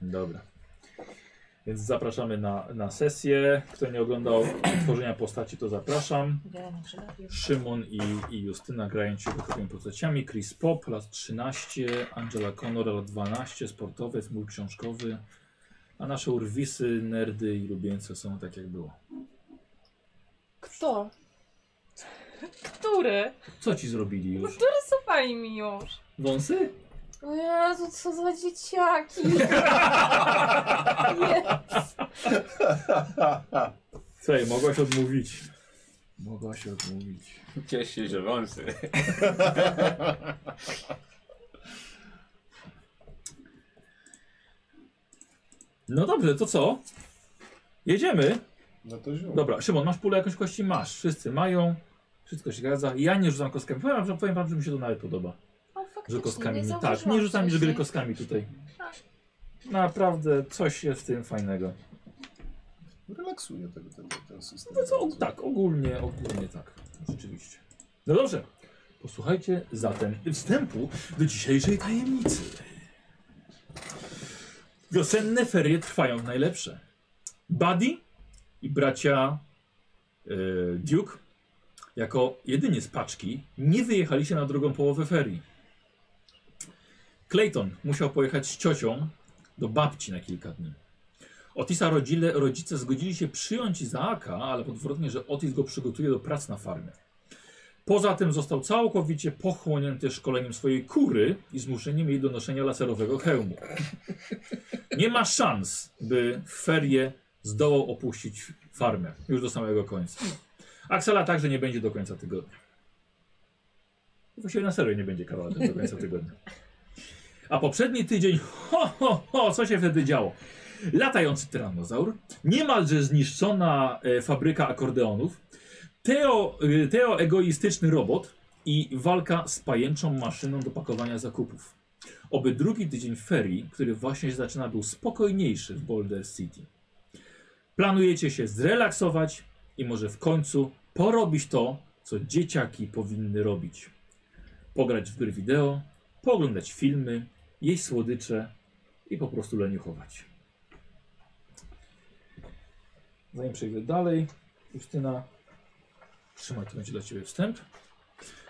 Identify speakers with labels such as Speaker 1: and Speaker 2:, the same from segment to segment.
Speaker 1: Dobra. Więc zapraszamy na, na sesję. Kto nie oglądał tworzenia postaci, to zapraszam.
Speaker 2: Wiele nam przydatnych.
Speaker 1: Szymon i, i Justyna grają się wykrytymi postaciami. Chris Pop, lat 13, Angela Connor, lat 12, sportowiec, mój książkowy. A nasze urwisy, nerdy i lubieńce są tak jak było.
Speaker 2: Kto? Który?
Speaker 1: Co ci zrobili
Speaker 2: No
Speaker 1: już?
Speaker 2: dorysowali mi już.
Speaker 1: Wąsy?
Speaker 2: O Jezu, co za dzieciaki. Nie.
Speaker 1: Słuchaj, mogłaś odmówić. Mogłaś odmówić.
Speaker 3: Cieszę się, że wąsy.
Speaker 1: No dobrze, to co? Jedziemy.
Speaker 4: No to ziół.
Speaker 1: Dobra, Szymon, masz pulę jakąś kości? Masz. Wszyscy mają. Wszystko się zgadza. Ja nie rzucam kostkami. Powiem, wam, że- powiem wam, że mi się to nawet podoba.
Speaker 2: O,
Speaker 1: Że
Speaker 2: faktycznie,
Speaker 1: kostkami nie. Tak,
Speaker 2: zauważyłam
Speaker 1: nie rzucam że gry
Speaker 2: wcześniej.
Speaker 1: kostkami tutaj.
Speaker 2: Tak.
Speaker 1: Naprawdę coś jest w tym fajnego.
Speaker 4: Relaksuje tego, ten, ten system.
Speaker 1: No co, tak, ogólnie, ogólnie tak. Rzeczywiście. No dobrze. Posłuchajcie zatem wstępu do dzisiejszej tajemnicy. Wiosenne ferie trwają w najlepsze. Buddy i bracia yy, Duke jako jedynie z paczki nie wyjechali się na drugą połowę ferii. Clayton musiał pojechać z ciocią do babci na kilka dni. Otisa rodzile, rodzice zgodzili się przyjąć Izaaka, ale podwrotnie, że Otis go przygotuje do prac na farmie. Poza tym został całkowicie pochłonięty szkoleniem swojej kury i zmuszeniem jej do noszenia laserowego hełmu. Nie ma szans, by w ferie zdołał opuścić farmę już do samego końca. Axela także nie będzie do końca tygodnia. Właściwie na serio nie będzie kawałek do końca tygodnia. A poprzedni tydzień, ho, ho, ho, co się wtedy działo? Latający tyranozaur, niemalże zniszczona e, fabryka akordeonów, teo, e, teo egoistyczny robot i walka z pajęczą maszyną do pakowania zakupów. Oby drugi tydzień ferii, który właśnie się zaczyna, był spokojniejszy w Boulder City. Planujecie się zrelaksować i może w końcu porobić to, co dzieciaki powinny robić. Pograć w gry wideo, pooglądać filmy, jeść słodycze i po prostu leniuchować. Zanim przejdę dalej, Justyna, trzymaj, to będzie dla Ciebie wstęp.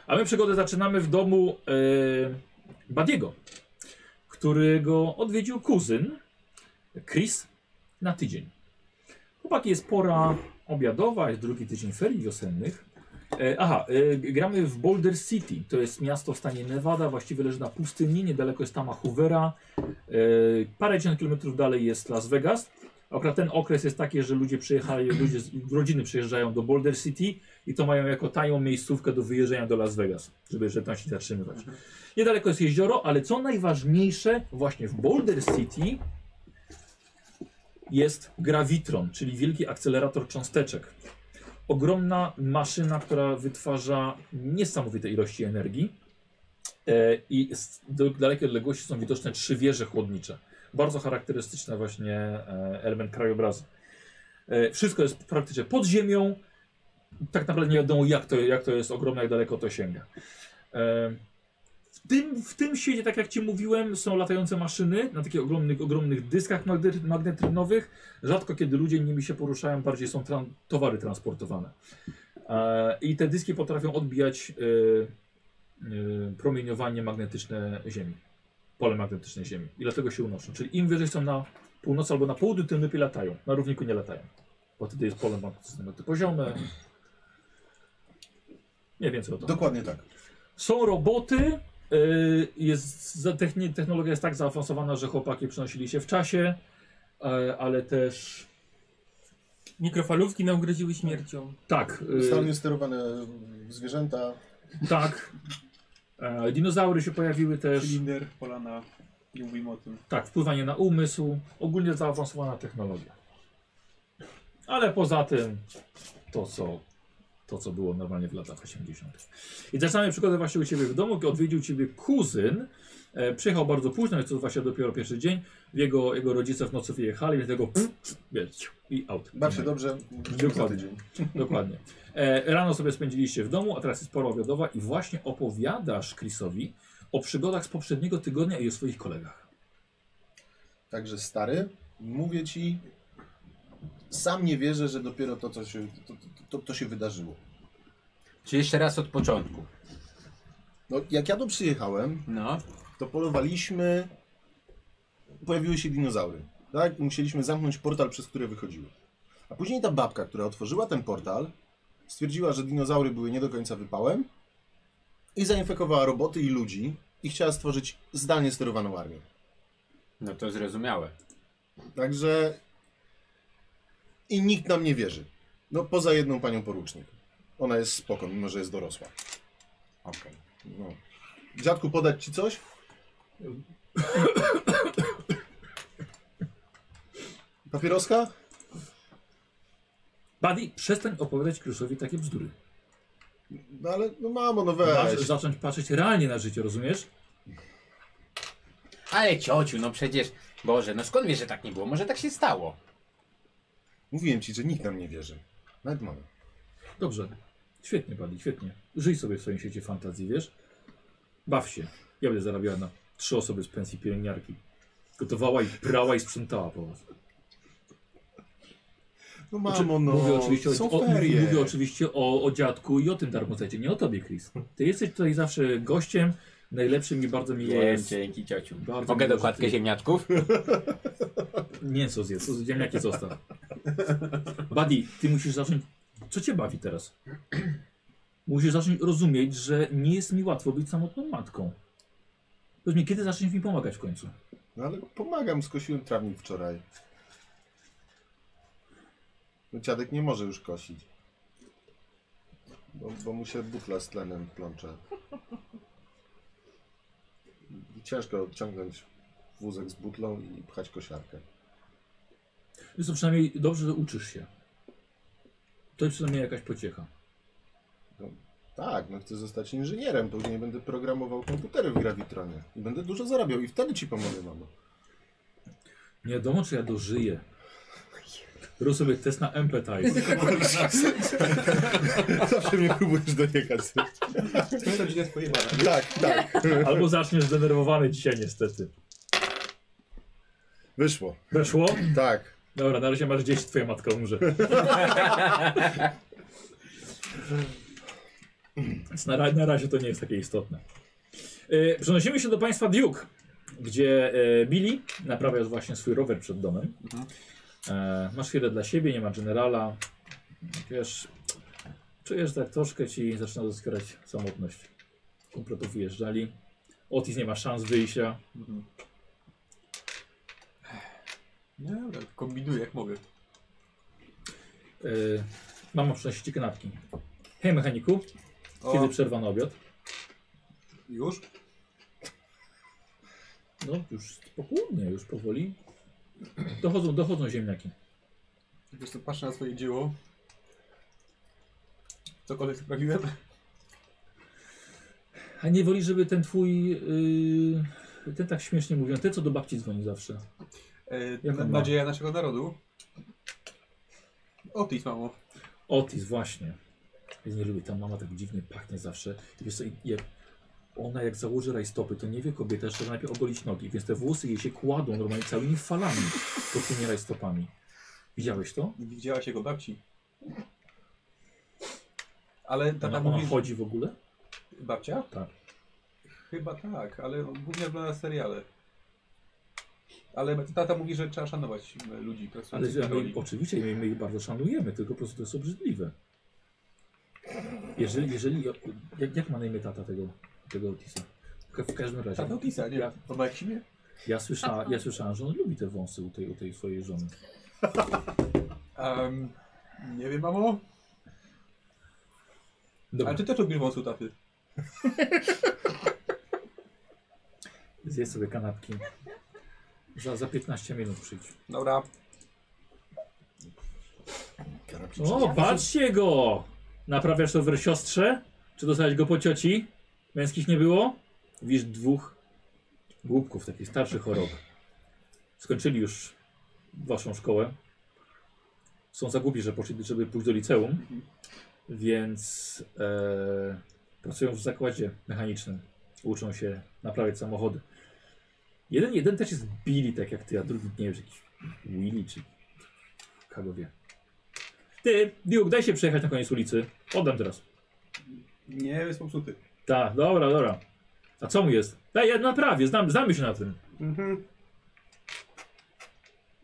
Speaker 1: A my przygodę zaczynamy w domu e, Badiego, którego odwiedził kuzyn Chris na tydzień. Chłopaki, jest pora obiadowa, jest drugi tydzień ferii wiosennych. E, aha, e, g- gramy w Boulder City, to jest miasto w stanie Nevada, właściwie leży na pustyni, niedaleko jest Tama Hoovera. E, parędziesiąt kilometrów dalej jest Las Vegas. Akurat ten okres jest taki, że ludzie przyjechali, ludzie z rodziny przyjeżdżają do Boulder City i to mają jako tajną miejscówkę do wyjeżdżania do Las Vegas, żeby, żeby tam się zatrzymywać. Niedaleko jest jezioro, ale co najważniejsze, właśnie w Boulder City jest grawitron, czyli wielki akcelerator cząsteczek. Ogromna maszyna, która wytwarza niesamowite ilości energii. E, I z do- dalekiej odległości są widoczne trzy wieże chłodnicze. Bardzo charakterystyczny właśnie e, element krajobrazu. E, Wszystko jest praktycznie pod ziemią. Tak naprawdę nie wiadomo, jak to, jak to jest ogromne, jak daleko to sięga. E, w tym, w tym świecie, tak jak Ci mówiłem, są latające maszyny na takich ogromnych, ogromnych dyskach magne- magnetrynowych. Rzadko kiedy ludzie nimi się poruszają, bardziej są tran towary transportowane. E, I te dyski potrafią odbijać e, e, promieniowanie magnetyczne Ziemi, pole magnetyczne Ziemi. I dlatego się unoszą. Czyli im wyżej są na północy albo na południu, tym lepiej latają. Na równiku nie latają, bo wtedy jest pole magnetyczne poziome. Nie więcej o to.
Speaker 4: Dokładnie tak.
Speaker 1: Są roboty. y, Jest, za- techni- technologia jest tak zaawansowana, że chłopaki przenosili się w czasie, y, ale też.
Speaker 5: Mikrofalówki nam groziły śmiercią.
Speaker 1: Tak, y,
Speaker 4: Stronie sterowane mm, zwierzęta.
Speaker 1: tak. E, Dinozaury się pojawiły też.
Speaker 6: Cylinder, polana, nie mówimy o tym.
Speaker 1: Tak, wpływanie na umysł. Ogólnie zaawansowana technologia. Ale poza tym to, co, to, co było normalnie w latach 80. I tak zaczynamy przygodę właśnie u Ciebie w domu, kiedy odwiedził Ciebie kuzyn. E, przyjechał bardzo późno, jest to właśnie dopiero pierwszy dzień. Jego, jego rodzice w nocy wyjechali, więc tego wiesz, i out.
Speaker 4: Baw się dobrze. Widzimy za
Speaker 1: Mhm. Dokładnie.
Speaker 4: tydzień.
Speaker 1: Dokładnie. E, rano sobie spędziliście w domu, a teraz jest pora obiadowa i właśnie opowiadasz Chrisowi o przygodach z poprzedniego tygodnia i o swoich kolegach.
Speaker 4: Także stary, mówię ci, sam nie wierzę, że dopiero to, co się, to, to, to, to się wydarzyło.
Speaker 3: Czy jeszcze raz od początku?
Speaker 4: No, jak ja tu przyjechałem,
Speaker 3: No.
Speaker 4: to polowaliśmy, pojawiły się dinozaury, tak? I musieliśmy zamknąć portal, przez który wychodziły. A później ta babka, która otworzyła ten portal, stwierdziła, że dinozaury były nie do końca wypałem i zainfekowała roboty i ludzi i chciała stworzyć zdalnie sterowaną armię.
Speaker 3: No to zrozumiałe.
Speaker 4: Także... I nikt nam nie wierzy. No, poza jedną panią porucznik. Ona jest spoko, mimo że jest dorosła.
Speaker 3: Okej.
Speaker 4: No. Dziadku, podać ci coś? Papieroska?
Speaker 1: Buddy, przestań opowiadać Krysowi takie bzdury.
Speaker 4: No ale, no mamo, no
Speaker 1: Masz
Speaker 4: weź.
Speaker 1: zacząć patrzeć realnie na życie, rozumiesz?
Speaker 3: Ale ciociu, no przecież... Boże, no skąd wiesz, że tak nie było? Może tak się stało?
Speaker 4: Mówiłem ci, że nikt nam nie wierzy. Nawet mamy.
Speaker 1: Dobrze. Świetnie, Buddy, świetnie. Żyj sobie w swoim świecie fantazji, wiesz? Baw się. Ja będę zarabiała na trzy osoby z pensji pielęgniarki. Gotowała i prała i sprzątała po was.
Speaker 4: No
Speaker 1: Znaczy,
Speaker 4: mamo, no.
Speaker 1: mówię oczywiście,
Speaker 4: są
Speaker 1: o, o,
Speaker 4: ferie.
Speaker 1: mówię oczywiście o, o dziadku i o tym darmozecie, nie o tobie, Chris. Ty jesteś tutaj zawsze gościem, najlepszym i bardzo mi jest.
Speaker 3: dzięki ciociu.
Speaker 1: Bardzo
Speaker 3: Mogę
Speaker 1: miło,
Speaker 3: dokładkę
Speaker 1: że ty-
Speaker 3: ziemniaczków?
Speaker 1: Mięso zjedz, z- ziemniaki zostaw. Buddy, ty musisz zacząć... Co cię bawi teraz? Musisz zacząć rozumieć, że nie jest mi łatwo być samotną matką. Powiedz mi, kiedy zaczniesz mi pomagać w końcu?
Speaker 4: No ale pomagam, skosiłem trawnik wczoraj. No dziadek nie może już kosić. Bo, bo mu się butla z tlenem plącze. I Ciężko odciągnąć wózek z butlą i pchać kosiarkę.
Speaker 1: Wiesz co, przynajmniej dobrze, że uczysz się. To jest przynajmniej jakaś pociecha.
Speaker 4: Tak, no chcę zostać inżynierem, później będę programował komputery w Gravitronie. I będę dużo zarabiał i wtedy ci pomogę, mamo.
Speaker 1: Nie wiadomo, czy ja dożyję. Rób sobie test na empathize.
Speaker 4: Zawsze mnie próbujesz dojechać.
Speaker 6: To rodzina jest pojebana.
Speaker 4: tak, tak.
Speaker 1: Albo zaczniesz zdenerwowany dzisiaj niestety.
Speaker 4: Wyszło.
Speaker 1: Weszło?
Speaker 4: Tak.
Speaker 1: Dobra, na razie masz dzieci, twoja matka umrze. Więc na, ra- na razie to nie jest takie istotne. E, przenosimy się do państwa Duke, gdzie e, Billy naprawia właśnie swój rower przed domem. E, masz chwilę dla siebie, nie ma generala. Wiesz, czujesz tak troszkę ci zaczyna doskwierać samotność. Kompletów wyjeżdżali. Otis nie ma szans wyjścia.
Speaker 6: No dobra, kombinuję jak mogę.
Speaker 1: E, mama przynosi ci kanapki. Hej mechaniku, kiedy
Speaker 6: O,
Speaker 1: przerwano obiad?
Speaker 6: już?
Speaker 1: No już po południe, już powoli. Dochodzą, dochodzą ziemniaki.
Speaker 6: Wiesz co, patrzę na swoje dzieło. Cokolwiek sprawiłem.
Speaker 1: A nie woli, żeby ten twój, yy, ten tak śmiesznie mówią, ten co do babci dzwoni zawsze.
Speaker 6: E,
Speaker 1: Jak
Speaker 6: na,
Speaker 1: on ma?
Speaker 6: nadzieja naszego narodu. Otis, mamo.
Speaker 1: Otis właśnie. Ja nie lubię, ta mama tak dziwnie pachnie zawsze. I Wiesz co, jak, ona jak założy rajstopy, to nie wie kobieta, że trzeba najpierw ogolić nogi, więc te włosy jej się kładą normalnie całymi falami, pod tymi rajstopami. Widziałeś to?
Speaker 6: Nie widziałaś jego babci. Ale tata
Speaker 1: No, Ona,
Speaker 6: mówi,
Speaker 1: ona
Speaker 6: że-
Speaker 1: chodzi w ogóle?
Speaker 6: Babcia?
Speaker 1: Tak.
Speaker 6: Chyba tak, ale głównie ogląda seriale. Ale tata mówi, że trzeba szanować e, ludzi
Speaker 1: Ale
Speaker 6: pracujących
Speaker 1: że
Speaker 6: w
Speaker 1: my,
Speaker 6: roli.
Speaker 1: oczywiście my, my ich bardzo szanujemy, tylko po prostu to jest obrzydliwe. Jeżeli, jeżeli jak, jak ma na imię tata tego, tego Otisa? Ka- W każdym razie,
Speaker 6: Tata Otisa, nie?
Speaker 1: Ja-
Speaker 6: To ma jak imię?
Speaker 1: ja, słysza, ja słyszałem, że on lubi te wąsy u tej, u tej swojej żony.
Speaker 6: Em, nie wiem, mamo.
Speaker 1: Dobra,
Speaker 6: Ale ty też lubisz wąsu taty.
Speaker 1: zjedz sobie kanapki. Za, za 15 minut przyjdź.
Speaker 6: Dobra.
Speaker 1: O, patrzcie go! Naprawiasz to w siostrze? Czy dostałeś go po cioci? Męskich nie było? Widzisz dwóch głupków, takich starszych chorób. Skończyli już waszą szkołę. Są za głupi, że poszli, żeby pójść do liceum. Więc e, pracują w zakładzie mechanicznym. Uczą się naprawiać samochody. Jeden, jeden też jest Billy, tak jak ty, a drugi nie wiem, czy jakiś Willy, czy kogo wie. Ty, Duke, daj się przejechać na koniec ulicy. Oddam teraz.
Speaker 6: Nie, jest popsuty.
Speaker 1: Tak, dobra, dobra. A co mu jest? Daj, ja naprawię, znam, znamy się na tym.
Speaker 6: Mhm.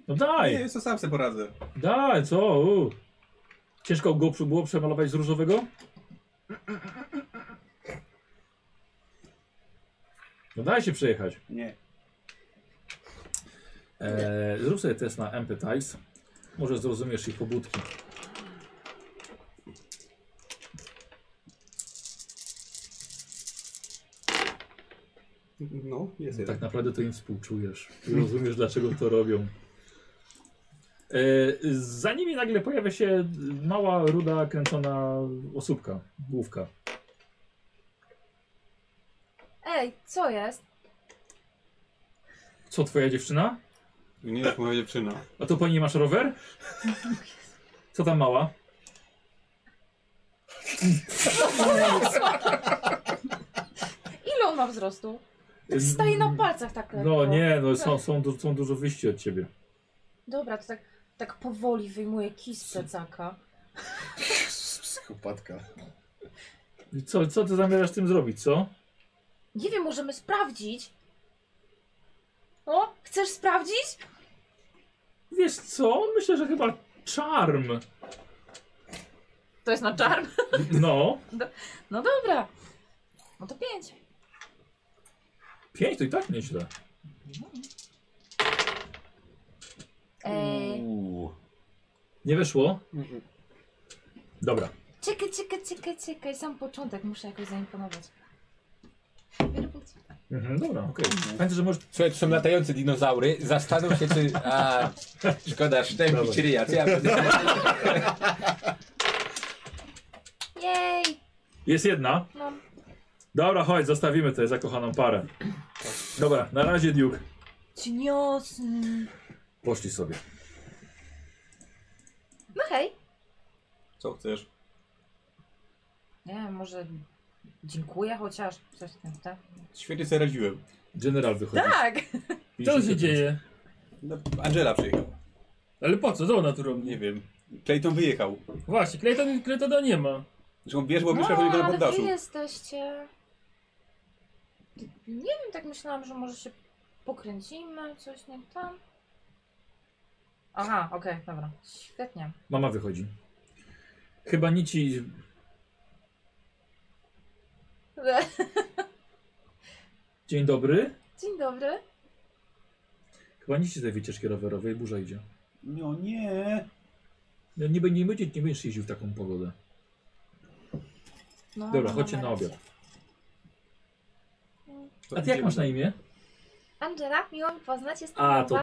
Speaker 1: No
Speaker 6: Nie,
Speaker 1: daj,
Speaker 6: jest to sam sobie poradzę.
Speaker 1: daj, co? U. Ciężko go przy- było przemalować z różowego? No daj się przejechać.
Speaker 6: Nie.
Speaker 1: Eee, zrób sobie test na empathize. Może zrozumiesz ich pobudki.
Speaker 6: No, jest jeden.
Speaker 1: Tak naprawdę to im współczujesz. I rozumiesz, dlaczego to robią. E, za nimi nagle pojawia się mała, ruda, kręcona osóbka, główka.
Speaker 2: Ej, co jest?
Speaker 1: Co, twoja dziewczyna?
Speaker 6: Nie jest moja dziewczyna.
Speaker 1: A to po niej masz rower? Co tam mała?
Speaker 2: Ile on ma wzrostu?
Speaker 1: E,
Speaker 2: Staje na palcach tak lekko.
Speaker 1: No nie, no są, są, du- są dużo wyjści od ciebie.
Speaker 2: Dobra, to tak, tak powoli wyjmuję kij z plecaka.
Speaker 4: Psychopatka.
Speaker 1: I Co, co ty zamierzasz z tym zrobić, co?
Speaker 2: Nie wiem, możemy sprawdzić. O, chcesz sprawdzić?
Speaker 1: Wiesz co, myślę, że chyba charm.
Speaker 2: To jest na czarn.
Speaker 1: No.
Speaker 2: No dobra. No to pięć.
Speaker 1: Pięć to i tak nieźle.
Speaker 2: Ej,
Speaker 3: Uuu.
Speaker 1: Nie weszło? Dobra.
Speaker 2: czekaj, czekaj, czekaj, czekaj. Sam początek muszę jakoś zaimponować.
Speaker 1: Mhm, dobra, okej. Pamiętaj, że możesz...
Speaker 3: Słuchaj, to są latające dinozaury. Zastanów się, czy... A, szkoda, sztępi
Speaker 1: Dawaj.
Speaker 3: czy ryja. Co ja będę...
Speaker 2: Jej!
Speaker 1: Jest jedna.
Speaker 2: Mam.
Speaker 1: Dobra, chodź, zostawimy tę zakochaną parę. Dobra, na razie Duke.
Speaker 2: Cieniosny.
Speaker 1: Poszli sobie.
Speaker 2: No hej.
Speaker 6: Co chcesz?
Speaker 2: Nie wiem, może dziękuję chociaż. Coś tam, tak?
Speaker 6: Świetnie sobie radziłem.
Speaker 1: General wychodzi.
Speaker 2: Tak!
Speaker 5: Co się dzieje?
Speaker 6: No, Angela przyjechała.
Speaker 5: Ale po co? Co ona tu robi?
Speaker 6: Nie wiem. Clayton wyjechał.
Speaker 5: Właśnie, Clayton, Claytona nie ma.
Speaker 6: Zresztą wiesz, bo mieszka no, na
Speaker 2: ale wy
Speaker 6: poddaszu.
Speaker 2: jesteście... Nie wiem, tak myślałam, że może się pokręcimy, coś nie tam. Aha, okej, dobra. Świetnie.
Speaker 1: Mama wychodzi. Chyba nic ci... Dzień dobry.
Speaker 2: Dzień dobry.
Speaker 1: Chyba nic ci z tej wycieczki rowerowej, burza idzie.
Speaker 6: No nie.
Speaker 1: No, nie, będzie- nie, będzie, nie będziesz jeździł w taką pogodę.
Speaker 2: No,
Speaker 1: Dobra,
Speaker 2: no,
Speaker 1: chodźcie
Speaker 2: no,
Speaker 1: na
Speaker 2: rację.
Speaker 1: obiad. A ty jak masz na imię?
Speaker 2: Angela, miło mi poznać. Jestem
Speaker 1: A, to...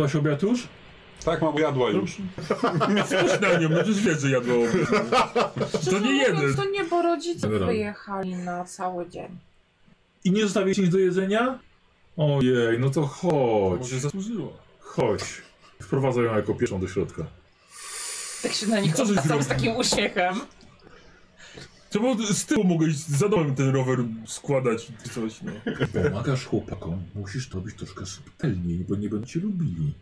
Speaker 1: Ktoś obiad już?
Speaker 6: Tak, mam jadła już.
Speaker 5: Spójrz na nią, przecież wie, że jadła To nie jeden.
Speaker 2: To nie, bo rodzice
Speaker 1: Dobra.
Speaker 2: wyjechali na cały dzień.
Speaker 1: I nie zostawiłeś nic do jedzenia? Ojej, no to chodź.
Speaker 5: Może zasłużyło.
Speaker 1: Chodź. Wprowadzę ją jako pierwszą do środka.
Speaker 2: Tak się na nich
Speaker 5: Co żeś
Speaker 2: odwracam z
Speaker 5: zrobił?
Speaker 2: takim uśmiechem.
Speaker 5: Czemu z tyłu mogłeś za domem ten rower składać czy coś, no?
Speaker 1: Pomagasz chłopakom, musisz to być troszkę subtelniej, bo nie będą cię lubili.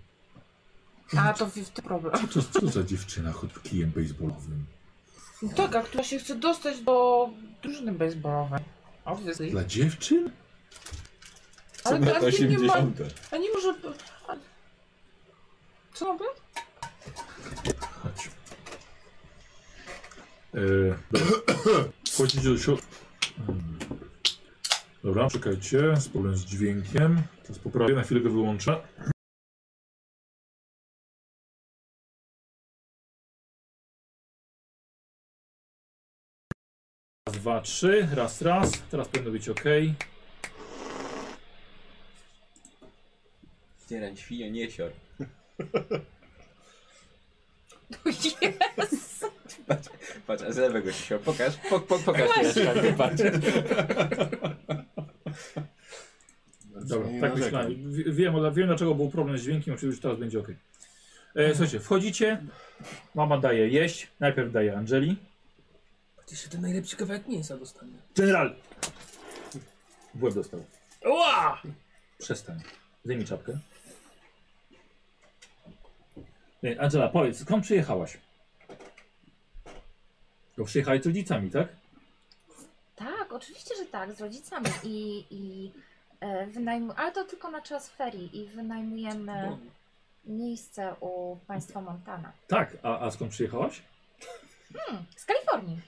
Speaker 2: A, to w, w tym problem.
Speaker 1: Co to co za dziewczyna chod kijem baseballowym?
Speaker 2: Taka, No tak, która się chce dostać do drużyny baseballowej. Obviously.
Speaker 1: Dla dziewczyn?
Speaker 2: Ale teraz nie ma...
Speaker 6: 80.
Speaker 2: A nie może... A... Co robię?
Speaker 1: Chodź. Eee, dobra. Wchodzicie do środka. Hmm. Dobra, czekajcie. Z problem z dźwiękiem. Teraz poprawię, na chwilę go wyłączę. Raz, dwa, trzy. Raz, raz. Teraz powinno być ok.
Speaker 3: Zdzierać świnio, nie sior.
Speaker 2: Jest!
Speaker 3: Patrz, patrz, a z lewego ci sior. Pokaż, po, po, pokaż. Właśnie. Patrz.
Speaker 1: Dobra,
Speaker 4: Nie
Speaker 1: tak
Speaker 4: narzekam.
Speaker 1: myślałem. Wie- Wiem, ale wiem dlaczego był problem z dźwiękiem, oczywiście już teraz będzie ok. E, słuchajcie, wchodzicie, mama daje jeść, najpierw daje Angeli.
Speaker 5: Jeszcze ten najlepszy kawałek mięsa dostanę.
Speaker 1: General! W łeb dostał.
Speaker 5: Ła!
Speaker 1: Przestań. Zdejmij czapkę. Ej, E, Angela, powiedz, skąd przyjechałaś? Bo przyjechałeś z rodzicami, tak?
Speaker 2: Tak, oczywiście, że tak, z rodzicami i, i e, wynajmu... ale to tylko na czas ferii i wynajmujemy miejsce u państwa Montana.
Speaker 1: Tak, a, a skąd przyjechałaś?
Speaker 2: Hmm, z Kalifornii.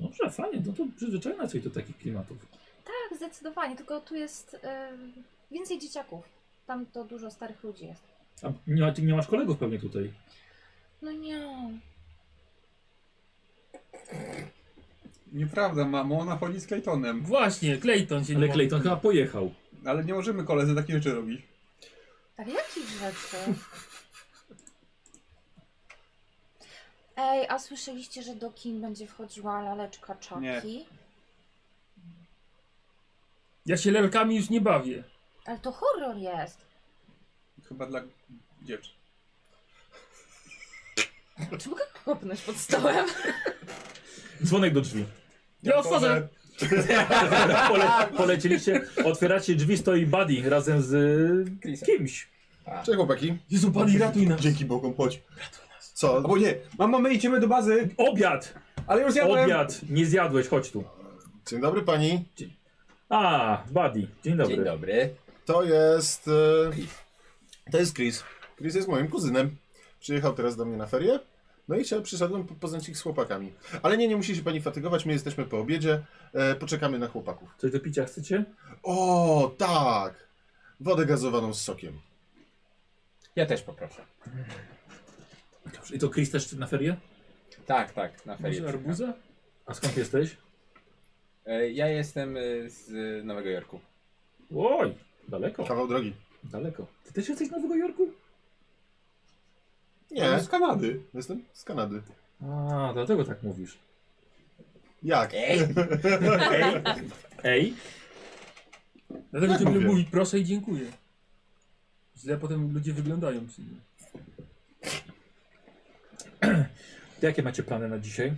Speaker 1: Dobrze, fajnie, no to przyzwyczajona jesteś do takich klimatów.
Speaker 2: Tak, zdecydowanie, tylko tu jest e, więcej dzieciaków. Tam to dużo starych ludzi jest.
Speaker 1: A nie, ma- ty nie masz kolegów pewnie tutaj.
Speaker 2: No nie,
Speaker 6: Nieprawda, mamo, ona chodzi z Claytonem.
Speaker 5: Właśnie, Clayton się
Speaker 1: Ale
Speaker 5: nie
Speaker 1: Clayton chyba pojechał.
Speaker 6: Ale nie możemy koledzy takich rzeczy robić.
Speaker 2: ale Tak, jakich rzeczy? Ej, a słyszeliście, że do kin będzie wchodziła laleczka Chucky?
Speaker 6: Nie.
Speaker 5: Ja się lelkami już nie bawię.
Speaker 2: Ale to horror jest.
Speaker 6: Chyba dla dziewczyn.
Speaker 2: Czy mogę kopnąć pod stołem?
Speaker 1: Dzwonek do drzwi.
Speaker 5: Ja otworzę.
Speaker 1: Pole, polecieliście, otwieracie drzwi, stoi Buddy razem z y, kimś.
Speaker 4: Cześć chłopaki.
Speaker 5: Jezu, pani ratuj nas.
Speaker 4: Dzięki Bogom, chodź. Co?
Speaker 6: Albo nie, mamo, my idziemy do bazy,
Speaker 1: Obiad!
Speaker 6: ale już jadłem.
Speaker 1: Obiad! Nie zjadłeś, chodź tu.
Speaker 4: Dzień dobry pani.
Speaker 1: A, Buddy, dzień dobry.
Speaker 3: Dzień dobry.
Speaker 4: To jest... E... To jest Chris. Chris jest moim kuzynem. Przyjechał teraz do mnie na ferie. No i chciałem, przyszedłem po- poznać ich z chłopakami. Ale nie, nie musi się pani fatygować, my jesteśmy po obiedzie. E, poczekamy na chłopaków.
Speaker 1: Coś do picia chcecie?
Speaker 4: O, tak! Wodę gazowaną z sokiem.
Speaker 3: Ja też poproszę.
Speaker 1: Dobrze. I to Chris też na ferie?
Speaker 3: Tak, tak, na ferie.
Speaker 5: Może arbuza?
Speaker 1: A skąd jesteś?
Speaker 3: E, Ja jestem e, z Nowego Jorku.
Speaker 1: Oj, daleko,
Speaker 4: Kawał drogi.
Speaker 1: daleko. Ty też jesteś z Nowego Jorku?
Speaker 4: Nie,
Speaker 6: Z Kanady.
Speaker 4: jestem z Kanady.
Speaker 1: A, dlatego tak mówisz.
Speaker 4: Jak?
Speaker 3: Ej!
Speaker 1: Ej, ej.
Speaker 5: Dlatego
Speaker 4: Tak
Speaker 5: ciągle
Speaker 4: mówię.
Speaker 5: mówi proszę i dziękuję. Źle potem ludzie wyglądają przy nim.
Speaker 1: To jakie macie plany na dzisiaj?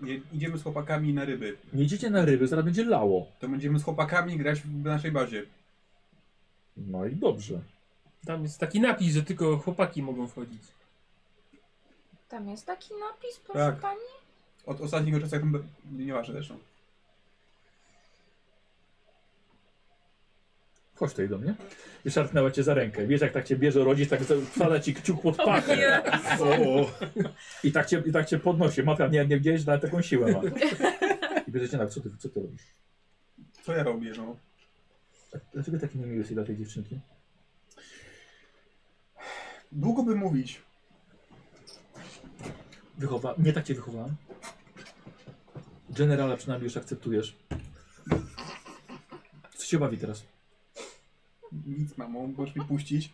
Speaker 6: Nie, idziemy z chłopakami na ryby.
Speaker 1: Nie idziecie na ryby, zaraz będzie lało.
Speaker 6: To będziemy z chłopakami grać w naszej bazie.
Speaker 1: No i dobrze.
Speaker 5: Tam jest taki napis, że tylko chłopaki mogą wchodzić.
Speaker 2: Tam jest taki napis, proszę
Speaker 6: Tak.
Speaker 2: pani.
Speaker 6: Od ostatniego czasu, jak tam... by- Nieważne zresztą.
Speaker 1: Chodź tutaj do mnie. I szarpnęła cię za rękę. Wiesz, jak tak cię bierze rodzic, tak wpada ci kciuk pod pachę.
Speaker 4: O,
Speaker 1: I tak cię, i tak cię podnosi. Matka nie, nie widziałeś, ale taką siłę ma. I bierzecie tak, co ty, co ty robisz? Tak,
Speaker 6: Co ja robię, no?
Speaker 1: Dlaczego taki niemiły jesteś dla tej dziewczynki?
Speaker 6: Długo by mówić.
Speaker 1: Wychowa... Nie tak cię wychowałem. Generala przynajmniej już akceptujesz. Co cię bawi teraz?
Speaker 6: Nic, mamo, możesz mi puścić.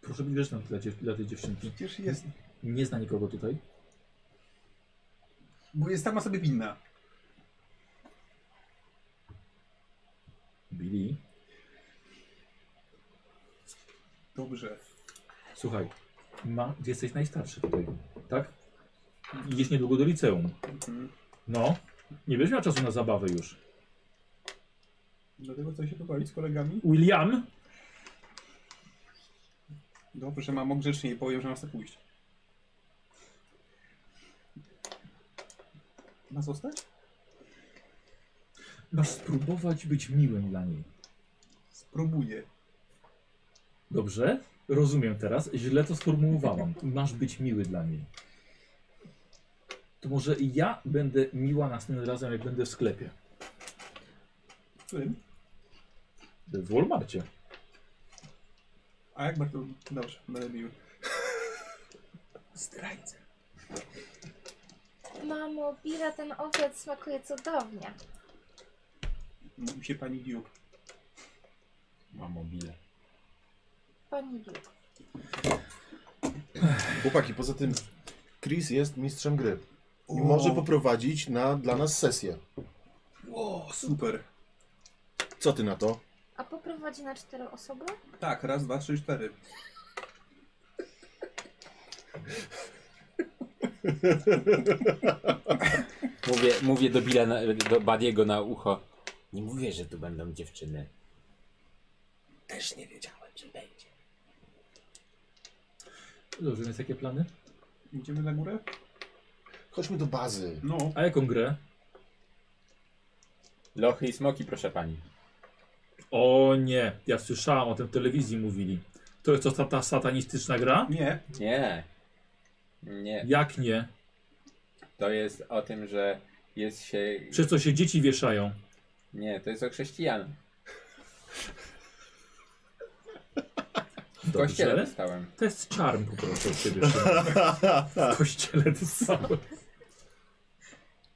Speaker 1: Proszę być grzeczna dla, dziew- dla tej dziewczynki.
Speaker 6: Przecież jest...
Speaker 1: Nie zna nikogo tutaj.
Speaker 6: Bo jest sama sobie winna.
Speaker 1: Billy.
Speaker 6: Dobrze.
Speaker 1: Słuchaj, ma, jesteś najstarszy tutaj, tak? Idziesz niedługo do liceum.
Speaker 6: Mhm.
Speaker 1: No, nie będziesz miał czasu na zabawę już.
Speaker 6: Dlatego co się pobawić z kolegami?
Speaker 1: William,
Speaker 6: Dobrze, mamo, grzecznie jej powiem, że masz tak pójść. Ma zostać?
Speaker 1: masz spróbować być miłym dla niej.
Speaker 6: Spróbuję.
Speaker 1: Dobrze? Rozumiem teraz. Źle to sformułowałam. Masz być miły dla niej. To może ja będę miła następnym razem, jak będę w sklepie.
Speaker 6: W którym?
Speaker 1: W Walmartie.
Speaker 6: A jak bardzo... Dobrze, będę miły.
Speaker 5: Zdrajca.
Speaker 2: Mamo, Bira, ten obiad smakuje cudownie.
Speaker 6: Mówi się pani Duke.
Speaker 3: Mam mobile.
Speaker 2: Pani Duke.
Speaker 4: Chłopaki, poza tym Chris jest mistrzem gry. I może poprowadzić na, dla nas sesję.
Speaker 6: O, super.
Speaker 4: Co ty na to?
Speaker 2: A poprowadzi na cztery osoby?
Speaker 6: Tak, raz, dwa, trzy, cztery.
Speaker 3: Mówię, mówię do Billa, na, do Badiego na ucho. Nie mówię, że tu będą dziewczyny. Też nie wiedziałem, że będzie.
Speaker 1: Dobrze, więc jakie plany?
Speaker 6: Idziemy na górę?
Speaker 4: Chodźmy do bazy.
Speaker 6: No.
Speaker 1: A jaką grę?
Speaker 3: Lochy i smoki, proszę pani.
Speaker 1: O nie, ja słyszałam o tym w telewizji mówili. To jest to ta, ta satanistyczna gra?
Speaker 6: Nie.
Speaker 3: Nie. Nie.
Speaker 1: Jak nie?
Speaker 3: To jest o tym, że jest się.
Speaker 1: Przez co się dzieci wieszają.
Speaker 3: Nie, to jest o chrześcijan. W
Speaker 1: Dobrze.
Speaker 3: kościele dostałem.
Speaker 1: To jest czarm po prostu od ciebie. Szymon. W kościele to samo.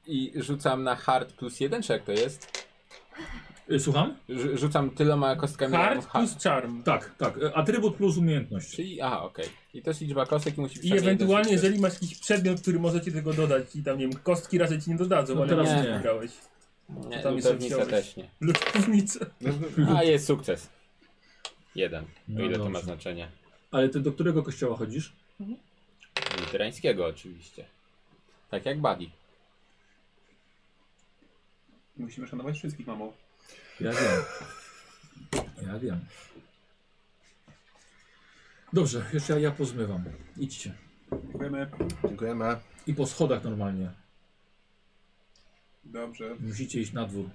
Speaker 3: I rzucam na hard plus jeden, czy jak to jest?
Speaker 1: Y, Słucham?
Speaker 3: Rzu- Rzucam tyloma kostkami
Speaker 7: Hard
Speaker 3: jak w hard.
Speaker 7: plus charm.
Speaker 1: Tak, tak. y, Atrybut plus umiejętność.
Speaker 3: Czyli, aha, okej. I to jest liczba kostek i musi
Speaker 7: I
Speaker 3: przynajmniej
Speaker 7: ewentualnie,
Speaker 3: jeden
Speaker 7: jeżeli masz jakiś przedmiot, który możecie tego dodać i tam, nie wiem, kostki raczej ci nie dodadzą,
Speaker 1: No
Speaker 7: ale
Speaker 1: teraz
Speaker 7: teraz
Speaker 3: nie.
Speaker 7: nie grałeś.
Speaker 3: sukces. Nie,
Speaker 7: tam jest
Speaker 3: lutownica
Speaker 7: opcjowy.
Speaker 3: też nie.
Speaker 7: Lutownica.
Speaker 3: A, jest sukces. Jeden. O
Speaker 1: No
Speaker 3: ile to ma
Speaker 1: dobrze.
Speaker 3: znaczenie?
Speaker 1: Ale ty do którego kościoła chodzisz?
Speaker 3: Luterańskiego oczywiście. Tak jak Buddy.
Speaker 6: Musimy szanować wszystkich, mamo.
Speaker 1: Ja wiem. Ja wiem. Dobrze, jeszcze ja, ja pozmywam. Idźcie.
Speaker 6: Dziękujemy.
Speaker 4: Dziękujemy.
Speaker 1: I po schodach normalnie.
Speaker 6: Dobrze.
Speaker 1: Musicie iść na dwór.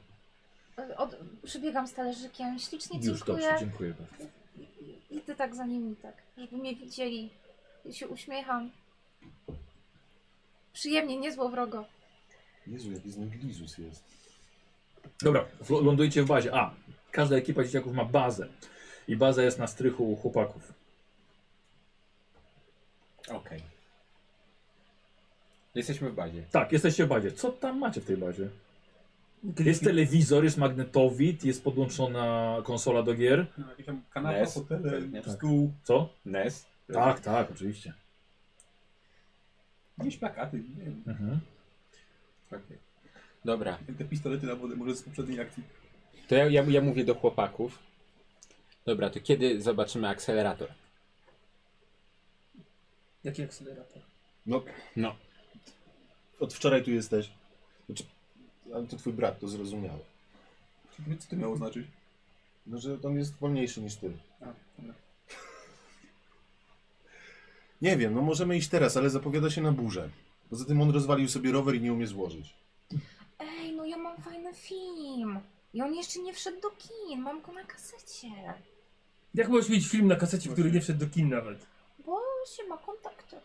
Speaker 2: E, Od, przybiegam z talerzykiem, ślicznie
Speaker 1: Już dobrze,
Speaker 2: dziękuję.
Speaker 1: dziękuję bardzo.
Speaker 2: I ty tak za nimi, tak, żeby mnie widzieli. Ja się uśmiecham. Przyjemnie, niezło wrogo.
Speaker 4: Jezu, jaki znoglizus jest.
Speaker 1: Dobra, w- lądujecie w bazie. A, każda ekipa dzieciaków ma bazę. I baza jest na strychu u chłopaków.
Speaker 3: Okej. Jesteśmy w bazie.
Speaker 1: Tak, jesteście w bazie. Co tam macie w tej bazie? Jest
Speaker 7: Jest
Speaker 1: telewizor, jest magnetowid, jest podłączona konsola do gier.
Speaker 6: No, jakieś tam kanapa,
Speaker 3: Nes.
Speaker 6: hotele,
Speaker 3: Tak.
Speaker 6: stół.
Speaker 1: Co?
Speaker 3: Nes?
Speaker 1: Tak, tak, oczywiście.
Speaker 6: Jakieś plakaty, nie wiem.
Speaker 1: Mhm.
Speaker 3: Okej. Dobra,
Speaker 6: Te pistolety na wodę może z poprzedniej akcji.
Speaker 3: to ja, ja, ja mówię do chłopaków. Dobra, to kiedy zobaczymy akcelerator?
Speaker 7: Jaki akcelerator?
Speaker 4: No,
Speaker 3: No.
Speaker 4: od wczoraj tu jesteś. Znaczy, ale to twój brat, to zrozumiałe.
Speaker 6: Czy- Co to miało znaczyć?
Speaker 4: No, że on jest wolniejszy niż ty.
Speaker 6: A, dobra.
Speaker 4: Nie wiem, no możemy iść teraz, ale zapowiada się na burzę. Poza tym on rozwalił sobie rower i nie umie złożyć.
Speaker 2: Ej, no ja mam fajny film. I on jeszcze nie wszedł do kin, mam go na kasecie.
Speaker 7: Jak możesz mieć film na kasecie, który nie wszedł do kin nawet?
Speaker 2: Bo się ma kontakty.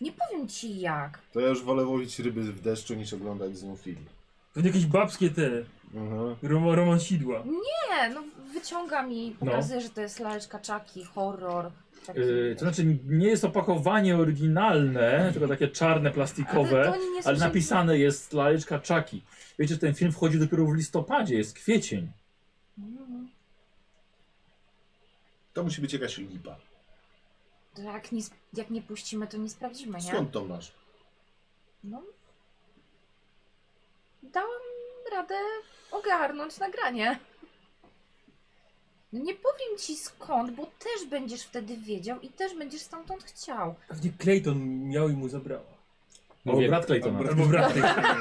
Speaker 2: Nie powiem ci jak.
Speaker 4: To ja już wolę łowić ryby w deszczu niż oglądać znów film. Mhm.
Speaker 7: Pewnie jakieś babskie te,
Speaker 4: Aha.
Speaker 7: Roman, Roman Sidła.
Speaker 2: Nie, no wyciągam i pokazuję, że to jest laleczka czaki, horror. Tak. Taki.
Speaker 1: No. Yy, to znaczy, nie jest opakowanie oryginalne, tylko takie czarne, plastikowe.
Speaker 2: Ale to oni nie
Speaker 1: Ale
Speaker 2: słyszeli-
Speaker 1: napisane jest laleczka Czaki. Wiecie, że ten film wchodzi dopiero w listopadzie, jest kwiecień.
Speaker 2: Mm,
Speaker 4: To musi być jakaś lipa.
Speaker 2: To jak nie, jak nie puścimy, to nie sprawdzimy, nie?
Speaker 4: Skąd to masz?
Speaker 2: No. Dałam radę ogarnąć nagranie. No nie powiem ci skąd, bo też będziesz wtedy wiedział i też będziesz stamtąd chciał.
Speaker 7: Pewnie Clayton miał i mu zabrała.
Speaker 1: Mówię,
Speaker 3: Mówię-
Speaker 1: brat Claytona.
Speaker 7: Albo brat Claytona.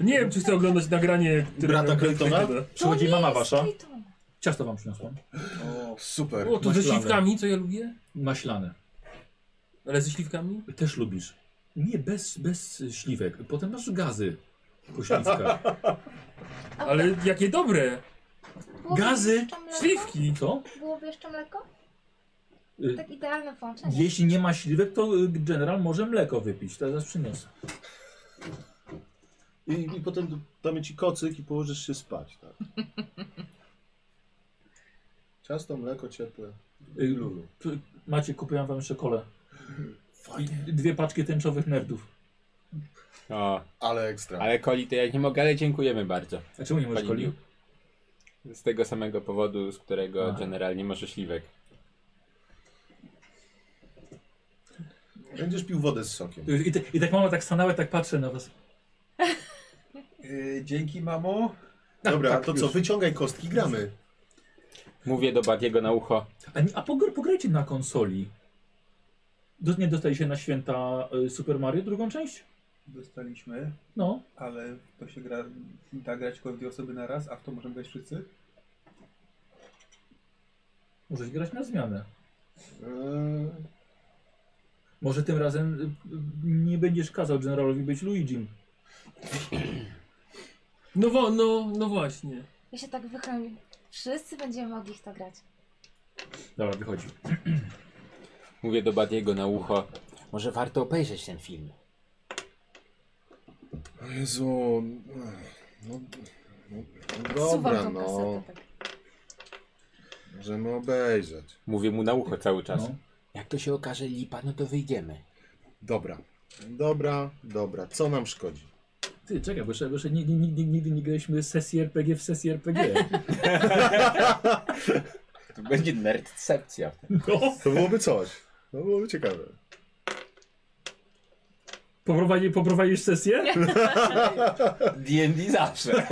Speaker 7: Nie wiem, czy chcę oglądać nagranie, które
Speaker 4: Brata
Speaker 7: robił
Speaker 4: Claytona?
Speaker 1: Przychodzi
Speaker 2: to nie
Speaker 1: mama
Speaker 2: jest
Speaker 1: wasza.
Speaker 2: Clayton.
Speaker 1: Ciasto wam przyniosłam.
Speaker 6: O,
Speaker 4: Super.
Speaker 7: O, to ze
Speaker 1: Maślane.
Speaker 7: śliwkami, co ja lubię?
Speaker 1: Maślane.
Speaker 7: Ale ze śliwkami?
Speaker 1: Też lubisz. Nie, bez, bez y, śliwek. Potem masz gazy po śliwkach.
Speaker 2: A
Speaker 7: Ale jakie dobre!
Speaker 2: byłoby
Speaker 1: gazy,
Speaker 2: jeszcze mleko?
Speaker 7: Śliwki!
Speaker 1: Co?
Speaker 2: Byłoby jeszcze mleko?
Speaker 1: Y,
Speaker 2: Tak idealne połączenie.
Speaker 1: Jeśli nie ma śliwek, to y, general może mleko wypić. Teraz przyniosę.
Speaker 4: I, I potem d- damy ci kocyk i położysz się spać, tak? Ciasto, mleko ciepłe.
Speaker 1: Y,
Speaker 4: Lulu.
Speaker 1: p- Macie, kupiłam wam jeszcze kolę. I dwie paczki tęczowych nerdów.
Speaker 3: O,
Speaker 4: Ale ekstra.
Speaker 3: ale Coli to ja nie mogę, ale dziękujemy bardzo.
Speaker 1: A czemu nie możesz
Speaker 3: Pani
Speaker 1: coli?
Speaker 3: Bill. Z tego samego powodu, z którego
Speaker 1: Aha.
Speaker 3: generalnie może śliwek.
Speaker 4: Będziesz pił wodę z sokiem.
Speaker 1: Y, I, te, I tak mama tak stanęła, tak patrzę na was.
Speaker 6: Yy, dzięki, mamo.
Speaker 4: Dobra,
Speaker 6: tak,
Speaker 4: to
Speaker 6: już.
Speaker 4: co, wyciągaj kostki, gramy.
Speaker 3: Mówię do Badiego na ucho.
Speaker 1: A, nie- a pogr- pograjcie na konsoli. Do, nie dostaliście na święta y, Super Mario drugą część?
Speaker 6: Dostaliśmy,
Speaker 1: No.
Speaker 6: ale to się gra, da grać tylko w dwie osoby na raz, a w to możemy grać wszyscy?
Speaker 1: Możecie grać na zmianę.
Speaker 4: Eee,
Speaker 1: Może tym razem y, y, nie będziesz kazał generalowi być Luigim.
Speaker 7: No, wo, no, no właśnie.
Speaker 2: Ja się tak wychylę. Wszyscy będziemy mogli w to grać.
Speaker 1: Dobra, wychodzi.
Speaker 3: Mówię do Badiego na ucho. Może warto obejrzeć ten film.
Speaker 4: o Jezu. No, no, no
Speaker 2: Suwam
Speaker 4: dobra,
Speaker 2: tą
Speaker 4: no.
Speaker 2: kasetę tak.
Speaker 4: Możemy obejrzeć.
Speaker 3: Mówię mu na ucho cały czas.
Speaker 1: No.
Speaker 3: Jak to się okaże lipa, no to wyjdziemy.
Speaker 4: Dobra. Dobra, dobra. Co nam szkodzi?
Speaker 1: Ty, czekaj, bo jeszcze, bo jeszcze nigdy, nigdy, nigdy nie graliśmy sesji RPG w sesji RPG.
Speaker 3: To będzie nerdcepcja.
Speaker 4: To byłoby coś. To byłoby ciekawe.
Speaker 1: Poprowadzi, poprowadzisz sesję?
Speaker 3: D&D zawsze.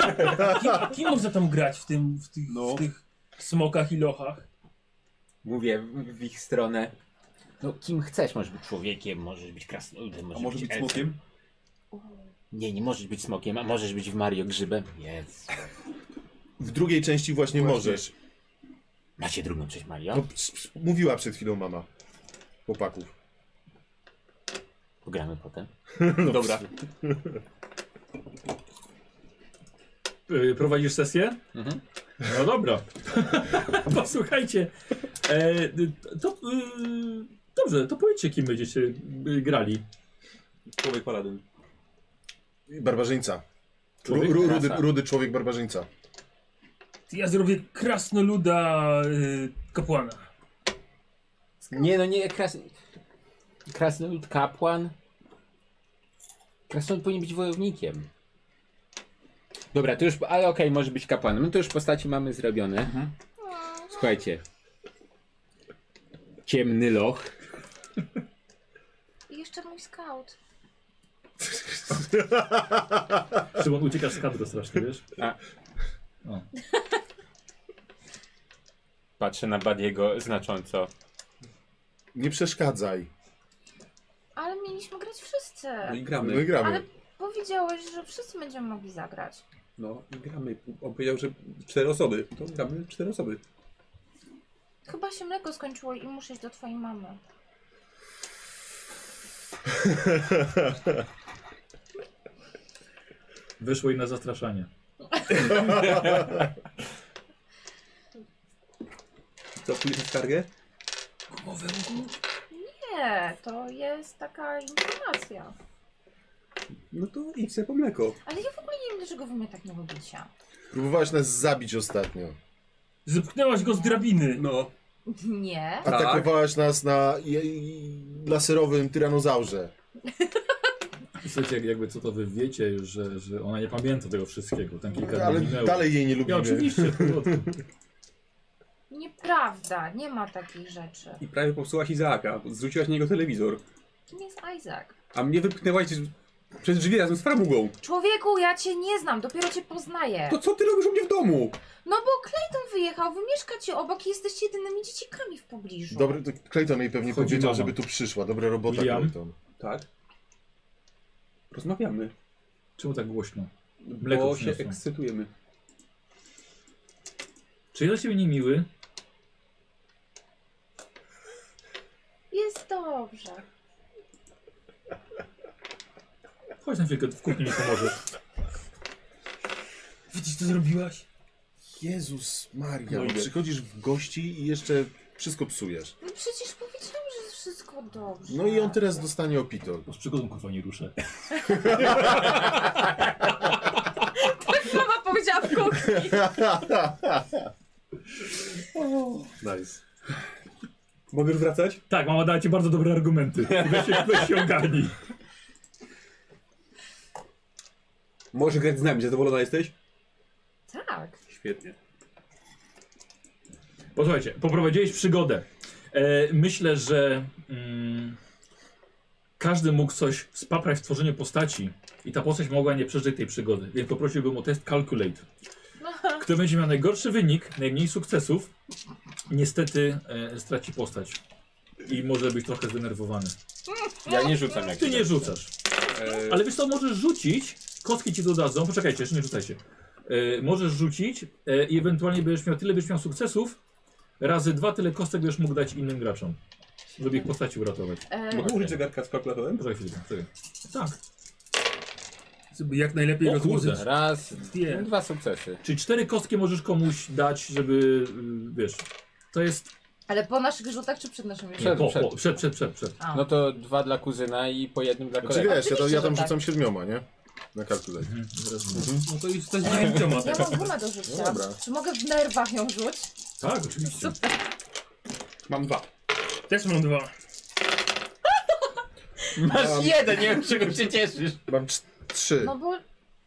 Speaker 7: Kim, kim można tam grać w, tym, w, tych, w tych smokach i lochach?
Speaker 3: Mówię w- w ich stronę. No kim chcesz, możesz być człowiekiem, możesz być krasnoludem,
Speaker 6: A
Speaker 3: możesz
Speaker 6: może
Speaker 3: być
Speaker 6: być
Speaker 3: elfem.
Speaker 6: smokiem?
Speaker 3: Nie, nie możesz być smokiem, a możesz być w Mario grzybem. Jest.
Speaker 4: W drugiej części właśnie, możesz.
Speaker 3: Macie drugą część
Speaker 4: No,
Speaker 3: Mario?
Speaker 4: ps- ps- mówiła przed chwilą mama. Chłopaków.
Speaker 3: Pogramy potem.
Speaker 4: Dobra.
Speaker 1: Y, prowadzisz sesję?
Speaker 3: Mhm.
Speaker 1: No dobra. Posłuchajcie. E, to, y, dobrze, to powiedzcie, kim będziecie y, grali.
Speaker 6: Człowiek paladyn.
Speaker 4: Barbarzyńca. Ru,
Speaker 3: Człowiek
Speaker 4: ru, rudy,
Speaker 3: rasa.
Speaker 4: rudy człowiek barbarzyńca.
Speaker 7: Ja zrobię krasnoluda y, kapłana.
Speaker 3: Nie, no nie, kras... krasnolud kapłan. Krasnolud powinien być wojownikiem. Dobra, to już, ale okej, może być kapłanem. No to już postaci mamy zrobione. Słuchajcie. Ciemny loch.
Speaker 2: I jeszcze mój scout.
Speaker 1: Szymon, uciekasz z kadry strasznie, wiesz?
Speaker 3: Patrzę na Badiego znacząco.
Speaker 4: Nie przeszkadzaj.
Speaker 2: Ale mieliśmy grać wszyscy.
Speaker 6: No
Speaker 4: No
Speaker 6: i
Speaker 4: i
Speaker 6: gramy.
Speaker 4: gramy.
Speaker 2: Ale powiedziałeś, że wszyscy będziemy mogli zagrać.
Speaker 6: No i gramy. On powiedział, że cztery osoby. To gramy cztery osoby.
Speaker 2: Chyba się mleko skończyło i muszę iść do twojej mamy.
Speaker 1: Wyszło i na zastraszanie.
Speaker 6: Co, pójdziesz na skargę?
Speaker 2: Nie, to jest taka informacja.
Speaker 6: No to idź sobie po mleko.
Speaker 2: Ale ja w ogóle nie wiem, dlaczego wy mnie tak nie lubicie.
Speaker 4: Próbowałaś nas zabić ostatnio.
Speaker 7: Zepchnęłaś go z drabiny.
Speaker 6: No.
Speaker 2: Nie.
Speaker 6: Tak.
Speaker 4: Atakowałaś nas na i, i, laserowym tyranozaurze.
Speaker 1: Słuchajcie, jak- jakby co to wy wiecie, że, że ona nie pamięta tego wszystkiego. Tam kilka dni
Speaker 4: Ale
Speaker 1: minęło.
Speaker 4: dalej jej nie
Speaker 1: Ja
Speaker 4: lubimy.
Speaker 1: oczywiście. w porządku.
Speaker 2: Nieprawda, nie ma takich rzeczy.
Speaker 6: I prawie popsułaś Izaaka. bo Zrzuciłaś na niego telewizor.
Speaker 2: Kim jest Isaac?
Speaker 6: A mnie wypchnęłaś z- przez drzwi razem z framugą.
Speaker 2: Człowieku, ja cię nie znam, dopiero cię poznaję.
Speaker 6: To co ty robisz u mnie w domu?
Speaker 2: No bo Clayton wyjechał, wy mieszkacie obok i jesteście jedynymi dzieciakami w pobliżu.
Speaker 4: Dobry, to Clayton jej pewnie
Speaker 1: Wchodzi
Speaker 4: powiedział,
Speaker 1: mama.
Speaker 4: żeby tu przyszła. Dobra robota,
Speaker 1: William?
Speaker 4: Clayton.
Speaker 6: Tak. Rozmawiamy.
Speaker 1: Czemu tak głośno? Mleko
Speaker 6: Bo się
Speaker 1: przyniosłem.
Speaker 6: ekscytujemy.
Speaker 1: Czy ja dla ciebie niemiły?
Speaker 2: Jest dobrze.
Speaker 1: Chodź na chwilkę, w kuchni mi pomożesz.
Speaker 7: Widzisz, co zrobiłaś?
Speaker 4: Jezus Maria,
Speaker 6: No
Speaker 4: no
Speaker 6: idę.
Speaker 4: przychodzisz w gości i jeszcze wszystko psujesz.
Speaker 2: No przecież powiedziałam, że jest wszystko dobrze.
Speaker 4: No i on teraz dostanie opitol.
Speaker 1: Bo z przygodą kurwa nie ruszę.
Speaker 2: Mama powiedziała w kuchni.
Speaker 4: Nice.
Speaker 6: Mogę już wracać?
Speaker 1: Tak, mama dała ci bardzo dobre argumenty. Weź się, weź się ogarnij.
Speaker 6: Możesz grać z nami, zadowolona jesteś?
Speaker 2: Tak.
Speaker 6: Świetnie.
Speaker 1: Posłuchajcie, poprowadziłeś przygodę. E, myślę, że mm, każdy mógł coś spaprać w tworzeniu postaci i ta postać mogła nie przeżyć tej przygody, więc poprosiłbym o test Calculate. Kto będzie miał najgorszy wynik, najmniej sukcesów, niestety e, straci postać. I może być trochę zdenerwowany.
Speaker 3: Ja nie rzucam jak tak-
Speaker 1: Ty nie rzucasz.
Speaker 6: E,
Speaker 1: Ale wiesz co, możesz rzucić, kostki ci dodadzą, poczekajcie, jeszcze nie rzucajcie. E, możesz rzucić e, i ewentualnie będziesz miał tyle, będziesz miał sukcesów, razy dwa tyle kostek będziesz mógł dać innym graczom, żeby ich postaci uratować.
Speaker 2: E,
Speaker 6: Mogę użyć zegarka z kalkulatorem?
Speaker 1: Poczekaj chwilę, czekaj. Tak,
Speaker 7: Żeby jak najlepiej
Speaker 1: O kurde.
Speaker 7: rozłożyć.
Speaker 3: Raz,
Speaker 7: Dwie.
Speaker 3: dwa sukcesy.
Speaker 1: czyli cztery kostki możesz komuś dać, żeby, y, wiesz, to jest
Speaker 2: ale po naszych rzutach czy przed naszym rzutem?
Speaker 3: Przed,
Speaker 1: po,
Speaker 3: przed.
Speaker 1: po, przed, przed, przed, przed.
Speaker 2: A.
Speaker 3: No to dwa dla kuzyna i po jednym dla
Speaker 4: Znaczy
Speaker 3: kolegi.
Speaker 4: wiesz, ja, tam- ja
Speaker 2: Oczywiście,
Speaker 4: tam
Speaker 2: że tak.
Speaker 4: rzucam siedmioma, nie? Na kalkulator.
Speaker 1: Mhm, zaraz mówię.
Speaker 7: No to już coś dziewięcioma.
Speaker 2: Ja mam gumę do rzucia.
Speaker 4: No dobra.
Speaker 2: Czy mogę w nerwach ją rzuć?
Speaker 1: Tak, oczywiście.
Speaker 6: Mam dwa.
Speaker 7: Też mam dwa.
Speaker 3: Masz jeden, nie wiem czego się cieszysz.
Speaker 4: Mam cz- trzy.
Speaker 2: No bo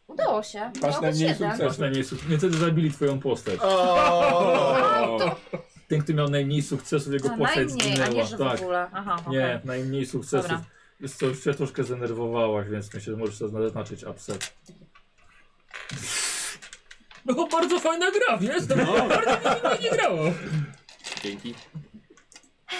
Speaker 2: udało się.
Speaker 6: Masz
Speaker 2: Miał być
Speaker 6: najmniej
Speaker 2: jeden.
Speaker 6: sukcesów.
Speaker 1: Masz najmniej sukcesów. Niestety zabili twoją postać. Ten, kto miał najmniej sukcesów, jego
Speaker 2: A,
Speaker 1: postać
Speaker 2: No, najmniej, a nie,
Speaker 1: zginęła.
Speaker 2: że w
Speaker 1: Tak.
Speaker 2: ogóle. Aha, okej.
Speaker 1: Nie, najmniej sukcesów.
Speaker 2: Dobra.
Speaker 1: Jest to już się troszkę zdenerwowałaś, więc myślę, że możesz to zaznaczyć upset.
Speaker 7: No bardzo fajna gra, wiesz? To
Speaker 1: No.
Speaker 7: bardzo mi się fajnie grało.
Speaker 3: Dzięki.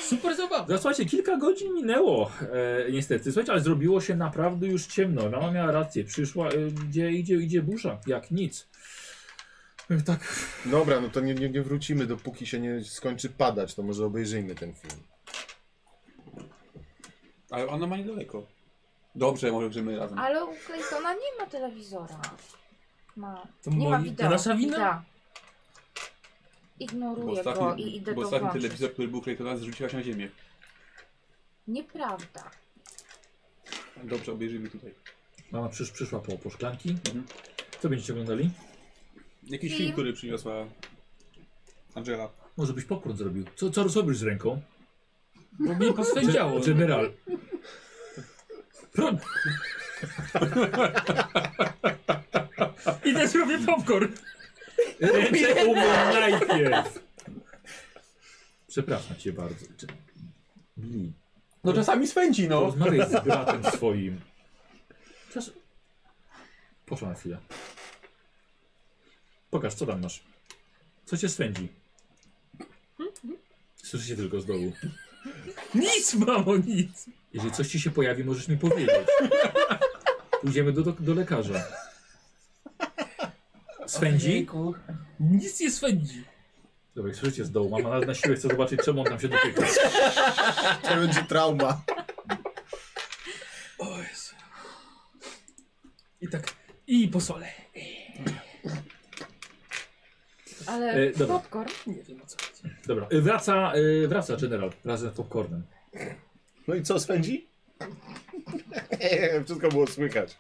Speaker 7: Super zabawa.
Speaker 1: No, Słuchajcie, kilka godzin minęło, e, niestety. Słuchajcie, ale zrobiło się naprawdę już ciemno. Mama miała rację. Przyszła, e, gdzie idzie, idzie burza, jak nic. E, Tak,
Speaker 4: Dobra, no to nie, nie, nie wrócimy, dopóki się nie skończy padać, to może obejrzyjmy ten film.
Speaker 6: Ale ona ma niedaleko. Dobrze, może grzymy razem.
Speaker 2: Ale u Claytona nie ma telewizora. Ma.
Speaker 7: To
Speaker 2: nie ma
Speaker 7: moi- to
Speaker 2: wideo.
Speaker 7: nasza wina?
Speaker 2: Da. Ignoruję go i idę
Speaker 6: bo
Speaker 2: go
Speaker 6: ostatni
Speaker 2: włączyć.
Speaker 6: telewizor, który był Claytona, zrzuciłaś na ziemię.
Speaker 2: Nieprawda.
Speaker 6: Dobrze, obejrzyjmy tutaj.
Speaker 1: mama przysz, przyszła po, po szklanki.
Speaker 6: Mhm.
Speaker 1: Co będziecie oglądali?
Speaker 6: Jakiś
Speaker 2: Film.
Speaker 6: film, który przyniosła Angela.
Speaker 1: Może byś popcorn zrobił. Co, co robisz z ręką?
Speaker 7: Bo No, mnie poswędziało.
Speaker 1: General. Pro,
Speaker 7: I też robię popcorn.
Speaker 1: Ręce umyj najpierw. Przepraszam cię bardzo. Czy- Bli,
Speaker 6: No czasami swędzi, no.
Speaker 1: porozmawiaj z bratem swoim. Czas... Poszła na chwilę. Pokaż, co tam masz. Co cię swędzi? Słyszycie tylko z dołu.
Speaker 7: Nic, mamo, nic.
Speaker 1: Jeżeli coś ci się pojawi, możesz mi powiedzieć. Pójdziemy do, do, do lekarza. Swędzi?
Speaker 7: Nic nie swędzi.
Speaker 1: Dobra, jak słyszycie z dołu. Mama na, na siłę chce zobaczyć, czemu on tam się dotyka.
Speaker 4: To będzie trauma.
Speaker 7: O Jezu. I tak, i po sole.
Speaker 2: Ale
Speaker 1: E, dobra.
Speaker 2: popcorn.
Speaker 7: Nie wiem o co chodzi.
Speaker 1: Dobra, y, wraca, y, wraca general razem z popcornem.
Speaker 4: No i co, spędzi? Wszystko było słychać.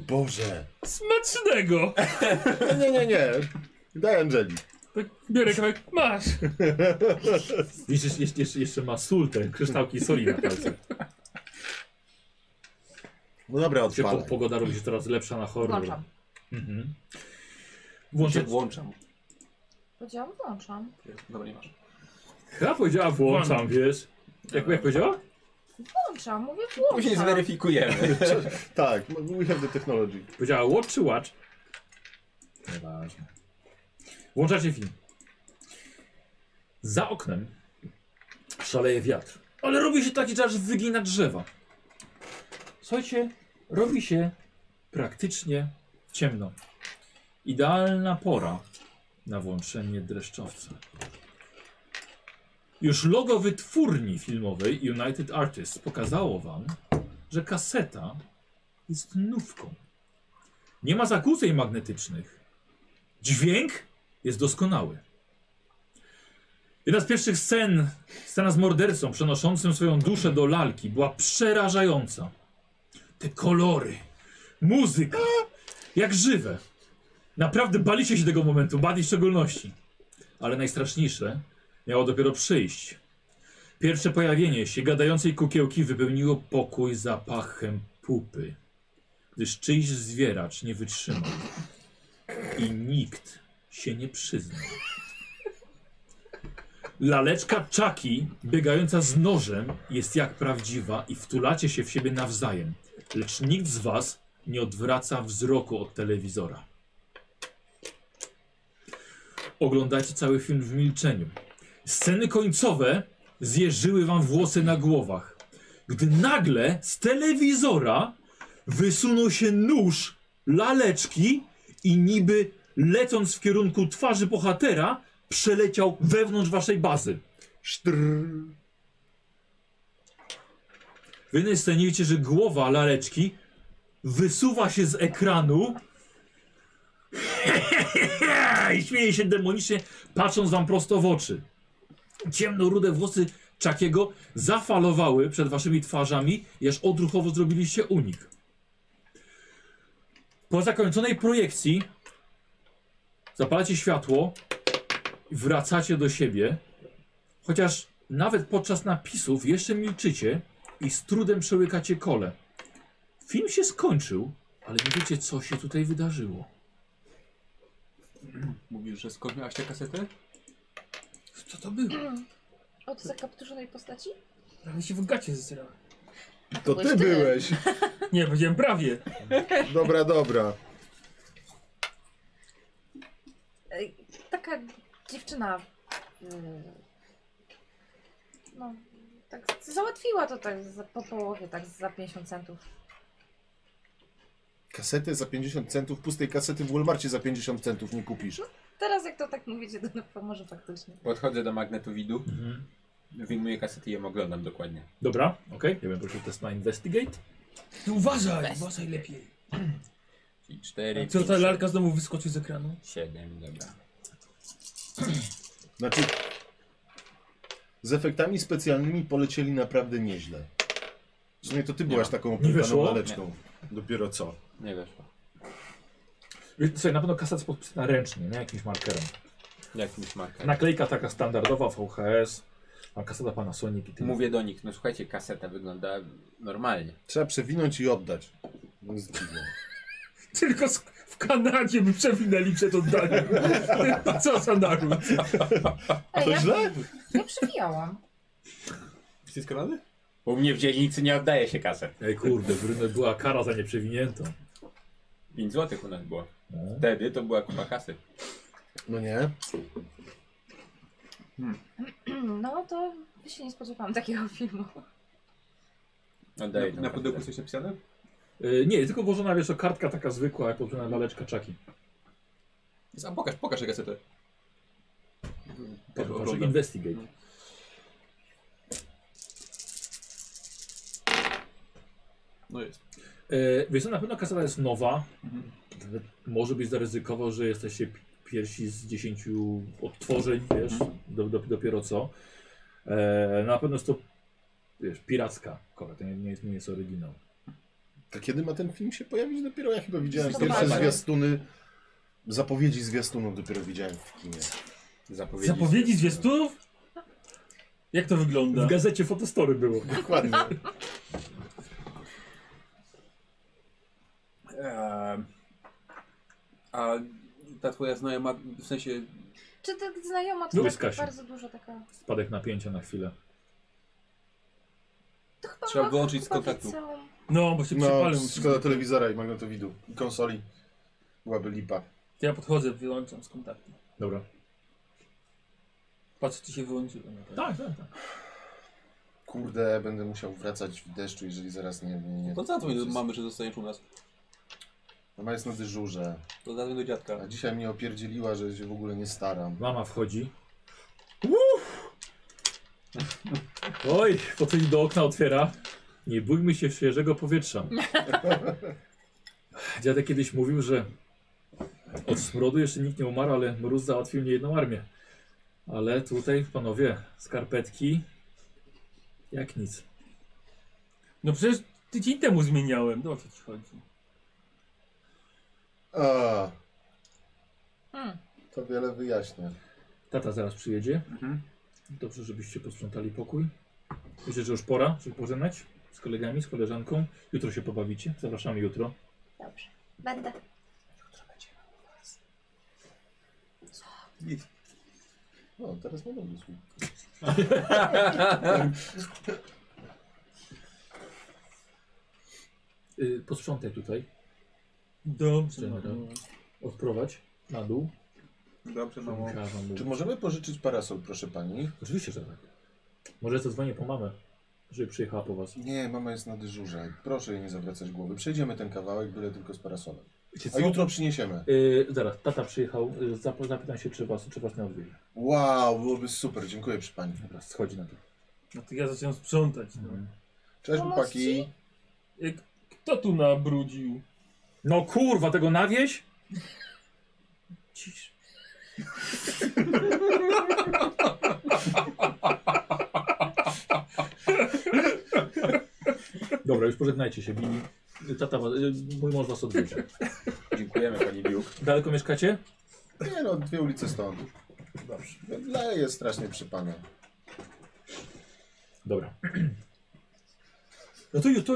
Speaker 4: Boże.
Speaker 7: Smacznego!
Speaker 4: Nie, nie, nie. Daj Angeli.
Speaker 7: Tak biorę kawałek, masz.
Speaker 1: Widzisz, jeszcze, jeszcze, jeszcze ma sól, te kryształki soli na palcach.
Speaker 4: No dobra,
Speaker 1: Się po,
Speaker 4: odpalaj.
Speaker 1: pogoda robi się coraz lepsza na horror.
Speaker 2: Włączam.
Speaker 1: Mhm.
Speaker 6: Się
Speaker 1: Włączam.
Speaker 6: włączam.
Speaker 2: Powiedziałam, włączam.
Speaker 6: Dobra, nie masz.
Speaker 1: Ja powiedziała włączam, wiesz. Jak, jak powiedziała?
Speaker 2: Włączam, mówię włączam.
Speaker 3: Później zweryfikujemy.
Speaker 4: Tak, we have the technology.
Speaker 1: Powiedziała watch czy watch? Nieważne. Włączacie film. Za oknem szaleje wiatr. Ale robi się taki, że aż wygina drzewa. Słuchajcie, robi się praktycznie ciemno. Idealna pora na włączenie dreszczowca. Już logo wytwórni filmowej United Artists pokazało wam, że kaseta jest nówką. Nie ma zakłóceń magnetycznych. Dźwięk jest doskonały. Jedna z pierwszych scen, scena z mordercą przenoszącym swoją duszę do lalki, była przerażająca. Te kolory, muzyka, jak żywe. Naprawdę baliście się tego momentu, Badi w szczególności. Ale najstraszniejsze miało dopiero przyjść. Pierwsze pojawienie się gadającej kukiełki wypełniło pokój zapachem pupy gdyż czyjś zwieracz nie wytrzymał i nikt się nie przyznał. Laleczka czaki, biegająca z nożem, jest jak prawdziwa i wtulacie się w siebie nawzajem, lecz nikt z was nie odwraca wzroku od telewizora. Oglądacie cały film w milczeniu. Sceny końcowe zjeżyły wam włosy na głowach. Gdy nagle z telewizora wysunął się nóż laleczki i niby lecąc w kierunku twarzy bohatera przeleciał wewnątrz waszej bazy. Wy na scenie widzicie, że głowa laleczki wysuwa się z ekranu i śmieje się demonicznie, patrząc wam prosto w oczy. Ciemno-rude włosy Czakiego zafalowały przed waszymi twarzami, aż odruchowo zrobiliście unik. Po zakończonej projekcji zapalacie światło i wracacie do siebie, chociaż nawet podczas napisów jeszcze milczycie i z trudem przełykacie kole. Film się skończył, ale nie wiecie, co się tutaj wydarzyło.
Speaker 8: Mówisz, że skąd miałaś tę kasetę? Co to było?
Speaker 2: Od zakapturzonej postaci?
Speaker 7: Prawie się w gacie zesrałem.
Speaker 4: To ty byłeś.
Speaker 7: Nie, powiedziałem prawie.
Speaker 4: Dobra, dobra.
Speaker 2: Ej, E, Taka dziewczyna. mm, No, tak załatwiła to tak za, po połowie, tak za 50 centów.
Speaker 4: Kasety za 50 centów, pustej kasety w Walmartie za 50 centów nie kupisz.
Speaker 2: Teraz jak to tak mówicie, to no, pomoże faktycznie.
Speaker 3: Podchodzę do magnetowidu, wyjmuję kasety i ją oglądam dokładnie.
Speaker 1: Dobra, okej. Ja bym prosił test na Investigate.
Speaker 7: Ty No uważaj, uważaj lepiej.
Speaker 3: I cztery,
Speaker 7: Co
Speaker 3: pięć,
Speaker 7: ta lalka znowu wyskoczy z ekranu?
Speaker 3: siedem, dobra.
Speaker 4: Znaczy, z efektami specjalnymi polecieli naprawdę nieźle. W sumie to ty byłaś taką opłynioną
Speaker 1: wyszło?
Speaker 4: laleczką. Dopiero co.
Speaker 3: Nie weszło.
Speaker 1: Wiecie, Słuchaj, na pewno kaseta jest podpisana ręcznie, nie jakimś markerem.
Speaker 3: Jakimś markerem.
Speaker 1: Naklejka taka standardowa, VHS, a kaseta Panasonic i tyle.
Speaker 3: Mówię do nich, no słuchajcie, kaseta wygląda normalnie.
Speaker 4: Trzeba przewinąć i oddać. No jest dziwne.
Speaker 7: Tylko z- w Kanadzie by przewinęli przed oddaniem. Co za naród.
Speaker 2: Ej, ja,
Speaker 4: źle?
Speaker 2: ja przywijałam.
Speaker 6: Jesteś z Kanady?
Speaker 3: U mnie w dzielnicy nie oddaje się kaset.
Speaker 1: Ej kurde, Bruno, była kara za nieprzewiniętą.
Speaker 3: 5 złotych u nas było.
Speaker 1: No.
Speaker 3: Wtedy to była kupa kasy.
Speaker 4: No nie?
Speaker 2: No to się nie spodziewałam takiego filmu.
Speaker 3: Oddaję
Speaker 6: Na,
Speaker 3: tą
Speaker 6: na
Speaker 3: kasetę.
Speaker 6: pudełku coś napisane?
Speaker 1: Y, nie, tylko włożona, wiesz, o, kartka taka zwykła, jak podpisana laleczka czaki.
Speaker 6: A pokaż, pokaż tę kasetę.
Speaker 7: Tak,
Speaker 1: Proszę, proszę,
Speaker 6: Oglądam.
Speaker 1: investigate.
Speaker 6: No jest.
Speaker 1: Y, wiesz co, na pewno kaseta jest nowa.
Speaker 6: Mhm.
Speaker 1: Nawet Może byś zaryzykował, że jesteście pi- pierwsi z 10 odtworzeń, wiesz, do, do, dopiero co. E, na pewno jest to, wiesz, piracka. Kolej, to nie, nie, jest- nie jest oryginał.
Speaker 4: To kiedy ma ten film się pojawić? Dopiero ja chyba widziałem
Speaker 2: Zobaczmy.
Speaker 4: pierwsze zwiastuny, zapowiedzi zwiastunów dopiero widziałem w kinie.
Speaker 3: Zapowiedzi.
Speaker 7: Zapowiedzi zwiastunów? Jak to wygląda?
Speaker 1: W gazecie Fotostory było.
Speaker 4: Dokładnie. No,
Speaker 6: Ehm, a ta twoja znajoma, w sensie,
Speaker 2: Czy ta znajoma
Speaker 1: No,
Speaker 2: to
Speaker 1: jest Kasia.
Speaker 2: taka bardzo dużo taka...
Speaker 1: Spadek napięcia na chwilę.
Speaker 2: To chyba
Speaker 6: Trzeba
Speaker 2: ma-
Speaker 6: wyłączyć z
Speaker 2: chyba
Speaker 1: tak.
Speaker 6: kontaktu.
Speaker 2: liceum.
Speaker 7: No, bo się
Speaker 4: No,
Speaker 7: przepalę.
Speaker 4: szkoda telewizora i magnetowidu. I konsoli. Byłaby lipa.
Speaker 7: To ja podchodzę, wyłączam z kontaktu.
Speaker 1: Dobra.
Speaker 7: Patrz, czy się wyłączyło.
Speaker 1: Tak, tak, tak.
Speaker 4: Kurde, będę musiał wracać w deszczu, jeżeli zaraz nie... nie, nie.
Speaker 6: No to zadzwoń do mamy, że zostaniesz u nas.
Speaker 4: Mama jest na dyżurze.
Speaker 6: To zadzwoń do dziadka.
Speaker 4: A dzisiaj mnie opierdzieliła, że się w ogóle nie staram.
Speaker 1: Mama wchodzi. Uff! Oj, podchodzi do okna, otwiera. Nie bójmy się świeżego powietrza. Dziadek kiedyś mówił, że od smrodu jeszcze nikt nie umarł, ale mróz załatwił nie jedną armię. Ale tutaj, panowie, skarpetki jak nic.
Speaker 7: No przecież tydzień temu zmieniałem. No o co ci chodzi?
Speaker 4: A,
Speaker 2: Hmm.
Speaker 4: to wiele wyjaśnia.
Speaker 1: Tata zaraz przyjedzie.
Speaker 6: Mhm.
Speaker 1: Dobrze, żebyście posprzątali pokój. Myślę, że już pora, żeby pożegnać z kolegami, z koleżanką. Jutro się pobawicie. Zapraszamy jutro.
Speaker 2: Dobrze. Będę.
Speaker 4: No, teraz nie będę słuchał.
Speaker 1: Yy, posprzątaj tutaj,
Speaker 7: Dobrze.
Speaker 1: Dobra.
Speaker 7: no.
Speaker 1: odprowadź na dół.
Speaker 6: Dobrze, no, mamo.
Speaker 1: Kawa mu-
Speaker 4: Czy możemy pożyczyć parasol, proszę pani?
Speaker 1: Oczywiście, że tak. Może zadzwonię po mamę, żeby przyjechała po was.
Speaker 4: Nie, mama jest na dyżurze. Proszę jej nie zawracać głowy. Przejdziemy ten kawałek, byle tylko z parasolem.
Speaker 1: Wiecie
Speaker 4: A
Speaker 1: co?
Speaker 4: jutro przyniesiemy.
Speaker 1: Y, zaraz, tata przyjechał, y, zap- zapytam się, czy was, czy was nie odwiedzi.
Speaker 4: Wow, byłoby super. Dziękuję przy pani.
Speaker 1: Dobra, schodzi na to.
Speaker 7: No to ja zaczynam sprzątać. No.
Speaker 4: Mhm. Cześć,
Speaker 2: Pomóc
Speaker 4: chłopaki.
Speaker 2: ci?
Speaker 7: Jak, kto tu nabrudził?
Speaker 1: No kurwa, tego nawieź?
Speaker 7: Cisz.
Speaker 1: Dobra, już pożegnajcie się, Bini. Y, Tata, was- y, mój mąż was odwiedzi.
Speaker 3: Dziękujemy pani Biuk.
Speaker 1: Daleko mieszkacie?
Speaker 4: Nie no, dwie ulice stąd.
Speaker 1: Dobrze.
Speaker 4: Leje strasznie przy panu.
Speaker 1: Dobra. No to już, to...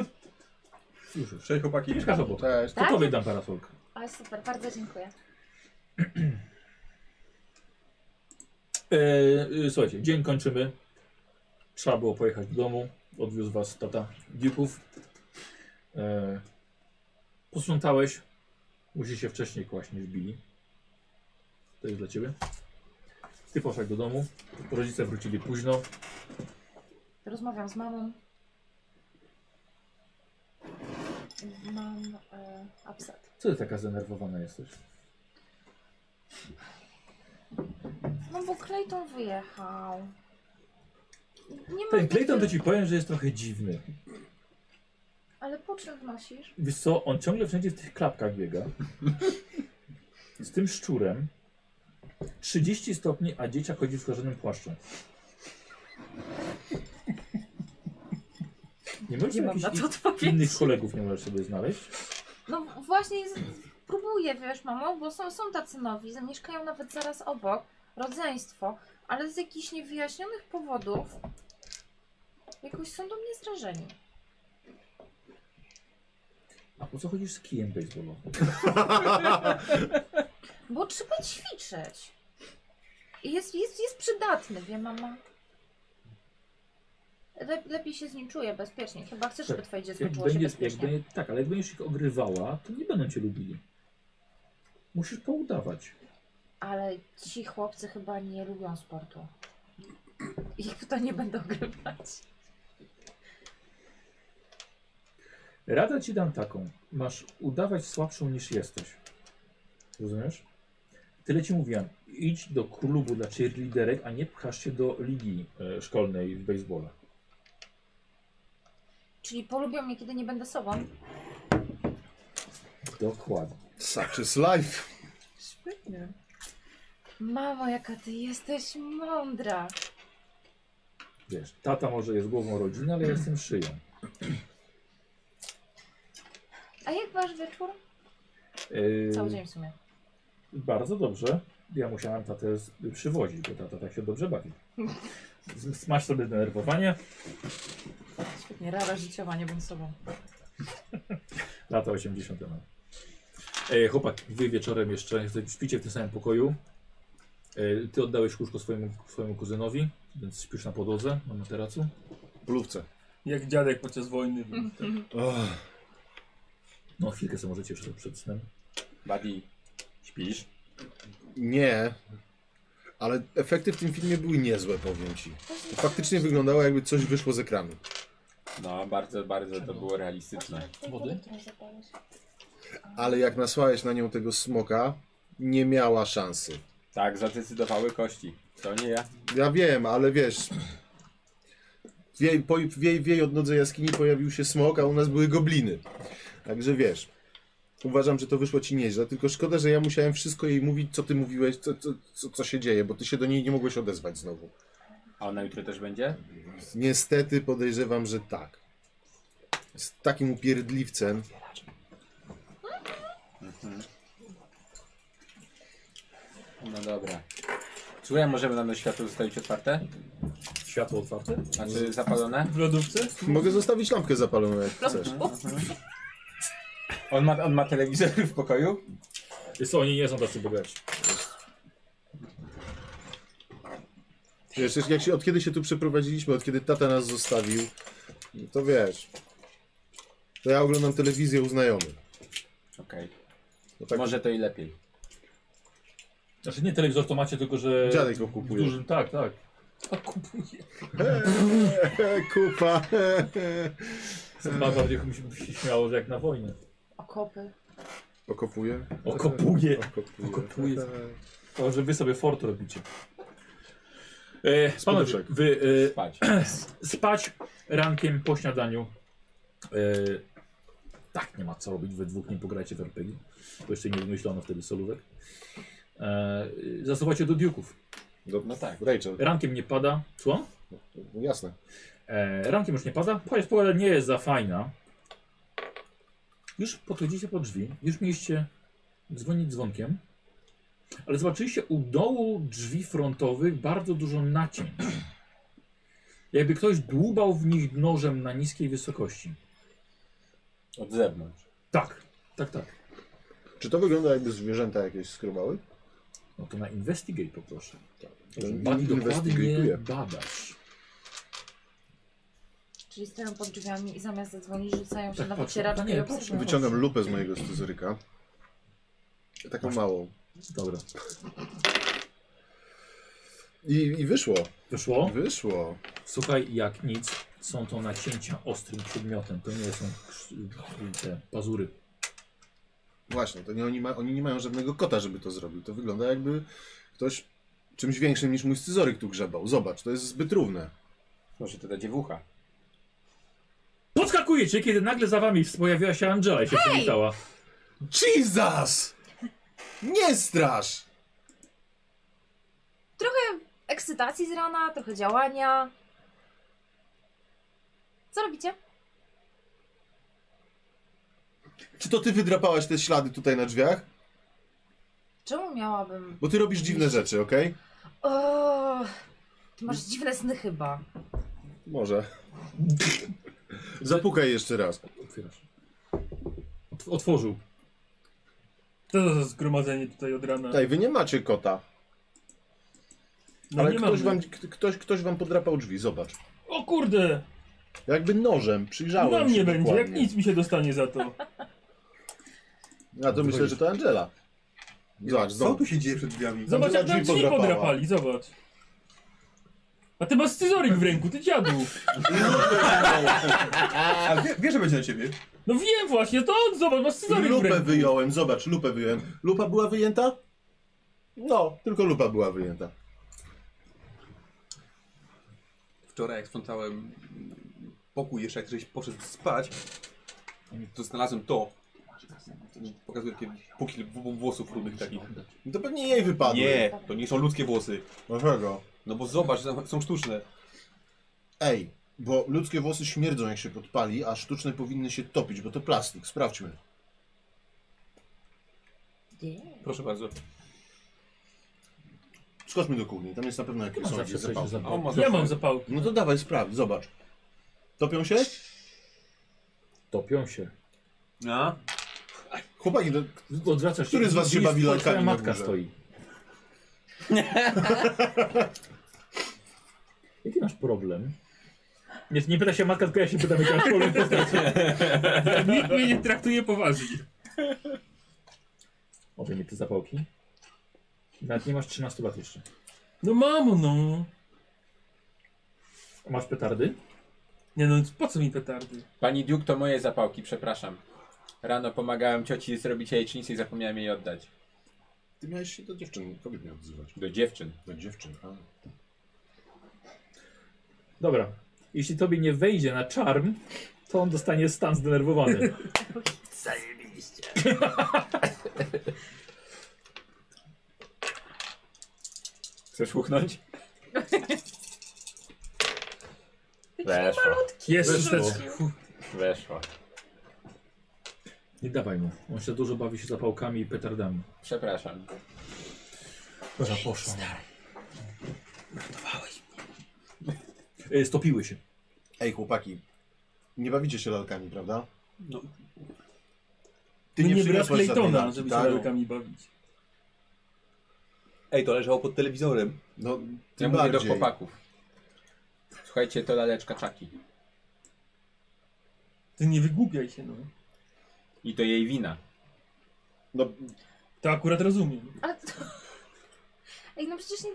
Speaker 1: Już, już.
Speaker 6: Cześć chłopaki.
Speaker 1: Mieszkasz obok.
Speaker 4: Cześć.
Speaker 1: To tobie dam parasolkę.
Speaker 2: Oj, super, bardzo dziękuję.
Speaker 1: E, y, słuchajcie, dzień kończymy. Trzeba było pojechać do domu. Odwiózł was tata Duków. E, posprzątałeś. Musi się wcześniej kłaść niż bili. To jest dla ciebie. Ty poszedł do domu. Rodzice wrócili późno.
Speaker 2: Rozmawiam z mamą. Mam e, upset.
Speaker 1: Co ty taka zdenerwowana jesteś?
Speaker 2: No bo Clayton wyjechał. Nie mam
Speaker 1: Ten Clayton to
Speaker 2: takiej-
Speaker 1: ci powiem, że jest trochę dziwny.
Speaker 2: Ale po czym wnosisz?
Speaker 1: Wiesz co, on ciągle wszędzie w tych klapkach biega. Z tym szczurem. 30 stopni, a dzieciak chodzi w skórzanym płaszczu. Nie możesz
Speaker 2: Nie mam
Speaker 1: jakichś
Speaker 2: na to
Speaker 1: in- innych
Speaker 2: odpowiedzi.
Speaker 1: kolegów nie możesz sobie znaleźć.
Speaker 2: No właśnie z- próbuję, wiesz, mamo, bo są, są tacy nowi, zamieszkają nawet zaraz obok, rodzeństwo, ale z jakichś niewyjaśnionych powodów jakoś są do mnie zrażeni.
Speaker 1: A po co chodzisz z kijem baseballowym?
Speaker 2: Bo trzeba ćwiczyć. I Jest, jest, jest przydatny, wie mama. Lep, lepiej się z nim czuję, bezpiecznie. Chyba chcesz, żeby twoje dziecko
Speaker 1: Jak
Speaker 2: czuło się
Speaker 1: będzie, jak
Speaker 2: bezpiecznie.
Speaker 1: będzie, tak, ale jak będziesz ich ogrywała, to nie będą cię lubili. Musisz poudawać.
Speaker 2: Ale ci chłopcy chyba nie lubią sportu. Ich w to nie będą grywać.
Speaker 1: Rada ci dam taką. Masz udawać słabszą niż jesteś. Rozumiesz? Tyle ci mówiłem. Idź do klubu dla cheerleaderek, a nie pchasz się do ligi e, szkolnej w baseballa.
Speaker 2: Czyli polubią mnie, kiedy nie będę sobą.
Speaker 1: Dokładnie.
Speaker 4: Such is life.
Speaker 2: Świetnie. Mamo, jaka ty jesteś mądra.
Speaker 1: Wiesz, tata może jest głową rodziny, ale ja jestem szyją.
Speaker 2: A jak wasz wieczór?
Speaker 1: E,
Speaker 2: Cały dzień w sumie.
Speaker 1: Bardzo dobrze. Ja musiałem tatę z- przywozić, bo tata tak się dobrze bawi. Z- Masz sobie denerwowanie.
Speaker 2: Świetnie, rada życiowa, nie bądź sobą.
Speaker 1: Lata 80. No. E, chłopak, wy wieczorem jeszcze śpicie w tym samym pokoju. E, ty oddałeś łóżko swojemu, swojemu kuzynowi, więc śpisz na podłodze, na materacu.
Speaker 4: Polówce.
Speaker 7: Jak dziadek podczas wojny.
Speaker 4: Och,
Speaker 1: No chwilkę sobie możecie jeszcze przed snem.
Speaker 3: Buddy, śpisz?
Speaker 4: nie. Ale efekty w tym filmie były niezłe, powiem ci. Faktycznie wyglądało jakby coś wyszło z ekranu.
Speaker 3: No, bardzo, bardzo to było realistyczne.
Speaker 1: Wody?
Speaker 4: Ale jak nasłałeś na nią tego smoka, nie miała szansy.
Speaker 3: Tak, zadecydowały kości. To nie ja.
Speaker 4: Ja wiem, ale wiesz... W jej, po, w jej, w jej odnodze jaskini pojawił się smok, a u nas były gobliny. Także wiesz... Uważam, że to wyszło ci nieźle, tylko szkoda, że ja musiałem wszystko jej mówić, co ty mówiłeś, co, co, co, co się dzieje, bo ty się do niej nie mogłeś odezwać znowu.
Speaker 3: A ona jutro też będzie?
Speaker 4: Niestety podejrzewam, że tak. Z takim upierdliwcem.
Speaker 3: No dobra. Słuchaj, możemy nam światło zostawić otwarte?
Speaker 1: Światło otwarte?
Speaker 3: Znaczy zapalone?
Speaker 7: W lodówce?
Speaker 4: Mogę zostawić lampkę zapaloną, jak chcesz.
Speaker 3: On ma, on ma telewizor w pokoju?
Speaker 1: Jest, oni nie są tacy bogaci.
Speaker 4: Wiesz, jak- jak się, od kiedy się tu przeprowadziliśmy, od kiedy tata nas zostawił, to wiesz. To ja oglądam telewizję u znajomych.
Speaker 3: Okej.
Speaker 4: No tak,
Speaker 3: Może to i lepiej.
Speaker 1: Znaczy nie telewizor to macie, tylko że...
Speaker 4: Dziadek go kupuje.
Speaker 1: Dużym, tak, tak. kupa kupuje.
Speaker 4: Kupa.
Speaker 1: Chyba bardziej mi się- mi się śmiało, że jak na wojnie.
Speaker 2: Okopy.
Speaker 4: Okopuje.
Speaker 1: Okopuje.
Speaker 4: Okopuje.
Speaker 1: Okopuje. To, że wy sobie fort robicie. E, panowie,
Speaker 4: Spodeczek.
Speaker 1: wy e,
Speaker 3: Spać.
Speaker 1: spać rankiem po śniadaniu. E, tak, nie ma co robić, we dwóch nie pograjcie w RPG. Bo jeszcze nie wymyślono wtedy solówek. E, zasuwacie do diuków.
Speaker 4: Dobra.
Speaker 3: No tak.
Speaker 4: Rachel,
Speaker 1: Rankiem nie pada. Co?
Speaker 4: no jasne.
Speaker 1: E, rankiem już nie pada. Chociaż pogoda nie jest za fajna. Już podchodzicie pod drzwi, już mieliście dzwonić dzwonkiem, ale zobaczyliście u dołu drzwi frontowych bardzo dużo nacięć. Jakby ktoś dłubał w nich nożem na niskiej wysokości.
Speaker 3: Od zewnątrz.
Speaker 1: Tak, tak, tak.
Speaker 4: Czy to wygląda jakby zwierzęta jakieś skrobały?
Speaker 1: No to na investigate poproszę.
Speaker 3: Tak.
Speaker 4: To
Speaker 1: Badi dokładnie
Speaker 4: investigate'uję.
Speaker 1: badasz.
Speaker 2: Czyli stoją pod drzwiami i zamiast zadzwonić rzucają się
Speaker 1: Tak,
Speaker 2: na
Speaker 1: patrzę.
Speaker 2: wycieraczkę
Speaker 1: Nie,
Speaker 2: i
Speaker 1: patrzę,
Speaker 2: obserwują.
Speaker 4: Wyciągam lupę z mojego scyzoryka. Taką małą.
Speaker 1: Dobra.
Speaker 4: I, I wyszło.
Speaker 1: Wyszło?
Speaker 4: Wyszło.
Speaker 1: Słuchaj, jak nic, są to nacięcia ostrym przedmiotem. To nie są krz- te pazury.
Speaker 4: Właśnie, to nie oni, ma, oni nie mają żadnego kota, żeby to zrobił. To wygląda jakby ktoś czymś większym niż mój scyzoryk tu grzebał. Zobacz, to jest zbyt równe.
Speaker 3: Może to ta dziewucha.
Speaker 1: Podskakujecie, kiedy nagle za wami pojawiła się Angela i się przywitała.
Speaker 4: Jesus! Nie strasz!
Speaker 2: Ekscytacji z rana, trochę działania. Co robicie?
Speaker 4: Czy to ty wydrapałaś te ślady tutaj na drzwiach?
Speaker 2: Czemu miałabym...
Speaker 4: Bo ty robisz dziwne rzeczy, okej?
Speaker 2: O, ty masz dziwne sny chyba.
Speaker 4: Może. Zapukaj jeszcze raz.
Speaker 1: Otwierasz. Otw- Otworzył.
Speaker 7: Co to za zgromadzenie tutaj od rana?
Speaker 4: Tutaj, wy nie macie kota,
Speaker 7: No
Speaker 4: ale
Speaker 7: nie
Speaker 4: ktoś
Speaker 7: mamy.
Speaker 4: wam, k- ktoś, ktoś wam podrapał drzwi, zobacz.
Speaker 7: O kurde!
Speaker 4: Jakby nożem, przyjrzałem
Speaker 7: Na
Speaker 4: się
Speaker 7: mnie będzie, jak
Speaker 4: dokładnie.
Speaker 7: nic mi się dostanie za to.
Speaker 4: A to myślę, że to Angela. Zobacz,
Speaker 6: Co
Speaker 4: znowu.
Speaker 6: tu się dzieje przed drzwiami?
Speaker 7: Zobacz, jak
Speaker 4: drzwi
Speaker 7: nam drzwi
Speaker 4: podrapała.
Speaker 7: podrapali, zobacz. A ty masz scyzoryk w ręku, ty dziadu.
Speaker 6: A wie, wie, że będzie na ciebie.
Speaker 7: No wiem właśnie, to on, zobacz, masz scyzoryk w
Speaker 4: Lupę
Speaker 7: ręku.
Speaker 4: wyjąłem, zobacz, lupę wyjąłem. Lupa była wyjęta? No, tylko lupa była wyjęta.
Speaker 6: Wczoraj jak sprzątałem mm, pokój jeszcze, jak żeś poszedł spać, to znalazłem to. Pokazuję takie puki w- włosów rudych takich.
Speaker 4: No To pewnie jej wypadło.
Speaker 6: Nie, to nie są ludzkie włosy.
Speaker 4: Dlaczego?
Speaker 6: No bo zobacz, są- są sztuczne.
Speaker 4: Ej, bo ludzkie włosy śmierdzą jak się podpali, a sztuczne powinny się topić, bo to plastik. Sprawdźmy.
Speaker 2: Nie.
Speaker 6: Proszę bardzo.
Speaker 4: Skoczmy do kuchni, tam jest na pewno
Speaker 1: Ty
Speaker 4: jakieś
Speaker 1: masz
Speaker 4: są
Speaker 1: zawsze
Speaker 4: jakieś
Speaker 1: coś do
Speaker 4: zapałki.
Speaker 6: A on
Speaker 1: zabawy.
Speaker 6: ma
Speaker 7: Ja
Speaker 6: zawsze-
Speaker 7: mam zapałki.
Speaker 4: No to dawaj, sprawdź, zobacz. Topią się?
Speaker 1: Topią się.
Speaker 6: A?
Speaker 4: Chłopaki, to
Speaker 1: Odwracasz się.
Speaker 4: Który z was się
Speaker 1: widzisz,
Speaker 4: bawi
Speaker 1: twoja
Speaker 4: lalkami na
Speaker 1: matka
Speaker 4: górze?
Speaker 1: stoi. Jaki masz problem? Nie, nie pyta się matka, tylko ja się pytam, jaki masz problem.
Speaker 7: Nikt mnie nie traktuje poważnie.
Speaker 1: Obejmie te zapałki. Nawet nie masz 13 lat jeszcze.
Speaker 7: No mam, no.
Speaker 1: A Masz petardy?
Speaker 7: Nie no, po co mi petardy?
Speaker 3: Pani Duke to moje zapałki, przepraszam. Rano pomagałem cioci zrobić jajecznicę i zapomniałem jej oddać.
Speaker 4: ty miałeś się do dziewczyn, kobiet nie odzywać.
Speaker 3: Do dziewczyn.
Speaker 4: Do dziewczyn, a?
Speaker 1: Dobra. Jeśli tobie nie wejdzie na czarm, to on dostanie stan zdenerwowany.
Speaker 3: Chcesz uchnąć? Weszło,
Speaker 7: Jest
Speaker 1: Weszło.
Speaker 7: też.
Speaker 3: weszło.
Speaker 1: Nie dawaj mu. On się dużo bawi się zapałkami i petardami.
Speaker 3: Przepraszam.
Speaker 1: Dobra, poszło. E, Stopiły się.
Speaker 4: Ej, chłopaki, nie bawicie się lalkami, prawda?
Speaker 6: No,
Speaker 4: Ty
Speaker 7: No nie brak
Speaker 4: przyniosłeś żadnej
Speaker 7: Claytona,
Speaker 4: lalki,
Speaker 7: żeby się
Speaker 4: tak?
Speaker 7: lalkami bawić.
Speaker 6: Ej, to leżało pod telewizorem.
Speaker 4: No,
Speaker 3: Ja
Speaker 4: tym
Speaker 3: mówię do
Speaker 4: bardziej.
Speaker 3: chłopaków. Słuchajcie, to laleczka czaki.
Speaker 7: Ty nie wygłupiaj się, no.
Speaker 3: I to jej wina.
Speaker 4: No,
Speaker 7: To akurat rozumiem.
Speaker 2: Ale to... Ej, no przecież nie...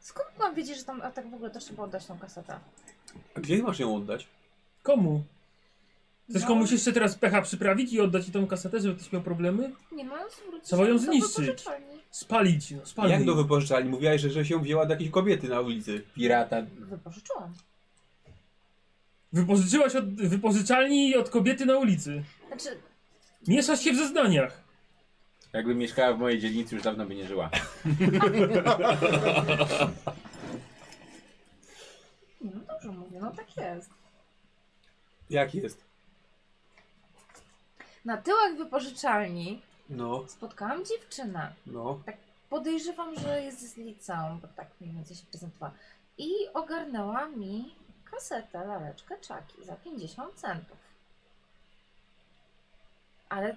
Speaker 2: Skąd mam wiedzieć, że tam a tak w ogóle też trzeba oddać tą kasetę?
Speaker 6: A gdzie masz ją oddać?
Speaker 7: Komu? Chcesz
Speaker 2: No.
Speaker 7: komuś jeszcze teraz pecha przyprawić i oddać ci tą kasetę, żeby ktoś miał problemy?
Speaker 2: Nie no, ma zwrócić
Speaker 7: Trzeba ją
Speaker 2: do
Speaker 7: zniszczyć.
Speaker 2: wypożyczalni.
Speaker 7: Spalić, no spalić.
Speaker 6: Jak do wypożyczalni? Mówiłaś, że, że się wzięła do jakiejś kobiety na ulicy.
Speaker 3: Pirata.
Speaker 2: Wypożyczyłam.
Speaker 7: Wypożyczyłaś od wypożyczalni od kobiety na ulicy.
Speaker 2: Znaczy,
Speaker 7: Mieszasz się w zeznaniach.
Speaker 3: Jakby mieszkała w mojej dzielnicy, już dawno by nie żyła.
Speaker 2: nie, no dobrze mówię, no tak jest.
Speaker 6: Jak jest?
Speaker 2: Na tyłach wypożyczalni
Speaker 6: No,
Speaker 2: spotkałam dziewczynę.
Speaker 6: no.
Speaker 2: Podejrzewam, że jest z liceum, bo tak mniej więcej się prezentowała. I ogarnęła mi kasetę, laleczkę czaki za 50 centów. Ale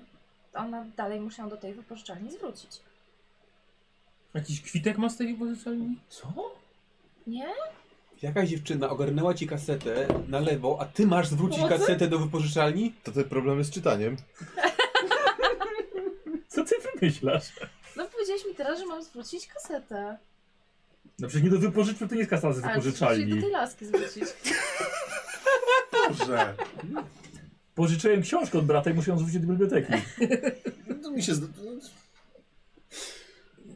Speaker 2: ona dalej muszę ją do tej wypożyczalni zwrócić.
Speaker 7: Jakiś kwitek ma z tej wypożyczalni?
Speaker 6: Co?
Speaker 2: Nie?
Speaker 6: Jakaś dziewczyna ogarnęła ci kasetę na lewo, a ty masz zwrócić
Speaker 2: Pomocy?
Speaker 6: kasetę do wypożyczalni?
Speaker 4: To te problemy z czytaniem.
Speaker 1: Co ty wymyślasz?
Speaker 2: No powiedziałeś mi teraz, że mam zwrócić kasetę.
Speaker 1: No przecież nie do wypożyczki, to nie jest kasa z
Speaker 2: Ale przecież jej
Speaker 1: wypożyczalni.
Speaker 2: do tej laski zwrócić.
Speaker 4: Dobrze.
Speaker 1: Pożyczyłem książkę od brata i muszę ją zwrócić do biblioteki.
Speaker 4: No to mi się... zda-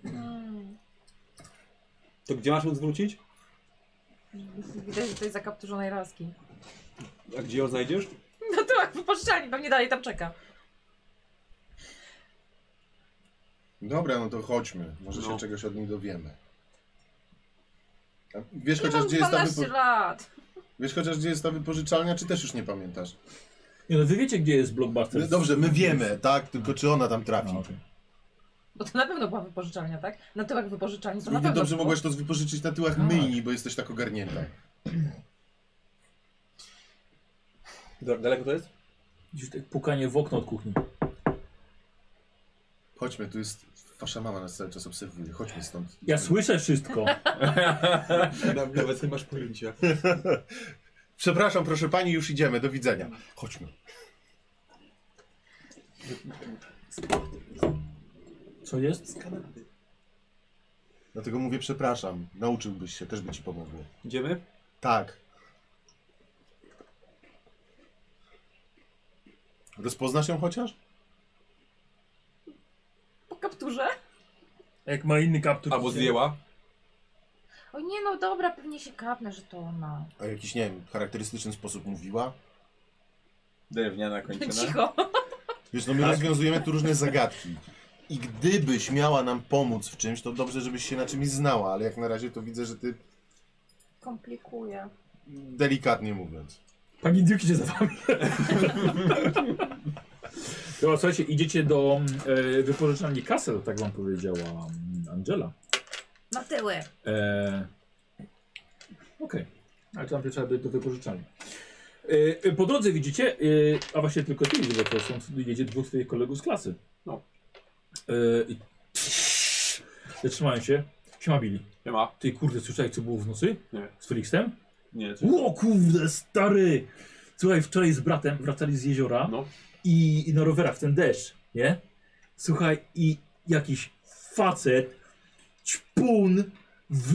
Speaker 2: Hmm.
Speaker 6: To gdzie masz ją zwrócić?
Speaker 2: Widać, że to jest zakapturzonej laski.
Speaker 6: A gdzie ją znajdziesz?
Speaker 2: No to jak wypożyczalni, pewnie dalej tam czeka.
Speaker 4: Dobra, no to chodźmy. Może się
Speaker 6: No.
Speaker 4: czegoś od niej dowiemy. A Wiesz
Speaker 2: Ja
Speaker 4: chociaż,
Speaker 2: mam
Speaker 4: gdzie jest ta
Speaker 2: 12
Speaker 4: wypo...
Speaker 2: lat.
Speaker 4: Wiesz chociaż, gdzie jest ta wypożyczalnia, czy też już nie pamiętasz?
Speaker 1: Nie no, wy wiecie gdzie jest blockbuster.
Speaker 4: My, dobrze, my wiemy, tak? Tylko czy ona tam trafi?
Speaker 1: A, okej.
Speaker 2: Bo to na pewno była wypożyczalnia, tak? Na tyłach wypożyczalni No to na
Speaker 4: Równie
Speaker 2: pewno
Speaker 4: dobrze
Speaker 2: było.
Speaker 4: mogłaś to wypożyczyć na tyłach
Speaker 1: Tak.
Speaker 4: myjni, bo jesteś tak ogarnięta.
Speaker 6: Da- Daleko to jest?
Speaker 1: Widzisz tak pukanie w okno od kuchni.
Speaker 4: Chodźmy, tu jest... Wasza mama nas cały czas obserwuje. Chodźmy stąd.
Speaker 1: Ja słyszę wszystko.
Speaker 6: Naw- Nawet nie masz pojęcia.
Speaker 4: Przepraszam, proszę pani, już idziemy. Do widzenia. Chodźmy.
Speaker 1: Co jest?
Speaker 4: Dlatego mówię przepraszam. Nauczyłbyś się, też by ci pomogło.
Speaker 6: Idziemy?
Speaker 4: Tak. Rozpoznasz ją chociaż?
Speaker 2: Po kapturze?
Speaker 7: A Jak ma inny kaptur.
Speaker 6: Albo zdjęła.
Speaker 2: O nie no, dobra, pewnie się kapnę, że to ona.
Speaker 4: A jakiś, nie wiem, charakterystyczny sposób mówiła?
Speaker 3: Drewniana kończyna.
Speaker 2: Cicho.
Speaker 4: Wiesz,
Speaker 1: Tak.
Speaker 4: no my rozwiązujemy tu różne zagadki. I gdybyś miała nam pomóc w czymś, to dobrze, żebyś się na czymś znała, ale jak na razie to widzę, że ty
Speaker 2: Komplikuje.
Speaker 4: delikatnie mówiąc.
Speaker 1: Pani Duke idzie za wami. Dobra, słuchajcie, idziecie do e, wypożyczalni kasy, tak wam powiedziała mm, Angela.
Speaker 2: Na tyły.
Speaker 1: E, Okej, ale to najpierw trzeba by do wypożyczalni. E, e, po drodze widzicie, e, a właśnie tylko ty widzisz, bo są, jedzie dwóch swoich kolegów z klasy.
Speaker 6: No.
Speaker 1: E, i- Zatrzymają się. Siema Billy.
Speaker 6: Nie ma.
Speaker 1: Ty kurde, słyszałeś co było w nocy?
Speaker 6: Nie.
Speaker 1: Z Felixem?
Speaker 6: Nie. co-
Speaker 1: O kurde, stary! Słuchaj, wczoraj z bratem wracali z jeziora
Speaker 6: No.
Speaker 1: i, i na rowerach w ten deszcz, nie? Słuchaj, i jakiś facet, ćpun w,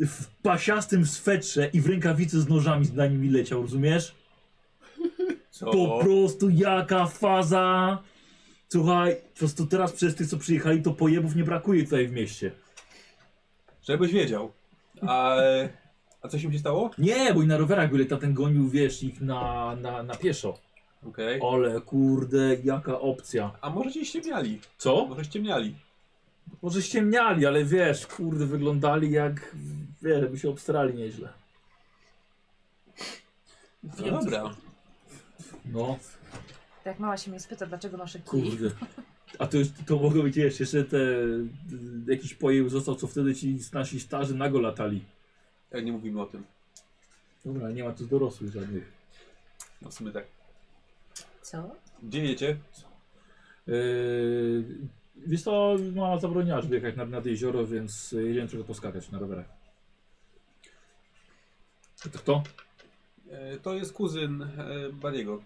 Speaker 1: w pasiastym swetrze i w rękawicy z nożami na nimi leciał, rozumiesz? Po
Speaker 6: Co?
Speaker 1: prostu jaka faza! Słuchaj, po prostu teraz przez tych, co przyjechali, to pojebów nie brakuje tutaj w mieście.
Speaker 6: Żebyś wiedział. A, a coś im się stało?
Speaker 1: Nie, bo i na rowerach byli, ten gonił, wiesz, ich na, na, na pieszo.
Speaker 6: Okej.
Speaker 1: Ale kurde, jaka opcja.
Speaker 6: A może cię ściemniali?
Speaker 1: Co?
Speaker 6: Może ściemniali.
Speaker 1: Może ściemniali, ale wiesz, kurde, wyglądali jak, wiesz, by się obstrali nieźle.
Speaker 6: No dobra.
Speaker 1: No,
Speaker 2: Tak jak mała się mnie spyta, dlaczego noszę kij.
Speaker 1: kurde. A to, jest, to mogło być, wiesz, jeszcze te, y, jakiś pojeł został, co wtedy ci nasi starzy nago latali.
Speaker 6: Jak E, nie mówimy o tym.
Speaker 1: Dobra, nie ma tu dorosłych żadnych.
Speaker 6: No w sumie tak.
Speaker 2: Co?
Speaker 6: Gdzie jedziecie?
Speaker 1: Yy, E, wiesz no, to mama zabroniła, żeby jechać nad, nad jezioro, więc e, jedziemy tylko poskakać na rowerach. A to kto?
Speaker 6: E, To jest kuzyn e, Bariego.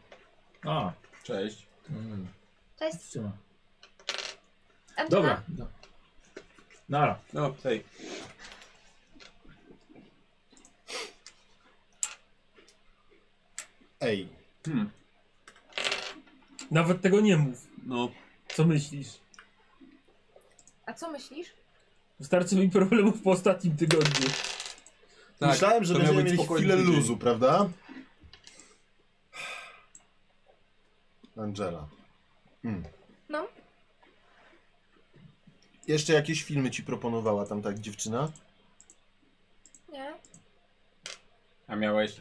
Speaker 1: A,
Speaker 3: Cześć.
Speaker 1: mm,
Speaker 2: Cześć.
Speaker 1: trzyma.
Speaker 2: Angela.
Speaker 1: Dobra. Nara.
Speaker 6: No, hej.
Speaker 4: Ej,
Speaker 6: Hmm.
Speaker 7: Nawet tego nie mów.
Speaker 6: No,
Speaker 7: Co myślisz?
Speaker 2: A co myślisz?
Speaker 7: Wystarczy mi problemów po ostatnim tygodniu.
Speaker 6: tak,
Speaker 4: myślałem, że
Speaker 6: to miał
Speaker 4: będziemy
Speaker 6: być
Speaker 4: mieli
Speaker 6: spokojny
Speaker 4: chwilę
Speaker 6: tydzień.
Speaker 4: luzu, prawda? Angela. Hmm.
Speaker 2: No.
Speaker 4: Jeszcze jakieś filmy ci proponowała tam ta dziewczyna?
Speaker 2: Nie?
Speaker 3: A miałeś...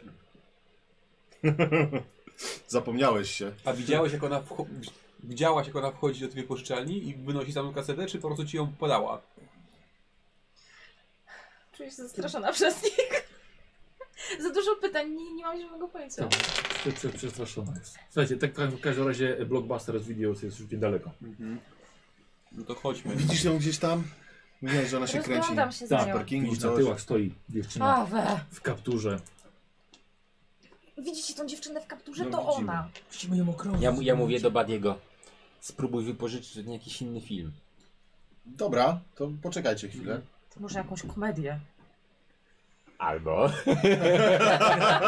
Speaker 4: Zapomniałeś się.
Speaker 6: A widziałeś jak ona wcho- widziałaś jak ona wchodzi do twojej pożyczalni i wynosi samą kasetę, czy po prostu ci ją podała?
Speaker 2: Czuję się zastraszona przez nich. Za dużo pytań, nie, nie mam żadnego pojęcia.
Speaker 1: Prze- prze- Przestraszona jest. Słuchajcie, tak w każdym razie blockbuster z video jest już niedaleko.
Speaker 6: Mhm. No to chodźmy.
Speaker 4: Widzisz ją gdzieś tam? Mówiłaś, że ona się kręci. Tak,
Speaker 2: Rozglądam się za
Speaker 4: Na
Speaker 2: nią.
Speaker 4: parkingu
Speaker 1: Widzisz, na
Speaker 4: coś.
Speaker 1: tyłach stoi dziewczyna
Speaker 2: Paweł!
Speaker 1: w kapturze.
Speaker 2: Widzicie tą dziewczynę w kapturze?
Speaker 4: No,
Speaker 2: to
Speaker 4: widzimy.
Speaker 2: ona.
Speaker 7: Musimy ją okrążyć.
Speaker 3: Ja, mu- ja mówię do Badiego. Spróbuj wypożyczyć od niej jakiś inny film.
Speaker 4: Dobra, to poczekajcie chwilę.
Speaker 2: To może jakąś komedię.
Speaker 3: Albo...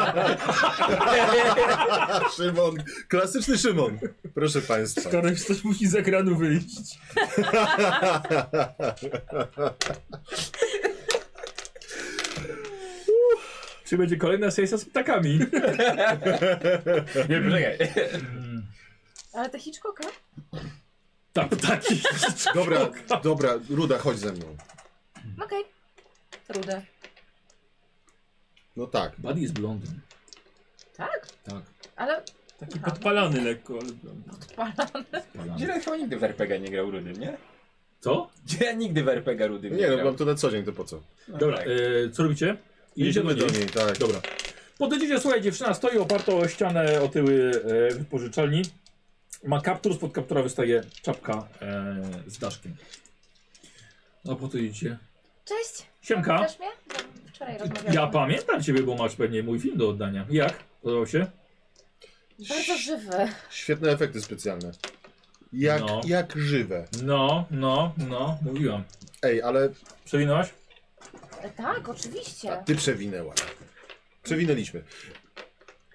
Speaker 4: Szymon, klasyczny Szymon. Proszę państwa.
Speaker 7: Skoro ktoś musi z ekranu wyjść.
Speaker 1: Czy będzie kolejna sesja z ptakami?
Speaker 3: Nie, poczekaj.
Speaker 2: Ale te Hitchcocka?
Speaker 1: tak, ptaki.
Speaker 4: Dobra, dobra, Ruda, chodź ze mną.
Speaker 1: Mhm.
Speaker 2: Okej. Rude.
Speaker 4: No tak.
Speaker 1: Buddy jest blondyn.
Speaker 2: Tak?
Speaker 1: Tak.
Speaker 2: Ale
Speaker 7: Taki podpalany lekko, ale...
Speaker 2: odpala.
Speaker 1: spalany.
Speaker 3: Dzielę chyba nigdy w RPG nie grał rudym, nie?
Speaker 1: Co?
Speaker 3: Ja nigdy w RPG rudym nie,
Speaker 4: Nie, no
Speaker 3: grał.
Speaker 4: mam to na co dzień, to po co?
Speaker 1: Dobra, e, co robicie?
Speaker 4: Idziemy do niej, tak.
Speaker 1: Dobra. Podejdziecie, słuchaj, dziewczyna stoi oparta o ścianę o tyły e, wypożyczalni. Ma kaptur, spod kaptura wystaje czapka e, z daszkiem. No po to idziecie.
Speaker 2: Cześć!
Speaker 1: Siemka.
Speaker 2: Pamiętasz mnie? Bo Wczoraj rozmawialiśmy.
Speaker 1: Ja pamiętam ciebie, bo masz pewnie mój film do oddania. Jak? Podobał się?
Speaker 2: Bardzo żywy.
Speaker 4: Świetne efekty specjalne. Jak,
Speaker 1: No.
Speaker 4: jak żywe.
Speaker 1: No, no, no, mówiłam.
Speaker 4: Ej, ale
Speaker 1: Przewinąłeś?
Speaker 2: E, Tak, oczywiście.
Speaker 4: ty przewinęła. Przewinęliśmy.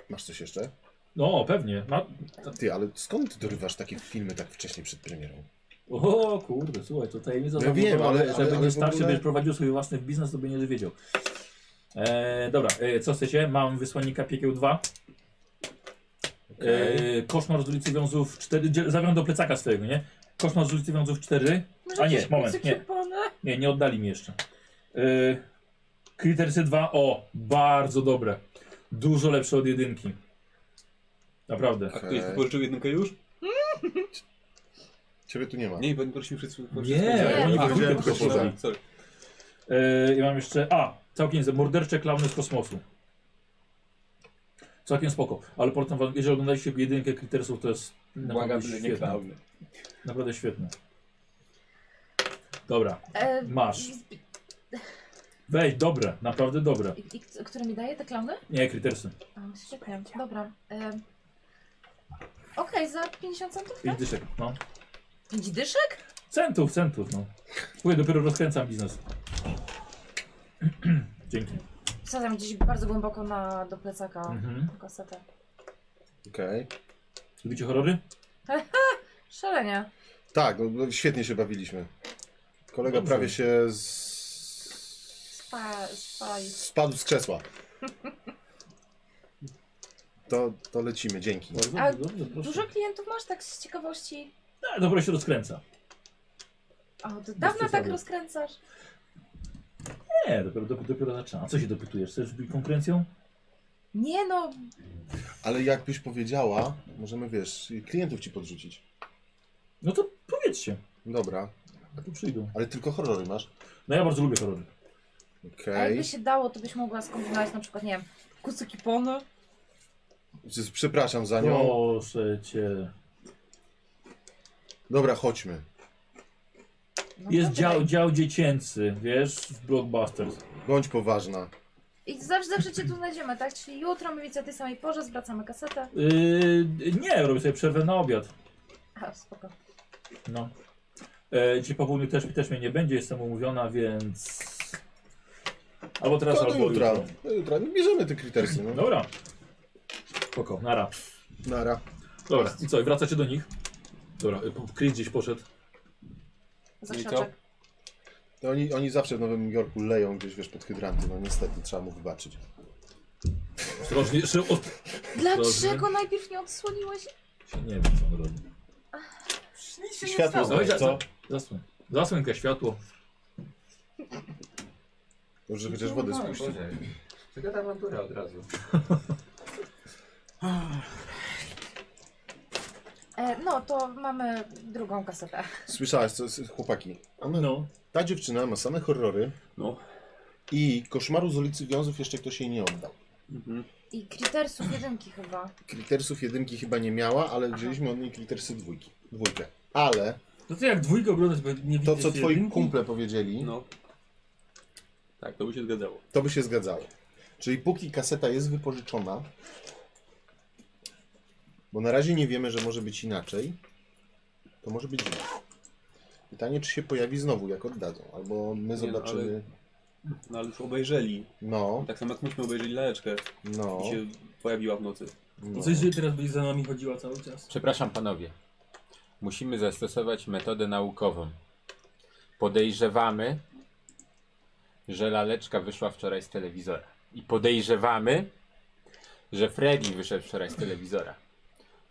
Speaker 4: Masz coś jeszcze?
Speaker 1: No, pewnie. Ma...
Speaker 4: Ty, ale skąd ty dorywasz takie filmy tak wcześnie przed premierą?
Speaker 1: O kurde, słuchaj, to tajemnica
Speaker 4: Ja
Speaker 1: zawodowa,
Speaker 4: wiem, ale-
Speaker 1: że
Speaker 4: ale-
Speaker 1: będziesz
Speaker 4: ale w
Speaker 1: starszy,
Speaker 4: ogóle-
Speaker 1: będziesz prowadził swój własny biznes, to by nie dowiedział. E, dobra, e, co chcecie? Mam Wysłannika Piekieł 2. E, koszmar z ulicy Wiązów 4. Dzie- Zawiam do plecaka swojego, nie? Koszmar z ulicy Wiązów 4.
Speaker 2: Może
Speaker 1: A nie,
Speaker 2: jakieś
Speaker 1: moment,
Speaker 2: kucyki
Speaker 1: nie.
Speaker 2: kupony?
Speaker 1: Nie, nie oddali mi jeszcze. E, Krytersy 2. O, bardzo dobre. Dużo lepsze od jedynki. Naprawdę.
Speaker 6: A ktoś wypożyczył jedynkę już?
Speaker 4: Ciebie tu nie ma.
Speaker 6: Nie, bo nie prosimy wszyscy.
Speaker 1: Nie,
Speaker 2: oni
Speaker 6: A,
Speaker 4: powiedzieli,
Speaker 6: dobra,
Speaker 4: tylko
Speaker 6: dobra, sorry.
Speaker 1: Yy, ja mam jeszcze. A, całkiem za mordercze klauny z kosmosu. Całkiem spoko, ale potem, wam- jeżeli oglądaliście jedynkę Krytersów, to jest naprawdę
Speaker 3: Błagam, że nie
Speaker 1: świetne.
Speaker 3: klauny.
Speaker 1: Naprawdę świetne. Dobra,
Speaker 2: E,
Speaker 1: masz.
Speaker 2: i-
Speaker 1: Weź, dobre, naprawdę dobre.
Speaker 2: i- i k- Które mi daje te klauny?
Speaker 1: Nie, Krytersy.
Speaker 2: A, Świetnie, dobra. E, Okej, za 50 centów,
Speaker 1: Pięć
Speaker 2: tak?
Speaker 1: dyszek, no.
Speaker 2: 5 dyszek?
Speaker 1: Centów, centów, no. Chuję, dopiero rozkręcam biznes. Dzięki.
Speaker 2: Wsadzam gdzieś bardzo głęboko na, do plecaka
Speaker 1: Mhm.
Speaker 2: kasetę.
Speaker 4: Okej.
Speaker 1: Lubicie horrory?
Speaker 2: Szalenie.
Speaker 4: Tak, no, no, świetnie się bawiliśmy. Kolega
Speaker 1: Dobrze.
Speaker 4: prawie się z...
Speaker 2: Spa, spaj.
Speaker 4: spadł z krzesła. To, to lecimy, dzięki.
Speaker 2: A
Speaker 1: dobrze, proszę.
Speaker 2: Dużo klientów masz tak z ciekawości.
Speaker 1: Tak, Dobra się rozkręca.
Speaker 2: A od dawna tak
Speaker 1: przesady.
Speaker 2: rozkręcasz.
Speaker 1: Nie, dopiero, dopiero, dopiero zaczyna. A co się dopytujesz? Chcesz być konkurencją?
Speaker 2: Nie no,
Speaker 4: Ale jakbyś powiedziała, możemy wiesz, klientów ci podrzucić.
Speaker 1: No to powiedzcie,
Speaker 4: Dobra,
Speaker 1: a tu przyjdą.
Speaker 4: ale tylko horrory masz.
Speaker 1: No ja bardzo lubię horrory.
Speaker 2: a
Speaker 4: Okej.
Speaker 2: jakby się dało, to byś mogła skombinować na przykład, nie wiem, kucyki pono.
Speaker 4: Z- Przepraszam za
Speaker 1: No.
Speaker 4: nią.
Speaker 1: Proszę cię.
Speaker 4: Dobra, chodźmy.
Speaker 2: No
Speaker 1: Jest
Speaker 2: dobra.
Speaker 1: dział, dział dziecięcy, wiesz, w Blockbusters.
Speaker 4: Bądź poważna.
Speaker 2: I zawsze, zawsze cię tu znajdziemy, tak? Czyli jutro mniej więcej o tej samej porze zwracamy kasetę.
Speaker 1: Yy, nie, robię sobie przerwę na obiad.
Speaker 2: A, spoko.
Speaker 1: No. E, dzisiaj po południu też, też mnie nie będzie, jestem umówiona, więc... Albo teraz,
Speaker 4: To do
Speaker 1: albo
Speaker 4: jutra.
Speaker 1: jutro.
Speaker 4: no. Do jutra. Bierzemy te krytersy. No.
Speaker 1: Dobra. Spoko, nara.
Speaker 4: Nara.
Speaker 1: Dobra, i co, i wracacie do nich? Dobra, y, po- Chris gdzieś poszedł.
Speaker 6: No
Speaker 2: Zaszaczek.
Speaker 4: To oni, oni zawsze w Nowym Jorku leją gdzieś, wiesz, pod hydranty. No niestety, trzeba mu wybaczyć.
Speaker 1: Ostrożnie, jeszcze od...
Speaker 2: Dlaczego najpierw nie odsłoniłeś?
Speaker 1: Nie wiem, co on robi.
Speaker 2: Nic się nie
Speaker 4: Światło
Speaker 2: stało.
Speaker 1: Dawaj,
Speaker 4: znajdź,
Speaker 1: za-
Speaker 4: co?
Speaker 1: Zasłoń. Zasłoń światło.
Speaker 4: Dobrze, że chociaż wodę spuści.
Speaker 8: Zagadam awanturę od razu.
Speaker 2: E, no to mamy drugą kasetę.
Speaker 4: Słyszałaś, co, s- chłopaki? Ona,
Speaker 1: No.
Speaker 4: Ta dziewczyna ma same horrory.
Speaker 3: No.
Speaker 4: I koszmaru z ulicy Wiązów jeszcze ktoś jej nie oddał.
Speaker 2: I Critersów jedynki chyba.
Speaker 4: Klitersów jedynki chyba nie miała, ale wzięliśmy od niej klitersy dwójki. Dwójkę. Ale
Speaker 7: No to jak dwójkę oglądać, bo nie
Speaker 4: to,
Speaker 7: widzisz
Speaker 4: co twoi
Speaker 7: jedynki?
Speaker 4: kumple powiedzieli,
Speaker 6: No. Tak, to by się zgadzało.
Speaker 4: to by się zgadzało. Czyli póki kaseta jest wypożyczona, bo na razie nie wiemy, że może być inaczej, to może być dziwne. Pytanie, czy się pojawi znowu, jak oddadzą, albo my
Speaker 6: no,
Speaker 4: zobaczymy.
Speaker 6: No ale już obejrzeli.
Speaker 4: No,
Speaker 6: Tak samo jak myśmy obejrzeli laleczkę
Speaker 4: no,
Speaker 6: i tak się pojawiła w nocy.
Speaker 4: no.
Speaker 7: Coś, że teraz będzie za nami chodziła cały czas.
Speaker 3: Przepraszam panowie. Musimy zastosować metodę naukową. Podejrzewamy, że laleczka wyszła wczoraj z telewizora. I podejrzewamy, że Freddy wyszedł wczoraj z telewizora.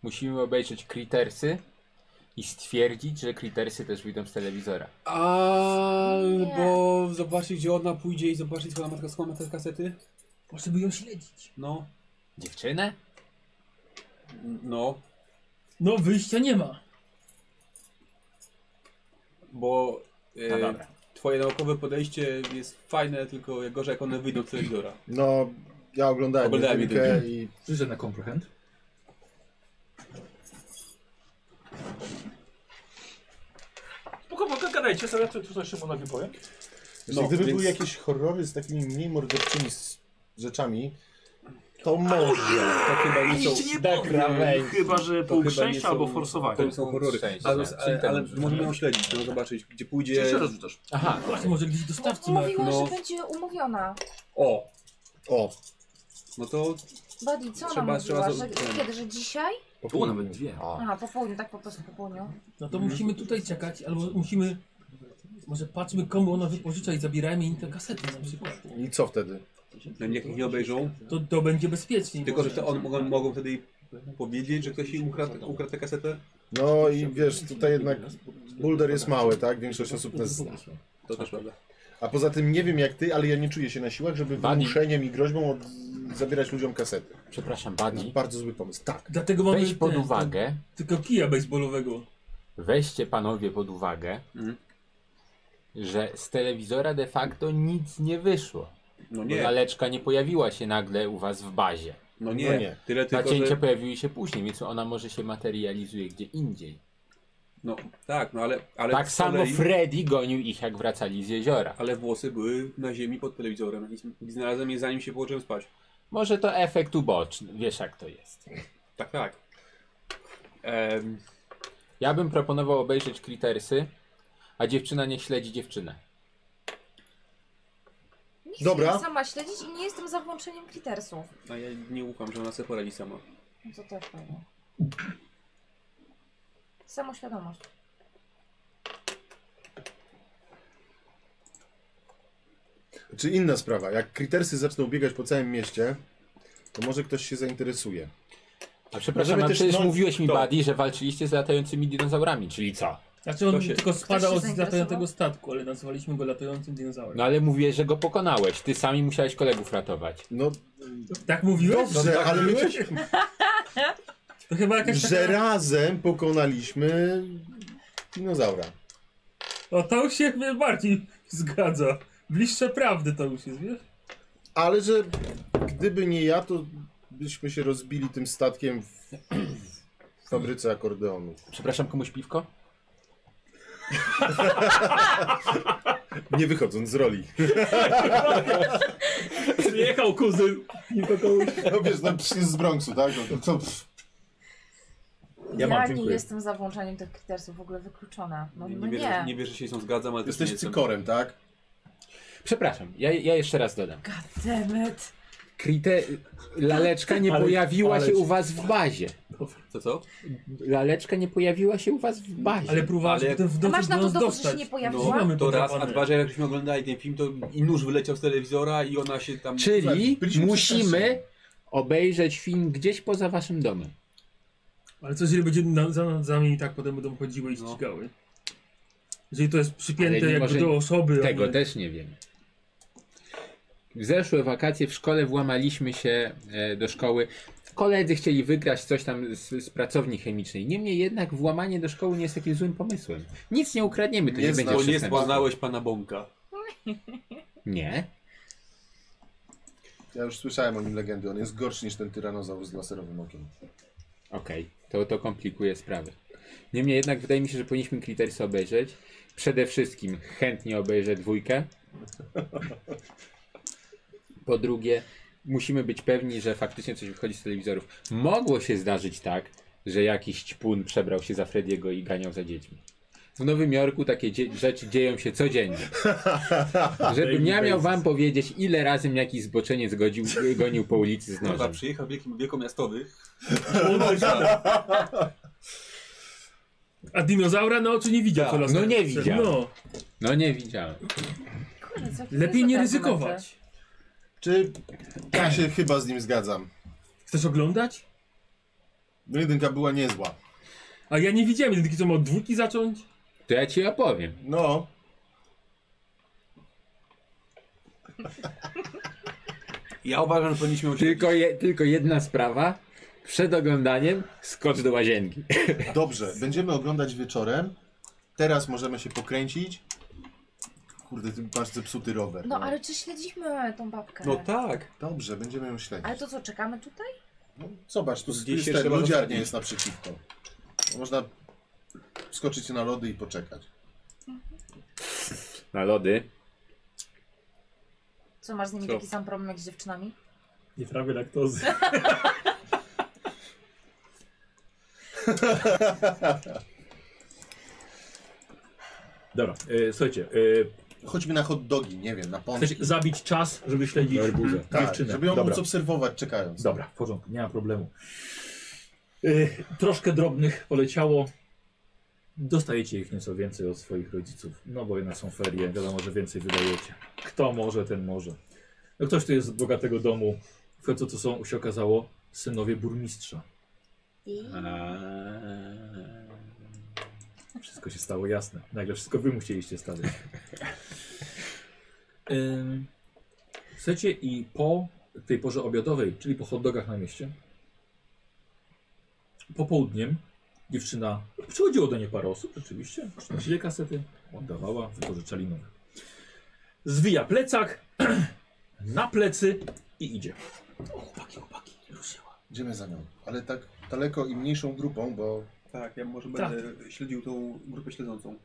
Speaker 3: Musimy obejrzeć Critersy i stwierdzić, że Critersy też wyjdą z telewizora.
Speaker 6: Albo zobaczyć, gdzie ona pójdzie i zobaczyć, swoją matka skłama te kasety.
Speaker 7: Może by ją śledzić.
Speaker 6: No,
Speaker 3: Dziewczynę?
Speaker 6: no,
Speaker 7: No wyjścia nie ma.
Speaker 6: bo e,
Speaker 3: No dobra.
Speaker 6: twoje naukowe podejście jest fajne, tylko jak gorzej jak one wyjdą z telewizora.
Speaker 4: no ja oglądałem,
Speaker 6: Oglądałem
Speaker 4: jedynkę i
Speaker 1: Przyszedł na comprehend.
Speaker 7: Spoko, gadajcie sobie, co tu Szymonowi powiem.
Speaker 4: Jeśli
Speaker 6: No,
Speaker 4: gdyby
Speaker 6: więc-
Speaker 4: były jakieś horrory z takimi mniej morderczymi s- rzeczami, to może.
Speaker 6: To chyba nie są... tak
Speaker 9: Chyba, że
Speaker 6: To
Speaker 9: punkt
Speaker 6: chyba nie
Speaker 9: szczęścia
Speaker 6: są-
Speaker 9: albo
Speaker 6: To
Speaker 9: forsowanie.
Speaker 6: nie są horrory.
Speaker 3: Szczęście,
Speaker 6: Ale,
Speaker 3: nie.
Speaker 6: ale, ale możemy ją śledzić, no, zobaczyć, gdzie pójdzie.
Speaker 9: Jeszcze raz rzucasz.
Speaker 3: Aha,
Speaker 7: Właśnie, może gdzieś dostawcy ma.
Speaker 2: Mówiła,
Speaker 6: no.
Speaker 2: że będzie umówiona.
Speaker 6: O,
Speaker 4: O,
Speaker 6: no to
Speaker 2: Buddy, co ona
Speaker 6: Trzeba-
Speaker 2: mówiła?
Speaker 6: trzeba z-
Speaker 2: że, kiedy? Że dzisiaj?
Speaker 9: Tu nawet dwie.
Speaker 2: Aha, po południu, tak po prostu po południu.
Speaker 7: No to musimy tutaj czekać, albo musimy... Może patrzmy komu ona wypożycza i zabierajmy im te kasety na przykład.
Speaker 4: i co wtedy?
Speaker 6: no, niech ich nie obejrzą.
Speaker 7: To, to będzie bezpieczniej.
Speaker 6: Tylko, że
Speaker 7: może.
Speaker 6: to on, mogą, mogą wtedy jej powiedzieć, że ktoś jej ukradł, ukradł tę kasetę.
Speaker 4: No i wiesz, tutaj jednak Boulder jest mały, tak? Większość osób nas zna.
Speaker 6: To też prawda.
Speaker 4: A poza tym nie wiem jak ty, ale ja nie czuję się na siłach, żeby
Speaker 3: Bani.
Speaker 4: wymuszeniem i groźbą od... zabierać ludziom kasety.
Speaker 3: przepraszam,
Speaker 4: To jest
Speaker 3: Buddy.
Speaker 4: bardzo zły pomysł. Tak.
Speaker 7: Dlatego mamy...
Speaker 3: Weź pod
Speaker 7: ten-
Speaker 3: uwagę,
Speaker 7: Tylko kija baseballowego.
Speaker 3: Weźcie panowie pod uwagę,
Speaker 6: Mhm.
Speaker 3: że z telewizora de facto nic nie wyszło.
Speaker 6: No
Speaker 3: Bo
Speaker 6: nie,
Speaker 3: laleczka nie pojawiła się nagle u was w bazie.
Speaker 6: no
Speaker 4: No
Speaker 6: nie.
Speaker 4: nie.
Speaker 6: Tyle tylko,
Speaker 3: Nacięcia
Speaker 6: że...
Speaker 3: pojawiły się później, więc ona może się materializuje gdzie indziej.
Speaker 6: No tak, no ale... ale
Speaker 3: tak
Speaker 6: z
Speaker 3: samo
Speaker 6: kolei-
Speaker 3: Freddy gonił ich jak wracali z jeziora.
Speaker 6: Ale włosy były na ziemi pod telewizorem i- i znalazłem je zanim się położyłem spać.
Speaker 3: Może to efekt uboczny, wiesz jak to jest.
Speaker 6: Tak, tak. Em,
Speaker 3: Ja bym proponował obejrzeć Critersy, a dziewczyna niech śledzi dziewczynę.
Speaker 2: Nie chcę
Speaker 4: Dobra.
Speaker 2: jej sama śledzić i nie jestem za włączeniem Critersów.
Speaker 6: a no ja nie ufam, że ona sobie poradzi sama.
Speaker 2: No to też pewnie. Samoświadomość.
Speaker 4: Czy inna sprawa, jak kritersy zaczną biegać po całym mieście, to może ktoś się zainteresuje.
Speaker 3: A przepraszam,
Speaker 4: Możemy
Speaker 3: a
Speaker 4: też-
Speaker 3: przecież
Speaker 4: no,
Speaker 3: mówiłeś mi,
Speaker 4: to-
Speaker 3: Buddy, że walczyliście z latającymi dinozaurami, czyli co?
Speaker 7: Znaczy on
Speaker 6: Kto się-
Speaker 7: tylko spada
Speaker 2: się
Speaker 7: od
Speaker 2: zainteresował?
Speaker 7: latającego statku, ale nazwaliśmy go latającym dinozaurem.
Speaker 3: No ale mówię, że go pokonałeś. Ty sami musiałeś kolegów ratować.
Speaker 4: No
Speaker 7: Tak mówiłeś?
Speaker 4: dobrze, ale my,
Speaker 7: To chyba jakaś
Speaker 4: że
Speaker 7: taka...
Speaker 4: razem pokonaliśmy dinozaura.
Speaker 7: O, to już się bardziej zgadza. Bliższe prawdy to już jest, wiesz?
Speaker 4: Ale że gdyby nie ja, to byśmy się rozbili tym statkiem w, w fabryce akordeonów.
Speaker 3: Przepraszam, komuś piwko?
Speaker 4: Nie wychodząc z roli.
Speaker 1: Przyjechał kuzyn.
Speaker 4: No wiesz, tam przy z Bronxu, tak? No, to, to,
Speaker 1: Ja
Speaker 2: Ja,
Speaker 1: mam,
Speaker 2: nie
Speaker 1: dziękuję.
Speaker 2: jestem za włączaniem tych Critersów w ogóle wykluczona. No
Speaker 6: Nie,
Speaker 2: nie.
Speaker 6: nie, wierzę, nie wierzę, że się z nią zgadzam, ale też nie
Speaker 4: jesteś
Speaker 6: jestem.
Speaker 4: cykorem, tak?
Speaker 3: Przepraszam, ja, ja jeszcze raz dodam.
Speaker 2: God damn it.
Speaker 3: Krite... Laleczka nie
Speaker 1: Ale-
Speaker 3: pojawiła
Speaker 1: ale-
Speaker 3: się u was w bazie.
Speaker 6: Co, co?
Speaker 3: Laleczka nie pojawiła się u was w bazie.
Speaker 7: Ale próbowałeś
Speaker 6: Ale-
Speaker 7: potem w
Speaker 2: A
Speaker 7: nocy
Speaker 2: masz na to
Speaker 7: nas
Speaker 2: dowód, że się
Speaker 7: dostać. No,
Speaker 2: nie pojawiła?
Speaker 7: Mamy
Speaker 6: To raz, a
Speaker 7: podrapane.
Speaker 6: dwa, że jakbyśmy oglądali ten film, to i nóż wyleciał z telewizora i ona się tam...
Speaker 3: Czyli
Speaker 4: Byliśmy
Speaker 3: musimy
Speaker 4: przestraszeni.
Speaker 3: obejrzeć film gdzieś poza waszym domem.
Speaker 7: Ale co jeżeli będzie na, za, za nami i tak potem będą chodziły i
Speaker 6: No.
Speaker 7: ścigały? Jeżeli to jest
Speaker 3: Ale
Speaker 7: przypięte
Speaker 3: nie
Speaker 7: jakby
Speaker 3: może
Speaker 7: do osoby, a
Speaker 3: Tego
Speaker 7: nie-
Speaker 3: też nie wiemy. W zeszłe wakacje w szkole włamaliśmy się e, do szkoły. Koledzy chcieli wygrać coś tam z, z pracowni chemicznej. Niemniej jednak włamanie do szkoły nie jest takim złym pomysłem. Nic nie ukradniemy, to nie,
Speaker 6: Nie,
Speaker 3: będzie
Speaker 6: bo nie
Speaker 3: przestępstwo.
Speaker 6: zbadałeś pana Bąka.
Speaker 3: Nie.
Speaker 4: Ja już słyszałem o nim legendy, on jest gorszy niż ten tyranozaur z laserowym okiem.
Speaker 3: Okej, to, to komplikuje sprawę. Niemniej jednak wydaje mi się, że powinniśmy Cliteris obejrzeć. Przede wszystkim chętnie obejrzę dwójkę. Po drugie, musimy być pewni, że faktycznie coś wychodzi z telewizorów. Mogło się zdarzyć tak, że jakiś ćpun przebrał się za Frediego i ganiał za dziećmi. W Nowym Jorku takie dzie- rzeczy dzieją się codziennie. Żebym ja miał wam powiedzieć, ile razy mnie jakiś zboczeniec godził, gonił po ulicy z
Speaker 6: Chyba
Speaker 3: nożem.
Speaker 6: przyjechał wielkim wiekomiastowych.
Speaker 7: A dinozaura na oczy nie widział.
Speaker 3: Tak,
Speaker 7: co las
Speaker 3: no
Speaker 7: nam
Speaker 3: nie
Speaker 7: przyszedł.
Speaker 3: widział.
Speaker 7: No,
Speaker 3: No nie widziałem.
Speaker 2: Kurde, co-
Speaker 7: lepiej
Speaker 2: co
Speaker 7: nie
Speaker 2: za argumenty?
Speaker 7: ryzykować.
Speaker 4: Czy ja się chyba z nim zgadzam?
Speaker 7: Chcesz oglądać?
Speaker 4: No jedynka była niezła.
Speaker 7: A ja nie widziałem, jedynki co ma od dwójki zacząć?
Speaker 3: To ja ci opowiem.
Speaker 4: No,
Speaker 6: Ja uważam, że powinniśmy ją śledzić.
Speaker 3: Tylko, je, tylko jedna sprawa. Przed oglądaniem skocz do łazienki.
Speaker 4: dobrze, będziemy oglądać wieczorem. Teraz możemy się pokręcić. Kurde, ty masz zepsuty rower.
Speaker 2: No ale czy śledzimy tą babkę?
Speaker 6: No tak.
Speaker 4: Dobrze, będziemy ją śledzić.
Speaker 2: Ale to co, czekamy tutaj?
Speaker 4: No, Zobacz, tu
Speaker 6: Gdzieś
Speaker 4: jest
Speaker 6: jeszcze
Speaker 4: jeszcze
Speaker 6: była
Speaker 4: lodziarnia
Speaker 6: ostatnia.
Speaker 4: jest naprzeciwko. Można skoczyć na lody i poczekać.
Speaker 3: Na lody.
Speaker 2: Co, masz z nimi
Speaker 6: Co?
Speaker 2: taki sam problem jak z dziewczynami?
Speaker 1: Nie trawię laktozy. Dobra, e, słuchajcie, e,
Speaker 4: Chodźmy na hot dogi, nie wiem, na pączki.
Speaker 1: chcecie zabić czas, żeby śledzić
Speaker 3: Arbuza.
Speaker 4: Tak,
Speaker 1: dziewczynę.
Speaker 4: żeby ją
Speaker 1: Dobra.
Speaker 4: móc obserwować czekając.
Speaker 1: Dobra, w porządku, nie ma problemu. E, troszkę drobnych poleciało. Dostajecie ich nieco więcej od swoich rodziców, no bo jednak są ferie, wiadomo, że więcej wydajecie. Kto może, ten może. No ktoś, kto jest z bogatego domu, w końcu to są, się okazało, synowie burmistrza.
Speaker 2: I...
Speaker 1: Wszystko się stało jasne. Nagle wszystko wy musieliście stawiać. Ym, Chcecie i po tej porze obiadowej, czyli po hot dogach na mieście, popołudniem dziewczyna, przychodziło do niej parę osób, rzeczywiście, przynosili kasety, oddawała, wypożyczali nowe. Zwija plecak, na plecy i idzie.
Speaker 4: Idziemy za nią, ale tak daleko i mniejszą grupą, bo
Speaker 6: Tak, ja może
Speaker 7: Tak.
Speaker 6: będę śledził tą grupę śledzącą.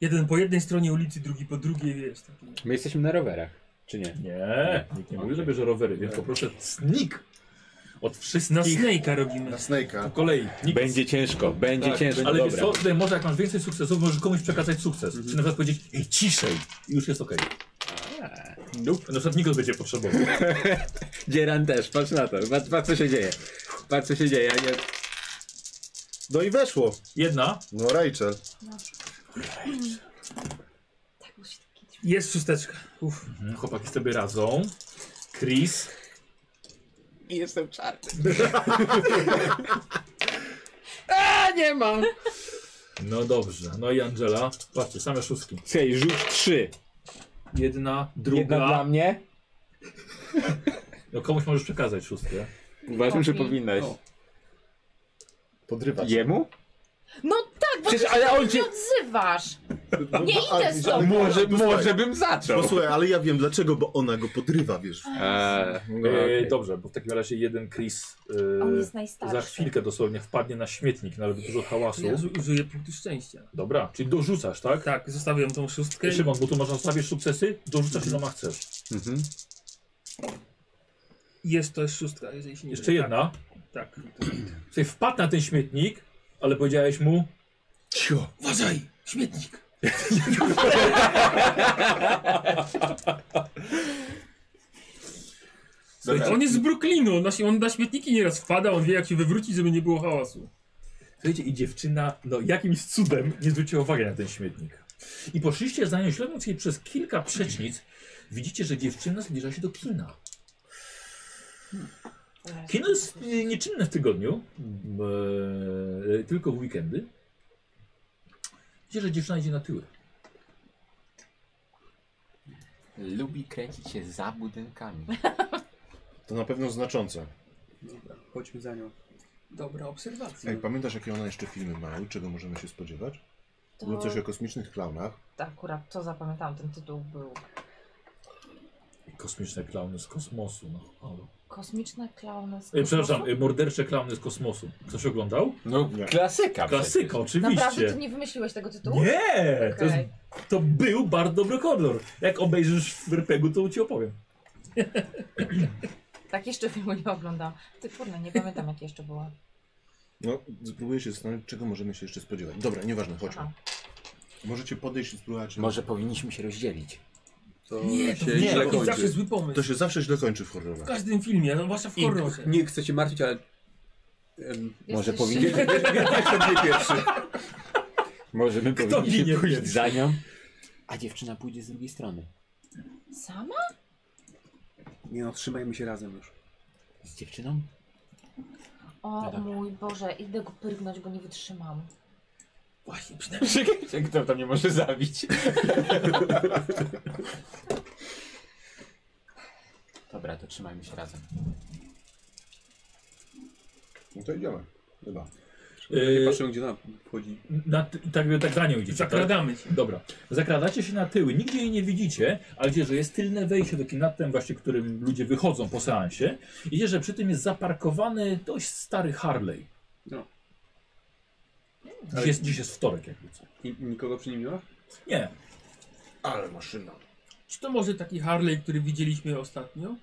Speaker 7: Jeden po jednej stronie ulicy, drugi po drugiej, wiesz. Taki.
Speaker 3: My jesteśmy na rowerach, czy nie?
Speaker 1: Nie, nikt nie mówi, że bierze rowery, więc poproszę snik od
Speaker 7: Na
Speaker 1: wszystkich
Speaker 7: Snake'a robimy.
Speaker 4: na
Speaker 1: po
Speaker 4: Snake'a.
Speaker 1: kolei. Nikt
Speaker 3: Będzie ciężko, będzie
Speaker 6: Tak,
Speaker 3: ciężko.
Speaker 1: Ale wiesz
Speaker 3: no dobra.
Speaker 1: co, tutaj może jak masz więcej sukcesów, możesz komuś przekazać sukces. Czy na przykład powiedzieć, ej ciszej, i już jest okej. Nope. Na przykład Nikos będzie potrzebował.
Speaker 3: Dzieran też, patrz na to. Patrz, patrz co się dzieje. Patrz co się dzieje. a Nie...
Speaker 4: No i weszło.
Speaker 1: Jedna,
Speaker 4: No Rachel.
Speaker 2: Tak, bo się tak kiedyś...
Speaker 7: Jest szósteczka. Uf.
Speaker 1: Mhm, chłopaki sobie radzą. Chris,
Speaker 3: I jestem czarny. A nie mam.
Speaker 1: no dobrze. No i Angela, patrzcie, same szóstki.
Speaker 3: Słuchaj, rzuć trzy.
Speaker 1: Jedna, druga.
Speaker 3: Jedna dla mnie.
Speaker 1: No komuś możesz przekazać szóstkę.
Speaker 3: Uważam, że
Speaker 2: Kopi.
Speaker 3: powinnaś.
Speaker 6: O.
Speaker 4: Podrywa cię.
Speaker 3: Jemu?
Speaker 2: No tak, bo
Speaker 3: Przecież,
Speaker 2: ty
Speaker 3: ale
Speaker 2: się
Speaker 3: on cię...
Speaker 2: nie odzywasz! Nie
Speaker 1: No,
Speaker 4: ale-
Speaker 2: idę stąd!
Speaker 3: Może, może bym zaczął.
Speaker 4: Posłuchaj, No, ale ja wiem dlaczego, bo ona go podrywa, wiesz.
Speaker 3: Eee,
Speaker 1: E,
Speaker 3: okej.
Speaker 1: Dobrze, bo w takim razie jeden Chris e,
Speaker 2: On jest
Speaker 1: za
Speaker 2: najstarszy.
Speaker 1: chwilkę dosłownie wpadnie na śmietnik, narobi dużo hałasu.
Speaker 7: Ja zu- użyję punktu szczęścia.
Speaker 1: Dobra, czyli dorzucasz, tak?
Speaker 7: Tak, zostawiam tą szóstkę.
Speaker 1: Szymon, bo tu masz zostawisz sukcesy, dorzucasz iloma chcesz.
Speaker 3: Mhm.
Speaker 7: i Jest to jest szóstka, jeżeli się nie
Speaker 1: Jeszcze jedna.
Speaker 7: Tak. tak.
Speaker 1: Czyli wpadł na ten śmietnik, ale powiedziałeś mu,
Speaker 7: Cicho, uważaj! Śmietnik!
Speaker 5: Słuchajcie, on jest z Brooklynu, na, on na śmietniki nieraz wpada, on wie jak się wywrócić, żeby nie było hałasu.
Speaker 1: Słuchajcie, i dziewczyna, no jakimś cudem nie zwróciła uwagi na ten śmietnik. I poszliście za nią, śledząc jej przez kilka przecznic, widzicie, że dziewczyna zbliża się do kina. Kino jest y, nieczynne w tygodniu, m, e, tylko w weekendy. Widzicie, że dziewczyna idzie na tyły.
Speaker 3: Lubi kręcić się za budynkami.
Speaker 4: To na pewno znaczące.
Speaker 8: Dobra, chodźmy za nią.
Speaker 7: Dobra obserwacja.
Speaker 4: Ej, pamiętasz jakie ona jeszcze filmy ma i czego możemy się spodziewać?
Speaker 2: To,
Speaker 1: No,
Speaker 4: Było coś o kosmicznych klaunach.
Speaker 2: Akurat to zapamiętałam, ten tytuł był.
Speaker 1: Kosmiczne klauny z kosmosu, no. halo.
Speaker 2: Kosmiczne klauny z
Speaker 1: E, przepraszam,
Speaker 2: kosmosu?
Speaker 1: e, mordercze klauny z kosmosu. Ktoś oglądał?
Speaker 3: No,
Speaker 4: Nie.
Speaker 3: klasyka.
Speaker 1: Klasyka,
Speaker 2: Naprawdę
Speaker 1: oczywiście.
Speaker 2: ty nie wymyśliłeś tego tytułu?
Speaker 1: Nie! To, jest,
Speaker 2: Okej.
Speaker 1: to był bardzo dobry kolor. Jak obejrzysz w RPG-u, to ci opowiem.
Speaker 2: Tak jeszcze filmu nie oglądam. Ty kurde, nie pamiętam jak jeszcze było.
Speaker 4: No, spróbuję się zastanowić, czego możemy się jeszcze spodziewać. Dobra, nieważne, chodźmy.
Speaker 2: Aha.
Speaker 4: Możecie podejść i spróbować.
Speaker 3: Może powinniśmy się rozdzielić.
Speaker 6: To
Speaker 7: Nie, to
Speaker 6: się
Speaker 7: nie,
Speaker 6: źle
Speaker 7: to jest
Speaker 6: kończy.
Speaker 7: zawsze zły pomysł.
Speaker 4: To się zawsze źle kończy w
Speaker 7: W
Speaker 4: horrorach.
Speaker 7: każdym filmie, no zwłaszcza w
Speaker 8: I
Speaker 7: horrorze.
Speaker 8: nie chcę cię martwić, ale... em,
Speaker 3: Może
Speaker 2: Jesteś-
Speaker 3: powinniśmy,
Speaker 8: Jeszcze mnie pierwszy.
Speaker 3: może my
Speaker 1: ginie
Speaker 3: powinniśmy pójść
Speaker 1: pierwszy?
Speaker 3: za nią, a dziewczyna pójdzie z drugiej strony.
Speaker 2: Sama?
Speaker 8: Nie no, trzymajmy się razem już.
Speaker 3: Z dziewczyną?
Speaker 2: O
Speaker 3: dobra.
Speaker 2: mój Boże, idę go pyrgnąć, bo nie wytrzymam.
Speaker 7: Właśnie, przynajmniej
Speaker 3: Czekajcie, kto tam nie może zabić? Dobra, to trzymajmy się razem.
Speaker 4: No to idziemy. Chyba.
Speaker 1: E,
Speaker 6: Patrzę, gdzie nam wchodzi.
Speaker 1: na, tak, tak za nią idziecie. tak?
Speaker 7: zakradamy się.
Speaker 1: Dobra. Zakradacie się na tyły. Nigdzie jej nie widzicie, ale wiecie, że jest tylne wejście do kinatem, właśnie którym ludzie wychodzą po seansie. I wiecie, że przy tym jest zaparkowany dość stary Harley.
Speaker 6: No.
Speaker 1: Dziś jest, dziś jest wtorek, jakby co.
Speaker 6: I, i nikogo przy nim nie ma?
Speaker 1: Nie.
Speaker 4: Ale maszyna.
Speaker 7: Czy to może taki Harley, który widzieliśmy ostatnio?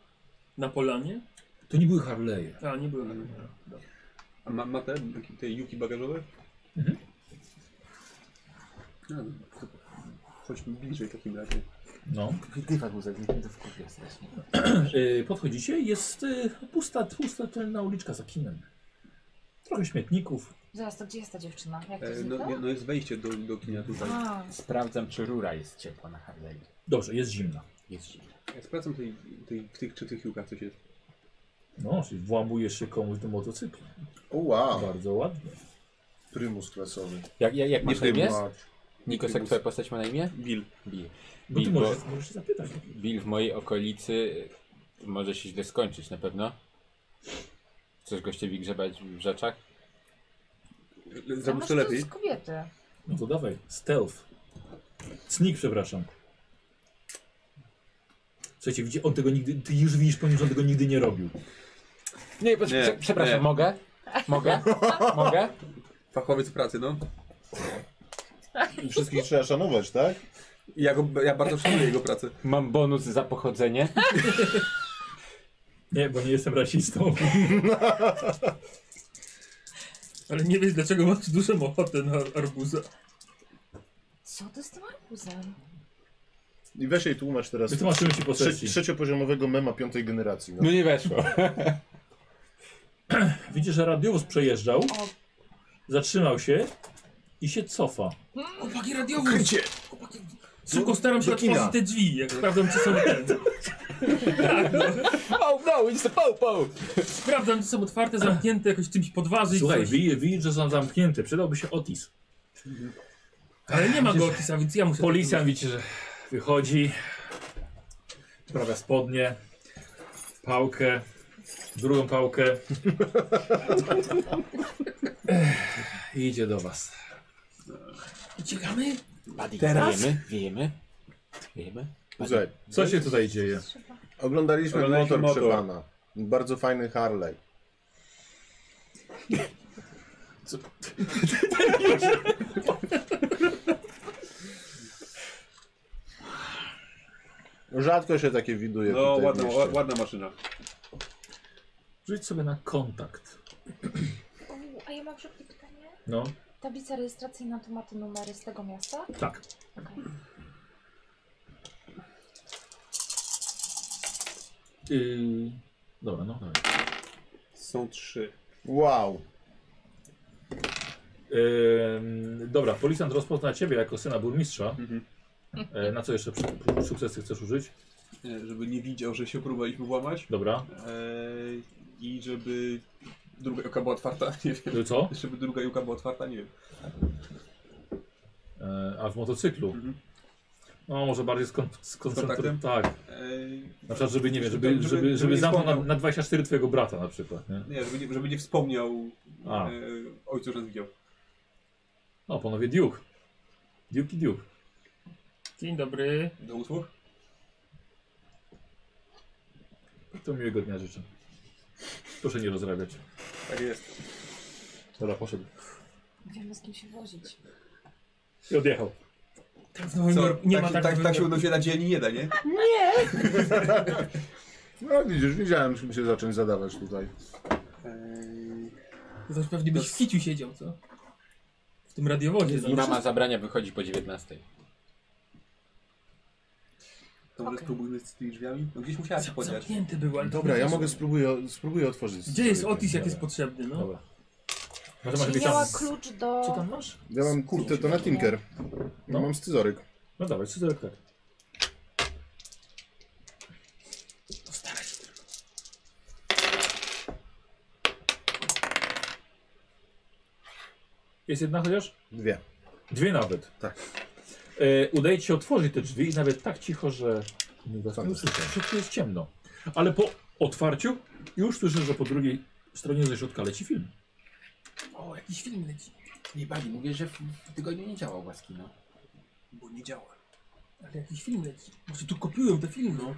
Speaker 7: Na polanie?
Speaker 1: To nie były Harley'e.
Speaker 7: A, nie byłem.
Speaker 6: A ma, ma te, te juki bagażowe?
Speaker 1: Mhm.
Speaker 6: No, to chodźmy bliżej w takim razie.
Speaker 1: No.
Speaker 3: Dywan był zamknięty to w kupie strasznie.
Speaker 1: Y, Podchodzicie, jest y, pusta, pusta tylna uliczka za kinem. Trochę śmietników.
Speaker 2: Zaraz, to gdzie jest ta dziewczyna? Jak to
Speaker 6: E,
Speaker 2: znika?
Speaker 6: no, nie, no jest wejście do, do kina tutaj.
Speaker 2: A,
Speaker 3: Sprawdzam, czy rura jest ciepła na Harley.
Speaker 1: Dobrze, jest zimna.
Speaker 3: Jest zimna.
Speaker 6: Ja sprawdzam tej, tej, w tych, czy tych jukach coś jest.
Speaker 1: No, czyli włamujesz się komuś do motocykla.
Speaker 4: O wow.
Speaker 1: Bardzo ładnie.
Speaker 4: Prymus klasowy.
Speaker 3: Jak, jak, jak masz na imię?
Speaker 4: Prymus.
Speaker 3: Nikos, jak twoja postać ma na imię?
Speaker 6: Bill.
Speaker 3: Bill.
Speaker 1: Bo ty
Speaker 3: Bill, bo
Speaker 1: możesz, możesz się zapytać.
Speaker 3: Bill w mojej okolicy y, może się źle skończyć na pewno. Chcesz gościowi grzebać w rzeczach?
Speaker 2: a
Speaker 6: Zrobisz
Speaker 2: może
Speaker 6: to
Speaker 2: to
Speaker 6: lepiej.
Speaker 2: jest kobiety?
Speaker 1: No to dawaj, stealth. Sneak, przepraszam. Słuchajcie, widzi, on tego nigdy, ty już widzisz po nim, że on tego nigdy nie robił.
Speaker 3: Nie, prze-
Speaker 6: Nie,
Speaker 3: prze- przepraszam,
Speaker 6: nie.
Speaker 3: mogę? Mogę? Mogę?
Speaker 6: Fachowiec pracy, no.
Speaker 4: I Wszystkich trzeba szanować, tak?
Speaker 6: Ja, go, ja bardzo szanuję jego pracę.
Speaker 3: Mam bonus za pochodzenie.
Speaker 1: Nie, bo nie jestem rasistą.
Speaker 5: Ale nie wiesz dlaczego masz dużą ochotę na arbuza.
Speaker 2: Co to z tym arbuzem?
Speaker 4: I weź jej tłumacz teraz.
Speaker 1: Wytłumaczymy ci po
Speaker 4: Trze
Speaker 1: sesji.
Speaker 4: trzeciopoziomowego mema piątej generacji. No.
Speaker 3: No nie weszło.
Speaker 1: Widzisz, że radiowóz przejeżdżał,
Speaker 2: O.
Speaker 1: zatrzymał się i się cofa.
Speaker 7: Chłopaki radiowóz! Krycie! Chłopaki... Szybko staram się
Speaker 4: Do kina.
Speaker 7: otworzyć te drzwi, jak sprawdzam czy są ten. tak, no.
Speaker 3: Oh no, it's the popo!
Speaker 7: Sprawdzam czy są otwarte, zamknięte, jakoś czymś podważyć.
Speaker 1: Słuchaj,
Speaker 7: coś.
Speaker 1: wi- widzisz, że są zamknięte. Przydałby się Otis.
Speaker 7: Ale nie ma go Otisa, więc ja muszę... tak
Speaker 1: Policjant widzicie, że wychodzi, sprawia spodnie, pałkę, drugą pałkę. Ech, I idzie do was.
Speaker 7: Uciekamy?
Speaker 3: Buddy,
Speaker 1: Teraz?
Speaker 3: Wiejemy? Wiejemy? Wiejemy?
Speaker 4: Słuchaj,
Speaker 1: Co się tutaj dzieje?
Speaker 4: oglądaliśmy,
Speaker 6: Oglądaliśmy
Speaker 4: motor, motor.
Speaker 6: motor.
Speaker 4: pana. Bardzo fajny Harley. Rzadko się takie widuje.
Speaker 6: No,
Speaker 4: tutaj w
Speaker 6: ładna,
Speaker 4: mieście.
Speaker 6: ładna maszyna.
Speaker 1: Rzuć sobie na kontakt.
Speaker 2: U, a ja mam szybkie pytanie.
Speaker 1: No,
Speaker 2: Tablica rejestracyjna to ma te numery z tego miasta?
Speaker 1: tak.
Speaker 2: Okej.
Speaker 1: Yy, Dobra, no. Dobra.
Speaker 6: Są trzy.
Speaker 4: Wow.
Speaker 1: Ym, Yy, dobra, policjant rozpozna ciebie jako syna burmistrza.
Speaker 6: Mhm.
Speaker 1: E, na co jeszcze przy- sukcesy chcesz użyć?
Speaker 6: E, Żeby nie widział, że się próbowaliśmy włamać.
Speaker 1: Dobra.
Speaker 6: E, I żeby druga juka była otwarta, nie wiem.
Speaker 1: Że Yy, Co?
Speaker 6: Żeby druga juka była otwarta, nie wiem.
Speaker 1: E, a w motocyklu?
Speaker 6: Mhm.
Speaker 1: No, może bardziej skon- skoncentrować.
Speaker 6: kontaktem?
Speaker 1: Tak.
Speaker 6: E,
Speaker 1: Na przykład, żeby, nie wiem, żeby,
Speaker 6: Żeby-
Speaker 1: żeby, żeby,
Speaker 6: żeby nie
Speaker 1: zamknął na,
Speaker 6: wspomniał.
Speaker 1: na 24 twojego brata na przykład, nie?
Speaker 6: Nie, żeby nie, żeby nie wspomniał
Speaker 1: A.
Speaker 6: e, ojcu, że nas widział.
Speaker 1: No, panowie, Duke. Duke i Duke.
Speaker 8: Dzień dobry.
Speaker 6: Do usług?
Speaker 1: To miłego dnia życzę. Proszę nie rozrabiać.
Speaker 6: Tak jest.
Speaker 1: Dobra, poszedł.
Speaker 2: Wiemy z kim się wozić.
Speaker 1: I odjechał.
Speaker 7: Tak w Nowym
Speaker 6: Co,
Speaker 7: Jorku nie
Speaker 6: tak,
Speaker 7: ma
Speaker 6: się-
Speaker 7: tak,
Speaker 6: tak, tak się uda się na dzień nie da, nie?
Speaker 4: No widzisz, wiedziałem, żeby się zacząć zadawać tutaj.
Speaker 7: To też pewnie byś w kiciu siedział, co? W tym radiowodzie.
Speaker 3: I mama zabrania wychodzi po 19.
Speaker 6: To może
Speaker 2: Okej.
Speaker 6: spróbujmy z tymi drzwiami? No gdzieś musiała się
Speaker 7: Zam-
Speaker 6: podziać.
Speaker 7: Zamknięty był, ale...
Speaker 4: Dobra, ja mogę spróbuję, spróbuję otworzyć.
Speaker 7: Gdzie jest
Speaker 4: sobie
Speaker 7: Otis, jak
Speaker 4: ten-
Speaker 7: jest potrzebny, no?
Speaker 1: Dobra. Może masz
Speaker 2: Czy
Speaker 1: jakieś
Speaker 2: miała
Speaker 1: tam...
Speaker 2: klucz do...
Speaker 1: Co tam masz?
Speaker 4: Ja mam kurtę, to na Tinker. Ja
Speaker 1: No.
Speaker 4: mam scyzoryk.
Speaker 1: No dawaj, scyzoryk tak.
Speaker 7: Postara się tylko.
Speaker 1: Jest jedna chociaż?
Speaker 4: Dwie.
Speaker 1: Dwie nawet.
Speaker 4: Tak.
Speaker 1: E, udaje ci się otworzyć te drzwi i nawet tak cicho, że nie was nie
Speaker 4: Fantastycznie.
Speaker 1: usłyszę. W środku jest ciemno. Ale po otwarciu już słyszę, że po drugiej stronie ze środka leci film.
Speaker 7: O, jakiś film leci.
Speaker 3: Nie bali, mówię, że w, w tygodniu nie działał łaski, no.
Speaker 6: Bo nie działa.
Speaker 7: Ale jakiś film leci. Może tu kopiują te filmy. No.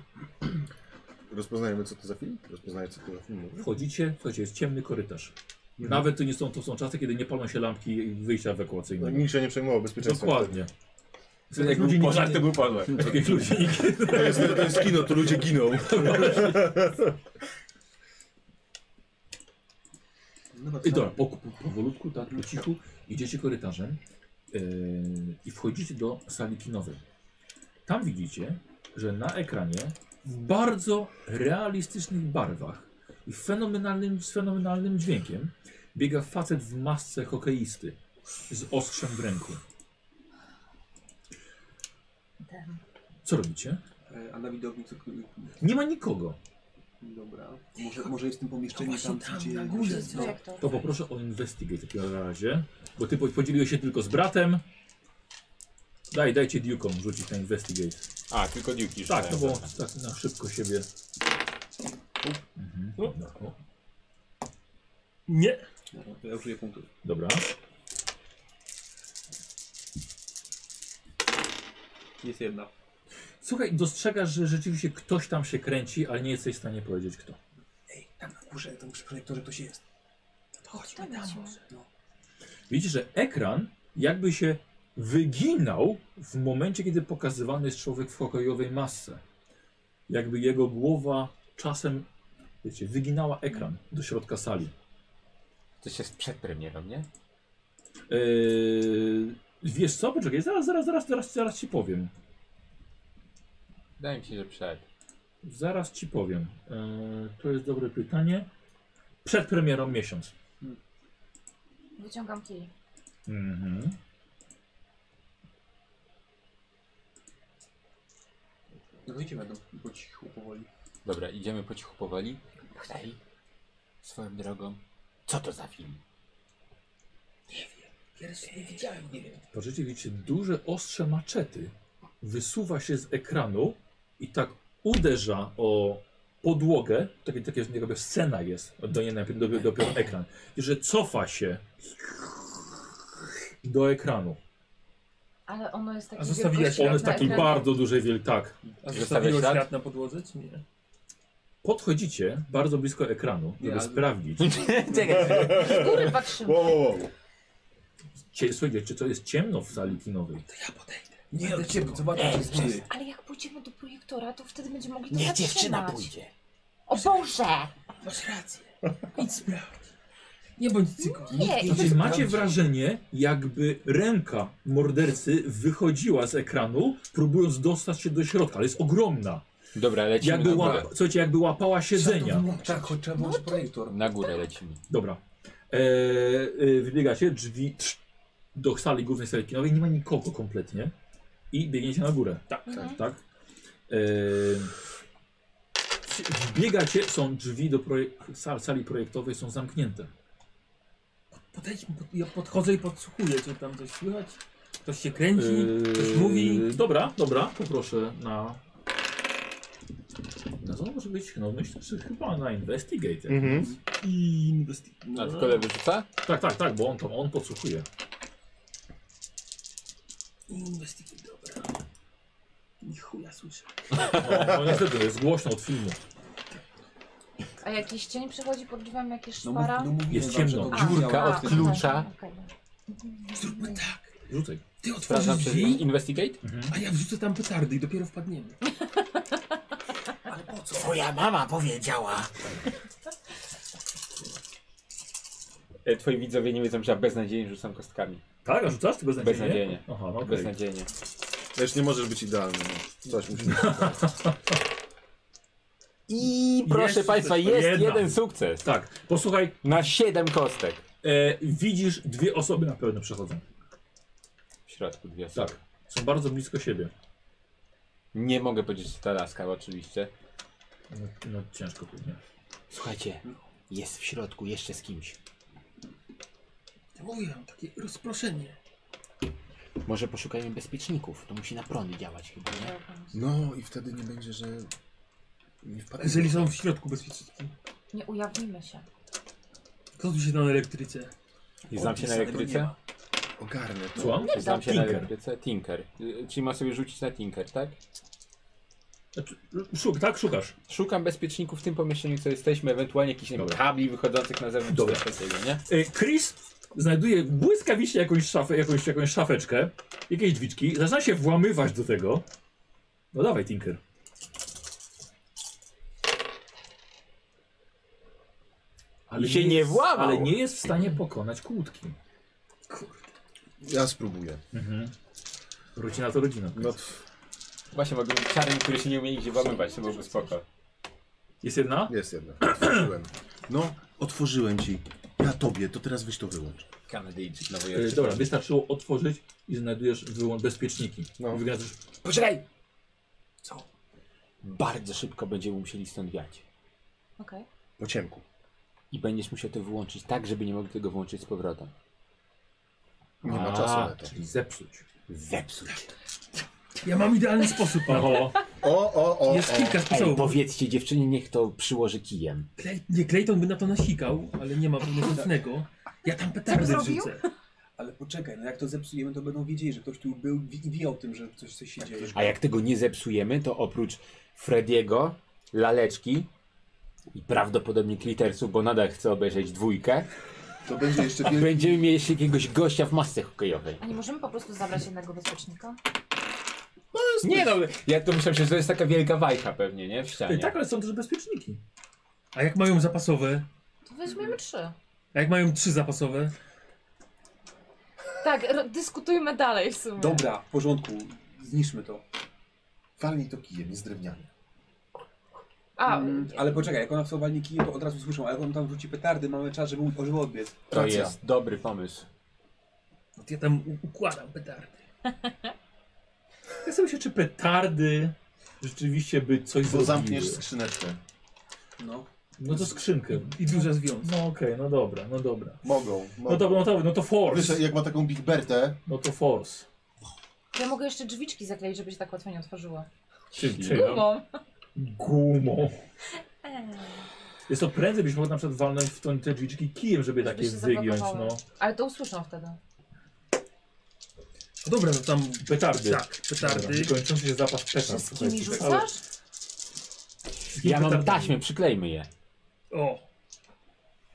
Speaker 4: Rozpoznajemy, co to za film? Rozpoznaję, co to za film. mówię.
Speaker 1: Wchodzicie, słuchajcie, jest ciemny korytarz. Nawet to nie są, to są czasy, kiedy nie palą się lampki wyjścia
Speaker 4: No,
Speaker 1: ewakuacyjnego.
Speaker 4: Nikt się nie przejmował bezpieczeństwem.
Speaker 1: Dokładnie. Ludzi
Speaker 6: Jak był
Speaker 1: nie-
Speaker 6: pożar, to był pożar.
Speaker 1: Takich ludzi nikt
Speaker 4: wtedy. To jest, to jest kino, to ludzie giną.
Speaker 1: I dobra, po, po, powolutku, tak, po cichu, idziecie korytarzem yy, i wchodzicie do sali kinowej. Tam widzicie, że na ekranie w bardzo realistycznych barwach i fenomenalnym, z fenomenalnym dźwiękiem biega facet w masce hokeisty z ostrzem w ręku.
Speaker 2: Ten.
Speaker 1: Co robicie?
Speaker 6: E, A na widowni co...
Speaker 1: Nie ma nikogo.
Speaker 6: Dobra. Może, może jest w tym pomieszczeniu
Speaker 7: No
Speaker 6: tam,
Speaker 7: właśnie tam,
Speaker 6: gdzie...
Speaker 7: na górze,
Speaker 6: gdzie-
Speaker 7: co?
Speaker 2: Jak to?
Speaker 1: To poproszę o investigate w takim razie, bo ty po- podzieliłeś się tylko z bratem. Daj, dajcie Duke'om rzucić na investigate.
Speaker 3: A, tylko dziuki
Speaker 1: Tak, no bo tak na szybko siebie. Mhm.
Speaker 7: O.
Speaker 1: No, o,
Speaker 7: Nie.
Speaker 6: Dobra, to Ja użyję punktów.
Speaker 1: Dobra.
Speaker 6: Jest jedna.
Speaker 1: Słuchaj, dostrzegasz, że rzeczywiście ktoś tam się kręci, ale nie jesteś w stanie powiedzieć kto.
Speaker 6: Ej, tam na górze, tam przy projektorze ktoś jest.
Speaker 7: No To chodźmy no. tam
Speaker 2: Chodźmy.
Speaker 7: może.
Speaker 1: Widzisz, że ekran jakby się wyginał w momencie, kiedy pokazywany jest człowiek w hokejowej masce. Jakby jego głowa czasem, wiecie, wyginała ekran do środka sali.
Speaker 3: To się przed premierą, nie?
Speaker 1: Yy, wiesz co? Poczekaj, zaraz, zaraz, zaraz, zaraz, zaraz ci powiem.
Speaker 3: Wydaje mi się, że przed.
Speaker 1: Zaraz ci powiem. Yy, to jest dobre pytanie. Przed premierą miesiąc.
Speaker 2: Wyciągam kij.
Speaker 1: Mhm.
Speaker 6: No idziemy do, po cichu, powoli.
Speaker 3: Dobra, idziemy po cichu powoli. Hej, swoją drogą, co to za film?
Speaker 7: Pierwszy nie widziałem, nie wiem.
Speaker 1: Patrzycie, widzicie, duże ostrze maczety wysuwa się z ekranu i tak uderza o podłogę. Takie, takie jakby scena jest, do niej najpierw dopiero, dopiero ekran. I że cofa się do ekranu.
Speaker 2: Ale ono jest takie...
Speaker 7: A zostawiłaś
Speaker 2: wielkości-
Speaker 1: On jest
Speaker 2: na
Speaker 1: taki
Speaker 2: ekranie.
Speaker 1: bardzo dużej wielki, tak.
Speaker 7: A
Speaker 3: Zostawiłeś
Speaker 7: zostawiłeś
Speaker 3: ślad?
Speaker 7: ślad na podłodze, czy nie?
Speaker 1: Podchodzicie bardzo blisko ekranu, żeby
Speaker 6: Ja-
Speaker 1: sprawdzić.
Speaker 2: Z góry patrzymy.
Speaker 4: Wow, wow, wow.
Speaker 1: Cie, słuchajcie, czy to jest ciemno w sali kinowej?
Speaker 7: To ja podejdę.
Speaker 6: Nie,
Speaker 7: Będę
Speaker 6: od ciebie, zobacz, co jest dzieje.
Speaker 2: Ale jak pójdziemy do projektora, to wtedy będziemy mogli to zatrzymać. O Boże!
Speaker 7: Masz rację. Idź sprawdź. Nie bądź cyku.
Speaker 2: Nie, i
Speaker 1: Znaczy, macie wrażenie, jakby ręka mordercy wychodziła z ekranu, próbując dostać się do środka, ale jest ogromna.
Speaker 3: Dobra, lecimy
Speaker 1: Jakby
Speaker 3: na
Speaker 1: łapa,
Speaker 3: górę.
Speaker 1: słuchajcie, jakby łapała siedzenia.
Speaker 6: Tak, choć trzeba włączyć projektor.
Speaker 3: Na górę lecimy.
Speaker 1: Dobra. E, e, wybiegacie, drzwi trz, do sali głównej sali kinowej, nie ma nikogo kompletnie. I biegniecie na górę. Tak,
Speaker 2: Mhm.
Speaker 1: tak. E, wbiegacie, są drzwi do projek- sal, sali projektowej, są zamknięte.
Speaker 7: Podejdźmy, pod, ja podchodzę i podsłuchuję, czy tam coś słychać. Ktoś się kręci,
Speaker 3: Yy.
Speaker 7: ktoś
Speaker 1: Eee,
Speaker 7: mówi.
Speaker 1: Dobra, dobra, poproszę na. No to może być, no myślę, że chyba na Investigate.
Speaker 4: Mhm.
Speaker 3: A
Speaker 7: No.
Speaker 3: tylko lewy rzuca?
Speaker 1: Tak, tak, tak, bo on tam, on podsłuchuje.
Speaker 7: Inwestycje, dobra. Ni chuja słyszę.
Speaker 1: No, no niestety, jest głośno od filmu.
Speaker 2: A jakiś cień przechodzi pod drzwiami, jakieś
Speaker 6: No, mów-
Speaker 2: szpara?
Speaker 6: no mówiłem
Speaker 1: Jest
Speaker 6: wam, że
Speaker 1: ciemno.
Speaker 6: to
Speaker 2: A,
Speaker 3: dziurka
Speaker 2: a,
Speaker 3: od
Speaker 2: okej,
Speaker 3: klucza.
Speaker 2: okej.
Speaker 7: Zróbmy tak.
Speaker 1: Rzucaj.
Speaker 7: Ty otworzysz
Speaker 3: Sprawdzam przez
Speaker 7: drzwi,
Speaker 3: Investigate?
Speaker 7: a ja wrzucę tam petardy i dopiero wpadniemy.
Speaker 3: Twoja mama powiedziała. E, twoi widzowie nie wiedzą, że ja beznadziejnie rzucam kostkami.
Speaker 1: Tak, a rzucasz ty beznadziejnie?
Speaker 3: Beznadziejnie.
Speaker 1: Aha, no okej.
Speaker 3: Beznadziejnie.
Speaker 4: Wiesz, nie możesz być idealny. No. Coś musisz I
Speaker 3: Proszę państwa, jest
Speaker 1: jedna.
Speaker 3: jeden sukces.
Speaker 1: Tak, posłuchaj,
Speaker 3: Na 7 kostek.
Speaker 1: e, widzisz dwie osoby na pewno przechodzą.
Speaker 3: W środku dwie osoby.
Speaker 1: Tak, są bardzo blisko siebie.
Speaker 3: Nie mogę powiedzieć, że ta laska oczywiście.
Speaker 1: No, no ciężko pewnie.
Speaker 3: Słuchajcie, jest w środku jeszcze z kimś.
Speaker 7: Ja mówię wam, takie rozproszenie.
Speaker 3: Może poszukajmy bezpieczników. To musi na prąd działać chyba, nie?
Speaker 4: No i wtedy nie będzie, że... Nie wpadnie.
Speaker 7: Jeżeli są w środku bezpieczniki.
Speaker 2: Nie ujawnimy się.
Speaker 7: Kto tu się na elektryce?
Speaker 3: I znam się na elektryce?
Speaker 4: Ogarnę to.
Speaker 1: Słucham?
Speaker 3: Znam się na
Speaker 1: Tinker.
Speaker 3: elektryce? Tinker. Y, Czyli ma sobie rzucić na Tinker, tak?
Speaker 1: Znaczy, Szuk, tak, szukasz.
Speaker 3: Szukam bezpieczników w tym pomieszczeniu, co jesteśmy, ewentualnie jakichś nie wiem,
Speaker 1: Dobra.
Speaker 3: kabli wychodzących na zewnątrz,
Speaker 1: Dobra.
Speaker 3: coś takiego, nie?
Speaker 1: E, Chris znajduje błyskawicznie jakąś, szafę, jakąś, jakąś szafeczkę, jakieś drzwiczki, zaczyna się włamywać do tego. No dawaj, Tinker.
Speaker 3: I się nie
Speaker 1: jest-
Speaker 3: włamał.
Speaker 1: Ale nie jest w stanie pokonać kłódki.
Speaker 4: Ja spróbuję.
Speaker 1: Mhm. Rodzina to rodzina.
Speaker 4: No, pff,
Speaker 3: Właśnie mogę być czarny, który się nie umie nigdzie włamywać, to byłoby spoko.
Speaker 1: Jest jedna?
Speaker 4: jest jedna. Otworzyłem. No, otworzyłem ci. Ja tobie, to teraz weź to wyłącz.
Speaker 3: Kanadyjczyk, nowy
Speaker 1: E, dobra, wystarczyło otworzyć i znajdujesz wyłącz bezpieczniki.
Speaker 4: No.
Speaker 1: I wyglądasz,
Speaker 3: Poczekaj! Co? Bardzo szybko będziemy musieli stąd wiać.
Speaker 2: Okej.
Speaker 4: Po ciemku.
Speaker 3: I będziesz musiał to wyłączyć tak, żeby nie mogli tego wyłączyć z powrotem.
Speaker 4: Nie ma
Speaker 3: A,
Speaker 4: czasu na to.
Speaker 1: czyli zepsuć.
Speaker 3: Zepsuć.
Speaker 7: Ja mam idealny sposób, Paweł.
Speaker 1: Oho,
Speaker 4: O, o, o,
Speaker 7: Jest
Speaker 4: o.
Speaker 7: kilka
Speaker 3: Ej,
Speaker 7: sposobów.
Speaker 3: powiedzcie dziewczynie, niech to przyłoży kijem.
Speaker 7: Klej, nie, Clayton by na to nasikał, ale nie ma pewnego pewnego. Ja tam petardy
Speaker 2: Tak zrobił?
Speaker 7: wrzucę.
Speaker 6: Ale poczekaj, no jak to zepsujemy, to będą wiedzieli, że ktoś tu był i wie o tym, że coś, Tak, coś się dzieje.
Speaker 3: A jak tego nie zepsujemy, to oprócz Frediego, laleczki i prawdopodobnie Klitersu, bo nadal chcę obejrzeć dwójkę,
Speaker 4: To będzie jeszcze wielki...
Speaker 3: będziemy mieli jeszcze jakiegoś gościa w masce hokejowej.
Speaker 2: A nie możemy po prostu zabrać jednego bezpiecznika?
Speaker 3: Nie no, ja to myślałem, że to jest taka wielka wajcha pewnie, nie? W
Speaker 1: Ej,
Speaker 3: ścianie.
Speaker 1: tak, ale są też bezpieczniki.
Speaker 7: A jak mają zapasowe?
Speaker 2: To weźmiemy trzy.
Speaker 7: A jak mają trzy zapasowe?
Speaker 2: Tak, ro- dyskutujmy dalej w sumie.
Speaker 6: Dobra, w porządku, zniszmy to.
Speaker 4: Walnij to kijem, jest drewniany.
Speaker 2: A,
Speaker 6: Mm, ale poczekaj, jak ona w sowalni kije, to od razu słyszą, a jak on tam rzuci petardy, mamy czas, żeby, u- żeby odbiec.
Speaker 3: To
Speaker 4: Racja.
Speaker 3: jest dobry pomysł.
Speaker 7: No to ja tam u- układam petardy.
Speaker 1: Zastanawiam się, czy petardy rzeczywiście by coś
Speaker 4: Bo
Speaker 1: zrobiły.
Speaker 4: zamkniesz skrzyneczkę.
Speaker 6: No.
Speaker 1: No to skrzynkę.
Speaker 7: I duża związka.
Speaker 1: No okej, no dobra, no dobra.
Speaker 4: Mogą, mogą.
Speaker 1: No to, no to, no to
Speaker 4: Wiesz,
Speaker 1: force.
Speaker 4: jak ma taką Big Bertę,
Speaker 1: No to force.
Speaker 2: ja mogę jeszcze drzwiczki zakleić, żeby się tak łatwo nie otworzyło.
Speaker 1: Czyli no,
Speaker 2: Gumą.
Speaker 1: gumą.
Speaker 2: Eee.
Speaker 1: Jest to prędzej byś mógł na przykład walnąć w tą- te drzwiczki kijem, żeby
Speaker 2: Żeby
Speaker 1: takie
Speaker 2: się
Speaker 1: wygiąć, no.
Speaker 2: zablokowały. Ale to usłyszą wtedy.
Speaker 7: No dobra, no tam
Speaker 1: Petardy.
Speaker 7: tak, petardy.
Speaker 1: Dobra, Kończący się zapas petard.
Speaker 2: Wszystkimi
Speaker 1: słuchajcie. Cały-
Speaker 2: rzucasz?
Speaker 1: wszystkimi
Speaker 3: Ja mam
Speaker 1: petardami.
Speaker 3: taśmę, przyklejmy je.
Speaker 7: O!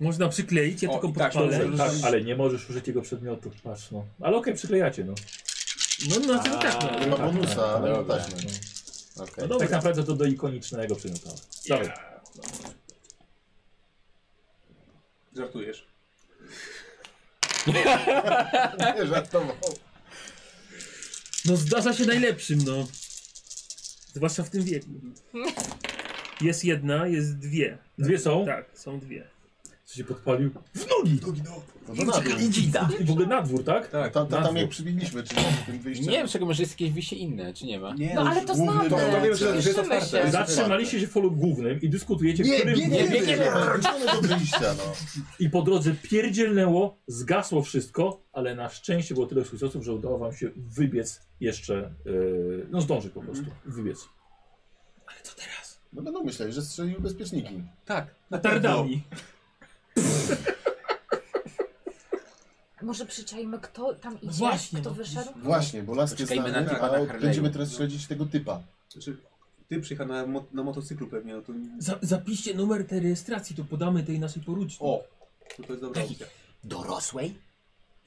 Speaker 7: Można przykleić, ja
Speaker 6: O,
Speaker 7: tylko
Speaker 6: i tak,
Speaker 7: podpalę.
Speaker 6: dobrze.
Speaker 1: Tak, ale nie możesz użyć jego przedmiotu, patrz no. Ale okej, przyklejacie no.
Speaker 7: No, no, znaczy, no tak, no.
Speaker 4: nie ma
Speaker 1: Tak,
Speaker 4: bonusa,
Speaker 1: tak,
Speaker 4: ale ma
Speaker 3: dobra.
Speaker 4: taśmę.
Speaker 3: Okej.
Speaker 1: Tak naprawdę to do ikonicznego przedmiotu. Dawaj.
Speaker 6: Żartujesz.
Speaker 4: Nie żartował.
Speaker 7: No zdarza się najlepszym, no.
Speaker 10: Zwłaszcza w tym wieku. Jest jedna, jest dwie.
Speaker 1: Dwie są?
Speaker 10: Tak, są dwie.
Speaker 1: Co się podpalił? W nogi!
Speaker 4: No to na dół.
Speaker 9: Idzida.
Speaker 1: I w ogóle na dwór, tak?
Speaker 4: Tak, tam, tam,
Speaker 1: na
Speaker 4: tam
Speaker 1: dwór.
Speaker 4: jak przybiegliśmy, czyli na tym wyjściem.
Speaker 3: Nie wiem, czego może jest jakieś wyjście inne, czy nie ma?
Speaker 4: Nie,
Speaker 2: No, ale
Speaker 4: już
Speaker 2: to
Speaker 4: główny
Speaker 2: znamy.
Speaker 4: dom.
Speaker 6: To wiem, że- że jest
Speaker 2: Cieszymy
Speaker 6: otwarte.
Speaker 2: się.
Speaker 1: Zatrzymaliście się w polu głównym i dyskutujecie, w
Speaker 4: Tak. Nie,
Speaker 1: którym
Speaker 4: biegniemy,
Speaker 1: nie,
Speaker 4: biegniemy, biegniemy do wyjścia, no.
Speaker 1: I po drodze pierdzielnęło, zgasło wszystko, ale na szczęście było tyle sukcesów, że udało wam się wybiec jeszcze, yy, no zdążyć po prostu, wybiec.
Speaker 4: No będą myśleć, że strzelił bezpieczniki.
Speaker 6: Tak.
Speaker 10: Tardami.
Speaker 2: Może przyczajmy, kto tam idzie,
Speaker 10: Właśnie,
Speaker 2: kto
Speaker 10: no.
Speaker 2: wyszedł?
Speaker 4: Właśnie, bo laski jest
Speaker 3: Poczekajmy na
Speaker 4: znany,
Speaker 6: typa
Speaker 4: a
Speaker 3: na Harley'u.
Speaker 4: będziemy teraz śledzić tego typa.
Speaker 6: Znaczy, ty przyjechał na, mo na motocyklu pewnie, no to...
Speaker 7: Za, zapiszcie numer tej rejestracji, to podamy tej naszej poruczki.
Speaker 6: O! To, to jest dobra opcja.
Speaker 9: Dorosłej?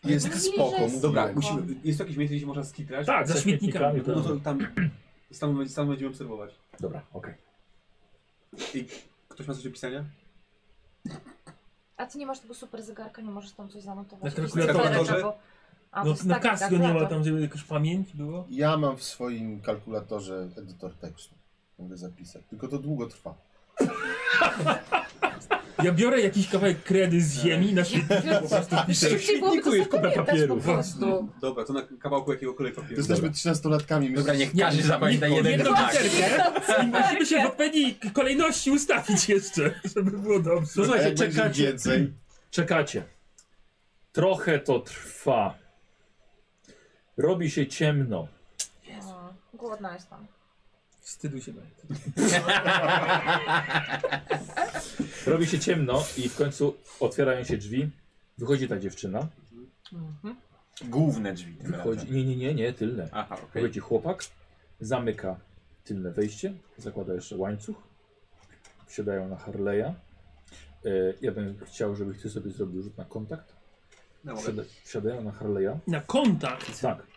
Speaker 4: Jest
Speaker 2: Mówili,
Speaker 4: spoko,
Speaker 2: że jest
Speaker 4: mówiłem.
Speaker 6: Dobra,
Speaker 2: Spoko.
Speaker 6: musimy, jest jakieś miejsce, gdzie można skitrać?
Speaker 1: Tak,
Speaker 7: Za
Speaker 1: ze
Speaker 7: śmietnikami,
Speaker 1: to-
Speaker 6: No
Speaker 9: tak.
Speaker 6: to tam stan, stan będziemy obserwować.
Speaker 1: tak. Dobra, okej.
Speaker 6: I ktoś ma coś do pisania?
Speaker 2: A ty nie masz tego super zegarka, nie możesz tam coś zanotować.
Speaker 7: Na
Speaker 2: Jakiś
Speaker 7: kalkulatorze.
Speaker 2: zegarek albo- A, to
Speaker 7: No,
Speaker 2: jest tak,
Speaker 7: na
Speaker 2: taki
Speaker 7: Casio nie ma
Speaker 2: kalkulator.
Speaker 7: tam, żeby jakaś pamięć było.
Speaker 4: Ja mam w swoim kalkulatorze edytor tekstu. Mogę zapisać. Tylko to długo trwa.
Speaker 7: Ja biorę jakiś kawałek kredy z ziemi na świetnie. po prostu piszę.
Speaker 2: Szybciej byłoby to
Speaker 1: Śmietniku jest kupę
Speaker 2: zapamiętać po
Speaker 1: papierów.
Speaker 2: prostu.
Speaker 6: Dobra, to na kawałku jakiego kolej papieru.
Speaker 4: Jesteśmy trzynastolatkami.
Speaker 3: Dobra,
Speaker 4: myślę,
Speaker 3: niech
Speaker 4: że-
Speaker 3: każdy zapamięta jeden
Speaker 7: Jedną
Speaker 3: znak.
Speaker 7: literkę i musimy się w odpowiedniej kolejności ustawić jeszcze, żeby było dobrze.
Speaker 4: A
Speaker 1: Słuchajcie,
Speaker 4: jak będzie
Speaker 1: czekacie,
Speaker 4: więcej,
Speaker 1: czekacie. Trochę to trwa. Robi się ciemno.
Speaker 2: No, Głodna jestem.
Speaker 7: Wstydu się daje.
Speaker 1: Robi się ciemno i w końcu otwierają się drzwi. Wychodzi ta dziewczyna.
Speaker 3: Mhm. Główne drzwi. tym
Speaker 1: Wychodzi.
Speaker 3: razem.
Speaker 1: Nie, nie, nie, nie, tylne.
Speaker 3: Aha, okej.
Speaker 1: Wychodzi chłopak, zamyka tylne wejście, zakłada jeszcze łańcuch. Wsiadają na Harley'a. E, Ja bym chciał, żebyś ty sobie zrobił rzut na kontakt.
Speaker 6: No, mogę.
Speaker 1: Wsiada, wsiadają na Harley'a.
Speaker 7: Na kontakt.
Speaker 1: Tak,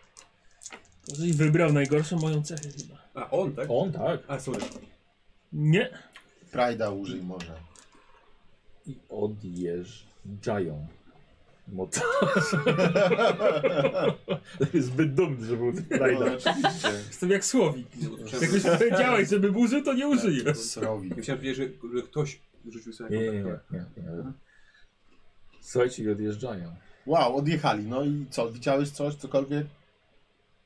Speaker 7: Może i wybrał najgorszą moją cechę chyba.
Speaker 6: A on, tak?
Speaker 1: on tak.
Speaker 6: A, sorry.
Speaker 7: Nie.
Speaker 4: Prajda użyj może.
Speaker 1: I odjeżdżają. Mota. Zbyt dumny, żeby był
Speaker 4: No,
Speaker 1: frajda.
Speaker 4: oczywiście.
Speaker 7: Jestem jak Słowik.
Speaker 6: Nie, usłyszałem-
Speaker 7: Jakbyś powiedziałeś, żeby burzy, to nie użyję.
Speaker 4: Srowi.
Speaker 6: Ja Myślałem, że, że ktoś rzucił sobie
Speaker 1: Nie,
Speaker 6: na
Speaker 1: nie, nie,
Speaker 6: kontakt.
Speaker 1: nie, nie. Słuchajcie, i odjeżdżają.
Speaker 4: Wow, odjechali. No i co? Widziałeś coś, cokolwiek?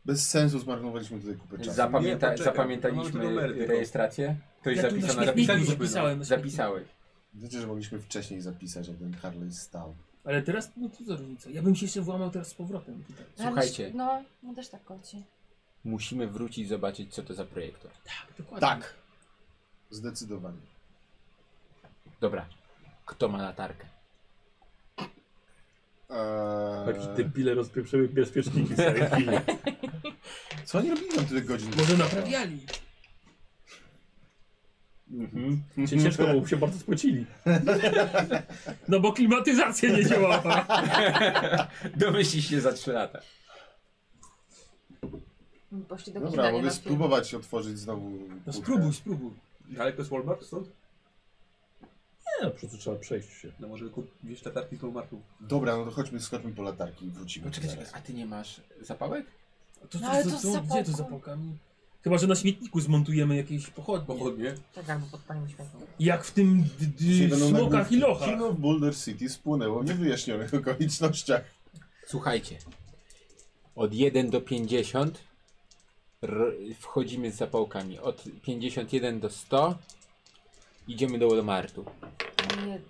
Speaker 4: Bez sensu zmarnowaliśmy tutaj kupę czasu.
Speaker 3: Zapamięta,
Speaker 6: Nie, poczekaj, mamy tu
Speaker 3: zapamiętaliśmy
Speaker 6: numery tylko.
Speaker 3: rejestrację? Ktoś
Speaker 7: Ja tu na
Speaker 3: zapisał na
Speaker 7: śmietniku
Speaker 3: zapisaniu?
Speaker 6: zapisaliśmy,
Speaker 7: zapisałem.
Speaker 3: Zapisałeś.
Speaker 4: Wiecie, że mogliśmy wcześniej zapisać, jak ten Harley stał.
Speaker 7: Ale teraz, no co za różnica. Ja bym się jeszcze włamał teraz z powrotem tutaj.
Speaker 2: Ale
Speaker 3: Słuchajcie.
Speaker 2: myśl- No, no też tak koci.
Speaker 3: Musimy wrócić zobaczyć, co to za projektor.
Speaker 7: Tak, dokładnie.
Speaker 4: Tak. Zdecydowanie.
Speaker 3: Dobra. Kto ma latarkę?
Speaker 1: Jakieś
Speaker 4: Eee,
Speaker 1: debile rozpieprzyły bezpieczniki w całej chwili.
Speaker 4: co oni robili tam tyle godzin?
Speaker 7: Może naprawiali.
Speaker 4: Mhm.
Speaker 1: Cię Ciężko, bo się bardzo spłacili.
Speaker 7: No bo klimatyzacja nie działała.
Speaker 3: Domyślisz się za 3 lata.
Speaker 2: Poszli do kina,
Speaker 4: Dobra,
Speaker 2: nie
Speaker 4: mogę
Speaker 2: na film.
Speaker 4: spróbować otworzyć znowu.
Speaker 7: No
Speaker 4: kłódkę.
Speaker 7: spróbuj, spróbuj.
Speaker 6: Daleko z Walmart stąd?
Speaker 1: Nie, no, po prostu trzeba przejść się.
Speaker 6: No może kup, wiesz, latarki z Walmartu.
Speaker 4: Dobra, no to chodźmy, skoczmy po latarki i wrócimy.
Speaker 3: Poczekaj, No czekaj,
Speaker 4: zaraz.
Speaker 3: a ty nie masz zapałek?
Speaker 7: To, to,
Speaker 2: No ale to z
Speaker 7: gdzie to
Speaker 2: zapałką.
Speaker 7: za pałkami? Chyba, że na śmietniku zmontujemy jakieś pochodnie.
Speaker 6: Pochodnie.
Speaker 2: Tak, albo pod panem śmietnikiem.
Speaker 7: Jak w tym d-
Speaker 4: Dzisiaj
Speaker 7: d-
Speaker 4: będą
Speaker 7: smokach
Speaker 4: nagłówki.
Speaker 7: i lochach.
Speaker 4: Kino w Boulder City spłynęło w niewyjaśnionych okolicznościach.
Speaker 3: Słuchajcie. Od 1 do 50 r- wchodzimy z zapałkami. Od 51 do 100 idziemy do Walmartu.
Speaker 2: Nie,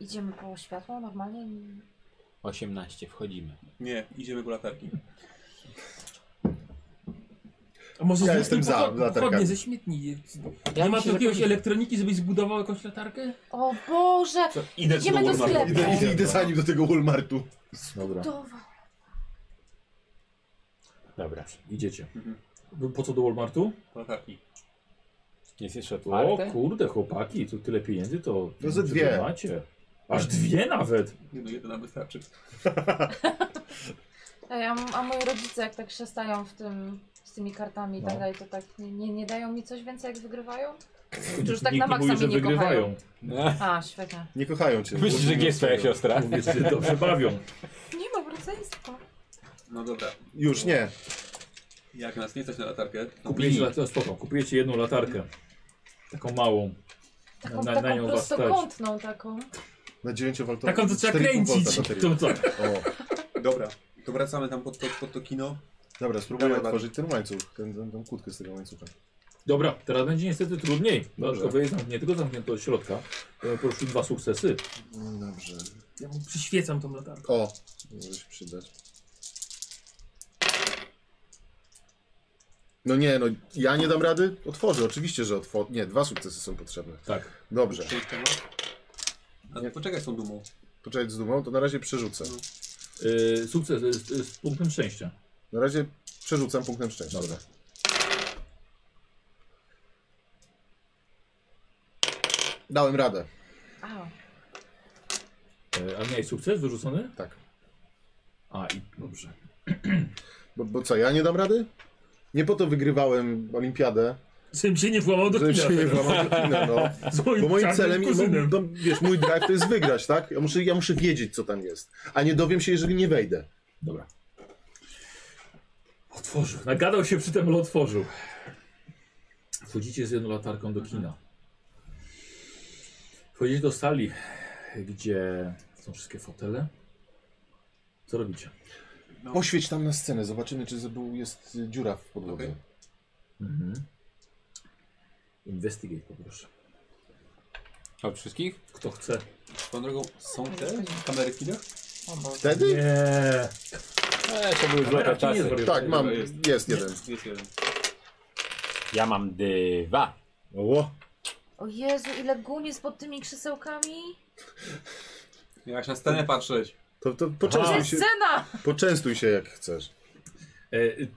Speaker 2: idziemy po światło normalnie? nie-
Speaker 3: 18 wchodzimy.
Speaker 6: Nie, idziemy po latarki.
Speaker 7: A może
Speaker 4: Ja
Speaker 7: zróbmy
Speaker 4: jestem za
Speaker 7: pochod-
Speaker 4: latarkami.
Speaker 7: pochodnie ze śmietni.
Speaker 3: Ja
Speaker 7: nie ma
Speaker 3: myślę,
Speaker 7: tu
Speaker 3: że
Speaker 7: jakiegoś
Speaker 3: powinniśmy-
Speaker 7: elektroniki, żebyś zbudował jakąś latarkę?
Speaker 2: O Boże!
Speaker 6: Idę
Speaker 2: Idziemy do sklepu.
Speaker 4: Idę, idę, idę za nim do tego Walmartu.
Speaker 1: Dobra,
Speaker 2: Budowa.
Speaker 1: dobra, idziecie.
Speaker 6: Mhm.
Speaker 1: Wy Po co do Walmartu?
Speaker 6: Po latarki.
Speaker 3: Jest jeszcze
Speaker 1: O
Speaker 3: otwarte?
Speaker 1: kurde, chłopaki, tu tyle pieniędzy to...
Speaker 4: To ze
Speaker 1: to
Speaker 4: dwie.
Speaker 1: Macie. Aż dwie nawet!
Speaker 6: Nie no, jedna nam wystarczy.
Speaker 2: Ej, a, a moi rodzice jak tak szestają w tym, z tymi kartami i
Speaker 1: No.
Speaker 2: tak dalej, to tak nie, nie, nie dają mi coś więcej jak wygrywają?
Speaker 1: Nikt
Speaker 2: już tak
Speaker 1: nie
Speaker 2: na maksa
Speaker 1: mówi, że
Speaker 2: mnie nie
Speaker 1: wygrywają.
Speaker 2: A, świetnie.
Speaker 4: Nie kochają cię.
Speaker 3: Myślisz, No, że gdzie jest twoja siostra?
Speaker 1: Mówię, że się dobrze bawią.
Speaker 2: Nie ma rodzeństwa.
Speaker 6: No dobra.
Speaker 4: Już nie.
Speaker 6: Jak nas nie stać na latarkę, no. to
Speaker 1: Kupujecie, lat- o, spoko, kupujecie jedną latarkę. Taką małą.
Speaker 2: Taką,
Speaker 1: Na- na- na
Speaker 2: taką
Speaker 1: nią was stać.
Speaker 2: prostokątną taką.
Speaker 4: Na dziewięciowoltową.
Speaker 10: Taką, co trzeba kręcić.
Speaker 1: To co?
Speaker 4: O,
Speaker 6: Dobra, to wracamy tam pod to, pod to kino.
Speaker 4: dobra, spróbuję
Speaker 6: Dawaj,
Speaker 4: otworzyć ten łańcuch, ten, ten, tą kłódkę z tego łańcucha.
Speaker 1: Dobra, teraz będzie niestety trudniej.
Speaker 4: Dobrze.
Speaker 1: Dodatkowo jest zamk- nie tylko zamknięto od środka, e, poruszył dwa sukcesy.
Speaker 4: Mm, Dobrze.
Speaker 7: Ja mu przyświecam tą latarką.
Speaker 4: O, może się przydać. No nie, no ja nie dam rady. Otworzę, oczywiście, że otworzę. Nie, dwa sukcesy są potrzebne.
Speaker 1: Tak.
Speaker 4: Dobrze.
Speaker 6: Część tego. A to poczekaj z tą dumą.
Speaker 4: Poczekaj z dumą, to na razie przerzucę.
Speaker 1: E, sukces e, z, z punktem szczęścia.
Speaker 4: Na razie przerzucam punktem szczęścia.
Speaker 1: Dobra.
Speaker 4: Dałem radę.
Speaker 2: A,
Speaker 1: E, a miałeś sukces wyrzucony?
Speaker 4: Tak.
Speaker 1: A i dobrze.
Speaker 4: Bo, bo co, ja nie dam rady? Nie po to wygrywałem olimpiadę,
Speaker 10: Żebym się nie włamał do
Speaker 4: żeby
Speaker 10: kina.
Speaker 4: się nie włamać do kina, no.
Speaker 10: Z moim
Speaker 4: Bo moim
Speaker 10: czarnym
Speaker 4: celem,
Speaker 10: kuzynem.
Speaker 4: no, wiesz, mój drive to jest wygrać, tak? Ja muszę, ja muszę wiedzieć, co tam jest. A nie dowiem się, jeżeli nie wejdę.
Speaker 1: Dobra. Otworzył. Nagadał się przy tym, ale otworzył. Wchodzicie z jedną latarką do kina. Wchodzicie do sali, gdzie są wszystkie fotele. Co robicie?
Speaker 4: No. Poświeć tam na scenę, zobaczymy, czy był, jest y, dziura w podłodze.
Speaker 6: Okej.
Speaker 1: Mhm. Investigate poproszę.
Speaker 3: Od wszystkich?
Speaker 1: Kto chce?
Speaker 6: Tą drogą, są te kamery w kinach?
Speaker 4: Wtedy?
Speaker 1: Nie.
Speaker 3: Eee, to były
Speaker 1: Kamera
Speaker 3: złote
Speaker 1: w kinie
Speaker 3: czasy.
Speaker 1: zwariuje.
Speaker 4: Tak, mam,
Speaker 6: Jest.
Speaker 4: jest jeden.
Speaker 6: Jest jeden.
Speaker 3: Ja mam dwa.
Speaker 4: O,
Speaker 2: o Jezu, ile guniec pod tymi krzesełkami.
Speaker 6: Miałaś na scenę patrzeć.
Speaker 4: to, to
Speaker 2: To
Speaker 4: poczęstuj
Speaker 2: jest
Speaker 4: się,
Speaker 2: scena!
Speaker 4: poczęstuj się jak chcesz.
Speaker 1: E, y,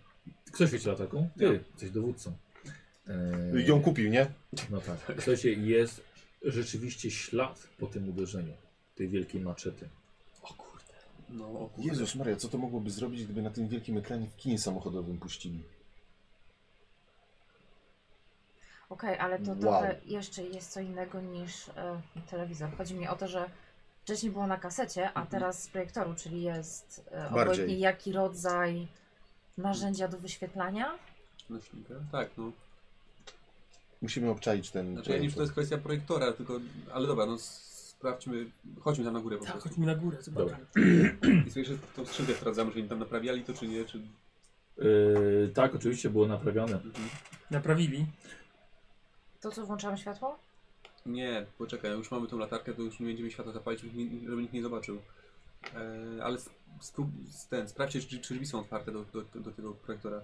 Speaker 1: kto świeci latarką? Ty.
Speaker 6: Ja.
Speaker 1: Jesteś dowódcą. E,
Speaker 4: Ją kupił, nie?
Speaker 1: No tak. Słuchajcie, jest rzeczywiście ślad po tym uderzeniu. Tej wielkiej maczety.
Speaker 6: No, o kurde.
Speaker 4: Jezus Maria, co to mogłoby zrobić, gdyby na tym wielkim ekranie w kinie samochodowym puścili?
Speaker 2: Okej, ale to
Speaker 4: Wow.
Speaker 2: trochę jeszcze jest co innego niż e, telewizor. Chodzi mi o to, że wcześniej było na kasecie,
Speaker 1: Mhm.
Speaker 2: a teraz z projektoru, czyli jest e,
Speaker 4: Bardziej.
Speaker 2: obojętnie jaki rodzaj narzędzia do wyświetlania.
Speaker 6: Nośnika? Tak, no.
Speaker 4: Musimy obczaić ten...
Speaker 6: Znaczy ja nie wiem, czy to jest kwestia projektora, tylko... Ale dobra, no sprawdźmy. Chodźmy tam na górę po
Speaker 7: Tak,
Speaker 6: prostu.
Speaker 7: chodźmy na górę, zobaczmy.
Speaker 6: I sobie jeszcze tą skrzynkę sprawdzamy, czy oni tam naprawiali to, czy nie, czy...
Speaker 1: E, tak, oczywiście było naprawiane.
Speaker 6: Mhm.
Speaker 7: Naprawili.
Speaker 2: To co, włączamy światło?
Speaker 6: Nie, poczekaj, no już mamy tą latarkę, to już nie będziemy światła zapalić, żeby nie- żeby nikt nie zobaczył. E, ale sp- sprób, ten, sprawdźcie, czy, czy drzwi są otwarte do, do, do tego projektora.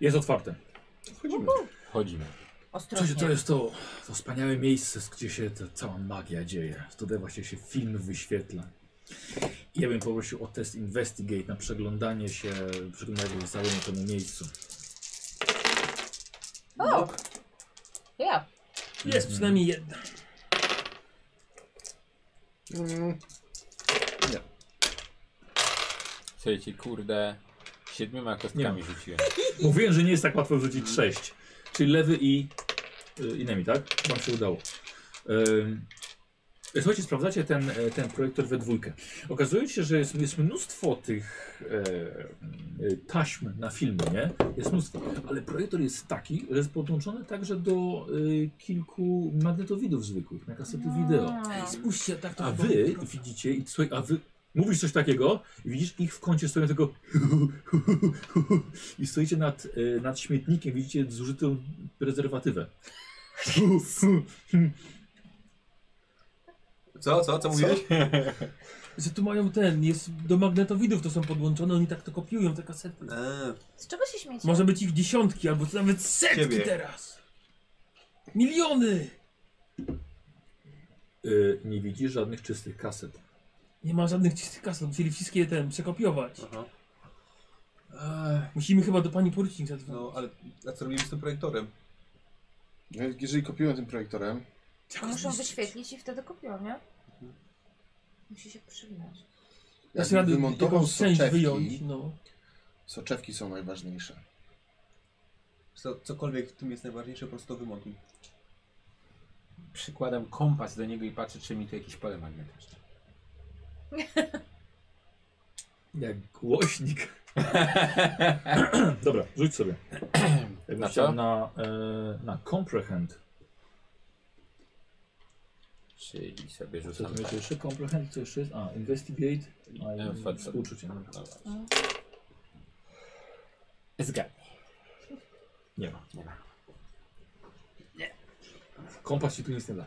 Speaker 1: Jest otwarte.
Speaker 4: Wchodzimy.
Speaker 3: Chodzimy.
Speaker 2: Ostrożnie.
Speaker 1: jest to, to wspaniałe miejsce, gdzie się ta cała magia dzieje. Tutaj właśnie się film wyświetla. I ja bym poprosił o test Investigate na przeglądanie się, przeglądanie całemu temu miejscu.
Speaker 2: O! Ja.
Speaker 7: Jest przynajmniej jedna.
Speaker 2: No.
Speaker 4: Mm,
Speaker 3: Słuchajcie, kurde, siedmioma kostkami rzuciłem.
Speaker 1: Mówiłem, że nie jest tak łatwo wrzucić 6. Czyli lewy i y, innymi, tak? Wam się udało. Ym, Słuchajcie, sprawdzacie ten, e, ten projektor we dwójkę. Okazuje się, że jest, jest mnóstwo tych e, e, taśm na filmie, nie? Jest mnóstwo, ale projektor jest taki, że jest podłączony także do y, kilku magnetowidów zwykłych, na kasety wideo.
Speaker 2: Mm.
Speaker 7: Spójrzcie, tak to
Speaker 1: A
Speaker 7: chyba
Speaker 1: wy
Speaker 7: było.
Speaker 1: widzicie, i słuchaj, a wy mówisz coś takiego, i widzisz ich w kącie stoją tego i stoicie nad, e, nad śmietnikiem, widzicie zużytą prezerwatywę. E,
Speaker 6: Co, co, co mówiłeś?
Speaker 7: Że tu mają ten, jest do magnetowidów to są podłączone, oni tak to kopiują te kasety.
Speaker 6: Eee,
Speaker 2: Z czego się śmiecie?
Speaker 7: Może być ich dziesiątki, albo nawet setki
Speaker 6: Ciebie.
Speaker 7: teraz. Miliony!
Speaker 1: Y, nie widzisz żadnych czystych kaset.
Speaker 7: Nie ma żadnych czystych kaset, musieli wszystkie ten przekopiować.
Speaker 6: aha.
Speaker 7: Musimy chyba do pani porucznik zadzwonić.
Speaker 6: No, ale a co robimy z tym projektorem?
Speaker 4: no, jeżeli kopiłem tym projektorem,
Speaker 7: Trzeba go
Speaker 2: Muszą
Speaker 7: zniszczyć.
Speaker 2: wyświetlić i wtedy kopią, nie? Musi się przywinąć.
Speaker 7: Dasz
Speaker 4: jakbym
Speaker 7: radę
Speaker 4: wymontował
Speaker 7: jakąś część wyjąć,
Speaker 4: soczewki,
Speaker 7: no.
Speaker 4: soczewki są najważniejsze.
Speaker 6: Co, cokolwiek w tym jest najważniejsze, po prostu to wymontuj.
Speaker 3: Przykładam kompas do niego i patrzę, czy mi tu jakieś pole magnetyczne.
Speaker 1: Jak głośnik. Dobra, rzuć sobie.
Speaker 3: Na
Speaker 1: Jakbyś
Speaker 3: co?
Speaker 1: chciał na, e, na comprehend.
Speaker 3: Czyli sobie
Speaker 1: Co znaczy?
Speaker 3: rzucam.
Speaker 1: tam jest jeszcze? Comprehend, co jeszcze jest? A, investigate.
Speaker 3: E,
Speaker 1: A, i
Speaker 3: facet.
Speaker 1: współczucie. no.
Speaker 3: Zgadnij.
Speaker 1: Nie ma.
Speaker 3: Nie ma.
Speaker 1: Kompas ci tu nic nie da.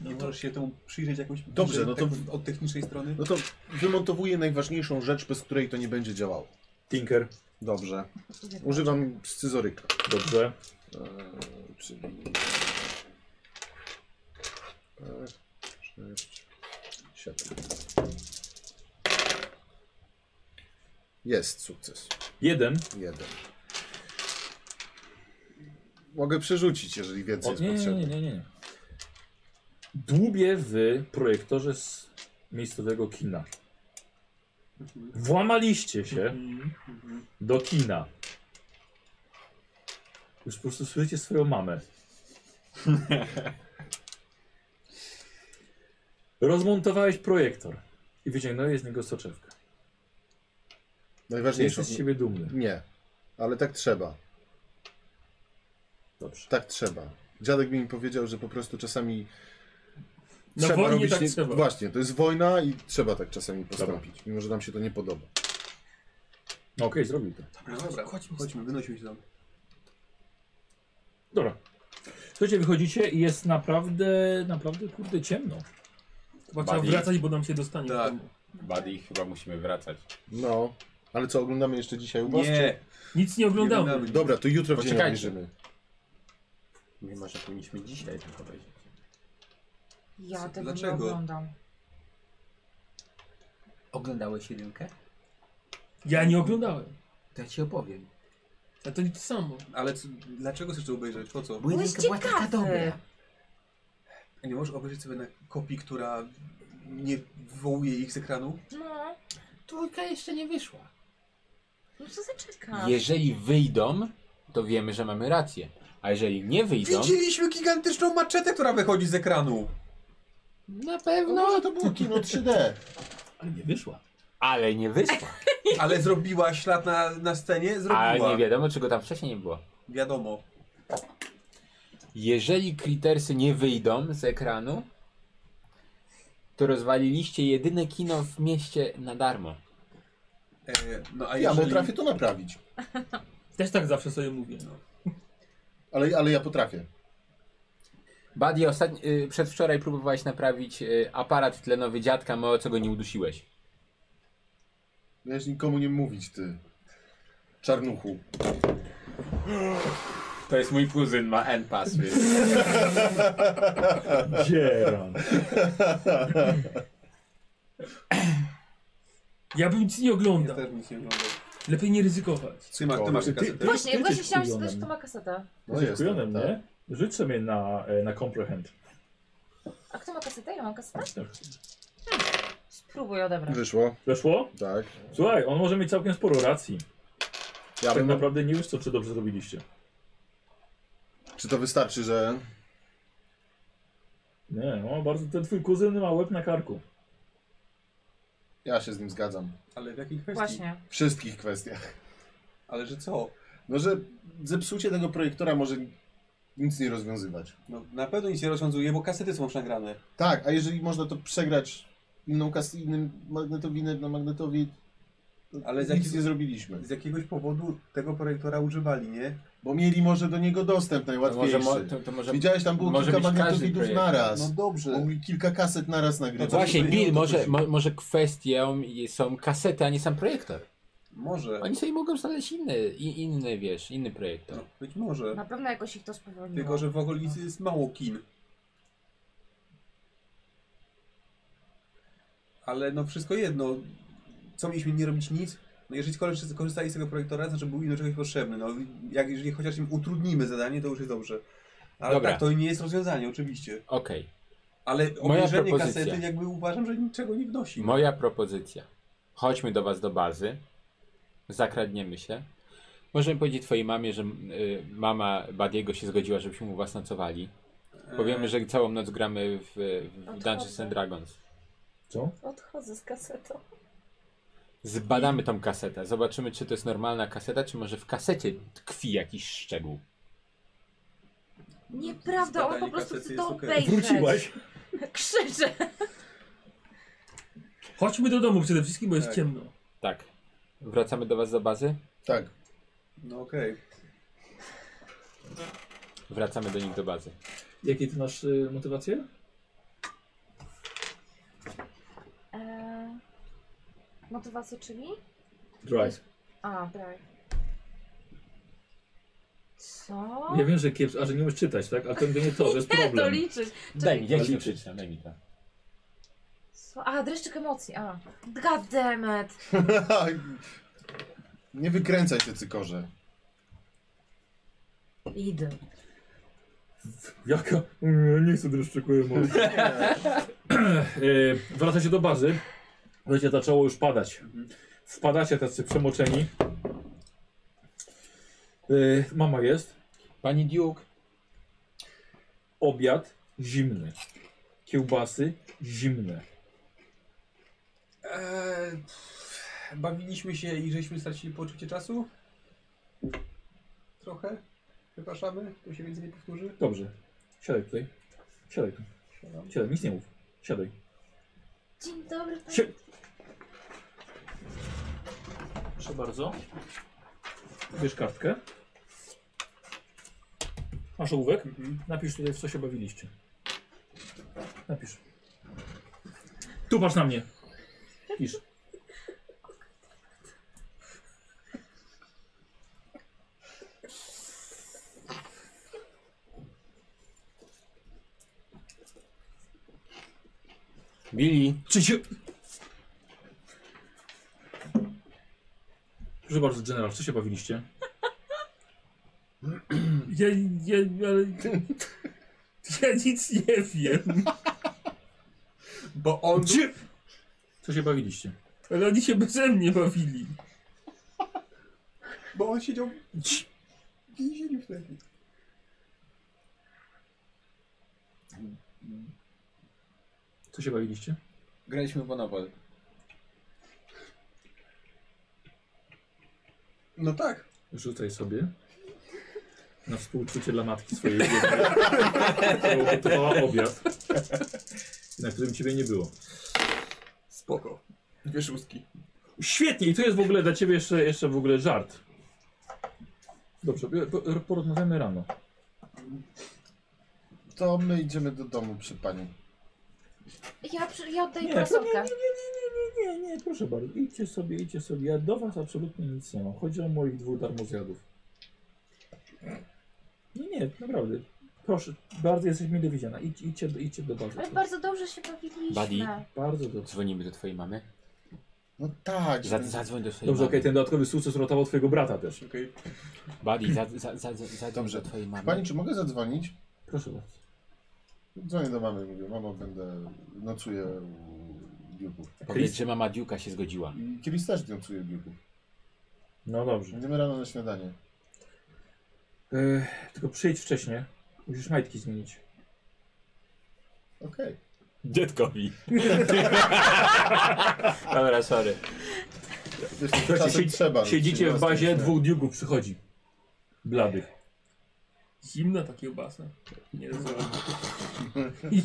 Speaker 6: Nie możesz się temu przyjrzeć jakąś
Speaker 4: Dobrze,
Speaker 6: bliżej,
Speaker 4: no to-
Speaker 6: tak od technicznej strony?
Speaker 4: No to wymontowuję najważniejszą rzecz, bez której to nie będzie działało.
Speaker 1: Tinker.
Speaker 4: Dobrze. Używam scyzoryka.
Speaker 1: Dobrze.
Speaker 4: Eee, czyli... Eee, sześć, siedem. Jest sukces.
Speaker 1: Jeden.
Speaker 4: Jeden. Mogę przerzucić, jeżeli więcej
Speaker 1: O,
Speaker 4: jest
Speaker 1: nie, nie, nie,
Speaker 4: potrzebne.
Speaker 1: nie, nie. Dłubie w projektorze z miejscowego kina. Włamaliście się
Speaker 7: Mhm.
Speaker 1: do kina. Już po prostu słyszycie swoją mamę. Rozmontowałeś projektor i wyciągnąłeś z niego soczewkę.
Speaker 4: Najważniejszą.
Speaker 1: Jesteś z siebie dumny.
Speaker 4: Nie, ale tak trzeba.
Speaker 1: Dobrze.
Speaker 4: Tak trzeba. Dziadek mi powiedział, że po prostu czasami.
Speaker 10: Na wojnie tak
Speaker 4: nie-
Speaker 10: trzeba.
Speaker 4: Właśnie, to jest wojna i trzeba tak czasami postąpić, mimo że nam się to nie podoba.
Speaker 1: No okej, zrobił to.
Speaker 6: No dobra,
Speaker 7: Chodźmy.
Speaker 6: chodźmy, wynosimy się tam.
Speaker 1: Dobra. Słuchajcie, wychodzicie i jest naprawdę, naprawdę kurde ciemno.
Speaker 7: Chyba trzeba
Speaker 3: Bawi.
Speaker 7: wracać, bo nam się dostanie.
Speaker 6: Tak.
Speaker 7: w domu.
Speaker 3: Buddy, chyba musimy wracać.
Speaker 4: No, ale co oglądamy jeszcze dzisiaj u was?
Speaker 6: Nie,
Speaker 7: Nic nie oglądamy.
Speaker 6: oglądamy.
Speaker 4: czy- Dobra, to jutro w dzień
Speaker 3: Poczekajcie.
Speaker 4: obejrzymy.
Speaker 3: Nie może powinniśmy dzisiaj tylko powiedzieć.
Speaker 2: Ja tego nie
Speaker 6: Dlaczego?
Speaker 2: oglądam.
Speaker 8: Oglądałeś jedynkę?
Speaker 7: Ja nie oglądałem.
Speaker 8: To ja ci opowiem.
Speaker 7: A to nic samo.
Speaker 6: ale co, dlaczego chcesz to obejrzeć? Po co?
Speaker 8: Bo
Speaker 2: Byłeś
Speaker 8: jedynka była taka
Speaker 2: ciekawy.
Speaker 8: dobra.
Speaker 6: Nie możesz obejrzeć sobie na kopii, która nie wywołuje ich z ekranu?
Speaker 2: No,
Speaker 8: Dwójka jeszcze nie wyszła.
Speaker 2: no co zaczeka?
Speaker 3: Jeżeli wyjdą, to wiemy, że mamy rację. A jeżeli nie wyjdą,
Speaker 6: Widzieliśmy gigantyczną maczetę, która wychodzi z ekranu!
Speaker 3: na
Speaker 4: No,
Speaker 3: pewno,
Speaker 4: to było kino 3D.
Speaker 1: Ale nie wyszła.
Speaker 3: ale nie wyszła.
Speaker 6: Ale zrobiła ślad na, na scenie?
Speaker 3: A
Speaker 6: Zrobiła.
Speaker 3: nie wiadomo, czego tam wcześniej nie było.
Speaker 6: Wiadomo.
Speaker 3: Jeżeli Critersy nie wyjdą z ekranu, to rozwaliliście jedyne kino w mieście na darmo.
Speaker 6: E, no a
Speaker 4: Ja
Speaker 6: jeżeli...
Speaker 4: potrafię to naprawić.
Speaker 7: Też tak zawsze sobie mówię.
Speaker 4: Ale, ale ja potrafię.
Speaker 3: Buddy, ostatni, y, przedwczoraj próbowałeś naprawić y, aparat tlenowy dziadka, mało co go nie udusiłeś.
Speaker 4: Wiesz, No, nikomu nie mówić, ty. Czarnuchu.
Speaker 3: To jest mój kuzyn, ma N-pass.
Speaker 1: Dzieran.
Speaker 7: Ja bym nic nie
Speaker 6: Ja
Speaker 7: oglądał.
Speaker 6: też nic nie oglądam.
Speaker 7: Lepiej nie ryzykować.
Speaker 6: Ty, ma, ty masz
Speaker 1: Ty-
Speaker 6: tę kasetę?
Speaker 1: ty
Speaker 2: Właśnie, właśnie
Speaker 1: jesteś
Speaker 2: chciałam
Speaker 1: chujonem.
Speaker 2: spytać, kto ma kasetę.
Speaker 4: No
Speaker 1: Jesteś
Speaker 4: jestem,
Speaker 1: kujonem,
Speaker 4: tak.
Speaker 1: nie? Rzuć sobie na, e, na comprehend.
Speaker 2: A kto ma kasetę? Ja mam kasetę?
Speaker 8: Tak.
Speaker 2: Hmm. Spróbuj odebrać.
Speaker 4: Wyszło,
Speaker 1: Weszło?
Speaker 4: tak.
Speaker 1: Słuchaj, on może mieć całkiem sporo racji.
Speaker 4: Ja
Speaker 1: Tak
Speaker 4: bym...
Speaker 1: naprawdę nie wiesz co, czy dobrze zrobiliście.
Speaker 4: Czy to wystarczy, że
Speaker 1: Nie, no bardzo, ten twój kuzyn ma łeb na karku.
Speaker 4: ja się z nim zgadzam?
Speaker 6: Ale w jakiej kwestii?
Speaker 2: Właśnie.
Speaker 4: W wszystkich kwestiach.
Speaker 6: Ale że co?
Speaker 4: No, że zepsucie tego projektora może nic nie rozwiązywać.
Speaker 6: No, na pewno nic nie rozwiązuje, bo kasety są już nagrane.
Speaker 4: Tak, a jeżeli można to przegrać inną kas innym magnetowinem na magnetowi, to
Speaker 6: Ale z
Speaker 4: nic
Speaker 6: jakiego-
Speaker 4: nie zrobiliśmy.
Speaker 6: Z jakiegoś powodu tego projektora używali, nie?
Speaker 4: Bo mieli może do niego dostęp
Speaker 3: To może,
Speaker 4: najłatwiejszy.
Speaker 3: mo- to, to może...
Speaker 4: Widziałeś, tam było
Speaker 3: może
Speaker 4: kilka
Speaker 3: być każdy
Speaker 4: magnetowidów
Speaker 3: projekt. No
Speaker 4: naraz.
Speaker 6: No dobrze.
Speaker 4: Mogli kilka kaset naraz nagrywać.
Speaker 6: To
Speaker 3: Właśnie,
Speaker 6: żeby-
Speaker 3: Bill,
Speaker 6: to
Speaker 3: może,
Speaker 6: chodzi.
Speaker 3: mo, może kwestią i- są kasety, a nie sam projektor.
Speaker 6: Może.
Speaker 3: Oni sobie mogą znaleźć inny, i- inny wiesz, inny projektor.
Speaker 6: No, być może.
Speaker 2: Na pewno jakoś ich to spowolniło.
Speaker 6: Tylko, że w okolicy jest mało kin. Ale no wszystko jedno. Co mieliśmy nie robić nic? No jeżeli koleś- korzystali z tego projektora, to znaczy był im do czegoś potrzebny. No jak, jeżeli chociaż im utrudnimy zadanie, to już jest dobrze. Ale
Speaker 3: Dobra.
Speaker 6: tak, to nie jest rozwiązanie, oczywiście.
Speaker 3: Okej,
Speaker 6: Ale
Speaker 3: Moja
Speaker 6: obejrzenie
Speaker 3: propozycja.
Speaker 6: kasety jakby uważam, że niczego nie wnosi.
Speaker 3: moja propozycja. Chodźmy do was do bazy, zakradniemy się. Możemy powiedzieć twojej mamie, że y, mama Badiego się zgodziła, żebyśmy u was nocowali. Powiemy, że całą noc gramy w, w
Speaker 2: Odchodzę.
Speaker 3: Dungeons and Dragons.
Speaker 1: Co?
Speaker 2: Odchodzę z kasetą.
Speaker 3: Zbadamy tą kasetę. Zobaczymy, czy to jest normalna kaseta, czy może w kasecie tkwi jakiś szczegół.
Speaker 2: Nieprawda, on po
Speaker 6: Zbadanie
Speaker 2: prostu
Speaker 6: kasety
Speaker 2: chce to
Speaker 6: jest okej.
Speaker 2: obejrzeć.
Speaker 5: Wróciłaś.
Speaker 2: Krzyczy.
Speaker 10: Chodźmy do domu przede wszystkim, bo jest
Speaker 6: Tak.
Speaker 10: ciemno.
Speaker 3: Tak. Wracamy do was do bazy?
Speaker 4: Tak.
Speaker 6: No okej.
Speaker 3: Wracamy do nich do bazy.
Speaker 1: Jakie ty masz y, motywacje?
Speaker 2: Eee, motywacje, czyli?
Speaker 1: Drive.
Speaker 2: A, tak. braj. Co?
Speaker 1: Ja wiem, że kiepsko, a że nie umiesz czytać, tak? Ale to nie to, to jest
Speaker 2: to
Speaker 1: problem.
Speaker 2: liczyć.
Speaker 3: Daj mi,
Speaker 1: jak
Speaker 3: jak
Speaker 1: się
Speaker 3: liczyć? Daj mi to.
Speaker 2: Co? A, dreszczyk emocji, a. God damn it.
Speaker 4: nie wykręcaj się, cykorze.
Speaker 2: Idę.
Speaker 1: Jaka? Nie, nie chcę dreszczykuję emocji. e, wracacie do bazy. Wiecie, zaczęło już padać. Wpadacie tacy przemoczeni. E, mama jest.
Speaker 3: Pani Duke,
Speaker 1: Obiad zimny. Kiełbasy zimne.
Speaker 6: Eee, pff, bawiliśmy się i żeśmy stracili poczucie czasu? Trochę? Przepraszamy, to się więcej nie powtórzy.
Speaker 1: Dobrze. Siadaj tutaj. Siadaj tu. Siadaj, nic nie mów. Siadaj.
Speaker 2: Dzień dobry, pan.
Speaker 1: Sie... Proszę bardzo. Bierz kartkę. Masz ołówek?
Speaker 10: Mhm.
Speaker 1: Napisz tutaj, w co się bawiliście. Napisz. Tu patrz na mnie. Pisz.
Speaker 3: Billy,
Speaker 1: Czy się... Proszę bardzo, general, w co się bawiliście?
Speaker 10: Ja, ja, ale... ja nic nie wiem.
Speaker 6: Bo on...
Speaker 1: Gdzie? Co się bawiliście?
Speaker 10: Ale oni się beze mnie bawili.
Speaker 6: Bo on siedział w więzieniu wtedy.
Speaker 1: Co się bawiliście?
Speaker 3: graliśmy w Monopol.
Speaker 6: No tak.
Speaker 1: Rzucaj sobie. Na współczucie dla matki swojej biednej, która ugotowała obiad, na którym ciebie nie było.
Speaker 6: Spoko. Dwie szóstki.
Speaker 1: Świetnie! I tu jest w ogóle dla ciebie jeszcze, jeszcze w ogóle żart. Dobrze, po- porozmawiamy rano.
Speaker 4: To my idziemy do domu przy pani.
Speaker 2: Ja, przy, ja oddaję
Speaker 1: Nie, to nie, nie,
Speaker 2: prasówkę.
Speaker 1: nie, nie, nie, nie, nie, nie, proszę bardzo. Idźcie sobie, idźcie sobie. Ja do was absolutnie nic nie mam. Chodzi o moich dwóch darmozjadów. Nie, nie, naprawdę. Proszę, bardzo jesteś mile widziana. Idź, idźcie, do- idźcie do bazy.
Speaker 2: Ale bardzo dobrze się bawiliśmy.
Speaker 3: Buddy.
Speaker 1: Bardzo dobrze.
Speaker 3: Dzwonimy do twojej mamy.
Speaker 4: No tak.
Speaker 3: Za-
Speaker 4: ten-
Speaker 3: Zadzwoń do twojej
Speaker 1: Dobrze, okej,
Speaker 3: mamy.
Speaker 1: ten dodatkowy sukces uratował twojego brata też.
Speaker 6: Okej.
Speaker 3: Buddy, za- za- za- za- zadzwoń
Speaker 4: Dobrze.
Speaker 3: do twojej mamy.
Speaker 4: Pani, czy mogę zadzwonić?
Speaker 1: Proszę bardzo.
Speaker 4: Dzwonię do mamy, mówię, mamo, będę, nocuję u biurku.
Speaker 3: Powiedz, że mama Duke'a się zgodziła.
Speaker 4: I Kielis też nocuje w biurku.
Speaker 1: No dobrze.
Speaker 4: Będziemy rano na śniadanie.
Speaker 1: Yy, tylko przyjdź wcześniej. Musisz majtki zmienić.
Speaker 4: Okej.
Speaker 3: Dziadkowi. Dobra, sorry.
Speaker 4: Okay.
Speaker 1: Słuchajcie, siedzi-
Speaker 4: no,
Speaker 1: Siedzicie w bazie, dwóch diugów przychodzi. Bladych.
Speaker 10: Zimna ta kiełbasa. Nie rozumiem.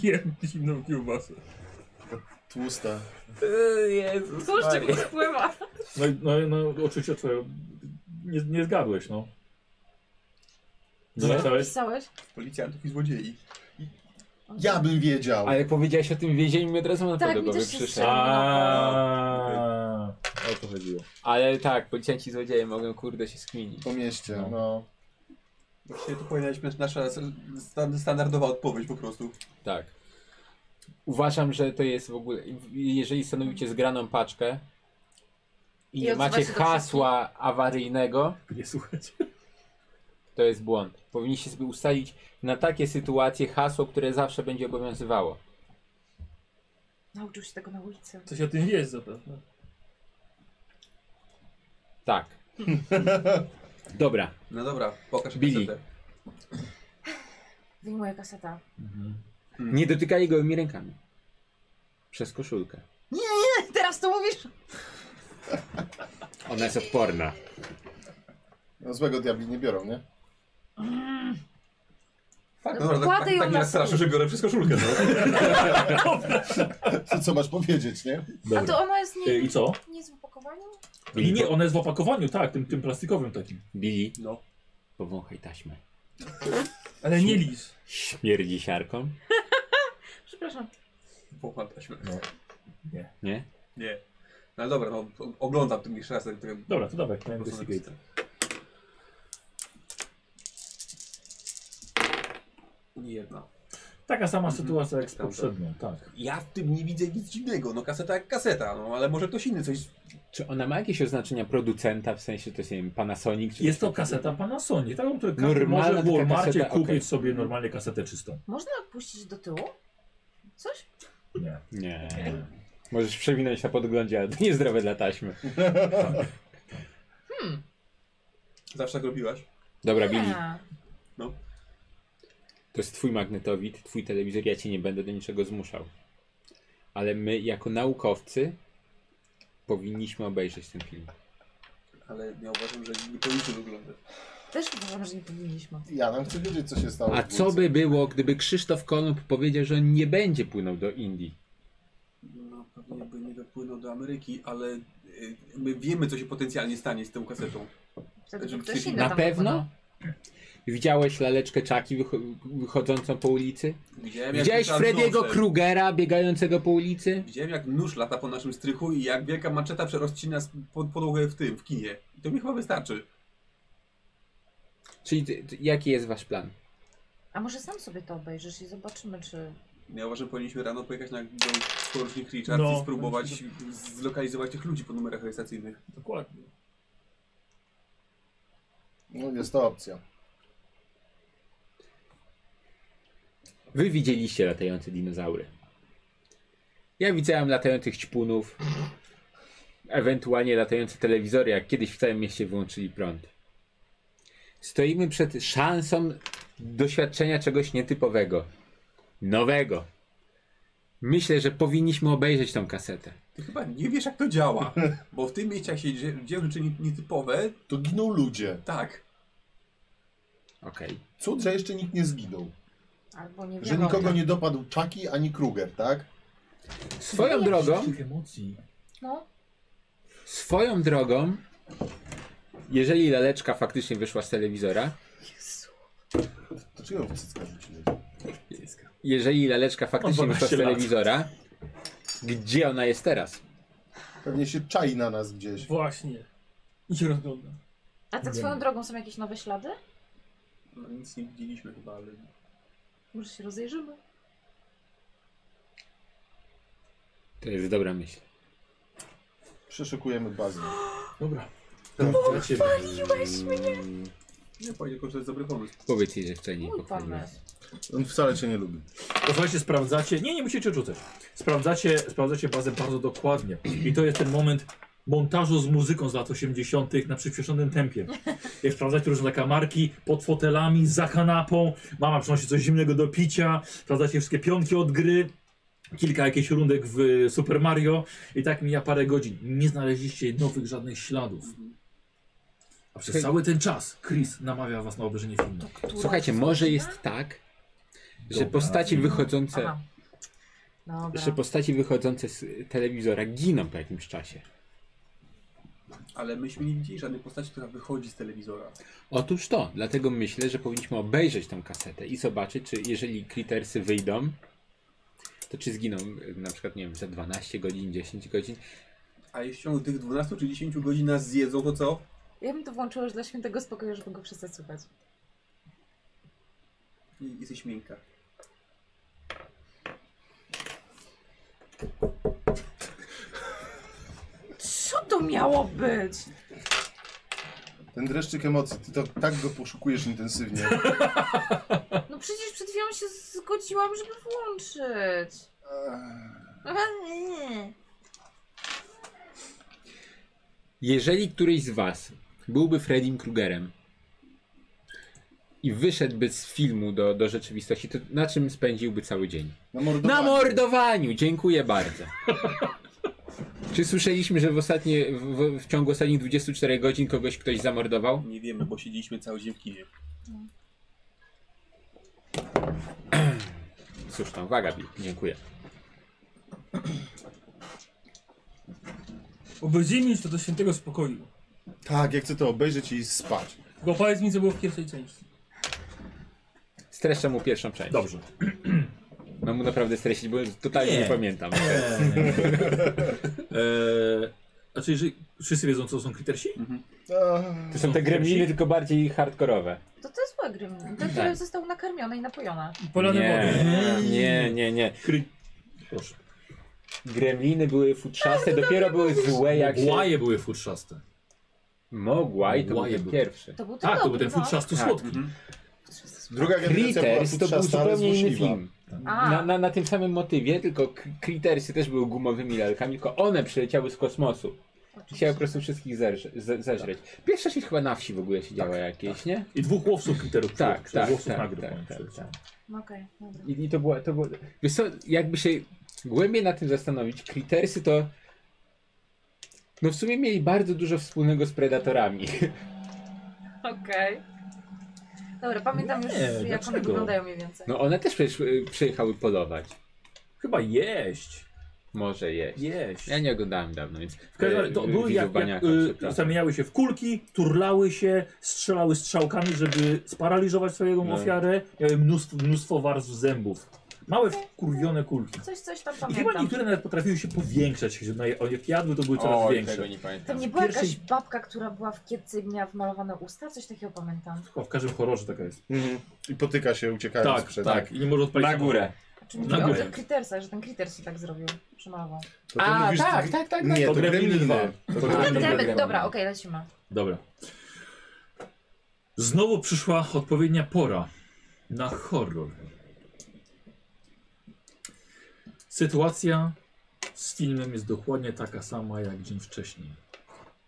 Speaker 10: Jem zimną kiełbasę.
Speaker 4: Tłusta.
Speaker 1: E,
Speaker 2: Tłuszczyk mi spływa.
Speaker 1: No, i- no, i- no oczywiście twoje... Nie, nie zgadłeś, no. Co
Speaker 3: Nie?
Speaker 1: napisałeś?
Speaker 2: Pisałeś?
Speaker 6: Policjantów i złodziei.
Speaker 4: Ja bym wiedział.
Speaker 3: Ale jak powiedziałeś o tym więzieniu, mi od razu na to
Speaker 2: Tak,
Speaker 3: do
Speaker 2: mi
Speaker 3: głowy
Speaker 2: też się
Speaker 3: przyszedł.
Speaker 2: strzela.
Speaker 1: Aaaa, O to chodziło.
Speaker 3: Ale tak, policjanci złodzieje mogą kurde się skminić.
Speaker 4: Po mieście,
Speaker 3: No.
Speaker 4: no.
Speaker 6: Właściwie to powinna być nasza stan- standardowa odpowiedź po prostu.
Speaker 3: Tak. Uważam, że to jest w ogóle. Jeżeli stanowicie zgraną paczkę i
Speaker 2: I
Speaker 3: nie
Speaker 2: odzywa
Speaker 3: macie
Speaker 2: się do
Speaker 3: hasła awaryjnego,
Speaker 1: Nie słuchajcie.
Speaker 3: to jest błąd. Powinniście sobie ustalić na takie sytuacje hasło, które zawsze będzie obowiązywało.
Speaker 2: Nauczył się tego na ulicy.
Speaker 10: Coś o tym wiesz zapewne.
Speaker 3: Tak. Dobra.
Speaker 6: No dobra, pokaż
Speaker 3: Billy.
Speaker 6: kasetę.
Speaker 2: Wyjmuję kaseta.
Speaker 3: Nie dotykaj go mi rękami. Przez koszulkę.
Speaker 2: Teraz to mówisz?
Speaker 3: Ona jest odporna.
Speaker 4: No, złego diabli nie biorą, nie?
Speaker 6: Tak,
Speaker 2: Dobra,
Speaker 6: no, tak,
Speaker 2: kładę
Speaker 6: tak,
Speaker 2: ją
Speaker 6: tak
Speaker 2: na
Speaker 6: mnie nastraszył, że biorę wszystko szulkę. No.
Speaker 4: Co, co masz powiedzieć, nie?
Speaker 2: A to ona jest
Speaker 1: E,
Speaker 2: nie,
Speaker 1: I co?
Speaker 2: nie z w opakowaniu?
Speaker 1: I nie, one jest w opakowaniu, tak, tym, tym plastikowym takim.
Speaker 3: Bili,
Speaker 8: No.
Speaker 3: powąchaj taśmę.
Speaker 7: Ale nie licz.
Speaker 3: Śmierdzi siarką?
Speaker 2: Przepraszam.
Speaker 6: Pochłantaliśmy.
Speaker 3: Nie?
Speaker 6: Nie. No ale dobra, no, o- oglądam tym jeszcze raz. Tak, tak,
Speaker 1: Dobra, to dawaj, na investigate.
Speaker 6: Nie jedna.
Speaker 1: Taka sama
Speaker 6: Mhm.
Speaker 1: sytuacja jak z
Speaker 6: Dobra.
Speaker 1: poprzednią, tak.
Speaker 6: Ja w tym nie widzę nic dziwnego. No kaseta jak kaseta, no ale może ktoś inny coś.
Speaker 3: Czy ona ma jakieś oznaczenia producenta, w sensie to jest, nie wiem, Panasonic? Czy
Speaker 1: Jest
Speaker 3: coś
Speaker 1: to kaseta Panasonic, taką, którą każdy
Speaker 3: Normalna
Speaker 1: może w
Speaker 3: taka
Speaker 1: Walmartie
Speaker 3: kaseta,
Speaker 1: kupić
Speaker 3: okej.
Speaker 1: sobie normalnie kasetę czystą.
Speaker 2: Można puścić do tyłu? Coś?
Speaker 1: Nie.
Speaker 3: takiego? Nie. Możesz przewinąć na podglądzie, ale to niezdrowe dla taśmy.
Speaker 6: Zawsze tak robiłaś.
Speaker 3: Dobra, Bili,
Speaker 2: Nie.
Speaker 3: to jest twój magnetowid, twój telewizor, ja cię nie będę do niczego zmuszał. Ale my, jako naukowcy, powinniśmy obejrzeć ten film.
Speaker 6: Ale ja uważam, że nie powinniśmy wyglądać.
Speaker 2: Też uważam, że nie powinniśmy.
Speaker 4: Ja nam chcę wiedzieć, co się stało.
Speaker 3: A
Speaker 4: w
Speaker 3: co
Speaker 4: Polsce.
Speaker 3: by było, gdyby Krzysztof Kolumb powiedział, że on nie będzie płynął do Indii?
Speaker 6: No pewnie by nie dopłynął do Ameryki, ale y, my wiemy co się potencjalnie stanie z tą kasetą.
Speaker 2: Wtedy by
Speaker 6: Żeby
Speaker 2: ktoś
Speaker 6: chcieli-
Speaker 2: inny
Speaker 3: Na
Speaker 2: tam no.
Speaker 3: pewno?
Speaker 2: wpłynął.
Speaker 3: Widziałeś laleczkę Czaki wycho- wychodzącą po ulicy?
Speaker 6: Widziałem, jak
Speaker 3: Widziałeś
Speaker 6: rzucała
Speaker 3: Frediego
Speaker 6: nosem.
Speaker 3: Krugera biegającego po ulicy?
Speaker 6: Widziałem jak nóż lata po naszym strychu i jak wielka maczeta przerozcina s- pod- podłogę w tym, w kinie. I to mi chyba wystarczy.
Speaker 3: Czyli ty, ty, jaki jest wasz plan?
Speaker 2: A może sam sobie to obejrzysz i zobaczymy, czy...
Speaker 6: Ja uważam, że powinniśmy rano pojechać na do porucznik Richards
Speaker 1: No.
Speaker 6: i spróbować zlokalizować tych ludzi po numerach rejestracyjnych.
Speaker 1: Dokładnie.
Speaker 4: No jest to opcja.
Speaker 3: Wy widzieliście latające dinozaury. Ja widziałem latających ćpunów, ewentualnie latające telewizory, jak kiedyś w całym mieście wyłączyli prąd. Stoimy przed szansą doświadczenia czegoś nietypowego, nowego. Myślę, że powinniśmy obejrzeć tą kasetę.
Speaker 6: Ty chyba nie wiesz jak to działa, bo w tym mieście jak się dzie- dzieją rzeczy nie- nietypowe,
Speaker 4: To giną ludzie.
Speaker 6: tak.
Speaker 3: Okej.
Speaker 4: Cud, że jeszcze nikt nie zginął.
Speaker 2: Albo nie
Speaker 4: Że
Speaker 2: wiem.
Speaker 4: nikogo nie dopadł Chucky ani Kruger, tak?
Speaker 3: Swoją drogą,
Speaker 1: Tych emocji.
Speaker 2: No,
Speaker 3: swoją drogą, jeżeli laleczka faktycznie wyszła z telewizora,
Speaker 4: To czego ją w cycka rzuciłeś?
Speaker 3: jeżeli laleczka faktycznie
Speaker 1: Ma
Speaker 3: wyszła z
Speaker 1: 12 lat.
Speaker 3: telewizora, gdzie ona jest teraz?
Speaker 4: Pewnie się czai na nas gdzieś.
Speaker 7: Właśnie. I się rozgląda.
Speaker 2: a tak
Speaker 1: Nie
Speaker 2: swoją
Speaker 1: wiem.
Speaker 2: drogą są jakieś nowe ślady?
Speaker 6: No, nic nie widzieliśmy chyba, ale
Speaker 2: Może się rozejrzymy?
Speaker 3: To jest dobra myśl.
Speaker 4: Przeszukujemy bazę.
Speaker 1: Dobra. No,
Speaker 3: No,
Speaker 4: Dobra.
Speaker 2: Paliłeś mnie!
Speaker 6: nie powiem tylko, że to jest dobry pomysł.
Speaker 3: Powiedz jej, że wcześniej
Speaker 2: Mój
Speaker 3: pochwaliłem.
Speaker 2: pomysł.
Speaker 4: On wcale cię nie lubi.
Speaker 1: Posłuchajcie, sprawdzacie. Nie, nie musicie rzucać. Sprawdzacie, sprawdzacie bazę bardzo dokładnie. I to jest ten moment montażu z muzyką z lat 80. na przyspieszonym tempie. Jak sprawdzacie różne kamarki pod fotelami, za kanapą. Mama przynosi coś zimnego do picia. Sprawdzacie wszystkie pionki od gry. Kilka jakichś rundek w y, Super Mario. I tak mija parę godzin. Nie znaleźliście nowych żadnych śladów. A przez cały ten czas Chris namawia was na obejrzenie filmu.
Speaker 2: To która
Speaker 3: Słuchajcie,
Speaker 2: jest
Speaker 3: może
Speaker 2: godzina?
Speaker 3: jest tak, że
Speaker 1: Dobra,
Speaker 3: postaci
Speaker 1: no.
Speaker 3: wychodzące,
Speaker 2: Aha. Dobra.
Speaker 3: że postaci wychodzące z telewizora giną po jakimś czasie.
Speaker 6: Ale myśmy nie widzieli żadnej postaci, która wychodzi z telewizora.
Speaker 3: Otóż to, dlatego myślę, że powinniśmy obejrzeć tą kasetę i zobaczyć, czy jeżeli Crittersy wyjdą, to czy zginą y, na przykład, nie wiem, za 12 godzin, 10 godzin.
Speaker 6: A jeśli w ciągu tych 12 czy 10 godzin nas zjedzą, to co?
Speaker 2: Ja bym to włączyła już dla świętego spokoju, żeby go przestać słuchać.
Speaker 6: I, jesteś miękka.
Speaker 2: Co to miało być?
Speaker 4: Ten dreszczyk emocji, ty to tak go poszukujesz intensywnie.
Speaker 2: No przecież przed chwilą się zgodziłam, żeby włączyć.
Speaker 6: Eee.
Speaker 2: No,
Speaker 3: Jeżeli któryś z was byłby Freddym Krugerem i wyszedłby z filmu do, do rzeczywistości, to na czym spędziłby cały dzień?
Speaker 4: Na mordowanie.
Speaker 3: Na mordowaniu! Dziękuję bardzo. Czy słyszeliśmy, że w, ostatnie, w, w ciągu ostatnich 24 godzin kogoś ktoś zamordował?
Speaker 6: Nie wiemy, bo siedzieliśmy cały dzień w kinie.
Speaker 3: Słuszna uwaga, Bill. Dziękuję.
Speaker 10: Obejrzyjmy już to do świętego spokoju.
Speaker 4: Tak, ja chcę to obejrzeć i spać.
Speaker 10: Tylko powiedz mi, co było w pierwszej części.
Speaker 3: Streszczę mu pierwszą część.
Speaker 1: Dobrze.
Speaker 3: Mam mu naprawdę streścić, bo totalnie nie,
Speaker 1: Nie.
Speaker 3: pamiętam.
Speaker 1: Eee, znaczy, jeżeli wszyscy wiedzą, co są kritersi? Tak.
Speaker 3: To są te gremliny, tylko bardziej hardkorowe.
Speaker 2: To to jest złe gremlin.
Speaker 1: Tak.
Speaker 2: Ten, który został nakarmiony i napojony.
Speaker 10: Polane
Speaker 3: nie,
Speaker 10: wody.
Speaker 3: nie, nie, nie.
Speaker 1: Kry... Proszę.
Speaker 3: Gremliny były futrzaste, dopiero były złe jak się...
Speaker 1: Mgłaje były futrzaste.
Speaker 3: Mogła i to był
Speaker 1: Mgłaje
Speaker 3: ten
Speaker 1: były.
Speaker 3: pierwszy.
Speaker 2: To był ten
Speaker 1: Tak, Mhm. to był
Speaker 2: dobry,
Speaker 1: ten
Speaker 2: no.
Speaker 1: futrzasty
Speaker 3: Tak.
Speaker 1: słodki.
Speaker 4: Druga generacja była
Speaker 3: Critters to był
Speaker 4: futrzasta, ale
Speaker 3: zupełnie inny
Speaker 4: złośliwa.
Speaker 3: film.
Speaker 2: A.
Speaker 3: Na, na, na tym samym motywie, tylko K- Crittersy też były gumowymi lalkami, tylko one przyleciały z kosmosu. Chciały po prostu wszystkich zerze, ze- zeżreć.
Speaker 4: Tak.
Speaker 3: Pierwsza część chyba na wsi w ogóle się działa jakieś, nie?
Speaker 1: I dwóch łowców kriterów.
Speaker 3: Tak, tak,
Speaker 1: Łowców
Speaker 3: tak,
Speaker 1: nagród,
Speaker 3: tak,
Speaker 1: powiem
Speaker 3: tak,
Speaker 1: przecież.
Speaker 3: tak.
Speaker 2: No Okej, dobra.
Speaker 3: I, i to było, to było... Wiesz co, jakby się głębiej na tym zastanowić, Crittersy to... No w sumie mieli bardzo dużo wspólnego z Predatorami.
Speaker 2: Okej. Dobra, pamiętam już,
Speaker 1: Nie,
Speaker 2: jak one
Speaker 1: dlaczego?
Speaker 2: wyglądają mniej więcej.
Speaker 3: No one też przecież y, przyjechały polować.
Speaker 1: Chyba jeść.
Speaker 3: Może jeść.
Speaker 1: Jeść.
Speaker 3: Ja nie oglądałem dawno, więc...
Speaker 1: W każdym razie to
Speaker 3: y,
Speaker 1: były jak,
Speaker 3: widzów tak.
Speaker 1: jak
Speaker 3: baniaka,
Speaker 1: y,
Speaker 3: przepraszam.
Speaker 1: zamieniały się w kulki, turlały się, strzelały strzałkami, żeby sparaliżować swojego
Speaker 3: No.
Speaker 1: ofiarę. Miały mnóstwo, mnóstwo warstw zębów. Małe wkurwione kulki.
Speaker 2: Coś, coś tam
Speaker 1: I chyba
Speaker 2: pamiętam.
Speaker 1: niektóre nawet potrafiły się powiększać. że na- Jak jadły, to były coraz
Speaker 3: Oj,
Speaker 1: większe.
Speaker 3: tego nie
Speaker 2: To
Speaker 3: pamiętam.
Speaker 2: nie była jakaś
Speaker 1: Pierwszej-
Speaker 2: babka, która była w kietce i miała wmalowane usta? Coś takiego pamiętam.
Speaker 1: Chyba w każdym horrorze taka jest.
Speaker 4: Mhm. I potyka się, uciekając
Speaker 1: Tak,
Speaker 4: przed...
Speaker 1: tak. I nie może odpalić.
Speaker 3: Na górę.
Speaker 2: Czy
Speaker 1: Na
Speaker 2: Znaczy, mówię o
Speaker 1: górę.
Speaker 2: tych Crittersach, że ten Critters się tak zrobił, przemalował.
Speaker 4: To ty mówisz-
Speaker 3: tak, tak.
Speaker 4: Nie, to
Speaker 1: To Gremliny
Speaker 4: Gremliny.
Speaker 1: dwa.
Speaker 4: To
Speaker 2: tak.
Speaker 1: Tak, To
Speaker 4: Gremliny.
Speaker 2: Dobra,
Speaker 3: Dobra.
Speaker 2: dobra okej, lecimy.
Speaker 1: Dobra. Znowu przyszła odpowiednia pora na horror. Sytuacja z filmem jest dokładnie taka sama jak dzień wcześniej.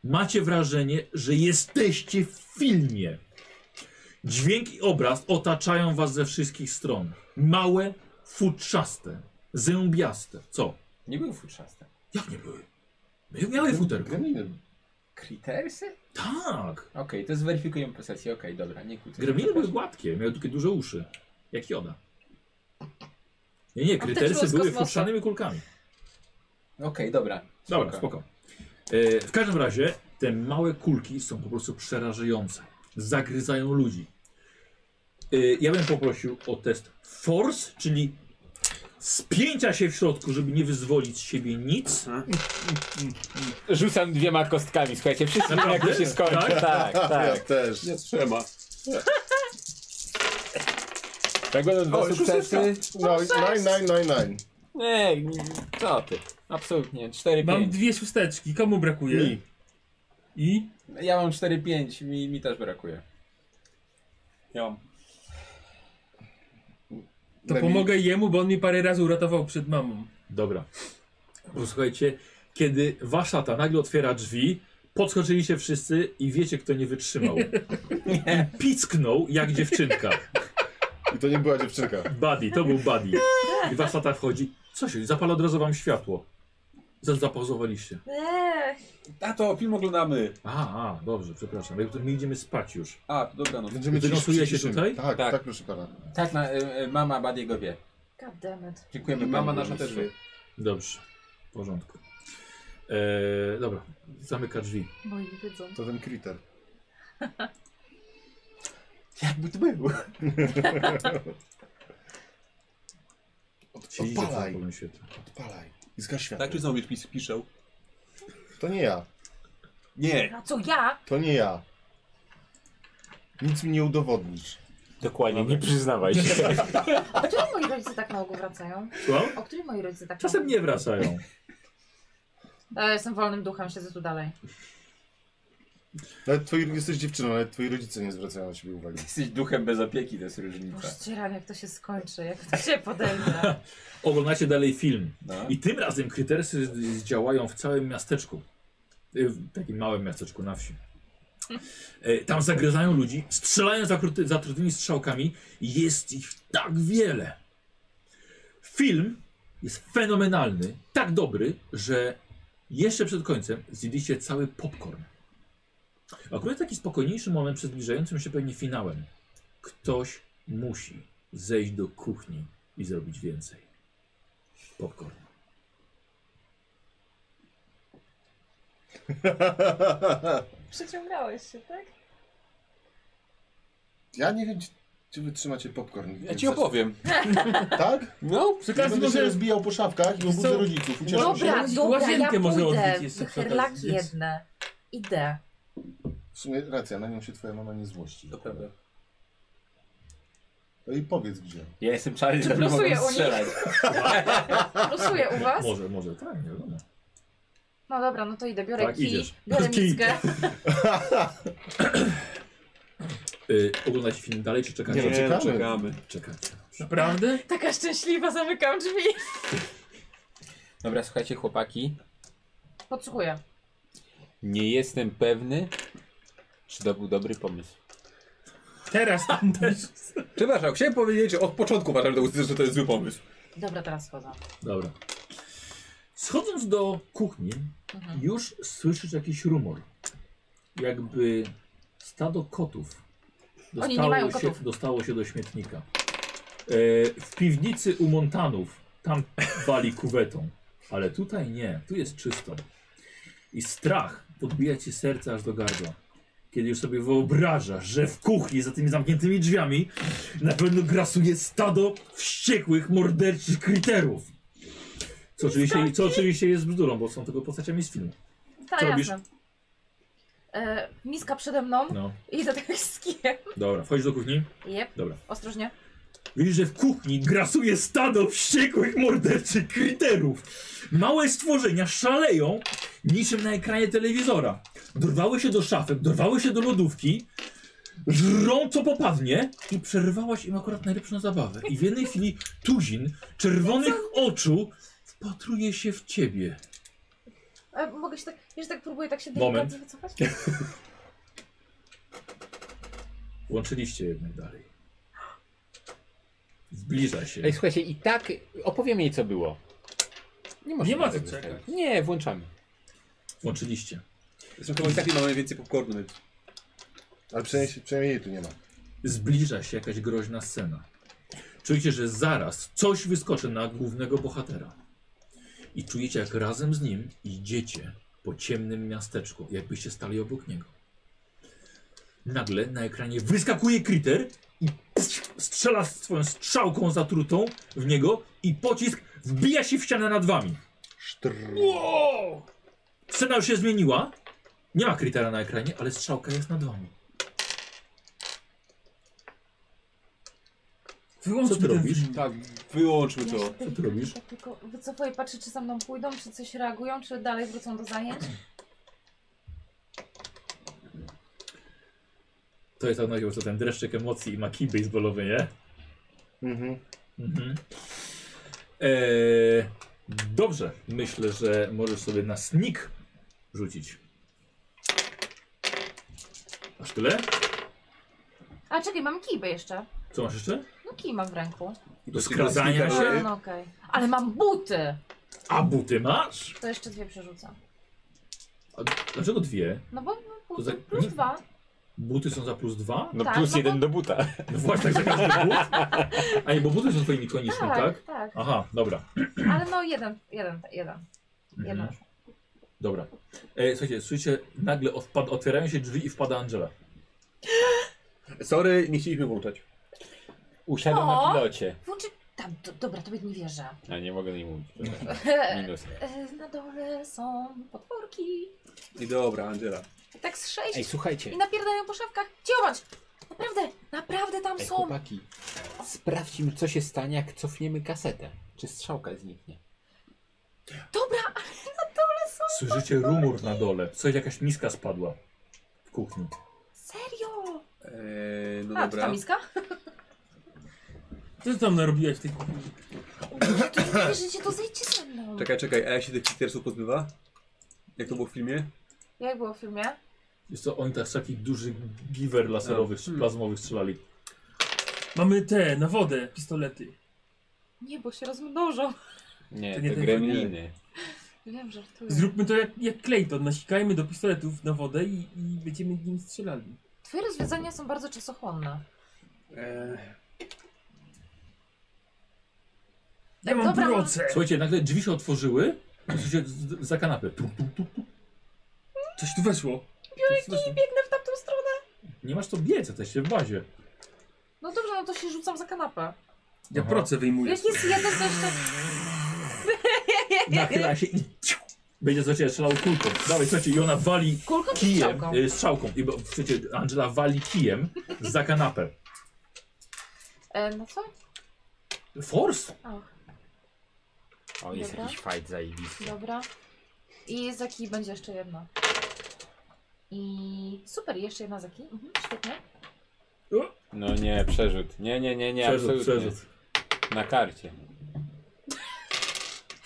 Speaker 1: Macie wrażenie, że jesteście w filmie. Dźwięk i obraz otaczają was ze wszystkich stron. Małe, futrzaste, zębiaste. Co?
Speaker 3: Nie były futrzaste.
Speaker 1: Jak nie były? Miały futerko.
Speaker 4: Gremliny.
Speaker 3: Kritersy?
Speaker 1: Tak.
Speaker 3: Okej, to zweryfikuję posesję. Okej, dobra, nie kłócę.
Speaker 1: Gremliny były gładkie, miały takie duże uszy. Jak joda. Nie, nie,
Speaker 2: A też było
Speaker 1: krytersy
Speaker 2: z
Speaker 1: były
Speaker 2: kosmosu.
Speaker 1: futrzanymi kulkami.
Speaker 3: Okej, dobra.
Speaker 1: Dobra, spoko. E, w każdym razie te małe kulki są po prostu przerażające. Zagryzają ludzi. E, ja bym poprosił o test force, czyli spięcia się w środku, żeby nie wyzwolić z siebie nic.
Speaker 3: Rzucam dwiema kostkami, słuchajcie, wszyscy wiemy jak to
Speaker 1: Naprawdę?
Speaker 3: się skończy.
Speaker 1: Tak?
Speaker 3: Tak,
Speaker 4: Ja
Speaker 3: tak.
Speaker 4: też.
Speaker 6: trzema.
Speaker 3: Przeglądam dwa
Speaker 6: O, już
Speaker 3: sukcesy.
Speaker 4: No, nine, nine, nine, nine.
Speaker 3: Nie, nie, co ty? Absolutnie,
Speaker 10: Mam
Speaker 3: 4-5.
Speaker 10: dwie szósteczki, komu brakuje?
Speaker 4: Mi.
Speaker 10: I?
Speaker 3: Ja mam 4-5, mi, mi też brakuje.
Speaker 6: Ja mam.
Speaker 10: To
Speaker 4: Lewi-
Speaker 10: pomogę jemu, bo on mnie parę razy uratował przed mamą.
Speaker 1: Dobra. Posłuchajcie, kiedy wasza ta nagle otwiera drzwi, podskoczyliście wszyscy i wiecie, kto nie wytrzymał. I picknął jak dziewczynka.
Speaker 4: I to nie była dziewczynka.
Speaker 1: Buddy, to był Buddy. I wasza ta wchodzi. Co się, zapala od razu wam światło. Za- Zapozowaliście.
Speaker 2: Eee,
Speaker 6: Tato, film oglądamy.
Speaker 1: A, a, dobrze, przepraszam. My, my idziemy spać już.
Speaker 6: A, to dobra, no.
Speaker 4: Będziemy
Speaker 1: Wynosujecie
Speaker 4: ciszy- ciszy-
Speaker 1: tutaj?
Speaker 4: Tak, tak,
Speaker 3: Tak.
Speaker 4: proszę pana.
Speaker 3: Tak, na, y, y, mama Badiego wie.
Speaker 2: God damn it.
Speaker 3: Dziękujemy
Speaker 6: Mama
Speaker 3: panu
Speaker 6: nasza
Speaker 3: burmistrzu.
Speaker 6: też wie.
Speaker 1: Dobrze, w porządku. Eee, dobra, zamyka drzwi.
Speaker 2: Moi wiedzą.
Speaker 4: To ten kriter.
Speaker 3: Jakby to było.
Speaker 1: Siedzicie w
Speaker 4: Odpalaj.
Speaker 1: zapalonym świetle.
Speaker 4: Odpalaj. I zgaś światło.
Speaker 6: Tak czy znowu pis piszę?
Speaker 4: To nie ja.
Speaker 6: Nie.
Speaker 2: A co ja?
Speaker 4: To nie ja. Nic mi nie udowodnisz.
Speaker 3: Dokładnie, nie przyznawaj się.
Speaker 2: O której moi rodzice tak na ogół wracają?
Speaker 1: Słucham?
Speaker 2: O której moi rodzice tak
Speaker 1: Czasem nie wracają.
Speaker 2: E, jestem wolnym duchem, siedzę tu dalej.
Speaker 4: Nawet twoi, jesteś dziewczyną, ale twoi rodzice nie zwracają na siebie uwagi.
Speaker 3: Jesteś duchem bez opieki, to jest
Speaker 1: Tak.
Speaker 3: różnica.
Speaker 2: Pościeram, jak to się skończy, jak to się podejmie.
Speaker 1: Oglądacie dalej film.
Speaker 3: No.
Speaker 1: I tym razem krytersy z- z- działają w całym miasteczku. Y, W takim małym miasteczku na wsi. E, Tam zagryzają ludzi, strzelają zakruty- zatrutymi strzałkami. Jest ich tak wiele. Film jest fenomenalny, tak dobry, że Jeszcze przed końcem zjedliście cały popcorn. Akurat taki spokojniejszy moment przed zbliżającym się pewnie finałem. Ktoś musi zejść do kuchni i zrobić więcej. Popcorn.
Speaker 2: Przeciągałeś się, tak?
Speaker 4: Ja nie wiem, czy- czy wytrzymacie popcorn.
Speaker 3: Ja ci opowiem.
Speaker 4: Tak?
Speaker 3: No,
Speaker 4: Ja będę
Speaker 7: może-
Speaker 4: się rozbijał po szafkach i
Speaker 7: Wiesz co?
Speaker 4: obudzę rodziców. Ucieszą się.
Speaker 2: Dobra,
Speaker 7: się.
Speaker 2: dobra, ja
Speaker 7: Łazienkę może
Speaker 2: pójdę.
Speaker 7: odbić jeszcze przy
Speaker 2: Hychrlaki
Speaker 7: okazji, więc-
Speaker 2: jedne. Idę.
Speaker 4: W sumie racja, na nią się twoja mama nie złości.
Speaker 6: To prawda.
Speaker 4: To i powiedz gdzie.
Speaker 3: Ja jestem czarny,
Speaker 2: Czy
Speaker 3: żeby
Speaker 2: plusuję
Speaker 3: mogłem
Speaker 2: u nich?
Speaker 3: strzelać.
Speaker 2: Losuję u was.
Speaker 1: Może, może, tak, nie wiadomo.
Speaker 2: No dobra, no to idę. Biorę
Speaker 1: Tak,
Speaker 2: kij,
Speaker 1: idziesz.
Speaker 2: biorę
Speaker 1: Kij.
Speaker 2: mizgę.
Speaker 1: Yy, oglądacie film dalej, czy czekacie?
Speaker 4: Nie, czekamy.
Speaker 1: Czekacie.
Speaker 7: Naprawdę?
Speaker 2: Taka szczęśliwa, zamykam drzwi.
Speaker 3: Dobra, słuchajcie chłopaki.
Speaker 2: Podsłuchuję.
Speaker 3: Nie jestem pewny, czy to był dobry pomysł.
Speaker 7: Teraz tam też.
Speaker 6: Przepraszam, chciałem powiedzieć, że od początku uważam, że to- że to jest zły pomysł.
Speaker 2: Dobra, teraz schodzę.
Speaker 1: Dobra. Schodząc do kuchni,
Speaker 2: Mhm.
Speaker 1: już słyszysz jakiś rumor. Jakby stado kotów
Speaker 2: Oni nie mają
Speaker 1: się,
Speaker 2: kotów.
Speaker 1: dostało się do śmietnika. E, w piwnicy u Montanów tam wali kuwetą, ale tutaj nie, tu jest czysto. I strach podbija ci serce aż do gardła. Kiedy już sobie wyobrażasz, że w kuchni za tymi zamkniętymi drzwiami na pewno grasuje stado wściekłych, morderczych kryterów. Co oczywiście, co oczywiście jest bzdurą, bo są tego postaciami z filmu.
Speaker 2: Tak,
Speaker 1: Co robisz?
Speaker 2: jasne. E, miska przede mną
Speaker 1: No,
Speaker 2: i idę tak z kijem.
Speaker 1: dobra, wchodzisz do kuchni.
Speaker 2: Jep,
Speaker 1: Dobra.
Speaker 2: ostrożnie.
Speaker 1: Widzisz, że w kuchni grasuje stado wściekłych, morderczych kryterów. Małe stworzenia szaleją niczym na ekranie telewizora. Dorwały się do szafek, dorwały się do lodówki, żrą co popadnie i przerwałaś im akurat najlepszą zabawę. I w jednej chwili tuzin czerwonych oczu wpatruje się w ciebie.
Speaker 2: E, mogę się tak, jeszcze tak próbuję tak się
Speaker 1: Moment.
Speaker 2: delikatnie wycofać?
Speaker 1: Łączyliście jednak dalej. Zbliża się.
Speaker 3: Ej, słuchajcie, i tak opowiem jej, co było. Nie, można
Speaker 7: Nie ma
Speaker 3: tego
Speaker 7: co czekać.
Speaker 3: zostawić. Nie, włączamy.
Speaker 1: Łączyliście.
Speaker 6: Zresztą chyba i tak nie mamy więcej popcornu, więc
Speaker 4: Ale przynajmniej, przynajmniej jej tu nie ma.
Speaker 1: Zbliża się jakaś groźna scena. Czujecie, że zaraz coś wyskoczy na głównego bohatera. I czujecie, jak razem z nim idziecie po ciemnym miasteczku, jakbyście stali obok niego. Nagle na ekranie wyskakuje Kriter i strzela swoją strzałką zatrutą w niego i pocisk wbija się w ścianę nad wami. Scena już się zmieniła. Nie ma Kritera na ekranie, ale strzałka jest nad wami. Co ty
Speaker 7: Wyłączmy ten
Speaker 1: robisz?
Speaker 7: film.
Speaker 6: tak, wyłączmy
Speaker 2: Ja się
Speaker 6: to.
Speaker 1: ty robisz?
Speaker 2: tak tylko wycofuję, patrzę czy za mną pójdą, czy coś reagują, czy dalej wrócą do zajęć.
Speaker 1: To jest tak nosił, co ten dreszczyk emocji i ma kij baseballowy, nie?
Speaker 4: Mhm.
Speaker 1: Mhm. Eee, dobrze, myślę, że możesz sobie na sneak rzucić. Aż tyle?
Speaker 2: A czekaj, mam kijby jeszcze.
Speaker 1: Co masz jeszcze?
Speaker 2: No kij mam w ręku.
Speaker 1: Do skradania
Speaker 2: A,
Speaker 1: się?
Speaker 2: no okej. Ale mam buty!
Speaker 1: A buty masz?
Speaker 2: To jeszcze dwie przerzucę.
Speaker 1: A dlaczego dwie?
Speaker 2: No bo buty
Speaker 1: za-
Speaker 2: plus dwa.
Speaker 1: Buty są za plus dwa?
Speaker 3: No
Speaker 2: Tak,
Speaker 3: plus
Speaker 2: no
Speaker 3: jeden
Speaker 2: bo-
Speaker 3: do buta.
Speaker 1: No właśnie, tak za każdy but? A nie, bo buty są twoimi konicznymi, tak?
Speaker 2: Tak, tak.
Speaker 1: Aha, dobra.
Speaker 2: Ale no jeden, jeden, jeden. Jeden.
Speaker 1: Mhm. Dobra. E, słuchajcie, słyszycie, nagle odpad, otwierają się drzwi i wpada Angela.
Speaker 6: Sorry, nie chcieliśmy włączać.
Speaker 3: Usiadł na
Speaker 2: O!
Speaker 3: pilocie.
Speaker 2: Włączy... Tam, do, dobra, tobie nie wierzę.
Speaker 3: A nie mogę jej mówić. przepraszam. Minus.
Speaker 2: E, Na dole są potworki.
Speaker 6: I dobra, Angela.
Speaker 2: I tak z sześć.
Speaker 3: Ej, słuchajcie.
Speaker 2: I napierdają po szafkach. Działać! Naprawdę, naprawdę tam
Speaker 3: Ej,
Speaker 2: są.
Speaker 3: chłopaki. Sprawdźmy, co się stanie, jak cofniemy kasetę. Czy strzałka zniknie.
Speaker 2: Dobra,
Speaker 1: Słyszycie rumor na dole. Coś, jakaś miska spadła w kuchni.
Speaker 2: serio!
Speaker 6: Eee, no
Speaker 2: A, to ta
Speaker 6: dobra.
Speaker 2: miska?
Speaker 7: Co ty tam narobiłaś w tej kuchni?
Speaker 2: To nie wierzycie, to zejdźcie ze mną.
Speaker 6: Czekaj, czekaj, a jak się tych Petersów pozbywa? Jak to było w filmie?
Speaker 2: Jak było w filmie?
Speaker 1: Jest to oni tak z takich dużych giwer laserowych,
Speaker 6: Hmm.
Speaker 1: plazmowych strzelali.
Speaker 7: Mamy te, na wodę, pistolety.
Speaker 2: Nie, bo się rozmnożą.
Speaker 3: Nie,
Speaker 7: To
Speaker 3: to,
Speaker 7: nie ten
Speaker 3: gremliny.
Speaker 2: Wiem, żartuję.
Speaker 10: Zróbmy to jak, jak Clayton, nasikajmy do pistoletów na wodę i, i będziemy nim strzelali.
Speaker 2: Twoje rozwiązania są bardzo czasochłonne.
Speaker 10: Ja mam
Speaker 2: Dobra, no-
Speaker 10: proce!
Speaker 1: Słuchajcie, nagle drzwi się otworzyły, słyszycie z- za kanapę. Tu, tu, tu, tu.
Speaker 10: Coś tu weszło.
Speaker 2: Piórki i biegnę w tamtą stronę.
Speaker 1: Nie masz co biec, jesteście w bazie.
Speaker 2: No dobrze, no to się rzucam za kanapę.
Speaker 10: Ja
Speaker 1: Aha.
Speaker 10: proce wyjmuję.
Speaker 2: Wiesz, jest jeden coś tak...
Speaker 1: Nachyla się i ciu, będzie słuchajcie strzelał kulką. Dawaj, słuchajcie, i ona wali
Speaker 2: Kulką czy
Speaker 1: kijem,
Speaker 2: strzałką?
Speaker 1: y, strzałką. I bo, słuchajcie, Angela wali kijem za kanapę.
Speaker 2: E, no co?
Speaker 1: Force?
Speaker 2: Ach,
Speaker 3: O, jest
Speaker 2: Dobra.
Speaker 3: jakiś fight zajebisty.
Speaker 2: dobra. I Zaki będzie jeszcze jedna. I super, jeszcze jedna Zaki. Mhm, świetnie.
Speaker 3: No nie, przerzut. Nie, nie, nie, nie,
Speaker 1: Przerzut,
Speaker 3: absolutnie.
Speaker 1: przerzut.
Speaker 3: Na karcie.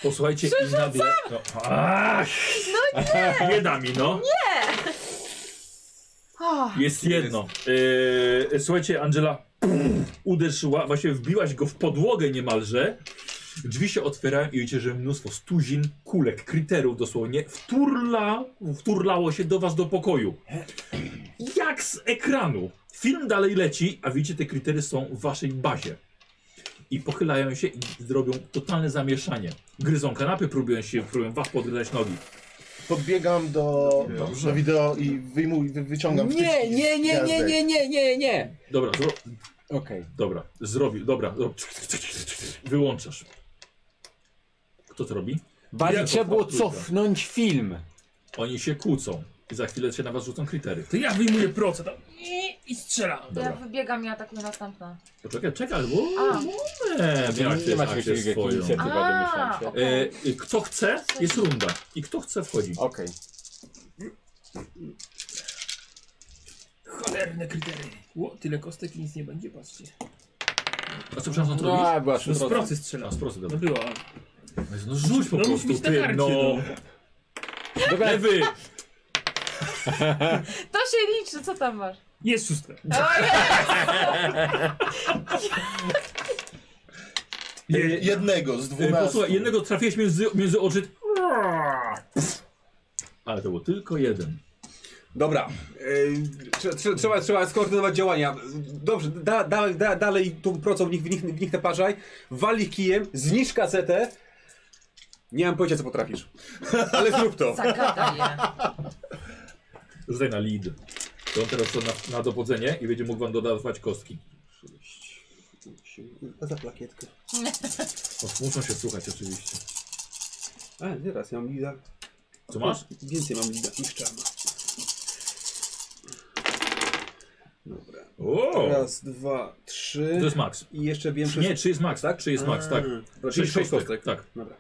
Speaker 1: Posłuchajcie i nagle... No, Ach, nie da mi, no.
Speaker 2: Oh,
Speaker 1: Jest jedno. Yy, słuchajcie, Angela uderzyła, właściwie wbiłaś go w podłogę niemalże. Drzwi się otwierają i widzicie, że mnóstwo stuzin, kulek, kryterów dosłownie wturla, wturlało się do was do pokoju. Jak z ekranu. Film dalej leci, a widzicie, te krytery są w waszej bazie. I pochylają się i zrobią totalne zamieszanie. Gryzą kanapy, próbują się, próbują was podgryzać nogi.
Speaker 4: Podbiegam do,
Speaker 1: Dobrze.
Speaker 4: do wideo i wyjmuj, wy, wyciągam
Speaker 3: Nie,
Speaker 4: wtyczki
Speaker 3: nie,
Speaker 4: z
Speaker 3: nie, nie,
Speaker 4: gwiazdek.
Speaker 3: nie, nie, nie, nie.
Speaker 1: Dobra, zro...
Speaker 3: Okej.
Speaker 1: Dobra, zrobił, dobra, rob- wyłączasz. Kto to robi?
Speaker 3: Bardziej
Speaker 1: Ja-
Speaker 3: trzeba było
Speaker 1: Trójka.
Speaker 3: cofnąć film.
Speaker 1: Oni się kłócą i za chwilę się na was rzucą krytery.
Speaker 10: To ja wyjmuję proce tam i, i strzelam.
Speaker 2: ja
Speaker 1: Dobra.
Speaker 2: wybiegam i atakuję następne.
Speaker 1: Poczekaj, czekaj, bo...
Speaker 2: A.
Speaker 1: Nie,
Speaker 3: Nie
Speaker 1: miałaś
Speaker 3: macie
Speaker 1: też akcję
Speaker 3: jakiegoś
Speaker 1: swoją.
Speaker 3: inicjatywy,
Speaker 2: A,
Speaker 3: domyślam się.
Speaker 1: E, y, kto chce, jest runda. I kto chce, wchodzi.
Speaker 3: Okej.
Speaker 10: Cholerne krytery. Ło, tyle kostek i nic nie będzie, patrzcie.
Speaker 1: A co, przepraszam, to
Speaker 3: No,
Speaker 1: robisz?
Speaker 3: a była
Speaker 10: No z
Speaker 3: szybko.
Speaker 10: procy strzelam.
Speaker 1: A, z prosy,
Speaker 10: No
Speaker 1: dobra.
Speaker 10: była.
Speaker 1: No rzuć po
Speaker 10: No musi
Speaker 1: prostu,
Speaker 10: być na
Speaker 1: ty,
Speaker 10: karcie,
Speaker 1: no.
Speaker 10: no.
Speaker 3: Dobra,
Speaker 1: Lewy!
Speaker 2: To się liczy, co tam masz?
Speaker 10: Jest szóstka.
Speaker 1: Je, je,
Speaker 4: Jednego z
Speaker 1: e,
Speaker 4: dwunastu.
Speaker 1: posłuchaj, jednego trafiłeś między, między oczy... Ale to było tylko jeden.
Speaker 6: Dobra. Ej, trze- trze- Trzeba, trzeba skoordynować działania. Dobrze, da, da, da, dalej tą procą w nich, w nich, w nich naparzaj. Wal ich kijem, zniszcz kasetę. Nie mam pojęcia, co potrafisz. Ale zrób to.
Speaker 2: Zagadaj je.
Speaker 1: Zdaj na lead. To on teraz to na, na dowodzenie i będzie mógł wam dodawać kostki.
Speaker 6: Za plakietkę.
Speaker 1: O, muszą się słuchać oczywiście.
Speaker 6: A, teraz E, ja mam lida.
Speaker 1: Co masz?
Speaker 6: Więcej mam lida niż czarna. Dobra.
Speaker 1: O!
Speaker 6: Raz, dwa, trzy.
Speaker 1: To jest max.
Speaker 6: I jeszcze wiem, że... Hmm.
Speaker 1: Nie, 3 jest max, tak? 3 jest max, tak.
Speaker 6: Mm. Czyli sześć kostek.
Speaker 1: Tak.
Speaker 6: Dobra.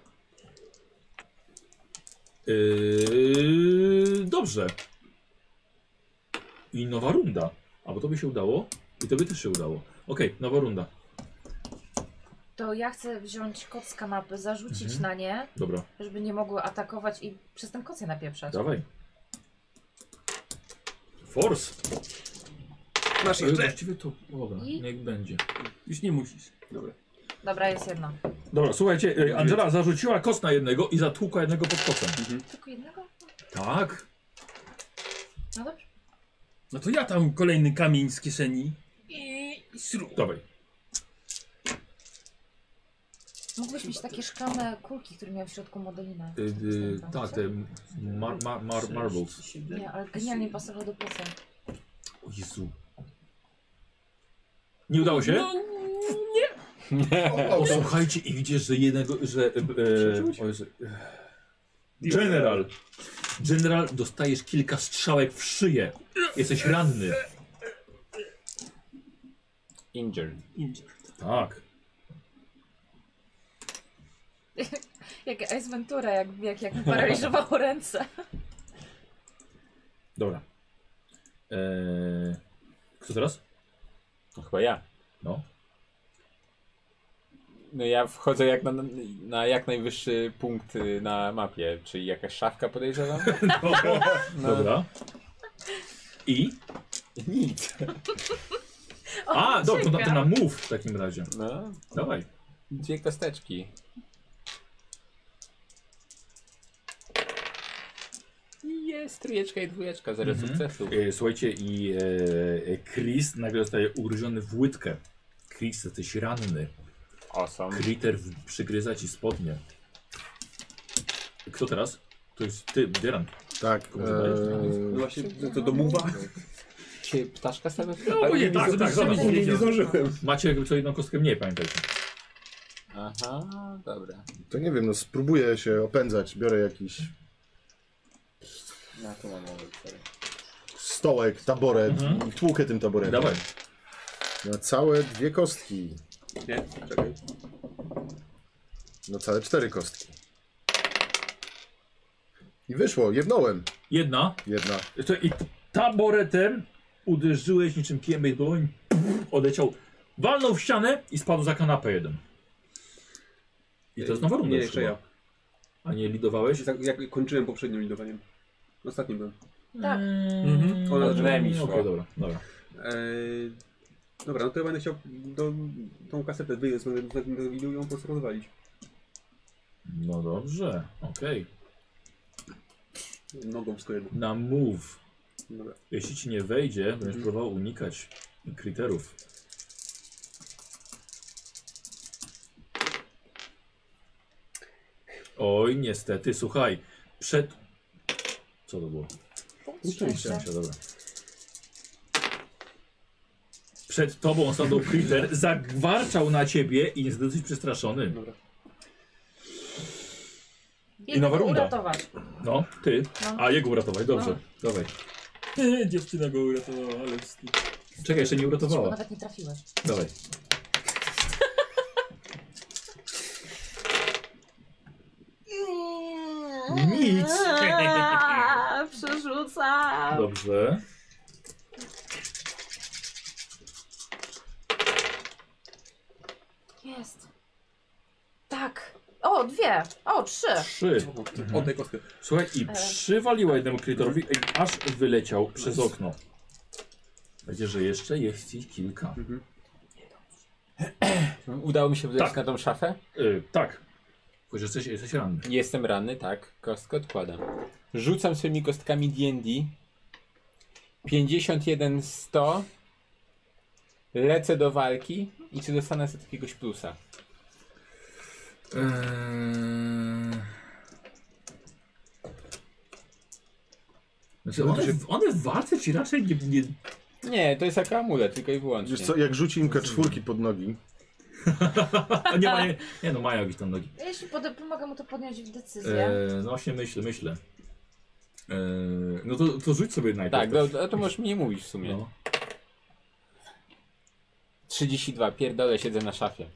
Speaker 1: Yy, dobrze. I nowa runda. A bo to by się udało. I to by też się udało. Okej, nowa runda.
Speaker 2: To ja chcę wziąć kot z kanapy, zarzucić
Speaker 1: Mhm.
Speaker 2: na nie,
Speaker 1: Dobra,
Speaker 2: żeby nie mogły atakować i przez ten koc je napieprzać.
Speaker 1: dawaj. Force.
Speaker 6: Masz
Speaker 1: Ale
Speaker 6: jeszcze.
Speaker 1: Właściwie to. Dobra,
Speaker 2: I-
Speaker 1: niech będzie.
Speaker 10: Już nie musisz.
Speaker 2: Dobra, jest jedna.
Speaker 1: Dobra, słuchajcie, e, Angela zarzuciła kost na jednego i zatłukła jednego pod kocem.
Speaker 2: Tylko jednego?
Speaker 1: Tak.
Speaker 2: No dobrze.
Speaker 10: No to ja tam kolejny kamień z kieszeni. I, i sru.
Speaker 1: Dawaj.
Speaker 2: Mógłbyś mieć takie szklane kulki, które miały w środku modelinę.
Speaker 1: Y, y, tak, te mar, mar, mar, marbles.
Speaker 2: Nie, ale genialnie pasował do pleców.
Speaker 1: O Jezu. Nie udało się?
Speaker 10: No, nie.
Speaker 1: O, słuchajcie i widzisz, że jednego, że... E, e, o Jezu, e, general. General, dostajesz kilka strzałek w szyję. Jesteś ranny.
Speaker 3: Injured.
Speaker 10: Injured.
Speaker 1: Tak.
Speaker 2: Jak Ace Ventura, jak, jak, jak mu paraliżowało ręce.
Speaker 1: Dobra. Eee, kto teraz?
Speaker 3: No chyba ja.
Speaker 1: No.
Speaker 3: No ja wchodzę jak na, na jak najwyższy punkt y, na mapie, czyli jakaś szafka podejrzewam?
Speaker 1: Dobra. I?
Speaker 3: Nic.
Speaker 1: A, dobra, to na, to
Speaker 2: czeka.
Speaker 1: na move w takim razie.
Speaker 3: No,
Speaker 1: Dawaj.
Speaker 3: dwie kosteczki. Jest trójeczka i dwójeczka, zero
Speaker 1: Mhm.
Speaker 3: sukcesu.
Speaker 1: E, Słuchajcie, i e, e, Chris nagle zostaje ugryziony w łydkę. Chris, jesteś ranny.
Speaker 3: Awesome.
Speaker 1: Kriter w- przygryza ci spodnie. Kto teraz? To jest ty, Dyran.
Speaker 4: Tak.
Speaker 1: Komu zadajesz?
Speaker 6: No
Speaker 4: e,
Speaker 6: właśnie, to, to do muwa.
Speaker 3: Cię ptaszka sobie?
Speaker 1: No, bo nie, tak, tak, zaraz
Speaker 6: nie, nie
Speaker 1: powiedział.
Speaker 6: zdążyłem.
Speaker 1: Macie jakby co jedną kostkę mniej, pamiętajcie.
Speaker 3: Aha, dobra.
Speaker 4: To nie wiem, no spróbuję się opędzać. Biorę jakiś
Speaker 3: Na to mam moment.
Speaker 4: stołek, taboret i tłukę tym taboretem.
Speaker 1: Mhm. Dawaj.
Speaker 4: Na całe dwie kostki.
Speaker 6: Nie, czekaj.
Speaker 4: Na całe cztery kostki. I wyszło, jednąłem.
Speaker 1: Jedna.
Speaker 4: Jedna.
Speaker 1: To i t- taboretem uderzyłeś niczym piemy dłoń. Odeciał. Walnął w ścianę i spadł za kanapę jeden. I to znowu runda
Speaker 6: Nie,
Speaker 1: już
Speaker 6: jeszcze
Speaker 1: chyba.
Speaker 6: ja.
Speaker 1: A nie lidowałeś?
Speaker 6: Za- Jak kończyłem poprzednim lidowaniem. Ostatnim byłem.
Speaker 2: Tak.
Speaker 1: Mhm.
Speaker 6: Ona
Speaker 1: Okej,
Speaker 3: drzwiami szła.
Speaker 1: dobra, dobra.
Speaker 6: Eee, dobra, no to ja będę chciał do, tą kasetę wyjąć, będę, będę, będę ją po prostu rozwalić.
Speaker 1: No dobrze, okej.
Speaker 6: Nogą wszystko jedno.
Speaker 1: Na move.
Speaker 6: Dobra.
Speaker 1: Jeśli ci nie wejdzie, będziesz próbował unikać kryterów. Oj, niestety, słuchaj. Przed. Co to było?
Speaker 2: Punkt szczęścia.
Speaker 1: Szczęścia, dobra. Przed tobą stanął Kriter, zagwarczał na ciebie i jest dosyć przestraszony.
Speaker 6: Dobra.
Speaker 1: I nowa
Speaker 2: Biegną
Speaker 1: runda.
Speaker 2: uratować.
Speaker 1: No, ty.
Speaker 2: No.
Speaker 1: A jego uratować, dobrze. Dawaj.
Speaker 10: Dziewczyna go uratowała, ale wstyd.
Speaker 1: Czekaj, jeszcze nie
Speaker 2: Bo
Speaker 1: uratowała.
Speaker 2: nawet nie trafiłem.
Speaker 1: Dawaj. Nic.
Speaker 2: Aaa, Przerzucam.
Speaker 1: Dobrze.
Speaker 2: Jest. Tak. O, dwie. O, trzy.
Speaker 1: Trzy.
Speaker 6: O
Speaker 1: Mhm.
Speaker 6: tej kostce.
Speaker 1: Słuchaj, i przywaliła jednemu krytorowi, i aż wyleciał przez okno. Będzie, że jeszcze jest ich kilka.
Speaker 3: Udało mi się wydać
Speaker 1: Tak.
Speaker 3: na tą szafę?
Speaker 1: Y, tak. Choć jesteś, jesteś ranny.
Speaker 3: Jestem ranny, tak. Kostkę odkładam. Rzucam swoimi kostkami D&D. 51, 100. Lecę do walki i czy dostanę z jakiegoś plusa? No
Speaker 1: Znaczy, one, one w walce ci raczej nie, nie...
Speaker 3: Nie, to jest jako amulet, tylko i wyłącznie.
Speaker 4: Wiesz co, jak rzuci im czwórki pod nogi,
Speaker 1: A nie, ma, nie, nie no, mają jakieś tam nogi.
Speaker 2: Jeśli pod, pomogę mu to podjąć w decyzję.
Speaker 1: E, no właśnie myślę, myślę. E, no to, to rzuć sobie najpierw.
Speaker 3: Tak, do, do, to możesz mi nie mówić w sumie.
Speaker 1: No.
Speaker 3: 32, pierdolę, siedzę na szafie.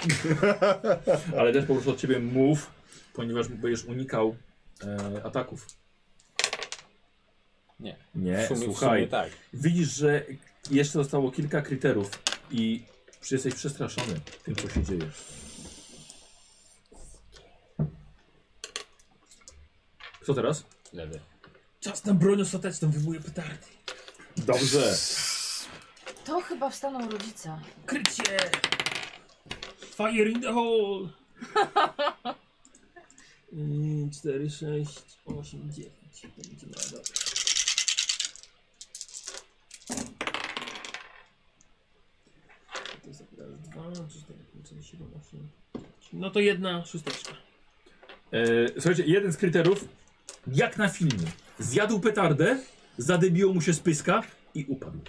Speaker 1: Ale też po prostu od ciebie mów, ponieważ będziesz unikał e, ataków.
Speaker 3: Nie.
Speaker 1: Nie,
Speaker 3: w sumie,
Speaker 1: słuchaj.
Speaker 3: W sumie tak.
Speaker 1: Widzisz, że jeszcze zostało kilka kryterów i jesteś przestraszony tym, co się dzieje. Co teraz?
Speaker 3: Lewy.
Speaker 10: Czas na broń ostateczną, wyjmuję petardy.
Speaker 1: Dobrze.
Speaker 2: To chyba wstaną rodzice.
Speaker 10: Krycie! Fire in the hole! 4, 6, 8, 9. To będzie mała dobra. To jest akurat dwa, trzy, cztery, pięć, sześć, siedem, osiem. No to jedna szósteczka.
Speaker 1: E, słuchajcie, jeden z kryterów, jak na filmie, zjadł petardę, zadybiło mu się z pyska i upadł.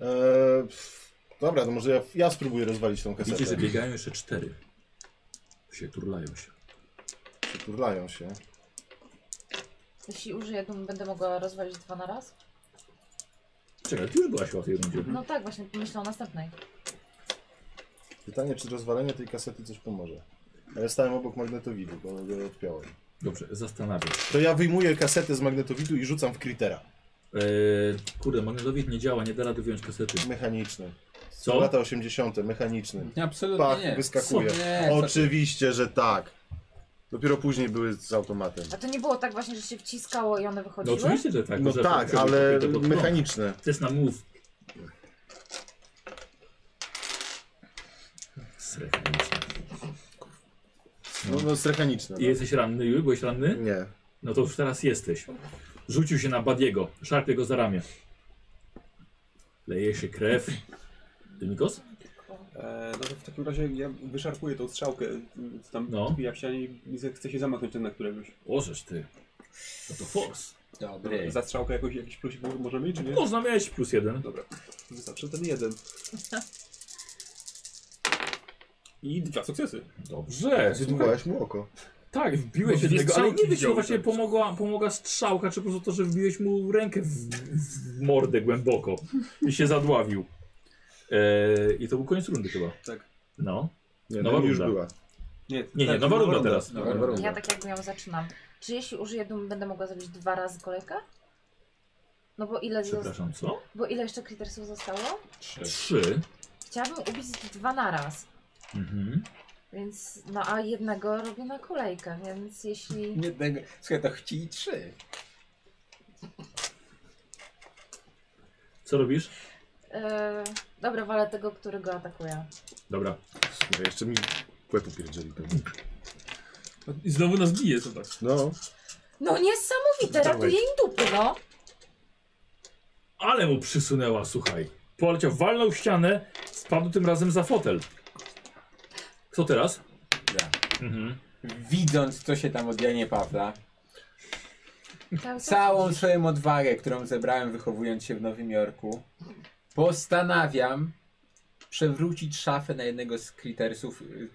Speaker 4: Eee, pff, dobra, to może ja, ja spróbuję rozwalić tą kasetę.
Speaker 1: Widzicie, że biegają jeszcze cztery. Się turlają się.
Speaker 4: Turlają się.
Speaker 2: Jeśli użyję, to będę mogła rozwalić dwa na raz.
Speaker 1: Czekaj, ty już byłaś chyba w tej rundzie.
Speaker 2: No tak, właśnie myślę o następnej.
Speaker 4: Pytanie, czy rozwalenie tej kasety coś pomoże. A Ja stałem obok magnetowidu, bo go odpiąłem.
Speaker 1: Dobrze, zastanawiam się.
Speaker 4: To ja wyjmuję kasetę z magnetowidu i rzucam w kritera.
Speaker 1: E, kurde, magnetowid nie działa, nie da rady wyjąć kasety.
Speaker 4: Mechaniczny.
Speaker 1: Co?
Speaker 4: Lata 80. mechaniczny.
Speaker 3: Absolutnie
Speaker 4: Pach,
Speaker 3: nie.
Speaker 4: wyskakuje.
Speaker 3: Co? Nie, co ty?
Speaker 4: Oczywiście, że tak. Dopiero później były z automatem.
Speaker 2: A to nie było tak właśnie, że się wciskało i one
Speaker 1: No
Speaker 2: wychodziły?
Speaker 1: oczywiście, że tak.
Speaker 4: No
Speaker 1: że
Speaker 4: tak,
Speaker 1: to-
Speaker 4: ale
Speaker 1: to- to- to-
Speaker 4: mechaniczne.
Speaker 1: To jest na move. Srechniczne.
Speaker 4: No, no jest mechaniczne. No,
Speaker 1: I jesteś ranny, Jul? Byłeś ranny?
Speaker 4: Nie.
Speaker 1: No to już teraz jesteś. Rzucił się na Badiego, szarpie go za ramię. Leje się krew. Dynikos?
Speaker 6: E, no to w takim razie ja wyszarpuję tą strzałkę y, tam
Speaker 1: No.
Speaker 6: no. ja się i z- chcę się zamachnąć na któregoś.
Speaker 1: Ożesz ty. No to force.
Speaker 3: Dobry.
Speaker 6: Za strzałkę jakoś, jakiś plusik mo- możemy mieć, czy nie?
Speaker 1: Można mieć plus jeden.
Speaker 6: Dobra, wystarczy ten jeden. I dwa sukcesy.
Speaker 1: Dobrze.
Speaker 4: Zydłowałeś mu oko.
Speaker 1: Tak, wbiłeś
Speaker 5: Bo
Speaker 4: No,
Speaker 5: dwie
Speaker 1: jednego, ale nie
Speaker 5: strzałki
Speaker 1: wiesz, to
Speaker 5: wziął
Speaker 1: właśnie
Speaker 5: też.
Speaker 1: pomogła, pomogła strzałka, czy po prostu to, że wbiłeś mu rękę w, w mordę głęboko i się zadławił. E, I to był koniec rundy chyba.
Speaker 6: Tak.
Speaker 1: No.
Speaker 4: Nie,
Speaker 1: Nowa
Speaker 4: no już
Speaker 1: runda.
Speaker 4: była.
Speaker 6: Nie,
Speaker 1: Nie, nie,
Speaker 4: Tak,
Speaker 1: nowa
Speaker 4: nowa
Speaker 1: runda
Speaker 4: runda.
Speaker 1: teraz.
Speaker 4: Nowa runda.
Speaker 2: Ja tak jakby ją zaczynam. Czy jeśli użyję dumy, będę mogła zrobić dwa razy kolejkę? No bo ile, zosta-
Speaker 1: Przepraszam, co?
Speaker 2: bo ile jeszcze kritersów zostało?
Speaker 1: Trzy.
Speaker 2: Chciałabym ubić dwa na raz.
Speaker 1: Mhm.
Speaker 2: Więc, no a jednego robię na kolejkę, więc jeśli...
Speaker 3: Jednego. Słuchaj, to chcieli trzy.
Speaker 1: Co robisz?
Speaker 2: Yy, dobra, walę tego, który go atakuje.
Speaker 1: Dobra.
Speaker 4: Słuchaj, jeszcze mi łeb upierdzieli pewnie.
Speaker 5: I znowu nas bije, co tak.
Speaker 4: No,
Speaker 2: No niesamowite,
Speaker 4: Dawaj.
Speaker 2: ratuje im dupy, no!
Speaker 1: Ale mu przysunęła, słuchaj. Poleciał, walnął w ścianę, spadł tym razem za fotel. Kto teraz?
Speaker 3: Ja.
Speaker 1: Mhm.
Speaker 3: Widząc, co się tam od Janie Pawla,
Speaker 2: Cały czas
Speaker 3: całą
Speaker 2: widzisz.
Speaker 3: swoją odwagę, którą zebrałem wychowując się w Nowym Jorku, postanawiam przewrócić szafę na jednego z kritersów y,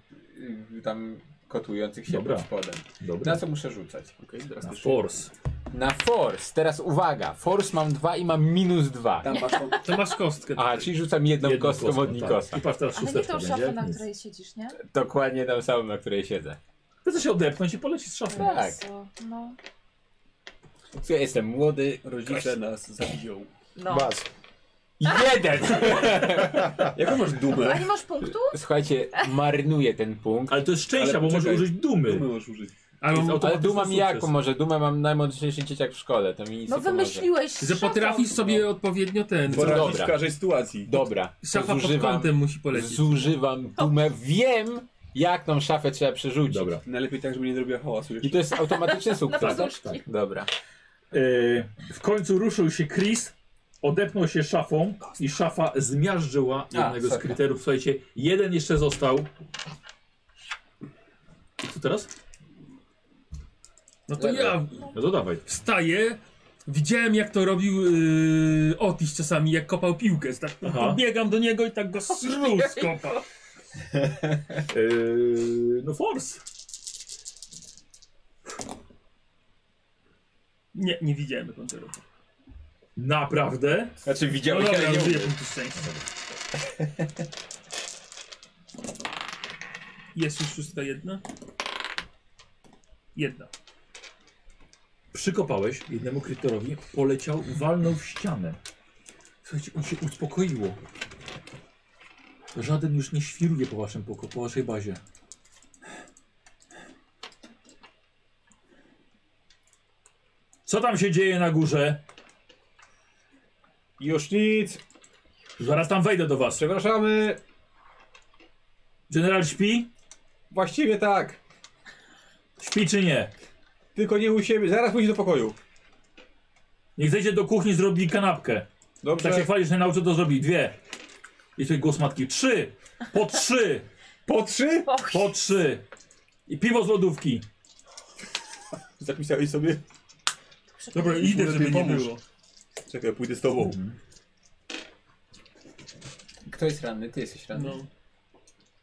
Speaker 3: y, tam kotujących się
Speaker 1: Dobra.
Speaker 3: pod spodem.
Speaker 1: Dobra.
Speaker 3: Na co muszę rzucać?
Speaker 6: Okej, teraz
Speaker 1: Na
Speaker 6: też.
Speaker 1: force.
Speaker 3: Na force. Teraz uwaga. Force mam dwa i mam minus dwa.
Speaker 6: Tam masz tą...
Speaker 10: To masz kostkę.
Speaker 3: A, czyli rzucam jedną,
Speaker 1: Jedną
Speaker 3: kostką, od Nikosa.
Speaker 1: Tak. I patrz teraz
Speaker 2: Ale nie
Speaker 1: szósteczka
Speaker 2: tą
Speaker 1: będzie.
Speaker 2: szafę, na
Speaker 1: Nic.
Speaker 2: której siedzisz, nie?
Speaker 3: Tak. Dokładnie tą samą, na której siedzę.
Speaker 1: Chce się odepchnąć i poleci z szafą.
Speaker 3: Tak.
Speaker 2: Jezu, No.
Speaker 3: Słuchaj, jestem młody.
Speaker 6: Rodzice nas zabiją.
Speaker 2: no.
Speaker 4: was.
Speaker 3: Jeden!
Speaker 6: Jaką masz dumę?
Speaker 2: No, A nie masz punktu?
Speaker 3: Słuchajcie, marynuję ten punkt.
Speaker 1: Ale to jest szczęścia,
Speaker 6: Ale
Speaker 1: bo może
Speaker 6: czekaj.
Speaker 1: użyć dumy.
Speaker 6: Dumy możesz użyć.
Speaker 1: To jest
Speaker 10: Albo
Speaker 3: Ale
Speaker 1: automatyczny
Speaker 3: dumę mi
Speaker 1: sukces.
Speaker 3: jaką może? Dumę mam najmądrzejszy dzieciak w szkole, to mi nic
Speaker 2: No
Speaker 3: nie pomoże.
Speaker 2: wymyśliłeś
Speaker 10: że
Speaker 2: szafą.
Speaker 10: potrafisz sobie odpowiednio ten.
Speaker 3: Bo-
Speaker 6: Poradzić
Speaker 3: Dobra.
Speaker 6: w każdej sytuacji.
Speaker 3: Dobra,
Speaker 10: Szafa pod
Speaker 3: zużywam,
Speaker 10: kątem musi polecieć.
Speaker 3: zużywam dumę. Wiem, jak tą szafę trzeba przerzucić.
Speaker 1: Dobra.
Speaker 6: Najlepiej tak, żeby nie zrobiła hałasu
Speaker 3: I
Speaker 6: jeszcze.
Speaker 3: to jest
Speaker 2: Na
Speaker 3: automatyczny
Speaker 10: No
Speaker 3: sukces.
Speaker 6: Tak,
Speaker 2: poduszki.
Speaker 3: Dobra.
Speaker 1: Yy, w końcu ruszył się Chris, odepnął się szafą i szafa zmiażdżyła
Speaker 3: A,
Speaker 1: jednego z
Speaker 3: sorry.
Speaker 1: kryterów. Słuchajcie, jeden jeszcze został. I co teraz?
Speaker 10: No to ja
Speaker 1: No to dawaj.
Speaker 10: wstaję. Widziałem jak to robił yy, Otis czasami, jak kopał piłkę. Tak
Speaker 1: Aha.
Speaker 10: podbiegam do niego i tak go sru z kopa.
Speaker 1: Yy, E, no force.
Speaker 10: Nie, nie widziałem jak on to robił.
Speaker 1: Naprawdę?
Speaker 3: Znaczy
Speaker 10: No
Speaker 3: widziałeś,
Speaker 10: dobra,
Speaker 3: ale nie
Speaker 10: użyję
Speaker 3: mówię.
Speaker 10: punktu szczęścia. Jest już szósta jedna? Jedna.
Speaker 1: Przykopałeś jednemu krytorowi, poleciał, walnął w ścianę. Słuchajcie, on się uspokoiło. Żaden już nie świruje po waszym poko, po waszej bazie. Co tam się dzieje na górze?
Speaker 6: Już nic!
Speaker 1: Zaraz tam wejdę do was.
Speaker 6: Przepraszamy!
Speaker 1: General śpi?
Speaker 6: Właściwie tak.
Speaker 1: Śpi czy nie?
Speaker 6: Tylko nie u siebie. Zaraz pójdź do pokoju.
Speaker 1: Niech zejdzie do kuchni, zrobi kanapkę.
Speaker 6: Dobrze.
Speaker 1: Tak się chwalisz, że nauczy to zrobi. Dwie. I tutaj głos matki. Trzy! Po trzy!
Speaker 6: Po trzy?
Speaker 2: Och,
Speaker 1: Po trzy! I piwo z lodówki.
Speaker 6: Zapisałeś sobie?
Speaker 10: Dobra, idę, żeby nie
Speaker 4: pomóż.
Speaker 10: było.
Speaker 6: Czekaj, pójdę z tobą.
Speaker 1: Mhm.
Speaker 3: Kto jest ranny? Ty jesteś ranny?
Speaker 10: No.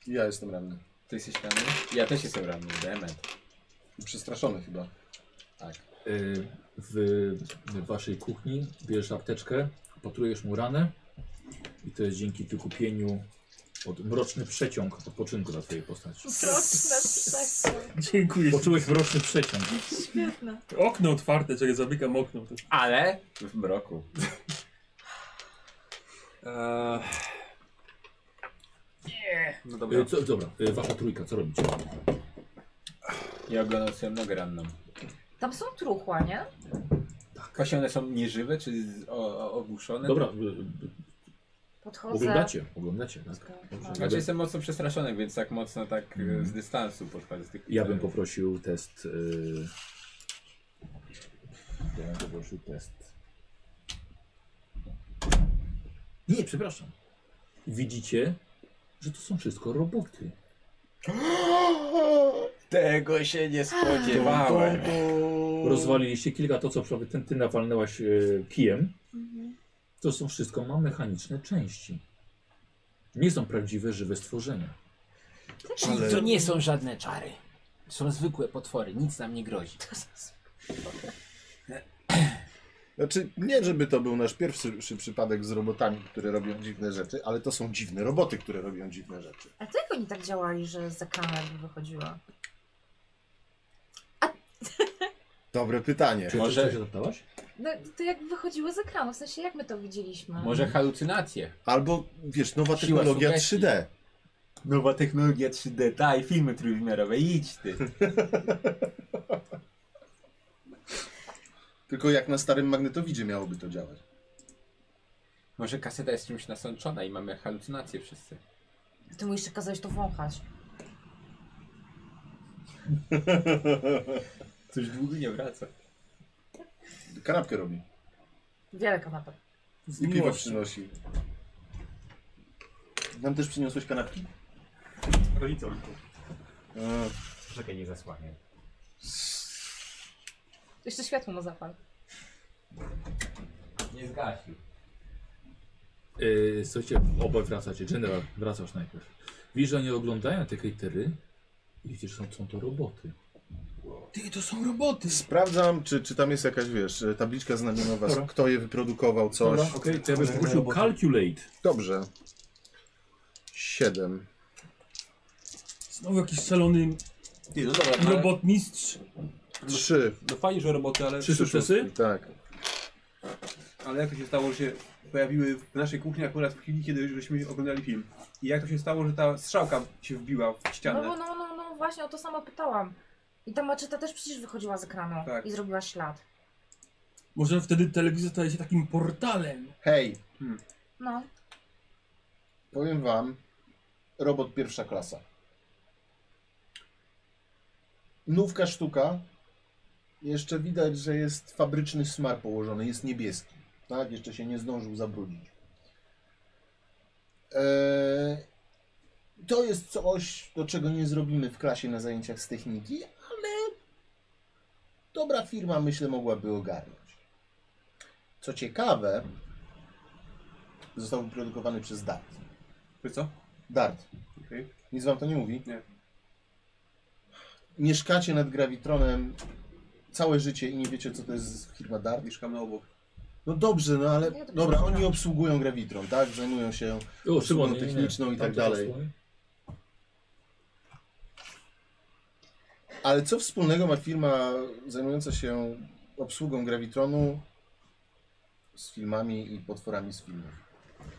Speaker 4: Ja jestem ranny.
Speaker 3: Ty jesteś ranny? Ja też jestem ranny, dement.
Speaker 4: Przestraszony chyba.
Speaker 3: Tak.
Speaker 1: Y, w w waszej kuchni, bierzesz apteczkę, opatrujesz mu ranę i to jest dzięki wykupieniu od mroczny przeciąg odpoczynku dla twojej postaci.
Speaker 2: straszne przecież.
Speaker 10: Dziękuję.
Speaker 1: Poczułeś mroczny przeciąg.
Speaker 2: Świetne.
Speaker 10: Okno otwarte, czekaj, zamykam okno. To...
Speaker 3: Ale w mroku.
Speaker 6: Eee...
Speaker 3: No
Speaker 6: E,
Speaker 1: Y, co, dobra, y, wasza trójka, co robicie?
Speaker 3: Ja oglądam sobie nogę ranną.
Speaker 2: Tam są truchła, nie?
Speaker 3: Właśnie one są nieżywe, czy z- o, o, ogłuszone?
Speaker 1: Dobra, y, y,
Speaker 2: Podchodzę.
Speaker 1: oglądacie, oglądacie. Tak?
Speaker 2: Wszystko.
Speaker 1: Dobrze.
Speaker 2: Mam.
Speaker 1: Ja,
Speaker 3: Znaczy
Speaker 1: bym,
Speaker 3: jestem mocno przestraszony, więc tak mocno tak e,
Speaker 1: Mhm.
Speaker 3: z dystansu podchodzę z tych
Speaker 1: ja bym
Speaker 3: po...
Speaker 1: poprosił test y, Ja to gorszy test. Nie, przepraszam. Widzicie, że to są wszystko roboty.
Speaker 3: Tego się nie spodziewałem.
Speaker 1: Rozwaliliście kilka, to co prawie ten, ty nawalnęłaś e, kijem.
Speaker 2: Mhm.
Speaker 1: To są wszystko ma mechaniczne części. Nie są prawdziwe, żywe stworzenia.
Speaker 8: Czyli to nie są żadne czary. Są zwykłe potwory, nic nam nie grozi.
Speaker 4: Znaczy, nie żeby to był nasz pierwszy przy- przypadek z robotami, które robią dziwne rzeczy, ale to są dziwne roboty, które robią dziwne rzeczy.
Speaker 2: A to jak oni tak działali, że za kamerę by wychodziła?
Speaker 4: Dobre pytanie.
Speaker 1: Czy
Speaker 3: Może-
Speaker 1: Może... się zapytałaś?
Speaker 2: No, to jak wychodziły z ekranu, w sensie jak my to widzieliśmy?
Speaker 3: Może halucynacje.
Speaker 4: Albo, wiesz, nowa
Speaker 3: Siła
Speaker 4: technologia
Speaker 3: sugestii.
Speaker 4: 3D.
Speaker 8: Nowa technologia 3D, ta i filmy trójwymiarowe, idź ty.
Speaker 4: Tylko jak na starym magnetowidzie miałoby to działać.
Speaker 3: Może kaseta jest czymś nasączona i mamy halucynacje wszyscy.
Speaker 2: Ty mu jeszcze kazałeś to wąchać.
Speaker 3: Coś długo nie wraca.
Speaker 4: Kanapkę robi.
Speaker 2: Wiele kanapek.
Speaker 7: Z
Speaker 4: I piwo
Speaker 7: miłością.
Speaker 4: przynosi. Nam też przyniosłeś kanapki?
Speaker 9: Rodzicom.
Speaker 4: E,
Speaker 8: Czekaj, nie zasłaniaj.
Speaker 2: Jeszcze światło mu zapal.
Speaker 8: Nie zgasił.
Speaker 1: Yy, słuchajcie, obaj wracacie. General, wracasz najpierw. Widzisz, że oni oglądają te catery i widzisz, że są, są to roboty.
Speaker 7: Ty, to są roboty.
Speaker 4: Sprawdzam, czy, czy tam jest jakaś, wiesz, tabliczka znamionowa, z- kto je wyprodukował, coś.
Speaker 1: Okej, to ja bym poprosił calculate.
Speaker 4: Dobrze. Siedem.
Speaker 7: Znowu jakiś szalony
Speaker 8: Ty, no dobra, no, ale-
Speaker 7: robotmistrz.
Speaker 4: Trzy.
Speaker 6: No fajnie, że roboty, ale...
Speaker 1: Trzy sukcesy?
Speaker 4: Tak.
Speaker 6: Ale jak to się stało, że się pojawiły w naszej kuchni akurat w chwili, kiedy już żeśmy oglądali film? I jak to się stało, że ta strzałka się wbiła w
Speaker 2: No,
Speaker 6: ścianę?
Speaker 2: no, no, no, no, właśnie o to samo pytałam. I ta maczeta też przecież wychodziła z ekranu
Speaker 6: Tak.
Speaker 2: i zrobiła ślad.
Speaker 7: Może wtedy telewizor staje się takim portalem.
Speaker 4: Hej,
Speaker 2: No,
Speaker 4: powiem wam, robot pierwsza klasa. Nówka sztuka. Jeszcze widać, że jest fabryczny smar położony, jest niebieski. Tak, jeszcze się nie zdążył zabrudzić. Eee, to jest coś, do czego nie zrobimy w klasie na zajęciach z techniki, ale dobra firma, myślę, mogłaby ogarnąć. Co ciekawe, został wyprodukowany przez DART.
Speaker 6: Wiesz co?
Speaker 4: Dart.
Speaker 6: Okej.
Speaker 4: Nic wam to nie mówi?
Speaker 6: Nie.
Speaker 4: Mieszkacie nad Gravitronem całe życie i nie wiecie, co to jest firma Dart?
Speaker 6: Mieszkamy obok.
Speaker 4: No dobrze, no ale...
Speaker 2: Ja dopiero
Speaker 4: Dobra,
Speaker 2: znam.
Speaker 4: oni obsługują Gravitron, tak? Zajmują się...
Speaker 1: O, Szymon, nie, nie, nie.
Speaker 4: techniczną i
Speaker 1: Tam
Speaker 4: tak
Speaker 1: to
Speaker 4: dalej.
Speaker 1: zasłoni.
Speaker 4: Ale co wspólnego ma firma zajmująca się obsługą Gravitronu z filmami i potworami z filmów?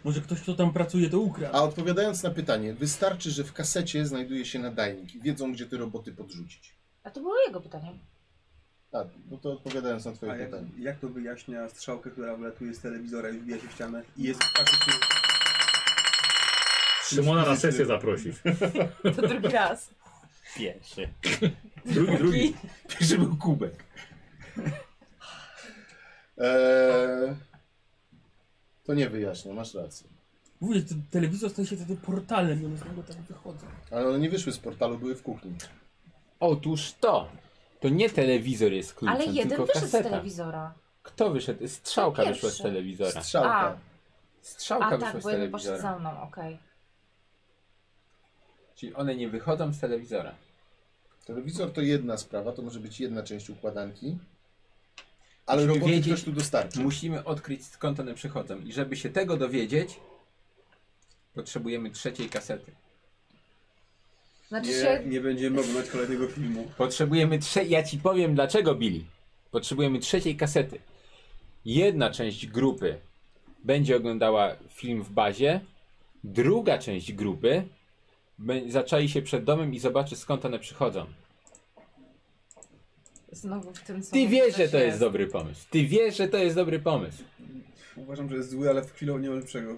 Speaker 7: Może ktoś, kto tam pracuje, to ukradł.
Speaker 4: A odpowiadając na pytanie, wystarczy, że w kasecie znajduje się nadajnik i wiedzą, gdzie te roboty podrzucić.
Speaker 2: a to było jego pytanie.
Speaker 4: Tak, no to odpowiadając na twoje
Speaker 6: A jak,
Speaker 4: pytanie.
Speaker 6: jak to wyjaśnia strzałkę, która wlatuje z telewizora i wbija się w ścianę? I jest praktycznie...
Speaker 1: Szymona na sesję zaprosić.
Speaker 2: To drugi raz.
Speaker 3: Pierwszy.
Speaker 1: Drugi, drugi.
Speaker 8: Pierwszy był kubek.
Speaker 4: Eee, to nie wyjaśnia, masz rację.
Speaker 7: Mówię, że ten telewizor staje się wtedy portalem i one z niego tak wychodzą.
Speaker 4: Ale one nie wyszły z portalu, były w kuchni.
Speaker 3: Otóż to. To nie telewizor jest kluczem,
Speaker 2: Ale jeden
Speaker 3: tylko
Speaker 2: wyszedł z
Speaker 3: kaseta.
Speaker 2: telewizora.
Speaker 3: Kto wyszedł? Strzałka
Speaker 2: Ten
Speaker 3: wyszła z
Speaker 2: pierwszy.
Speaker 3: telewizora.
Speaker 4: Strzałka.
Speaker 3: Strzałka
Speaker 2: A
Speaker 3: wyszła
Speaker 2: tak,
Speaker 3: z
Speaker 2: bo jeden poszedł
Speaker 3: telewizora.
Speaker 2: za mną, okej.
Speaker 3: Czyli one nie wychodzą z telewizora.
Speaker 4: Telewizor to jedna sprawa, to może być jedna część układanki. Ale
Speaker 3: Musimy
Speaker 4: roboty
Speaker 3: wiedzieć-
Speaker 4: ktoś tu dostarczy.
Speaker 3: Musimy odkryć skąd one przychodzą. I żeby się tego dowiedzieć, potrzebujemy trzeciej kasety.
Speaker 2: Znaczy
Speaker 6: Nie,
Speaker 2: się...
Speaker 6: nie będziemy oglądać kolejnego filmu.
Speaker 3: Potrzebujemy trzeciej. Ja ci powiem dlaczego, Billy. Potrzebujemy trzeciej kasety. Jedna część grupy będzie oglądała film w bazie, druga część grupy bę- zaczai się przed domem i zobaczy skąd one przychodzą.
Speaker 2: Znowu w tym co
Speaker 3: Ty
Speaker 2: mówi,
Speaker 3: wiesz, że
Speaker 2: coś
Speaker 3: to jest dobry pomysł. Ty wiesz, że to jest dobry pomysł.
Speaker 6: Uważam, że jest zły, ale w chwilę nie ma lepszego.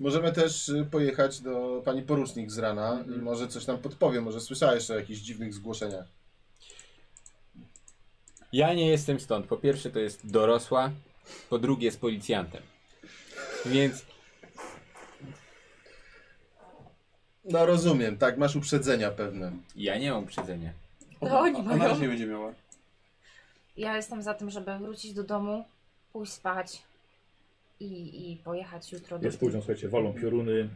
Speaker 4: Możemy też y, pojechać do pani porucznik z rana i może coś nam podpowie, może słyszałeś o jakichś dziwnych zgłoszeniach.
Speaker 3: Ja nie jestem stąd. Po pierwsze to jest dorosła, po drugie jest policjantem. Więc
Speaker 4: No rozumiem, tak, masz uprzedzenia pewne.
Speaker 3: ja nie mam uprzedzenia.
Speaker 2: To oni
Speaker 6: Ona
Speaker 2: mają.
Speaker 6: też nie będzie miała.
Speaker 2: Ja jestem za tym, żeby wrócić do domu, pójść spać i, i pojechać jutro do...
Speaker 1: Jest późno, słuchajcie, walą pioruny.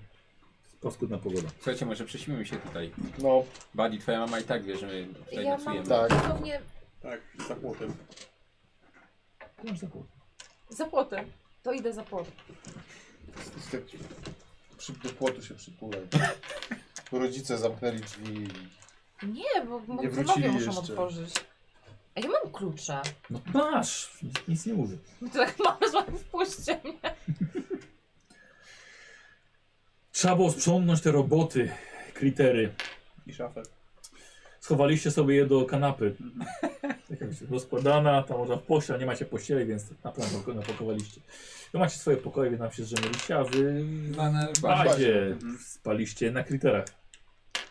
Speaker 1: Paskudna pogoda.
Speaker 3: Słuchajcie, może prześmimy się tutaj.
Speaker 4: No,
Speaker 3: Buddy, twoja mama i tak wie, że my tutaj
Speaker 2: Ja mam
Speaker 3: nocujemy.
Speaker 4: Tak.
Speaker 2: dosłownie
Speaker 6: Tak, za płotem.
Speaker 2: za płotem. To idę za płotem.
Speaker 4: przy, do płotu się przytulaj. Rodzice zamknęli drzwi.
Speaker 2: Nie, bo
Speaker 4: Nie
Speaker 2: bo
Speaker 4: wrócili
Speaker 2: panowie muszą
Speaker 4: jeszcze.
Speaker 2: otworzyć. A ja mam klucze.
Speaker 1: No masz! Nic nie mówię.
Speaker 2: No to tak mamy złapy w puście.
Speaker 1: Trzeba było sprzątnąć te roboty, kritery.
Speaker 6: I szafę.
Speaker 1: Schowaliście sobie je do kanapy.
Speaker 6: Mhm.
Speaker 1: Jakaś rozkładana, tam można pościel, nie macie pościeli, więc na plan poko- napakowaliście. No macie swoje pokoje, więc nam się zrzemyliście, a wy
Speaker 3: Na, na
Speaker 1: w
Speaker 3: bazie.
Speaker 1: bazie
Speaker 6: Mhm.
Speaker 1: spaliście na kriterach.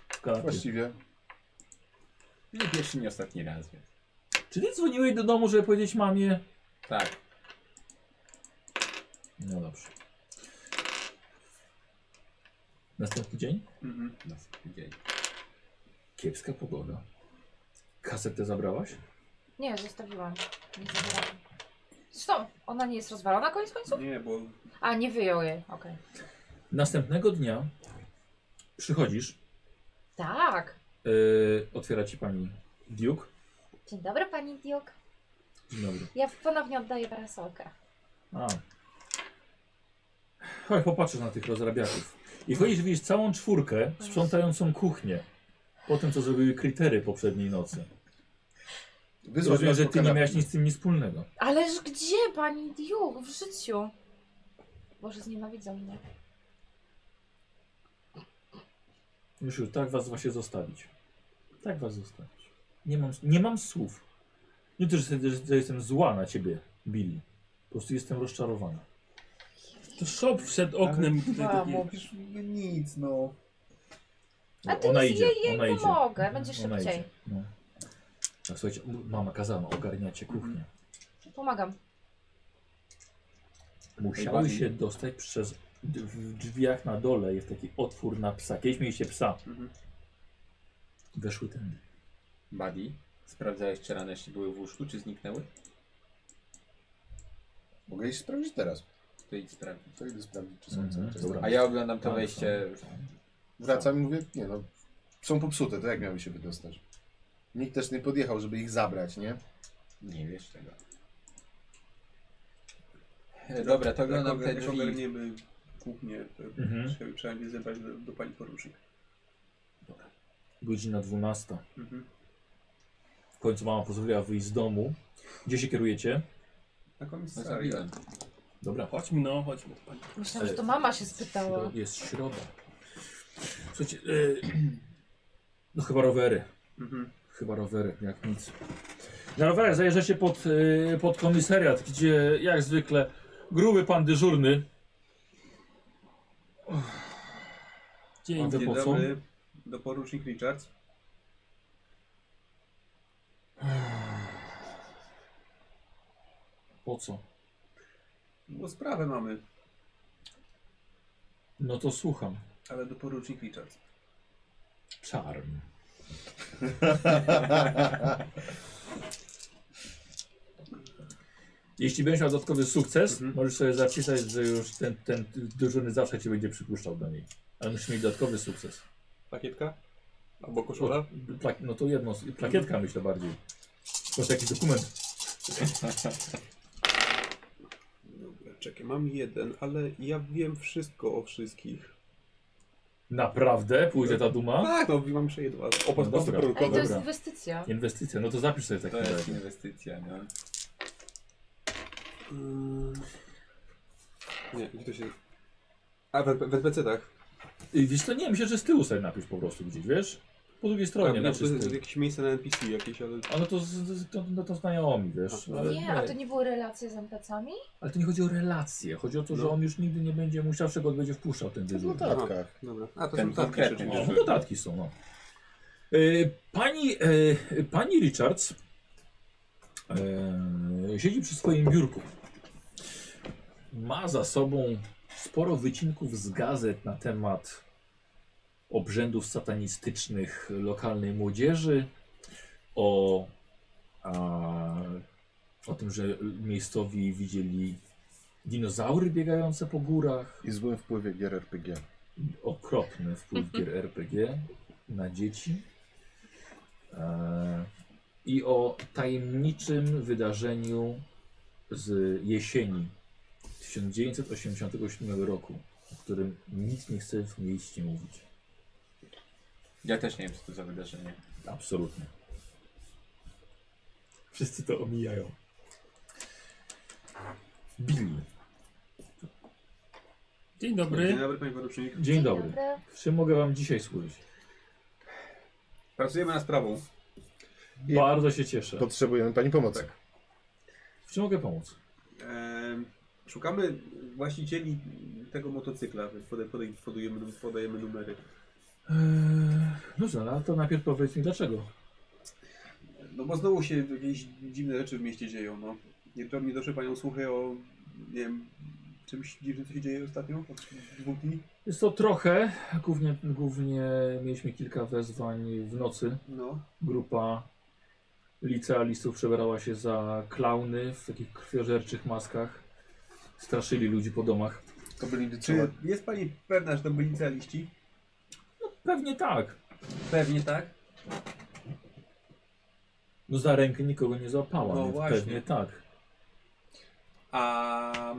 Speaker 1: W kanapie.
Speaker 4: Właściwie.
Speaker 3: Nie pierwszy, nie ostatni raz, więc.
Speaker 1: Czy ty dzwoniłeś do domu, żeby powiedzieć mamie?
Speaker 3: Tak.
Speaker 1: No dobrze. Następny dzień?
Speaker 6: Mhm.
Speaker 3: Następny dzień.
Speaker 1: Kiepska pogoda. Kasetę zabrałaś?
Speaker 2: Nie, zostawiłam. Nie zabrałam. Zresztą, ona nie jest rozwalona koniec końców?
Speaker 6: Nie, bo
Speaker 2: A, nie wyjął jej, okej.
Speaker 1: Następnego dnia przychodzisz,
Speaker 2: Tak.
Speaker 1: yy, otwiera ci pani Duke.
Speaker 2: Dzień dobry, pani Diok.
Speaker 1: Dzień dobry.
Speaker 2: Ja ponownie oddaję parasolkę.
Speaker 1: A. Chodź, popatrzysz na tych rozrabiaków. I wchodzisz, widzisz całą czwórkę sprzątającą kuchnię. Po tym, co zrobiły krytery poprzedniej nocy.
Speaker 4: Wyzwać
Speaker 1: Rozumiem,
Speaker 4: nas
Speaker 1: że
Speaker 4: po
Speaker 1: ty nie
Speaker 4: kanapie.
Speaker 1: miałeś nic z tym nic wspólnego.
Speaker 2: Ależ gdzie, pani Diuk, w życiu? Boże, znienawidzą mnie.
Speaker 1: Już, już tak was właśnie zostawić. Tak was zostawić. Nie mam, nie mam słów. Nie to, że, że- że jestem zła na ciebie, Billy. Po prostu jestem rozczarowana.
Speaker 10: To szop przed oknem. i tutaj
Speaker 9: A,
Speaker 10: takie-
Speaker 9: mówisz no nic, no.
Speaker 2: A ty
Speaker 1: No, ona
Speaker 2: nic
Speaker 1: idzie,
Speaker 2: jej- jej
Speaker 1: ona idzie.
Speaker 2: pomogę, będzie
Speaker 1: Ona
Speaker 2: szybciej.
Speaker 1: idzie, No. A słuchajcie, m- mama kazała, ogarniacie
Speaker 2: Mhm.
Speaker 1: kuchnię.
Speaker 2: Pomagam.
Speaker 1: Musiały
Speaker 3: Najbardziej.
Speaker 1: się dostać przez d- w drzwiach na dole jest taki otwór na psa. Kiedyś mieliście psa.
Speaker 6: Mhm.
Speaker 1: Weszły tędy.
Speaker 3: Buddy, sprawdzałeś czy rany jeszcze były w łóżku, czy zniknęły?
Speaker 4: Mogę iść sprawdzić teraz.
Speaker 3: To idź No, sprawdzić.
Speaker 4: To idę sprawdzić, czy są
Speaker 1: Mhm,
Speaker 4: cały czas.
Speaker 1: dobra.
Speaker 4: tam.
Speaker 3: A ja oglądam to
Speaker 1: Tam
Speaker 3: wejście.
Speaker 1: są.
Speaker 4: Wracam i mówię, nie no, są popsute, to jak miały się wydostać? Nikt też nie podjechał, żeby ich zabrać, nie?
Speaker 3: Nie wiesz tego. E, Dobra, to oglądam te
Speaker 6: jak
Speaker 3: drzwi.
Speaker 6: ogarniemy kuchnię, to
Speaker 1: Mhm.
Speaker 6: trzeba- trzeba mnie zebrać do, do pani porucznik.
Speaker 1: Godzina 12.
Speaker 6: Mhm.
Speaker 1: W końcu mama pozwoliła wyjść z domu. Gdzie się kierujecie?
Speaker 6: Na
Speaker 3: No,
Speaker 6: komisariat.
Speaker 3: zrobiłem.
Speaker 1: Dobra.
Speaker 10: Chodźmy, no, chodźmy. to pani.
Speaker 2: Myślałam, że to mama się spytała.
Speaker 1: Śro- Jest środa. Słuchajcie, y, no chyba rowery.
Speaker 6: Mhm.
Speaker 1: Chyba rowery, jak nic. Na rowerach zajeżdżacie pod, y, pod komisariat, gdzie jak zwykle gruby pan dyżurny.
Speaker 10: Dzień
Speaker 1: Dzień
Speaker 6: Dzień
Speaker 1: po co?
Speaker 6: dobry, do porucznik Richards.
Speaker 1: Po co?
Speaker 6: Bo sprawę mamy,
Speaker 1: No to słucham.
Speaker 6: ale do porucznik Richards.
Speaker 1: Czarn. Jeśli będziesz miał dodatkowy sukces,
Speaker 6: Mhm.
Speaker 1: możesz sobie zapisać, że już ten, ten dyżurny zawsze cię będzie przypuszczał do niej. Ale musisz mieć dodatkowy sukces.
Speaker 6: Pakietka? Albo
Speaker 1: Plak- no to jedno, plakietka myślę bardziej. Może jakiś dokument.
Speaker 6: Dobra, czekaj, mam jeden, ale ja wiem wszystko o wszystkich.
Speaker 1: Naprawdę? Pójdzie ta duma?
Speaker 6: Tak, no mam jeszcze jedno. Opas
Speaker 1: No dobra.
Speaker 6: no
Speaker 2: Ale to
Speaker 6: produktowy.
Speaker 2: jest
Speaker 1: Dobra.
Speaker 2: inwestycja.
Speaker 1: Inwestycja, no to zapisz sobie taki
Speaker 3: To jest
Speaker 1: razie.
Speaker 3: inwestycja, no.
Speaker 6: Mm. Nie, gdzie to się... A, w, w NPC-tach.
Speaker 1: Y, Wiesz co, nie, myślę, że z tyłu sobie napisz po prostu gdzieś, wiesz? Po drugiej
Speaker 6: Tak,
Speaker 1: stronie,
Speaker 6: wiem,
Speaker 1: znaczy
Speaker 6: to
Speaker 1: z
Speaker 6: jest
Speaker 1: tyłu.
Speaker 6: jakieś miejsce na NPC jakieś, ale...
Speaker 1: A no to, z- z- to, no to znajomi, wiesz?
Speaker 6: A,
Speaker 1: Ale
Speaker 2: Nie, a to
Speaker 1: nie,
Speaker 2: nie były relacje z NPC-ami?
Speaker 1: ale to nie chodzi o relacje, chodzi o to, że
Speaker 6: No.
Speaker 1: on już nigdy nie będzie musiał, że go będzie wpuszczał ten
Speaker 4: W
Speaker 1: dyżur.
Speaker 4: notatkach.
Speaker 6: Dobra. A, to
Speaker 3: Ten
Speaker 6: są tatki
Speaker 3: konkretny.
Speaker 6: rzeczywiście.
Speaker 1: O, dodatki E, są, no. Y, Pani, y, pani Richards Eee, siedzi przy swoim biurku. Ma za sobą sporo wycinków z gazet na temat obrzędów satanistycznych lokalnej młodzieży, o, a, o tym, że miejscowi widzieli dinozaury biegające po górach.
Speaker 4: I złym wpływie gier RPG.
Speaker 1: Okropny wpływ gier RPG na dzieci. Eee, I o tajemniczym wydarzeniu z jesieni 1987 roku, o którym nikt nie chce w mieście mówić.
Speaker 3: Ja też nie wiem, co to za wydarzenie.
Speaker 1: Absolutnie. Wszyscy to omijają. Billy.
Speaker 10: Dzień
Speaker 6: Dzień
Speaker 10: dobry.
Speaker 6: dobry, panie porucznik.
Speaker 1: Dzień dobry. Czym mogę wam dzisiaj służyć?
Speaker 6: Pracujemy nad sprawą.
Speaker 1: Bardzo się cieszę.
Speaker 4: Potrzebujemy pani pomocy.
Speaker 1: W czym mogę pomóc?
Speaker 6: Em, szukamy właścicieli tego motocykla. Podaj, podaj, podajemy, podajemy numery.
Speaker 1: Eee, dobrze, ale to najpierw powiedz mi dlaczego.
Speaker 6: No bo znowu się jakieś dziwne rzeczy w mieście dzieją. No. Nie, to mnie doszły panią słuchy o nie wiem, czymś dziwnym, co się dzieje ostatnio od dwóch dni.
Speaker 1: Jest to trochę. Głównie, głównie mieliśmy kilka wezwań w nocy.
Speaker 6: No.
Speaker 1: Grupa licealistów przebrała się za klauny w takich krwiożerczych maskach. Straszyli ludzi po domach.
Speaker 4: To byli
Speaker 6: Czy jest pani pewna, że to byli licealiści?
Speaker 1: Pewnie tak.
Speaker 6: Pewnie tak.
Speaker 1: No za rękę nikogo nie złapała,
Speaker 6: No
Speaker 1: więc
Speaker 6: właśnie.
Speaker 1: pewnie tak.
Speaker 6: A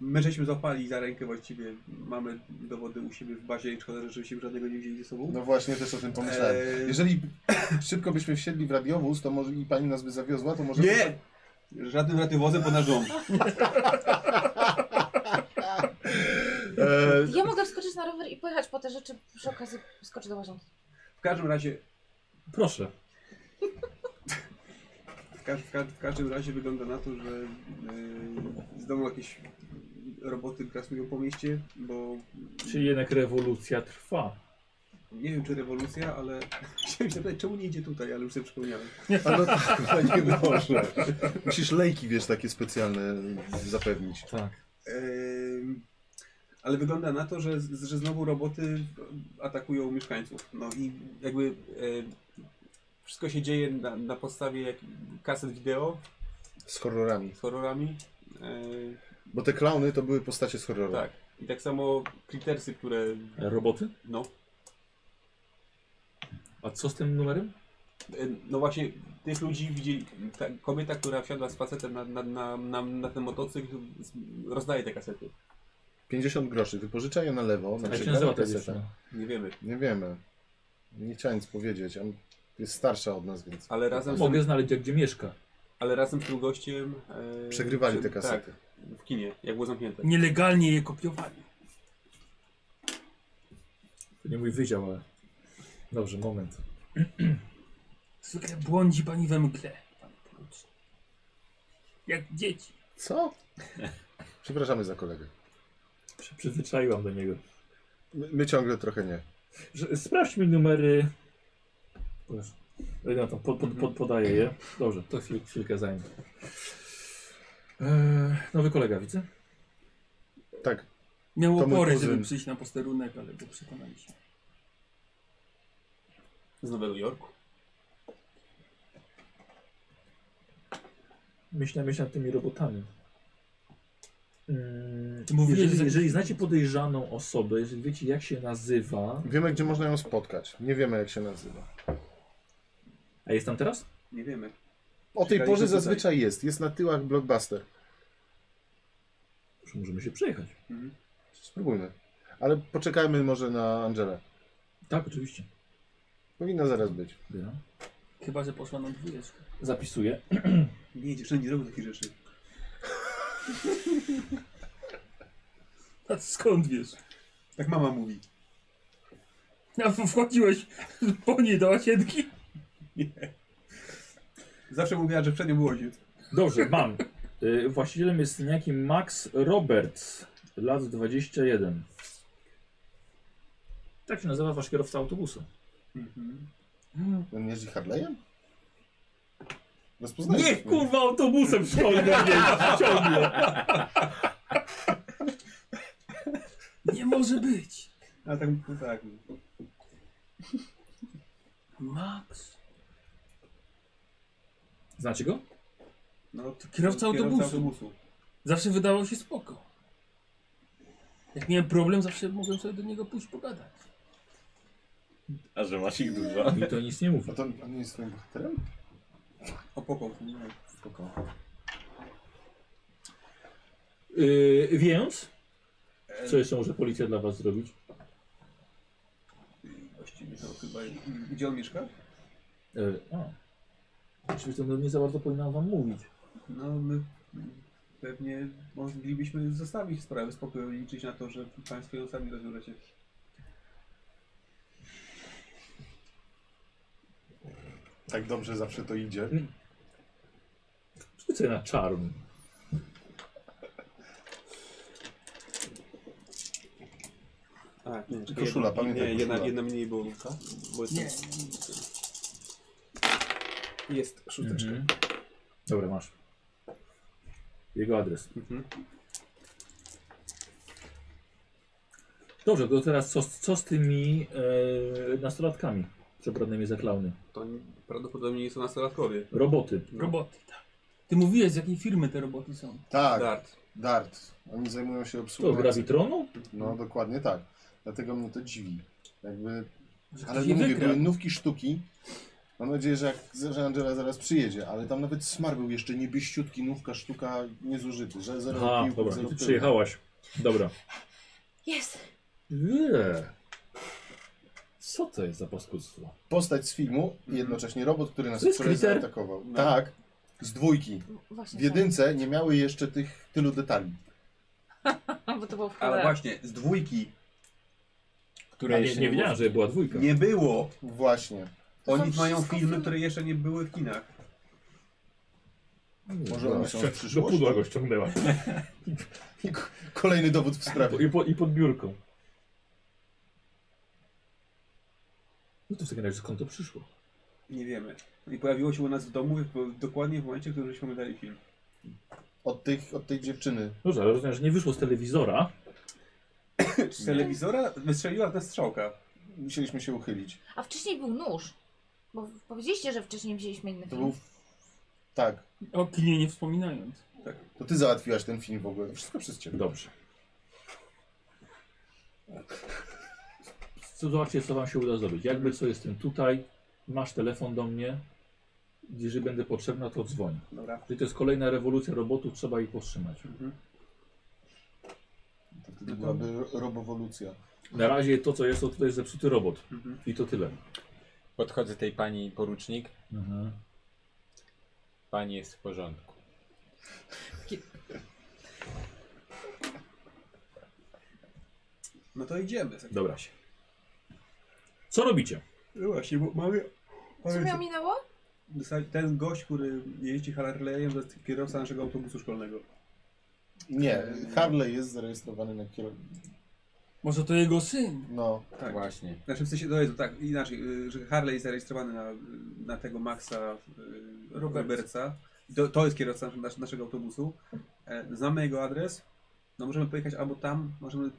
Speaker 6: my żeśmy złapali za rękę właściwie. Mamy dowody u siebie w bazie i szkoda, że żeśmy żadnego nie wzięli ze sobą.
Speaker 4: No właśnie, też o tym pomyślałem.
Speaker 6: Eee.
Speaker 4: Jeżeli szybko byśmy wsiedli w radiowóz, to może i pani nas by zawiozła, to może...
Speaker 6: Nie! Żadnym radiowozem po nasz dom.
Speaker 4: Eee,
Speaker 2: Ja mogę wskoczyć na rower i pojechać po te rzeczy, przy okazji skoczę do łazienki.
Speaker 6: W każdym razie,
Speaker 1: Proszę.
Speaker 6: w, każ, w, ka, w każdym razie wygląda na to, że yy, z domu jakieś roboty grasują po mieście, bo
Speaker 1: Czyli jednak rewolucja trwa.
Speaker 6: nie wiem czy rewolucja, ale chciałem się zapytać, czemu nie idzie tutaj, ale już sobie przypomniałem.
Speaker 4: ale tak, panie Boże. Musisz lejki, wiesz, takie specjalne zapewnić.
Speaker 1: Tak.
Speaker 6: Em, Ale wygląda na to, że, że znowu roboty atakują mieszkańców. No i jakby e, wszystko się dzieje na, na podstawie jak, kaset wideo
Speaker 4: Z horrorami.
Speaker 6: z horrorami.
Speaker 4: Bo te klauny to były postacie z
Speaker 6: E,
Speaker 4: horroru.
Speaker 6: tak. I tak samo klitersy, które.
Speaker 1: E, Roboty?
Speaker 6: No,
Speaker 1: A co z tym numerem?
Speaker 6: e, no właśnie tych ludzi widzieli. Ta kobieta, która wsiadła z facetem na, na, na, na, na ten motocykl, z- rozdaje te kasety.
Speaker 4: 50 groszy, wypożycza je na lewo. Na
Speaker 1: Jak się
Speaker 4: przykład,
Speaker 1: nazywa
Speaker 4: na
Speaker 1: ta
Speaker 4: kasetę.
Speaker 1: dziewczyna?
Speaker 6: Nie wiemy.
Speaker 4: Nie wiemy. Nie chciałem nic powiedzieć. On jest starsza od nas, więc
Speaker 6: Ale razem z,
Speaker 1: Mogę znaleźć, jak gdzie mieszka.
Speaker 6: ale razem z tym gościem. e,
Speaker 4: przegrywali te
Speaker 6: przy-
Speaker 4: kasety.
Speaker 6: Tak, w kinie, jak było zamknięte.
Speaker 10: Nielegalnie je kopiowali.
Speaker 1: To nie mój wydział, ale... Dobrze, moment.
Speaker 10: Zwykle błądzi pani we mgle, pan porucznik. Jak dzieci.
Speaker 4: Co? Przepraszamy za kolegę.
Speaker 1: Się przyzwyczaiłam do niego.
Speaker 4: My, my ciągle trochę nie.
Speaker 1: Że- Sprawdź mi numery. Proszę. Ja tam pod, pod, pod, podaję je. Dobrze, to chwil, chwilkę zajmę. Eee, nowy kolega, widzę?
Speaker 4: Tak,
Speaker 10: Miał
Speaker 4: To mój
Speaker 10: opory,
Speaker 4: kuzyn.
Speaker 10: żeby przyjść na posterunek, ale go przekonaliśmy.
Speaker 6: Z Nowego Jorku.
Speaker 1: Myślę, myślę nad tymi robotami. Mm,
Speaker 10: Ty mówisz,
Speaker 1: jeżeli,
Speaker 10: że-
Speaker 1: jeżeli znacie podejrzaną osobę, jeżeli wiecie jak się nazywa...
Speaker 4: wiemy gdzie można ją spotkać. Nie wiemy jak się nazywa.
Speaker 1: A jest tam teraz?
Speaker 6: Nie wiemy.
Speaker 4: O tej
Speaker 6: Czekaliśmy
Speaker 4: porze
Speaker 6: tutaj.
Speaker 4: zazwyczaj jest. Jest na tyłach blockbuster.
Speaker 1: Może możemy się przejechać.
Speaker 4: Spróbujmy. Ale poczekajmy może na Angelę.
Speaker 1: Tak, oczywiście.
Speaker 4: Powinna zaraz być.
Speaker 1: Ja.
Speaker 10: Chyba, że poszła na dwójeczkę.
Speaker 1: Zapisuję.
Speaker 6: Nie, dziewczyny nie robią takich rzeczy.
Speaker 10: A skąd wiesz?
Speaker 6: Tak mama mówi.
Speaker 10: A w- wchodziłeś po niej do łazienki?
Speaker 6: Zawsze mówiła, że przed nią był ojciec.
Speaker 1: Dobrze, mam. Y, właścicielem jest niejaki Max Roberts, lat 21. Tak się nazywa wasz kierowca autobusu.
Speaker 4: On jeździ Harley'em? Rozpoznajesz.
Speaker 1: Niech kurwa autobusem w szkole nie ciągle.
Speaker 7: Nie może być.
Speaker 9: A tak, no tak.
Speaker 7: Max.
Speaker 1: Znacie Znaczy go?
Speaker 9: No,
Speaker 7: Kierowca autobusu. Zawsze wydało się spoko. Jak miałem problem, zawsze mogłem sobie do niego pójść pogadać.
Speaker 11: A że masz ich dużo.
Speaker 1: I to nic nie mówi.
Speaker 4: A to on nie jest twoim bohaterem?
Speaker 9: O pokój.
Speaker 4: Spoko.
Speaker 1: Yy, więc, co jeszcze może policja dla was zrobić?
Speaker 9: Właściwie to chyba... Gdzie on mieszka?
Speaker 1: Yy, a. Oczywiście no, nie za bardzo powinnam wam mówić.
Speaker 9: No, my pewnie moglibyśmy zostawić sprawę spokoju i liczyć na to, że państwo ją sami rozwiążecie.
Speaker 4: Tak dobrze zawsze to idzie.
Speaker 1: Rzucę na czarm.
Speaker 6: A, nie, czekaj,
Speaker 4: Koszula,
Speaker 6: jedna-
Speaker 4: pamiętaj,
Speaker 6: Nie, jedna,
Speaker 4: koszula.
Speaker 6: jedna mniej, bo, bo jest...
Speaker 7: Nie.
Speaker 6: Jest szósteczka.
Speaker 1: Mhm. Dobra, masz. Jego adres.
Speaker 6: Mhm.
Speaker 1: Dobrze, to teraz co, z- co z tymi e, nastolatkami przebranymi za klauny?
Speaker 6: To prawdopodobnie nie są nastolatkowie.
Speaker 1: Roboty.
Speaker 4: No.
Speaker 7: Roboty, tak. Ty mówiłeś, z jakiej firmy te roboty są.
Speaker 4: Tak, dart.
Speaker 6: Dart.
Speaker 4: Oni zajmują się
Speaker 1: To
Speaker 4: obsługą.
Speaker 1: gravitronu?
Speaker 4: No dokładnie tak. Dlatego mnie to dziwi. Jakby
Speaker 7: Może
Speaker 4: Ale
Speaker 7: ktoś
Speaker 4: nie
Speaker 7: je
Speaker 4: mówię, no-
Speaker 7: wygra.
Speaker 4: były nówki sztuki. Mam nadzieję, że, jak, że Angela zaraz przyjedzie, ale tam nawet smar był jeszcze niebieściutki, nówka sztuka niezużyty, że zero
Speaker 1: Aha,
Speaker 4: piłków,
Speaker 1: dobra,
Speaker 4: zero
Speaker 1: i ty
Speaker 4: tyłu.
Speaker 1: przyjechałaś. Dobra.
Speaker 2: Jest!
Speaker 1: Nie. Co to jest za paskudstwo?
Speaker 4: Postać z filmu i jednocześnie robot, który nas
Speaker 1: Mhm. To jest No.
Speaker 4: wczoraj
Speaker 1: Critter?
Speaker 4: zaatakował. Tak, z dwójki.
Speaker 2: Właśnie
Speaker 4: W jedynce nie miały jeszcze tych tylu detali.
Speaker 2: tak, bo to było w
Speaker 6: Ale
Speaker 2: cholerę.
Speaker 6: właśnie, z dwójki
Speaker 1: Ja
Speaker 3: Które
Speaker 1: nie,
Speaker 3: jeszcze
Speaker 1: nie wiedziałem, że była dwójka.
Speaker 6: nie było.
Speaker 4: Właśnie.
Speaker 2: To są
Speaker 6: Oni mają
Speaker 2: wszystko
Speaker 6: filmy,
Speaker 2: filmy.
Speaker 6: które jeszcze nie były w kinach.
Speaker 4: Może one są w
Speaker 1: No, Do
Speaker 4: przyszłości?
Speaker 1: pudła go ściągnęła.
Speaker 4: I k- Kolejny dowód w sprawie.
Speaker 1: Tak, I, po, I pod biurką. No to w takim razie skąd to przyszło?
Speaker 6: Nie wiemy. I pojawiło się u nas w domu w, dokładnie w momencie, w którym żeśmy oglądali film.
Speaker 4: Od, tych, od tej dziewczyny.
Speaker 1: No Dobrze, ale rozumiem, że nie wyszło z telewizora.
Speaker 6: Z telewizora wystrzeliła w nas strzałka.
Speaker 4: Musieliśmy się uchylić.
Speaker 2: A wcześniej był nóż. Bo powiedzieliście, że wcześniej wzięliśmy inny
Speaker 4: To
Speaker 2: film.
Speaker 4: był... Tak.
Speaker 7: O kinie nie wspominając.
Speaker 4: To ty załatwiłaś ten film w ogóle. Wszystko przez ciebie.
Speaker 1: Dobrze. Co, zobaczcie, co wam się uda zrobić. Jakby co jestem tutaj, masz telefon do mnie. Jeżeli będę potrzebna, to dzwoń.
Speaker 6: Dobra.
Speaker 1: Czyli to jest kolejna rewolucja robotów, trzeba ich powstrzymać.
Speaker 4: To wtedy byłaby ro- robowolucja.
Speaker 1: Na razie to, co jest, to tutaj jest zepsuty robot.
Speaker 6: Mhm.
Speaker 1: I to tyle.
Speaker 3: Podchodzę tej pani porucznik.
Speaker 1: Mhm.
Speaker 3: Pani jest w porządku.
Speaker 6: No to idziemy.
Speaker 1: Dobra. Co robicie?
Speaker 6: No właśnie, bo mamy...
Speaker 2: Co miał minęło?
Speaker 6: Ten gość, który jeździ Harley'em, to jest kierowca naszego autobusu szkolnego.
Speaker 4: Nie, Harley jest zarejestrowany na kierownicę.
Speaker 7: Może to jego syn.
Speaker 4: No,
Speaker 6: Tak.
Speaker 3: Właśnie.
Speaker 6: Znaczy w sensie, to jest tak, inaczej, y, że Harley jest zarejestrowany na, y, na tego Maxa y,
Speaker 7: Roberts.
Speaker 6: Robertsa. To, to jest kierowca nas, naszego autobusu. E, Znamy jego adres. No możemy pojechać albo tam, możemy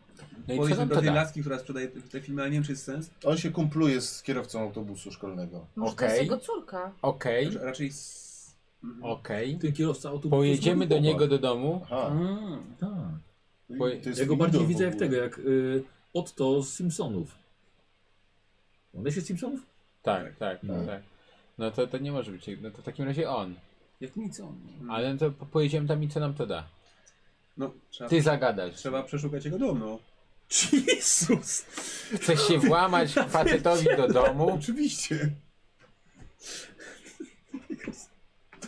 Speaker 3: No i co
Speaker 6: podejść
Speaker 3: nam
Speaker 6: do
Speaker 3: to
Speaker 6: tej
Speaker 3: da?
Speaker 6: laski, która sprzedaje te, te filmy, ale nie wiem czy jest sens.
Speaker 4: on się kumpluje z kierowcą autobusu szkolnego.
Speaker 2: Może to
Speaker 3: Okej.
Speaker 2: jest jego córka.
Speaker 3: Okej,
Speaker 6: Że Raczej z... mhm.
Speaker 3: okej.
Speaker 1: Ten kierowca autobusu.
Speaker 3: Pojedziemy do
Speaker 1: znowu
Speaker 3: niego do domu.
Speaker 4: Aha,
Speaker 7: Mm.
Speaker 1: Tak.
Speaker 4: i
Speaker 3: bo-
Speaker 1: Ja go
Speaker 4: Widor
Speaker 1: bardziej
Speaker 4: w
Speaker 1: widzę jak
Speaker 4: ogóle.
Speaker 1: tego, jak y, Otto z Simpsonów. One się z Simpsonów?
Speaker 3: Tak, tak,
Speaker 1: No.
Speaker 3: tak. No to, to nie może być. No to w takim razie on.
Speaker 7: Jak nic on.
Speaker 3: Ale no to po- pojedziemy tam i co nam to da?
Speaker 6: No, trzeba,
Speaker 3: Ty zagadasz.
Speaker 6: trzeba przeszukać jego dom, no.
Speaker 1: Jezus!
Speaker 3: Chcesz się włamać facetowi do domu?
Speaker 4: Oczywiście.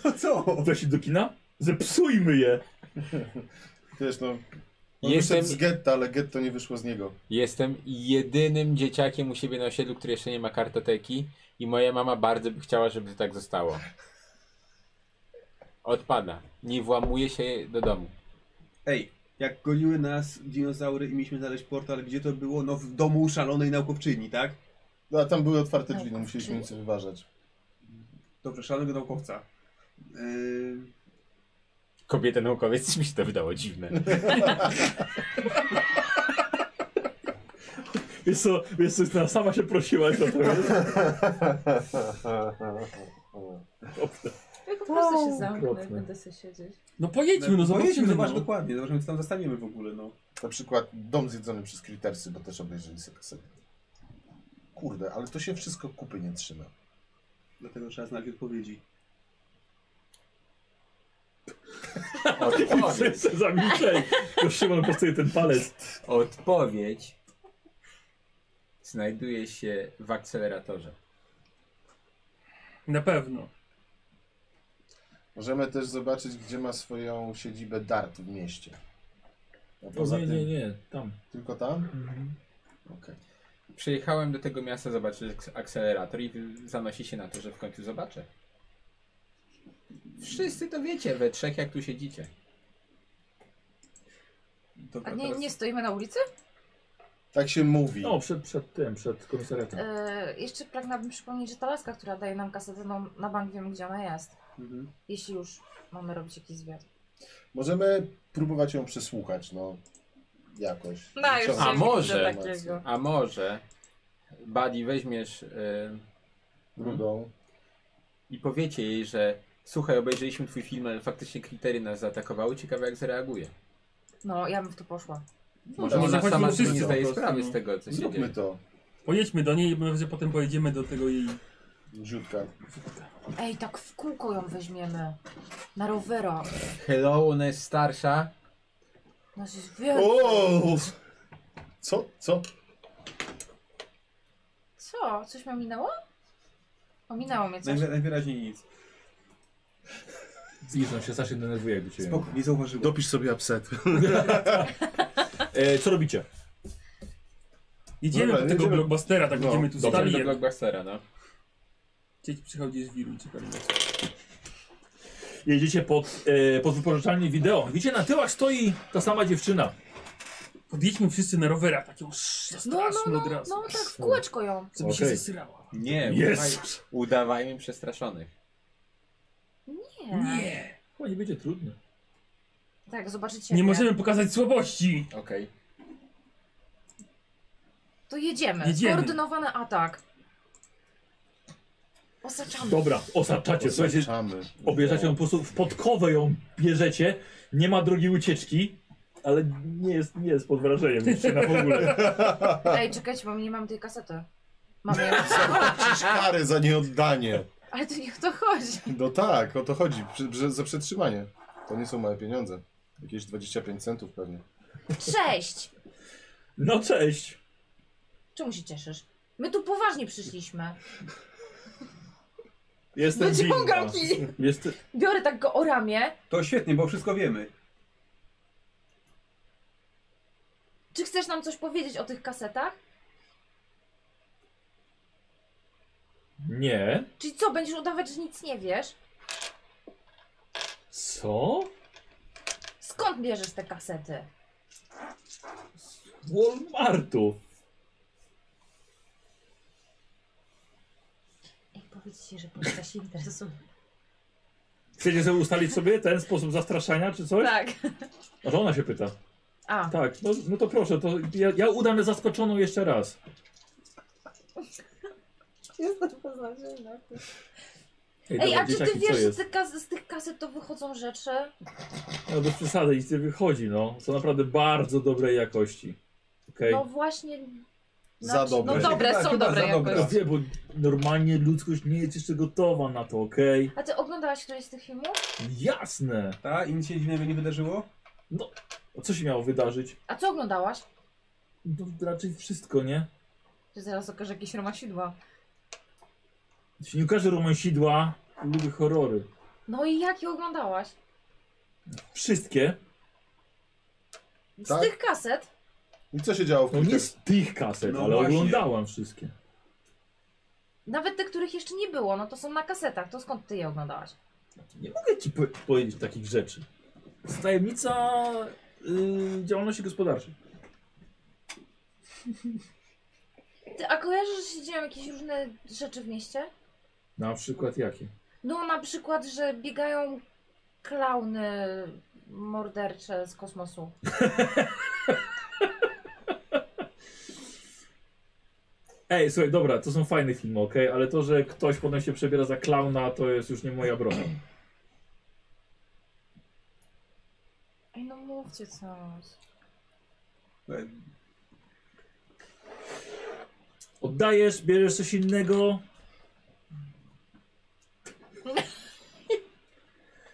Speaker 6: To co?
Speaker 1: Wleci do kina? Zepsujmy je!
Speaker 4: Wiesz, no. On
Speaker 3: Jestem-
Speaker 4: wyszedł z getta, ale getto nie wyszło z niego.
Speaker 3: Jestem jedynym dzieciakiem u siebie na osiedlu, który jeszcze nie ma kartoteki i moja mama bardzo by chciała, żeby tak zostało. Odpada. Nie włamuje się do domu.
Speaker 6: Ej, jak goniły nas dinozaury i mieliśmy znaleźć portal, gdzie to było? No w domu szalonej naukowczyni, tak?
Speaker 4: No, a tam były otwarte drzwi, no musieliśmy nic wyważać.
Speaker 6: Dobrze, szalonego naukowca.
Speaker 9: Yy,
Speaker 3: Kobieta naukowiec, coś mi się to wydało dziwne.
Speaker 1: Wiesz co, wiesz co, Justyna, sama się prosiłaś o to, wiesz?
Speaker 2: Ja po prostu się zamknę,
Speaker 1: okropne.
Speaker 2: będę sobie siedzieć.
Speaker 7: No pojedźmy,
Speaker 4: pojedźmy,
Speaker 7: no zobaczymy.
Speaker 4: zobacz,
Speaker 7: no.
Speaker 9: dokładnie, zobaczymy, co tam zastaniemy w ogóle, no.
Speaker 4: Na przykład dom zjedzony przez kritersy, bo też obejrzeli sobie kasetę. Kurde, ale to się wszystko kupy nie trzyma.
Speaker 9: Dlatego trzeba znać odpowiedzi.
Speaker 3: Odpowiedź.
Speaker 1: Wszyscy zamilczeli. Już Szymon postuje ten palec.
Speaker 3: Odpowiedź znajduje się w akceleratorze.
Speaker 7: Na pewno.
Speaker 4: Możemy też zobaczyć, gdzie ma swoją siedzibę Dart w mieście. A
Speaker 1: O, No nie, nie, Mhm. nie, tam.
Speaker 4: Tylko tam? Okej.
Speaker 3: Przyjechałem do tego miasta zobaczyć ak- akcelerator i wy- zanosi się na to, że w końcu zobaczę. Wszyscy to wiecie, we trzech jak tu siedzicie.
Speaker 9: Tak,
Speaker 2: A nie, nie stoimy na ulicy?
Speaker 4: Tak się mówi.
Speaker 1: No, przed, przed tym, przed komisariatem.
Speaker 2: E, jeszcze pragnęłabym przypomnieć, że ta laska, która daje nam kasetę no, na bank, wiemy gdzie ona jest.
Speaker 9: Mhm.
Speaker 2: Jeśli już mamy robić jakiś zwiat.
Speaker 4: Możemy próbować ją przesłuchać, no. Jakoś.
Speaker 2: No, już
Speaker 4: Wyciągnąć
Speaker 3: A może,
Speaker 4: informacje.
Speaker 2: takiego.
Speaker 3: a może, Buddy weźmiesz y,
Speaker 4: Drugą.
Speaker 3: i powiecie jej, że słuchaj, obejrzeliśmy twój film, ale faktycznie kritery nas zaatakowały, ciekawe jak zareaguje.
Speaker 2: No, ja bym w to poszła.
Speaker 3: Może
Speaker 7: tak.
Speaker 3: ona
Speaker 7: Zachodźmy
Speaker 3: sama
Speaker 7: wszyscy
Speaker 3: sobie nie
Speaker 7: po
Speaker 3: zdaje
Speaker 7: prostu,
Speaker 3: sprawy
Speaker 7: no.
Speaker 3: z tego, co się
Speaker 4: Zróbmy
Speaker 3: dzieje.
Speaker 4: to.
Speaker 7: Pojedźmy do niej i może potem pojedziemy do tego jej...
Speaker 4: Rzutka.
Speaker 2: Ej, tak w kółko ją weźmiemy. Na rowera.
Speaker 3: Hello, ona jest starsza.
Speaker 2: Nas jest więcej.
Speaker 4: O! Co? Co?
Speaker 2: Co? Coś mnie minęło? Ominęło mnie coś.
Speaker 9: Najwy- najwyraźniej nic.
Speaker 1: Zbliżam się, strasznie denerwuję jakby cię.
Speaker 9: Spoko, nie zauważyłem.
Speaker 4: Dopisz sobie upset.
Speaker 1: E, co robicie?
Speaker 7: Jedziemy
Speaker 4: Dobra,
Speaker 7: do tego
Speaker 4: jedziemy.
Speaker 7: blockbustera, tak
Speaker 4: No,
Speaker 7: będziemy tu
Speaker 3: Dobrze,
Speaker 7: stali.
Speaker 3: do
Speaker 7: jak-
Speaker 3: blockbustera, no.
Speaker 7: Dzieci przychodzi z wiru i czekali na to.
Speaker 1: Jedziecie pod, e, pod wypożyczalnię wideo. Widzicie, na tyłach stoi ta sama dziewczyna.
Speaker 7: Podjedźmy wszyscy na rowerach,
Speaker 10: tak
Speaker 7: taką straszną
Speaker 2: No, no,
Speaker 7: od
Speaker 2: no,
Speaker 7: razu.
Speaker 2: no, tak w kółeczko ją.
Speaker 7: Żeby się
Speaker 1: Okej.
Speaker 7: zesyrała.
Speaker 3: Nie,
Speaker 1: Jezus!
Speaker 3: udawaj- udawajmy przestraszonych.
Speaker 2: Nie.
Speaker 7: Nie!
Speaker 1: Chyba nie będzie trudno.
Speaker 2: Tak, zobaczycie.
Speaker 7: Nie
Speaker 2: jak-
Speaker 7: możemy pokazać słabości!
Speaker 3: Okej.
Speaker 2: To jedziemy.
Speaker 7: Jedziemy.
Speaker 2: Skoordynowany atak. Osaczamy.
Speaker 1: Dobra, osaczacie, słuchajcie,
Speaker 4: Zaczamy.
Speaker 1: obierzecie ją po prostu, w podkowę ją bierzecie, nie ma drogi ucieczki, ale nie jest, nie jest pod wrażeniem dziewczyna w ogóle.
Speaker 2: Ej, czekajcie, bo my nie mamy tej kasety. Mamy ją.
Speaker 4: Zapłacisz karę za nieoddanie.
Speaker 2: Ale to nie o to chodzi.
Speaker 4: No tak, o to chodzi. Przy, przy, za przetrzymanie. To nie są małe pieniądze. Jakieś 25 centów pewnie.
Speaker 2: Cześć!
Speaker 1: No cześć!
Speaker 2: Czemu się cieszysz? My tu poważnie przyszliśmy.
Speaker 1: Jestem
Speaker 2: Wyciągam
Speaker 1: winna.
Speaker 2: kij.
Speaker 1: Jest,
Speaker 2: Biorę tak go o ramię.
Speaker 9: To świetnie, bo wszystko wiemy.
Speaker 2: Czy chcesz nam coś powiedzieć o tych kasetach?
Speaker 1: nie.
Speaker 2: Czyli co, będziesz udawać, że nic nie wiesz?
Speaker 1: Co?
Speaker 2: Skąd bierzesz te kasety?
Speaker 1: Z Walmartu.
Speaker 2: Ej, powiedzcie, że policja się interesuje.
Speaker 1: Chcecie sobie ustalić sobie ten sposób zastraszania czy coś?
Speaker 2: Tak.
Speaker 1: A to ona się pyta.
Speaker 2: A,
Speaker 1: Tak, no, no to proszę, to ja, ja udam zaskoczoną jeszcze raz.
Speaker 2: jestem poznaczona. Ej,
Speaker 1: dobra,
Speaker 2: a czy ty
Speaker 1: dzieciaki,
Speaker 2: wiesz,
Speaker 1: co
Speaker 2: że
Speaker 1: jest?
Speaker 2: z tych kas- z tych kaset to wychodzą rzeczy?
Speaker 1: No bez przesady, nic nie wychodzi, no. Są naprawdę bardzo dobrej jakości. Okej.
Speaker 2: No właśnie.
Speaker 4: Za
Speaker 2: Znaczy,
Speaker 4: dobre.
Speaker 2: No dobre,
Speaker 9: Chyba-
Speaker 2: są
Speaker 9: Tak, chyba
Speaker 2: dobre
Speaker 9: za dobre.
Speaker 1: No
Speaker 2: jakoś.
Speaker 1: wie, bo normalnie ludzkość nie jest jeszcze gotowa na to, okej?
Speaker 2: A ty oglądałaś któryś z tych filmów?
Speaker 1: Jasne!
Speaker 9: Ta? I nic się dziwnego nie wydarzyło?
Speaker 1: A co się miało wydarzyć?
Speaker 2: A co oglądałaś?
Speaker 1: No raczej wszystko, nie?
Speaker 2: Czy zaraz okaże jakieś romasidła?
Speaker 1: Się nie ukaże romansidła, lubię horrory.
Speaker 2: No i jakie oglądałaś?
Speaker 1: Wszystkie.
Speaker 2: Z
Speaker 4: Tak?
Speaker 2: tych kaset?
Speaker 4: I co się działo w
Speaker 1: No nie
Speaker 4: Critters?
Speaker 1: z tych kaset,
Speaker 9: No
Speaker 1: ale
Speaker 9: właśnie.
Speaker 1: oglądałam wszystkie.
Speaker 2: Nawet te, których jeszcze nie było, no to są na kasetach. To skąd ty je oglądałaś?
Speaker 1: Nie mogę ci po powiedzieć takich rzeczy. To jest Tajemnica y, działalności gospodarczej.
Speaker 2: Ty, a kojarzysz, że się dzieją jakieś różne rzeczy w mieście?
Speaker 1: Na przykład jakie?
Speaker 2: No na przykład, że biegają klauny mordercze z kosmosu.
Speaker 1: Ej, słuchaj, dobra, to są fajne filmy, okej, ale to, że ktoś potem się przebiera za klauna, to jest już nie moja broń.
Speaker 2: Ej, no mówcie coś.
Speaker 1: Oddajesz, bierzesz coś innego.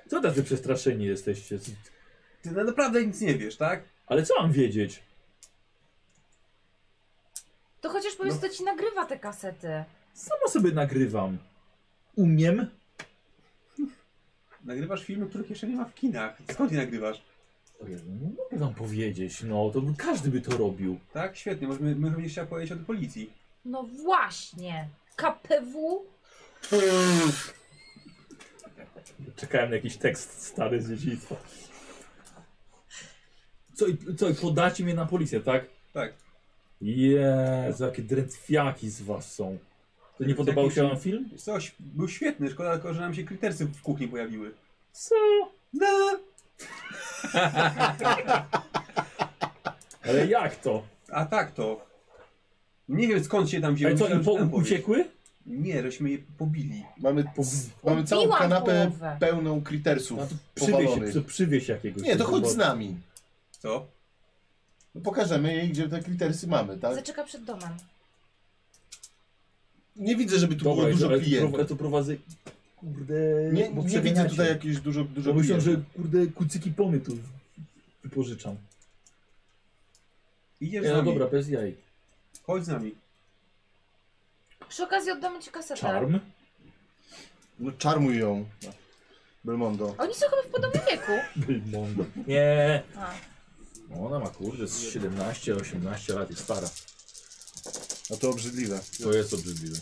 Speaker 1: Co tacy przestraszeni jesteście?
Speaker 9: Ty na- naprawdę nic nie wiesz, tak?
Speaker 1: Ale co mam wiedzieć?
Speaker 2: To chociaż powiedz, kto ci nagrywa te kasety.
Speaker 1: Sama sobie nagrywam. Umiem.
Speaker 9: Nagrywasz filmy, których jeszcze nie ma w kinach. Skąd je nagrywasz?
Speaker 1: O Jezu, nie mogę wam powiedzieć, no, to by- każdy by to robił.
Speaker 9: Tak? Świetnie, może my, my również chciała powiedzieć o tej policji.
Speaker 2: No właśnie. KPW?
Speaker 1: Czekałem na jakiś tekst stary z dzieciństwa. Co, i- co i podacie mnie na policję, tak?
Speaker 9: Tak.
Speaker 1: Jezu, jakie drętwiaki z was są. To nie podobał się wam film?
Speaker 9: Coś, był świetny, szkoda tylko, że nam się krytersy w kuchni pojawiły.
Speaker 1: Co?
Speaker 9: No.
Speaker 1: Ale jak to?
Speaker 9: A tak to. Nie wiem skąd się tam wzięły.
Speaker 1: Ale co,
Speaker 9: myślałem,
Speaker 1: i
Speaker 9: że
Speaker 1: po-
Speaker 9: tam powiesz.
Speaker 1: uciekły?
Speaker 9: Nie, żeśmy je pobili.
Speaker 4: Mamy, mamy całą Pobiłam kanapę połowę. pełną kritersów
Speaker 1: No to
Speaker 4: powalonych.
Speaker 1: przywieź, przy- przywieź jakiegoś.
Speaker 4: Nie, to
Speaker 1: do
Speaker 4: chodź
Speaker 1: roboty.
Speaker 4: z nami.
Speaker 9: Co?
Speaker 4: No pokażemy jej, gdzie te klitersy mamy, tak?
Speaker 2: Zaczeka przed domem.
Speaker 4: Nie widzę, żeby tu
Speaker 1: Dobra,
Speaker 4: było
Speaker 1: ale
Speaker 4: dużo
Speaker 1: tu prowadzę-
Speaker 4: klientów.
Speaker 1: ale tu prowadzę... Kurde...
Speaker 4: Nie,
Speaker 1: bo
Speaker 4: nie widzę
Speaker 1: przeganiacie.
Speaker 4: tutaj jakichś dużo, dużo
Speaker 1: Bo myślę, że
Speaker 4: klientów.
Speaker 1: kurde kucyki pomy tu wypożyczam.
Speaker 9: Idziesz
Speaker 1: Nie,
Speaker 9: z
Speaker 1: no
Speaker 9: nami.
Speaker 1: dobra, bez jaj.
Speaker 9: Chodź z nami.
Speaker 2: Przy okazji oddamy ci kasetę.
Speaker 1: Czarm?
Speaker 4: No, czarmuj ją. Belmondo.
Speaker 2: Oni są chyba w podobnym wieku.
Speaker 1: Belmondo. Nie.
Speaker 2: A.
Speaker 1: No ona ma kurde z 17, 18 lat jest stara.
Speaker 4: No to obrzydliwe.
Speaker 1: To jest obrzydliwe.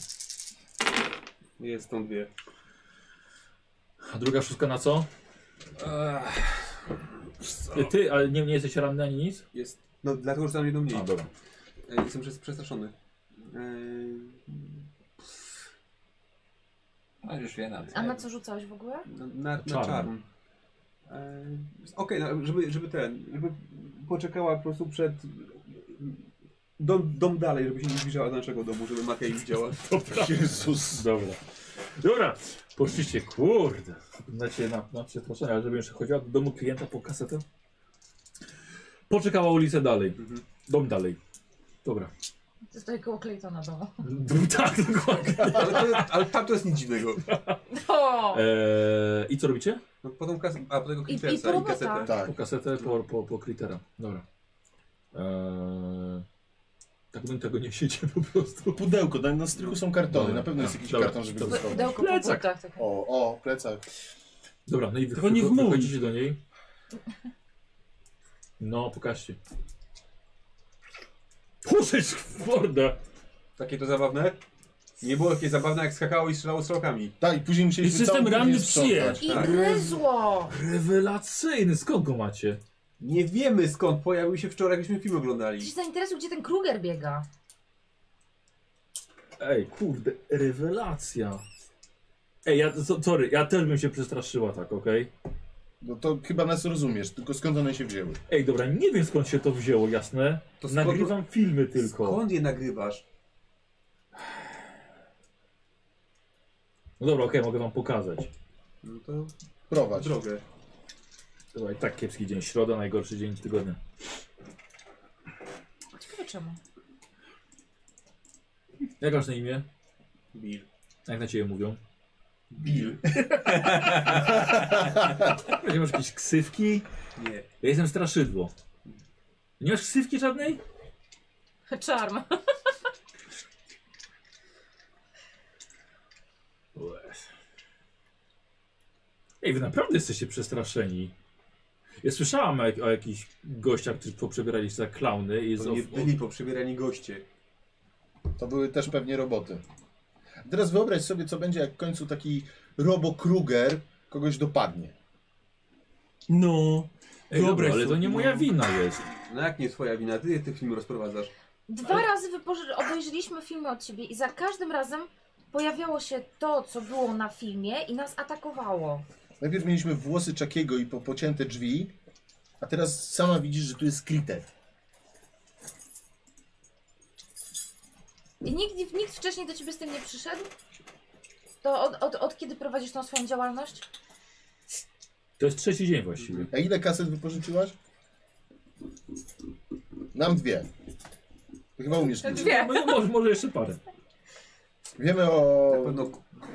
Speaker 9: Jest tą dwie.
Speaker 1: A druga szóstka na co? Ty, ty ale nie, nie jesteś ranny ani nic?
Speaker 9: Jest. No dlatego, że tam jedną mniej.
Speaker 1: A, dobra.
Speaker 9: E, Jestem przez- przestraszony. E,
Speaker 3: A już wie na
Speaker 2: A na co rzucałeś w ogóle?
Speaker 9: Na, na, na
Speaker 1: Czarny.
Speaker 9: czarn. E, Okej, no, żeby, żeby ten, żeby poczekała po prostu przed dom, dom dalej, żeby się nie zbliżała do naszego domu, żeby Matia jej widziała.
Speaker 1: Dobra. Jezus. Dobra. Dobra. Poszliście, kurde. Znacie na, na przeproszenie, ale żebym jeszcze chodziła do domu klienta po kasetę. Poczekała ulicę dalej. Dom dalej. Dobra.
Speaker 2: To stoi koło Claytona domu.
Speaker 1: Tak, dokładnie.
Speaker 9: Ale, to, ale tam to jest nic dziwnego.
Speaker 2: No!
Speaker 1: Eee, I co robicie?
Speaker 9: No, po tą kas- a po tego
Speaker 2: I- i
Speaker 9: klitersa i,
Speaker 2: porobota.
Speaker 9: kasetę.
Speaker 4: Tak.
Speaker 1: Po kasetę, po, po, po kritera. Dobra. Eee, tak bym tego nie siedział po prostu.
Speaker 4: Pudełko, na, na strychu są kartony.
Speaker 1: Dobra.
Speaker 4: Na pewno jest jakiś
Speaker 1: Dobra.
Speaker 4: karton, żeby
Speaker 1: Dobra.
Speaker 4: go schować.
Speaker 2: Pudełko po
Speaker 1: Plecak.
Speaker 2: butach. tak.
Speaker 4: O, o, plecak.
Speaker 1: Dobra, no i wy,
Speaker 7: Tylko nie
Speaker 1: wy-
Speaker 7: w mój.
Speaker 1: wychodzicie do niej. No, pokażcie. Puszecz w mordę!
Speaker 9: Takie to zabawne? Nie było takie zabawne jak skakało i strzelało strzałkami.
Speaker 4: Tak, i później
Speaker 7: I
Speaker 4: musieliśmy
Speaker 7: system
Speaker 4: całą kuchnię
Speaker 7: ranny
Speaker 4: sprzątać.
Speaker 7: przyje.
Speaker 2: I
Speaker 9: Tak.
Speaker 2: gryzło!
Speaker 1: Rewelacyjny, skąd go macie?
Speaker 9: Nie wiemy skąd pojawił się wczoraj, jakbyśmy film
Speaker 2: Ty
Speaker 9: oglądali.
Speaker 2: się zainteresuj, gdzie ten Kruger biega.
Speaker 1: Ej, kurde, rewelacja. Ej, ja, so- sorry, ja też bym się przestraszyła tak, okej?
Speaker 4: No to chyba nas rozumiesz, tylko skąd one się wzięły?
Speaker 1: Ej, dobra, nie wiem skąd się to wzięło, jasne?
Speaker 9: To skąd-
Speaker 1: Nagrywam filmy tylko.
Speaker 9: Skąd je nagrywasz?
Speaker 1: No dobra, okej, mogę wam pokazać.
Speaker 9: No to
Speaker 4: Prowadź.
Speaker 9: drogę.
Speaker 1: Dobra, i tak kiepski dzień, środa, najgorszy dzień tygodnia.
Speaker 2: Ciekawe czemu.
Speaker 1: Jak masz na imię?
Speaker 9: Bill.
Speaker 1: Jak na ciebie mówią?
Speaker 9: Bill.
Speaker 1: Nie masz jakieś ksywki?
Speaker 9: Nie.
Speaker 1: Ja jestem straszydło. Nie masz ksywki żadnej?
Speaker 2: Czarm.
Speaker 1: Ej, wy naprawdę jesteście przestraszeni. Ja słyszałam o, jak- o jakichś gościach, którzy poprzebierali się za klauny i jest
Speaker 9: To
Speaker 1: o,
Speaker 9: nie
Speaker 1: o,
Speaker 9: byli poprzebierani goście.
Speaker 4: To były też pewnie roboty. Teraz wyobraź sobie, co będzie, jak w końcu taki Robo Kruger kogoś dopadnie.
Speaker 7: No.
Speaker 1: Ej, dobra,
Speaker 7: Wyobraź
Speaker 1: ale to
Speaker 7: sobie,
Speaker 1: nie
Speaker 7: no.
Speaker 1: moja wina jest.
Speaker 9: No jak nie twoja wina, ty tych filmów rozprowadzasz.
Speaker 2: Dwa razy wypoży- obejrzeliśmy filmy od ciebie i za każdym razem pojawiało się to, co było na filmie i nas atakowało.
Speaker 4: Najpierw mieliśmy włosy Czakiego i po pocięte drzwi, a teraz sama widzisz, że tu jest kryte.
Speaker 2: I nikt, nikt wcześniej do ciebie z tym nie przyszedł? To od, od, od kiedy prowadzisz tą swoją działalność?
Speaker 1: To jest trzeci dzień właściwie.
Speaker 4: A ile kaset wypożyczyłaś? Nam dwie. Ty Chyba umiesz.
Speaker 2: Dwie.
Speaker 1: No, może, może jeszcze parę.
Speaker 4: Wiemy o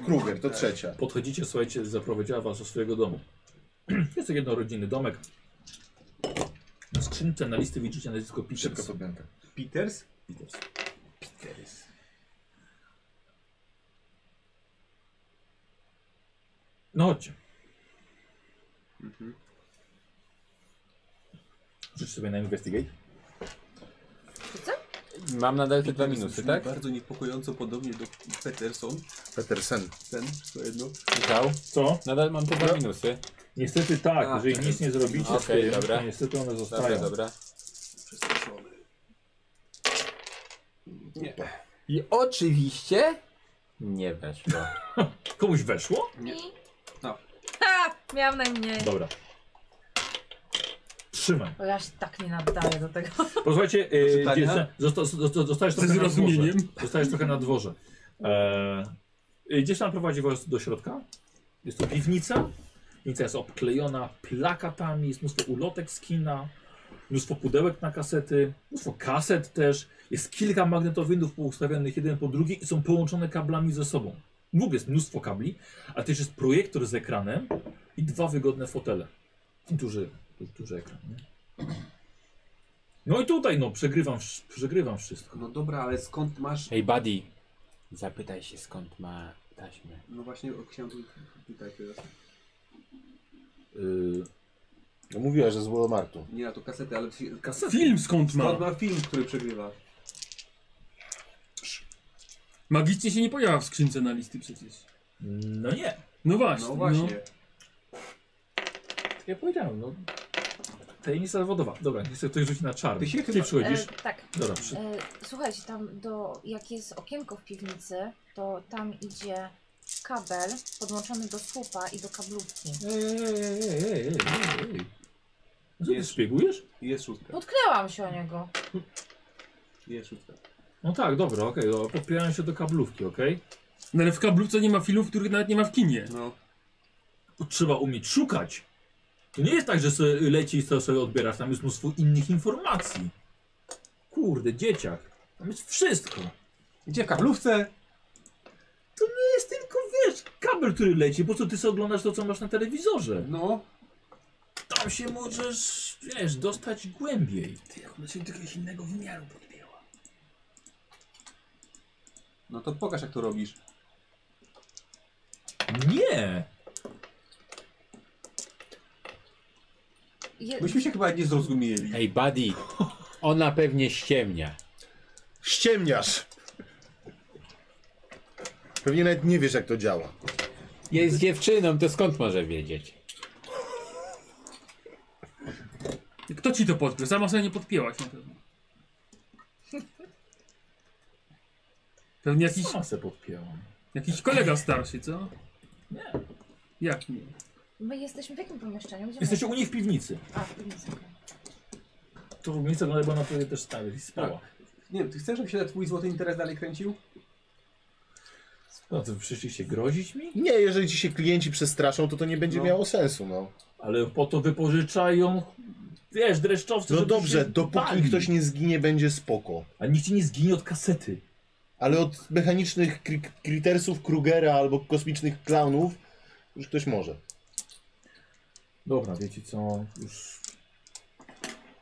Speaker 4: Kruger, to trzecia.
Speaker 1: Podchodzicie, słuchajcie, zaprowadziła was do swojego domu. Jest to jednorodzinny domek. Na skrzynce na listy widzicie nazwisko
Speaker 4: Szybka
Speaker 1: Peters.
Speaker 4: podmianka.
Speaker 6: Peters?
Speaker 1: Peters.
Speaker 6: Peters.
Speaker 1: No chodźcie.
Speaker 3: Mhm.
Speaker 1: Rzuć sobie na investigate.
Speaker 3: Mam nadal te dwa minusy, tak?
Speaker 9: Bardzo niepokojąco podobnie do Peterson.
Speaker 4: Petersen.
Speaker 9: Ten, to jedno.
Speaker 3: Michał?
Speaker 1: Co?
Speaker 3: Nadal mam te dwa minusy.
Speaker 1: Niestety tak,
Speaker 3: A,
Speaker 1: jeżeli nic nie zrobicie z
Speaker 3: Okej,
Speaker 1: tym,
Speaker 3: dobra.
Speaker 1: to niestety one zostają.
Speaker 3: Dobra, dobra. Nie. I oczywiście nie weszło.
Speaker 1: Komuś weszło?
Speaker 2: Nie.
Speaker 9: No.
Speaker 2: Ha! Miałam najmniej.
Speaker 1: Dobra. Trzymam.
Speaker 2: Bo ja się tak nie nadaję do tego.
Speaker 1: Posłuchajcie, yy,
Speaker 9: Czytania?
Speaker 1: zosta, zosta, zostajesz
Speaker 10: Ze
Speaker 1: trochę na dworze.
Speaker 10: zrozumieniem.
Speaker 1: Zostajesz trochę na dworze. E, y, gdzieś tam prowadzi was do środka. Jest to piwnica. Piwnica jest obklejona plakatami, jest mnóstwo ulotek z kina, mnóstwo pudełek na kasety, mnóstwo kaset też. Jest kilka magnetowinów poustawionych jeden po drugiej i są połączone kablami ze sobą. W ogóle jest mnóstwo kabli, a też jest projektor z ekranem i dwa wygodne fotele. Duży, duży ekran, nie? No i tutaj, no, przegrywam, wsz- przegrywam wszystko.
Speaker 9: No dobra, ale skąd masz...
Speaker 3: Hey buddy, zapytaj się skąd ma taśmę.
Speaker 9: No właśnie, o, chciałem pytać teraz.
Speaker 1: Yy,
Speaker 4: No mówiła, że z Walmartu.
Speaker 9: Nie, a to kasety, ale... fi-
Speaker 5: Kasety. Film skąd ma?
Speaker 9: Skąd ma film, który przegrywa?
Speaker 10: Magicznie się nie pojawia w skrzynce na listy przecież.
Speaker 1: no nie.
Speaker 10: No właśnie.
Speaker 9: No właśnie.
Speaker 1: Tak jak powiedziałem, no. Tajemnica zawodowa. Dobra, nie chcę ktoś rzucić na czar.
Speaker 9: Ty się
Speaker 1: Ty
Speaker 9: chyba-
Speaker 1: przychodzisz.
Speaker 2: E, tak.
Speaker 1: Dobra, przy...
Speaker 2: E, słuchajcie, tam do, jak jest okienko w piwnicy, to tam idzie kabel podłączony do słupa i do kablówki.
Speaker 9: e,
Speaker 1: Ej, ej, ej, ej, ej, ej, ej, ej. Co, ty szpiegujesz?
Speaker 9: Jest szóstka.
Speaker 2: Potknęłam się o niego.
Speaker 9: Jest szóstka.
Speaker 1: No tak, dobra, okej, okay, podpierałem się do kablówki, okej?
Speaker 10: No ale w kablówce nie ma filmów, których nawet nie ma w kinie.
Speaker 9: No.
Speaker 1: Trzeba umieć szukać. To nie jest tak, że sobie leci i to sobie odbierasz, tam jest mnóstwo innych informacji. Kurde, dzieciak, tam jest wszystko.
Speaker 6: Gdzie w kablówce?
Speaker 1: To jest tylko, wiesz, kabel, który leci, po co ty sobie oglądasz to, co masz na telewizorze?
Speaker 9: No.
Speaker 1: Tam się możesz, wiesz, dostać głębiej.
Speaker 10: Ty, jak ona się do jakiegoś innego wymiaru podbiła.
Speaker 9: No to pokaż jak to robisz.
Speaker 1: Nie!
Speaker 2: Je,
Speaker 9: Myśmy się chyba nie zrozumieli.
Speaker 3: Hey buddy, ona pewnie ściemnia.
Speaker 4: Ściemniasz! Pewnie nawet nie wiesz, jak to działa.
Speaker 3: Jest dziewczyną, to skąd może wiedzieć?
Speaker 10: Kto ci to podpiął? Sama sobie nie podpięłaś na pewno. Pewnie jakiś,
Speaker 1: Sama se podpięłam.
Speaker 10: jakiś kolega starszy, co?
Speaker 1: Nie.
Speaker 10: Jak nie?
Speaker 2: my jesteśmy w jakim pomieszczeniu? Gdzie
Speaker 1: Jesteście u niej w piwnicy.
Speaker 2: my... A, w piwnicy. okej.
Speaker 1: To piwnica wygląda, bo ona tutaj też stała i spała.
Speaker 6: Tak.
Speaker 9: Nie wiem, ty chcesz, żeby się twój złoty interes dalej kręcił?
Speaker 1: No to przyszliście grozić mi?
Speaker 4: Nie, jeżeli ci się klienci przestraszą, to to nie będzie
Speaker 9: No.
Speaker 4: miało sensu, no.
Speaker 1: Ale po to wypożyczają, wiesz, dreszczowcy,
Speaker 4: No
Speaker 1: żeby
Speaker 4: dobrze,
Speaker 1: się
Speaker 4: dopóki
Speaker 1: bali.
Speaker 4: ktoś nie zginie, będzie spoko.
Speaker 1: A nikt ci nie zginie od kasety.
Speaker 4: Ale od mechanicznych kri- Kritersów Krugera albo kosmicznych klaunów już ktoś może.
Speaker 1: Dobra, wiecie co, już...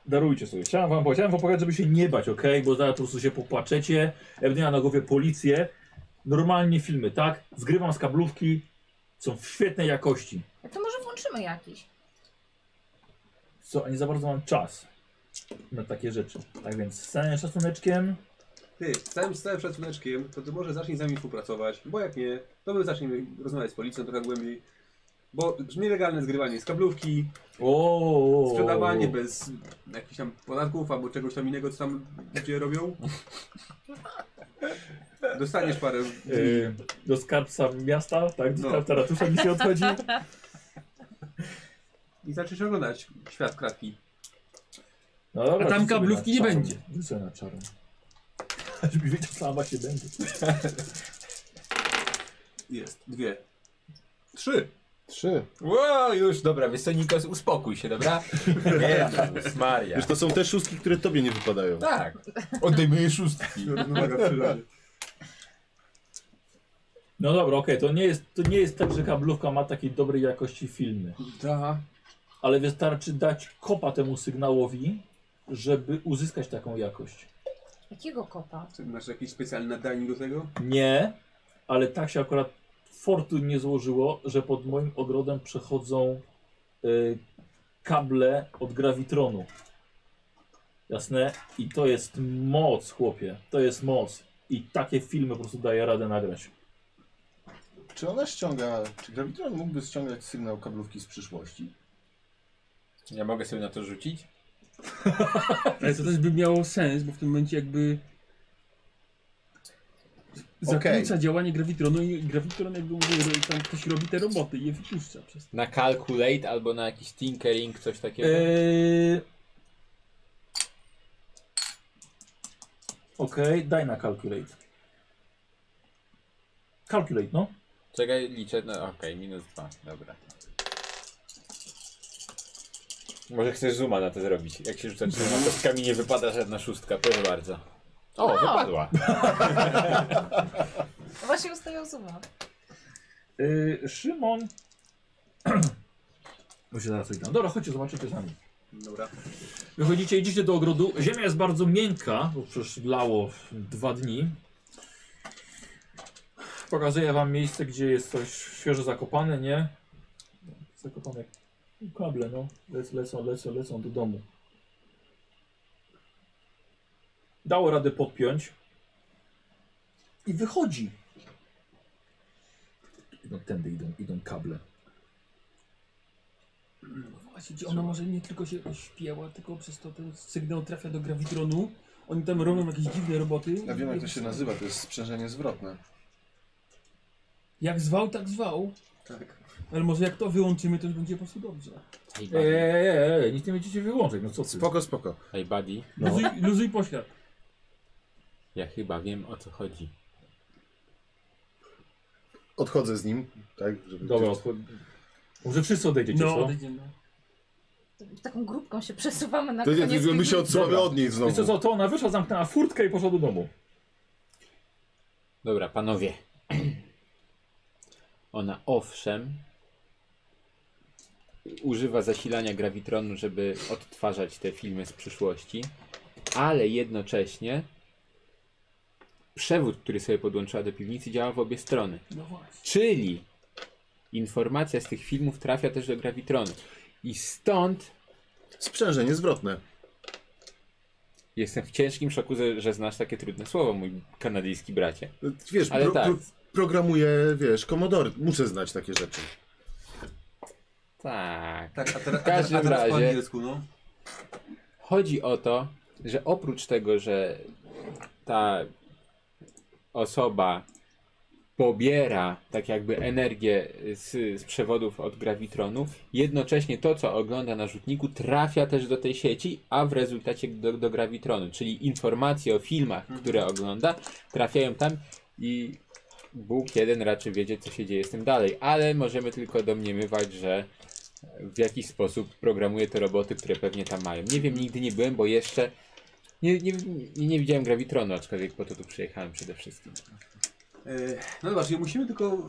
Speaker 1: Darujcie sobie. Chciałem wam, chciałem wam pokazać, żeby się nie bać, ok? Bo zaraz po prostu się popłaczecie. Ja będę miał na głowie policję. Normalnie filmy, tak? Zgrywam z kablówki. Są w świetnej jakości.
Speaker 2: A To może włączymy jakiś.
Speaker 1: Co, a nie za bardzo mam czas na takie rzeczy. Tak więc z całym szacuneczkiem
Speaker 9: Ty, z całym, z całym szacuneczkiem, to ty może zacznij z nami współpracować, bo jak nie, to my zaczniemy rozmawiać z policją trochę głębiej. Bo nielegalne zgrywanie z kablówki,
Speaker 1: O,
Speaker 9: sprzedawanie bez jakichś tam podatków albo czegoś tam innego, co tam ludzie robią. Dostaniesz parę.
Speaker 1: Yy, do skarbca miasta, tak? Do
Speaker 9: No.
Speaker 1: skarbca ratusza mi się odchodzi.
Speaker 9: I zaczniesz oglądać świat kratki.
Speaker 1: No dobra,
Speaker 9: A tam
Speaker 1: rzuć sobie
Speaker 9: kablówki
Speaker 1: na
Speaker 9: nie
Speaker 1: czarny.
Speaker 9: będzie.
Speaker 1: Rzuć sobie na czarny. Żebyś wiedział, co ma się będzie.
Speaker 9: Jest. Dwie. Trzy.
Speaker 4: Trzy.
Speaker 3: Wow, już, dobra, wiesz co, Nikos, uspokój się, dobra? Jezus Maria.
Speaker 4: Wiesz, to są te szóstki, które tobie nie wypadają.
Speaker 3: Tak. Odejmuję szóstki.
Speaker 1: No dobra, okej, to, nie jest, to nie jest tak, że kablówka ma takiej dobrej jakości filmy.
Speaker 9: Da.
Speaker 1: Ale wystarczy dać kopa temu sygnałowi, żeby uzyskać taką jakość.
Speaker 2: Jakiego kopa?
Speaker 9: Ty Masz jakieś specjalne nadanie do tego?
Speaker 1: Nie, ale tak się akurat fortun nie złożyło, że pod moim ogrodem przechodzą y, kable od grawitronu. Jasne? I to jest moc, chłopie. To jest moc. I takie filmy po prostu daje radę nagrać.
Speaker 4: Czy ona ściąga, czy Gravitron mógłby ściągać sygnał kablówki z przyszłości?
Speaker 3: Ja mogę sobie na to rzucić?
Speaker 7: Ale to też by miało sens, bo w tym momencie jakby... Zakłóca działanie grawitronu i grawitron jakby mówił, że tam ktoś robi te roboty i je wypuszcza przez to.
Speaker 3: Na Calculate albo na jakiś Tinkering, coś takiego?
Speaker 1: Eee... Okej, daj na calculate. Calculate, no.
Speaker 3: Czekaj, liczę, no okej, minus dwa, dobra. Może chcesz zooma na to zrobić. Jak się rzuca trzema kostkami, nie wypada żadna szóstka, proszę bardzo. O,
Speaker 2: O!
Speaker 3: wypadła.
Speaker 2: Właśnie ustają zuma.
Speaker 1: Yy, Szymon. Muszę zaraz coś tam. Dobra, chodźcie, zobaczycie sami.
Speaker 9: Dobra.
Speaker 1: Wychodzicie, idziecie do ogrodu. Ziemia jest bardzo miękka, bo przecież lało w dwa dni. Pokazuję wam miejsce, gdzie jest coś świeżo zakopane, nie? Zakopane kable, no. Lec, lecą, lecą, lecą do domu. Dało radę podpiąć. I wychodzi. Idą No tędy, idą, idą kable.
Speaker 7: No Właśnie, czy ona może nie tylko się ośpiała, tylko przez to ten sygnał trafia do grawitronu. Oni tam robią jakieś dziwne roboty.
Speaker 4: Ja wiem jak to się nazywa, to jest sprzężenie zwrotne.
Speaker 7: Jak zwał, tak zwał.
Speaker 9: Tak.
Speaker 7: Ale może jak to wyłączymy, to już będzie po prostu dobrze.
Speaker 3: Tak?
Speaker 1: Ej, ej, ej, ej, nic nie będziecie wyłączać, no co ty?
Speaker 4: Spoko, spoko.
Speaker 3: Hey buddy,
Speaker 1: No.
Speaker 7: Luzuj, luzuj poślad.
Speaker 3: ja chyba wiem o co chodzi.
Speaker 4: Odchodzę z nim, tak? Żeby
Speaker 1: Dobra, odchod... Może wszyscy odejdziecie,
Speaker 7: No,
Speaker 1: co?
Speaker 7: odejdziemy.
Speaker 2: Taką grupką się przesuwamy na
Speaker 4: To nie,
Speaker 2: koniec
Speaker 4: to my
Speaker 2: piwnicy.
Speaker 4: się odsuwamy
Speaker 1: Dobra.
Speaker 4: od niej znowu.
Speaker 1: Wiesz co, co, to ona wyszła, zamknęła furtkę i poszła do domu.
Speaker 3: Dobra, panowie. Ona owszem używa zasilania grawitronu, żeby odtwarzać te filmy z przyszłości, ale jednocześnie przewód, który sobie podłączyła do piwnicy, działa w obie strony.
Speaker 7: No właśnie.
Speaker 3: Czyli informacja z tych filmów trafia też do grawitronu. I stąd
Speaker 4: Sprzężenie zwrotne.
Speaker 3: jestem w ciężkim szoku, że- że znasz takie trudne słowo, mój kanadyjski bracie.
Speaker 4: Wiesz,
Speaker 3: Ale
Speaker 4: pro,
Speaker 3: tak.
Speaker 4: pro, programuję, wiesz, Commodore. Muszę znać takie rzeczy.
Speaker 3: Tak.
Speaker 9: Tak, a, teraz-
Speaker 3: W
Speaker 9: a, teraz-
Speaker 3: każdym
Speaker 9: a teraz po
Speaker 3: razie-
Speaker 9: angielsku, no.
Speaker 3: Chodzi o to, że oprócz tego, że ta osoba pobiera tak jakby energię z, z przewodów od grawitronu, jednocześnie to, co ogląda na rzutniku, trafia też do tej sieci, a w rezultacie do, do grawitronu, czyli informacje o filmach, które ogląda, trafiają tam i Bóg jeden raczy wiedzieć, co się dzieje z tym dalej, ale możemy tylko domniemywać, że w jakiś sposób programuje te roboty, które pewnie tam mają. Nie wiem, nigdy nie byłem, bo jeszcze nie, nie, nie, nie widziałem Gravitronu, aczkolwiek po to tu przyjechałem przede wszystkim.
Speaker 9: E, No dobra, czyli musimy tylko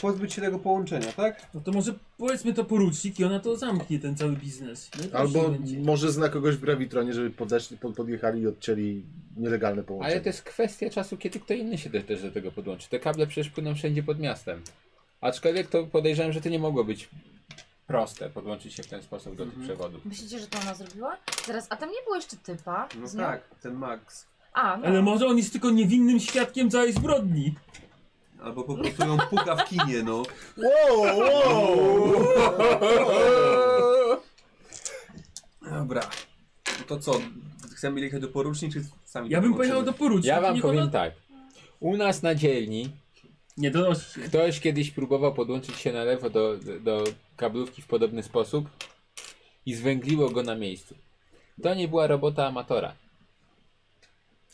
Speaker 9: pozbyć się tego połączenia, tak?
Speaker 7: No to może powiedzmy to porucznik i ona to zamknie ten cały biznes. No i proszę
Speaker 4: Albo
Speaker 7: będzie.
Speaker 4: może zna kogoś w Gravitronie, żeby podeszli, pod, podjechali i odcięli nielegalne połączenie.
Speaker 3: Ale to jest kwestia czasu, kiedy kto inny się te- też do tego podłączy. Te kable przecież płyną wszędzie pod miastem. Aczkolwiek to podejrzewam, że to nie mogło być proste, podłączyć się w ten sposób do tych przewodów.
Speaker 2: Myślicie, że to ona zrobiła? Zaraz, a tam nie było jeszcze typa?
Speaker 9: No
Speaker 2: z nią?
Speaker 9: tak, ten Max.
Speaker 2: A, no.
Speaker 7: Ale może on jest tylko niewinnym świadkiem całej zbrodni.
Speaker 9: Albo po prostu ją puka w kinie, no.
Speaker 4: Wow, wow!
Speaker 9: Dobra. To co? Chcemy jechać do porucznik, czy sami
Speaker 7: Ja
Speaker 9: tam
Speaker 7: bym
Speaker 9: połączymy?
Speaker 7: pojechał do porucznika.
Speaker 3: Ja wam
Speaker 7: niech ona-
Speaker 3: powiem tak. U nas na dzielni
Speaker 7: nie donosi się.
Speaker 3: ktoś kiedyś próbował podłączyć się na lewo do, do kablówki w podobny sposób i zwęgliło go na miejscu. To nie była robota amatora.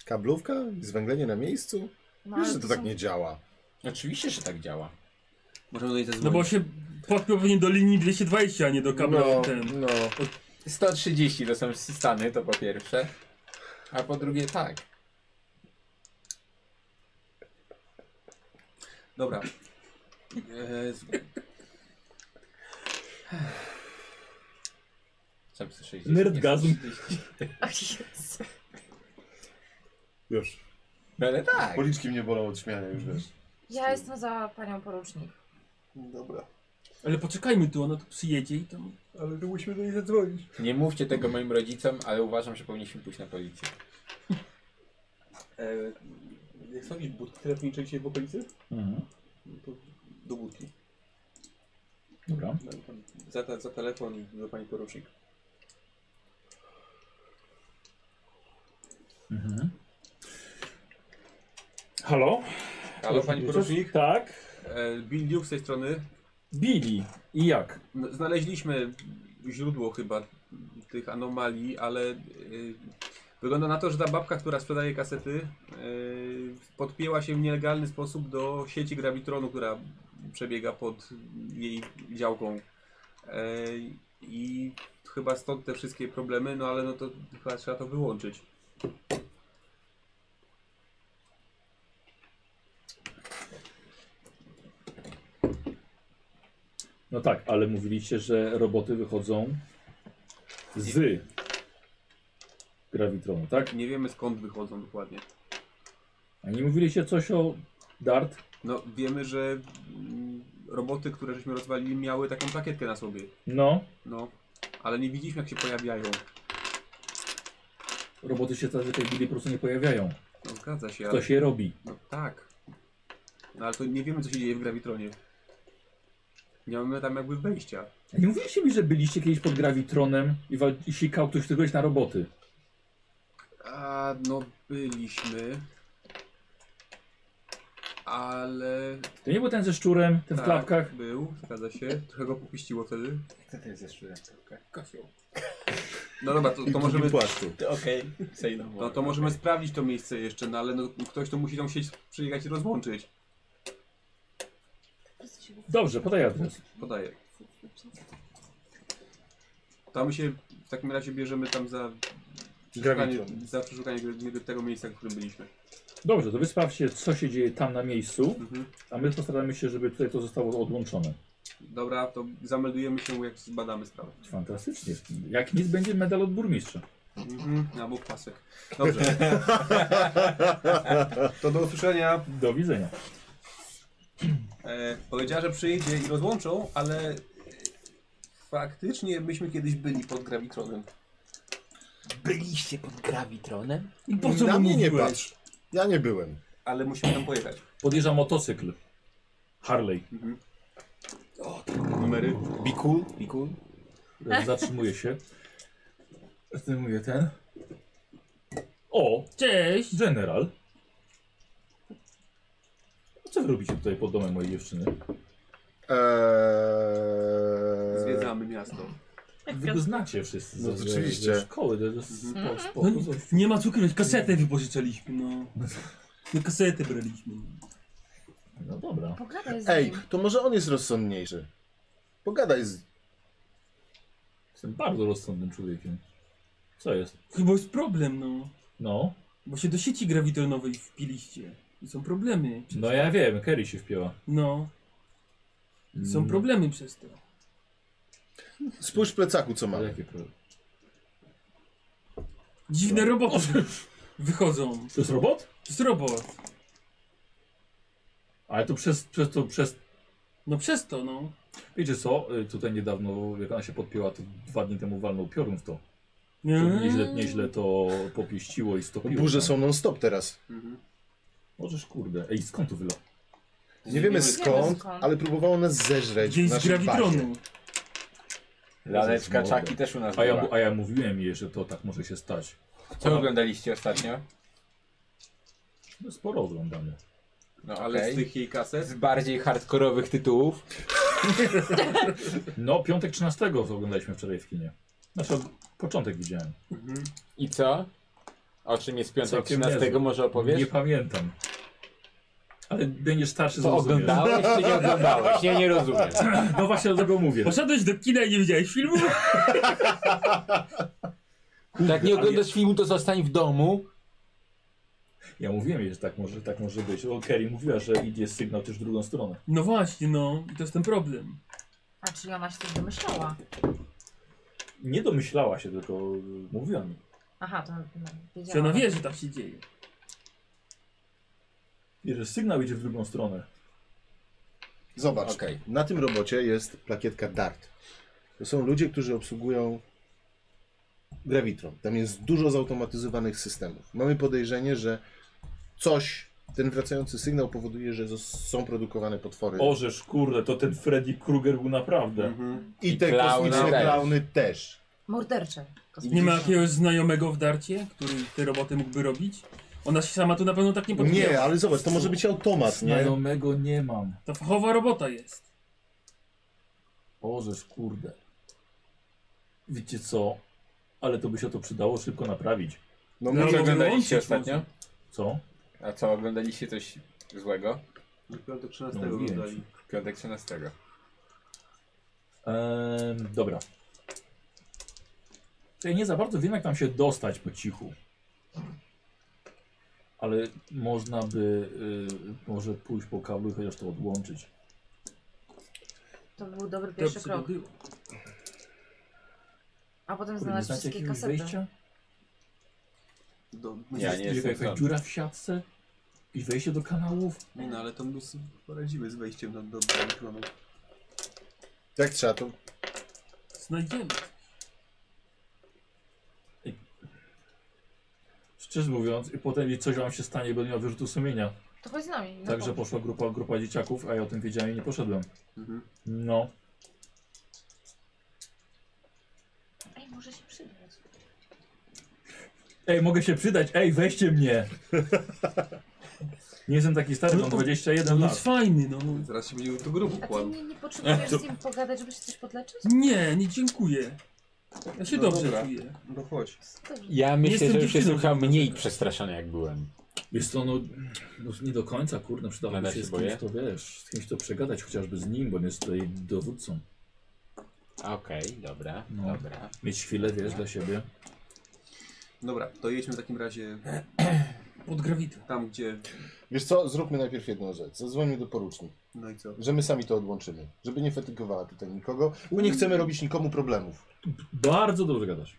Speaker 4: Kablówka? Zwęglenie na miejscu?
Speaker 2: No,
Speaker 4: Wiesz,
Speaker 2: ale
Speaker 4: że to
Speaker 2: to
Speaker 4: tak
Speaker 2: są-
Speaker 4: nie działa.
Speaker 3: Oczywiście, że tak działa.
Speaker 6: Możemy do niej zadzwonić.
Speaker 7: No bo się podpiął pewnie do linii 220, a nie do kabla
Speaker 3: No,
Speaker 7: ten.
Speaker 3: no. 130 to są stany, to po pierwsze. A po drugie tak.
Speaker 6: Dobra. E, z-
Speaker 3: 760.
Speaker 1: Nerdgazm.
Speaker 2: Ach, Jezu.
Speaker 4: Już.
Speaker 3: No ale tak.
Speaker 4: Policzki mnie bolą od śmiania, już wiesz.
Speaker 2: Ja jestem za panią porucznik.
Speaker 4: Dobra.
Speaker 7: Ale poczekajmy tu, ona tu przyjedzie i tam...
Speaker 6: Ale to musimy do niej zadzwonić.
Speaker 3: Nie mówcie tego moim rodzicom, ale uważam, że powinniśmy pójść na policję.
Speaker 6: E, jak sądzisz, budki telefoniczej dzisiaj w okolicy?
Speaker 1: Mhm.
Speaker 6: No to do budki.
Speaker 1: Dobra.
Speaker 6: No, tam Za, te- za telefon i do pani porucznik.
Speaker 1: Mhm. Halo?
Speaker 6: Halo, pani porucznik?
Speaker 1: Tak.
Speaker 6: E, Bill Duke z tej strony.
Speaker 1: Bili. I jak?
Speaker 6: No, Znaleźliśmy źródło chyba tych anomalii, ale y, wygląda na to, że ta babka, która sprzedaje kasety, y, podpięła się w nielegalny sposób do sieci gravitronu, która przebiega pod jej działką. Y, I chyba stąd te wszystkie problemy, no ale no to chyba trzeba to wyłączyć.
Speaker 1: No tak, ale mówiliście, że roboty wychodzą z grawitronu, tak?
Speaker 6: Nie wiemy skąd wychodzą dokładnie.
Speaker 1: A nie mówiliście coś o dart?
Speaker 6: No wiemy, że mm, roboty, które żeśmy rozwalili, miały taką plakietkę na sobie.
Speaker 1: No,
Speaker 6: No, ale nie widzieliśmy jak się pojawiają.
Speaker 1: roboty się zazwyczaj bili po prostu nie pojawiają.
Speaker 6: No, zgadza się, ale...
Speaker 1: To się robi.
Speaker 6: No tak. No ale to nie wiemy co się dzieje w Gravitronie. Nie mamy tam jakby wejścia.
Speaker 1: A Nie mówiliście mi, że byliście kiedyś pod grawitronem i, wal- i sikał ktoś kogoś na roboty.
Speaker 6: A no byliśmy. Ale...
Speaker 1: To nie był ten ze szczurem, ten
Speaker 6: tak,
Speaker 1: w klapkach?
Speaker 6: był, zgadza się. Trochę go popuściło wtedy.
Speaker 3: Co to jest jeszcze rękawka? Kosioł.
Speaker 6: No dobra, to, to możemy...
Speaker 4: płaszczu.
Speaker 11: Okej, say no
Speaker 6: No to możemy sprawdzić to miejsce jeszcze, no ale no, ktoś to musi tą sieć przyjechać i rozłączyć.
Speaker 1: Dobrze, podaj adres.
Speaker 6: Podaję. Tam się w takim razie bierzemy tam za przeszukanie,
Speaker 4: Grawitron.
Speaker 6: za przeszukanie gr- tego miejsca, w którym byliśmy.
Speaker 1: Dobrze, to wy sprawdźcie, co się dzieje tam na miejscu,
Speaker 6: Mhm.
Speaker 1: a my postaramy się, żeby tutaj to zostało odłączone.
Speaker 6: Dobra, to zameldujemy się, jak zbadamy sprawę.
Speaker 1: Fantastycznie. Jak nic, będzie medal od burmistrza.
Speaker 6: Mhm. Albo pasek. Dobrze. to do usłyszenia.
Speaker 1: Do widzenia.
Speaker 6: E, powiedziała, że przyjdzie i rozłączą, ale faktycznie myśmy kiedyś byli pod Gravitronem.
Speaker 8: Byliście pod gravitronem?
Speaker 7: I po co
Speaker 4: Na
Speaker 7: mu
Speaker 4: mnie nie
Speaker 7: mówiłeś?
Speaker 4: patrz. Ja nie byłem.
Speaker 6: Ale musimy tam pojechać.
Speaker 1: Podjeżdża motocykl. Harley.
Speaker 6: Numery.
Speaker 4: Be cool.
Speaker 3: Pikul?
Speaker 1: Zatrzymuje się. Zdejmuje ten. O,
Speaker 7: Cześć!
Speaker 1: general. Co wy robicie tutaj pod domem mojej dziewczyny?
Speaker 4: Eee...
Speaker 6: Zwiedzamy miasto.
Speaker 1: Wy go znacie wszyscy.
Speaker 4: No
Speaker 1: ze- ze-
Speaker 4: oczywiście.
Speaker 1: Ze szkoły, to jest spo, spo,
Speaker 7: No, nie- nie ma co ukrywać, kasetę wypożyczaliśmy, no. No kasety braliśmy.
Speaker 1: No dobra.
Speaker 2: Pogadaj z
Speaker 4: Ej,
Speaker 2: nim.
Speaker 4: to może on jest rozsądniejszy. Pogadaj z...
Speaker 1: Jestem bardzo rozsądnym człowiekiem. Co jest?
Speaker 7: Chyba jest problem, no.
Speaker 1: No,
Speaker 7: Bo się do sieci grawitronowej wpiliście. I są problemy.
Speaker 1: no ja wiem, Kerry się wpięła.
Speaker 7: No. I są
Speaker 1: Mm.
Speaker 7: problemy przez to.
Speaker 4: Spójrz w plecaku, co ma.
Speaker 1: Ale jakie problemy? No.
Speaker 7: Dziwne roboty wychodzą.
Speaker 1: To jest robot?
Speaker 7: To jest robot.
Speaker 1: Ale to przez, przez to, przez...
Speaker 7: No przez to, no.
Speaker 1: Wiecie co, y, tutaj niedawno, jak ona się podpięła, to dwa dni temu walnął piorun w to.
Speaker 7: Nie.
Speaker 1: To
Speaker 3: Mm.
Speaker 1: nieźle, nieźle to popieściło i stopiło.
Speaker 4: Burze
Speaker 1: tam.
Speaker 4: są non-stop teraz.
Speaker 6: Mhm.
Speaker 1: Możesz kurde. Ej, skąd to wylo?
Speaker 4: Nie wiemy skąd,
Speaker 2: skąd.
Speaker 4: ale próbowało nas zeżreć
Speaker 7: Gdzieś
Speaker 4: w
Speaker 7: z
Speaker 4: naszej bazie.
Speaker 7: grawitronu.
Speaker 3: Laleczka
Speaker 1: Jezus,
Speaker 6: no.
Speaker 1: mordo.
Speaker 3: czaki też u nas
Speaker 1: A ja,
Speaker 3: była.
Speaker 1: a ja mówiłem jej, że to tak może się stać.
Speaker 3: Co oglądaliście ostatnio?
Speaker 1: No, Sporo oglądamy.
Speaker 3: No,
Speaker 6: Ale
Speaker 3: okej.
Speaker 6: z tych jej kaset?
Speaker 3: Z bardziej hardkorowych tytułów.
Speaker 1: No, piątek 13 oglądaliśmy wczoraj w kinie. Znaczy, początek widziałem.
Speaker 3: I co? O czym jest piątek
Speaker 1: Całkiem
Speaker 3: 13?
Speaker 1: niezły.
Speaker 3: Może opowiesz?
Speaker 1: Nie pamiętam. Ale będziesz starszy,
Speaker 3: To
Speaker 1: zrozumiesz.
Speaker 3: oglądałeś czy nie oglądałeś? Ja nie rozumiem.
Speaker 1: No właśnie dlatego mówię.
Speaker 10: Poszedłeś do kina i nie widziałeś filmu?
Speaker 3: Jak Tak nie oglądasz filmu, to zostań w domu.
Speaker 1: Ja mówiłem, że tak może, tak może być. O, Kerry mówiła, że idzie sygnał też w drugą stronę.
Speaker 10: No właśnie, no. I to jest ten problem.
Speaker 2: A czyli ona się coś domyślała.
Speaker 1: Nie domyślała się, tylko y, mówiła mi.
Speaker 2: Aha, to no, wiedziała.
Speaker 10: Że ona wie, że tak się dzieje.
Speaker 1: I że sygnał idzie w drugą stronę.
Speaker 4: Zobacz,
Speaker 3: Okej.
Speaker 4: na tym robocie jest plakietka DART. To są ludzie, którzy obsługują Gravitron. Tam jest dużo zautomatyzowanych systemów. Mamy podejrzenie, że coś, ten wracający sygnał powoduje, że zos- są produkowane potwory.
Speaker 1: Orzesz, kurde, to ten Freddy Krueger był naprawdę.
Speaker 4: I te kosmiczne klauny też.
Speaker 2: Mordercze.
Speaker 10: Nie ma jakiegoś znajomego w darcie, który te roboty mógłby robić? Ona się sama tu na pewno tak nie podjęła.
Speaker 4: Nie, ale zobacz, to może być automat, nie?
Speaker 1: Znajomego nie mam.
Speaker 10: To fachowa robota jest.
Speaker 1: Orzesz, kurde. Wiecie co? Ale to by się to przydało szybko naprawić.
Speaker 4: No,
Speaker 3: No,
Speaker 4: może-
Speaker 3: co oglądaliście
Speaker 10: wyłączyć
Speaker 3: ostatnio?
Speaker 1: Co?
Speaker 3: A co, oglądaliście coś złego?
Speaker 9: Piątek 13
Speaker 1: No, mówiłem
Speaker 9: oglądali.
Speaker 3: Piątek 13.
Speaker 1: Em, dobra. To ja nie za bardzo wiem, jak tam się dostać po cichu. Ale można by y, może pójść po kablu i chociaż to odłączyć.
Speaker 2: To był dobry pierwszy
Speaker 10: Dobrze
Speaker 2: krok.
Speaker 10: by było.
Speaker 2: A potem
Speaker 1: Kurde, nie
Speaker 2: znalazł
Speaker 1: znacie
Speaker 2: wszystkie
Speaker 1: jakiegoś
Speaker 2: kasety.
Speaker 1: wyjścia?
Speaker 9: Do,
Speaker 3: Ja nie
Speaker 1: Jest
Speaker 3: jestem
Speaker 1: jakaś
Speaker 3: sam.
Speaker 1: dziura w siatce? I wejście do kanałów?
Speaker 9: Nie no, ale to my sobie poradzimy z wejściem do, do, do mikrofonu.
Speaker 4: Jak Tak trzeba, to
Speaker 10: Znajdziemy.
Speaker 1: Szczerze mówiąc, i potem coś wam się stanie, będę miał wyrzutu sumienia.
Speaker 2: To chodź z nami. no na
Speaker 1: Także
Speaker 2: pomoc.
Speaker 1: poszła grupa, grupa dzieciaków, a ja o tym wiedziałem i nie poszedłem.
Speaker 9: Mhm.
Speaker 1: No.
Speaker 2: Ej, może się przydać.
Speaker 1: Ej, mogę się przydać, ej, weźcie mnie! Nie jestem taki stary, mam 21
Speaker 10: No
Speaker 1: lat.
Speaker 10: jest fajny, no.
Speaker 9: Zaraz się będzie do grubu
Speaker 2: A ty
Speaker 9: kładł.
Speaker 2: nie, nie potrzebujesz z nim pogadać, żeby się coś podleczyć?
Speaker 10: Nie, nie dziękuję. Ja się
Speaker 9: No
Speaker 10: dobrze
Speaker 9: dobra.
Speaker 10: czuję.
Speaker 9: No chodź.
Speaker 2: Dobrze.
Speaker 3: Ja myślę,
Speaker 10: jestem
Speaker 3: że już się
Speaker 10: dziewczyną.
Speaker 3: słuchał mniej przestraszony jak byłem.
Speaker 1: Jest to no, no nie do końca, kurde, przydałoby
Speaker 3: Nada
Speaker 1: się
Speaker 3: się
Speaker 1: z kimś
Speaker 3: boję.
Speaker 1: to wiesz, z kimś to przegadać, chociażby z nim, bo on jest tutaj dowódcą.
Speaker 3: Okej, dobra,
Speaker 1: No.
Speaker 3: dobra.
Speaker 1: Mieć chwilę, wiesz, dla siebie.
Speaker 9: Dobra, to jedźmy w takim razie
Speaker 10: Pod grawitą.
Speaker 9: tam, gdzie...
Speaker 4: Wiesz co, zróbmy najpierw jedną rzecz. Zadzwońmy do porucznik,
Speaker 9: No i co?
Speaker 4: że my sami to odłączymy, żeby nie fatygowała tutaj nikogo, bo nie chcemy robić nikomu problemów.
Speaker 1: Bardzo dobrze gadasz.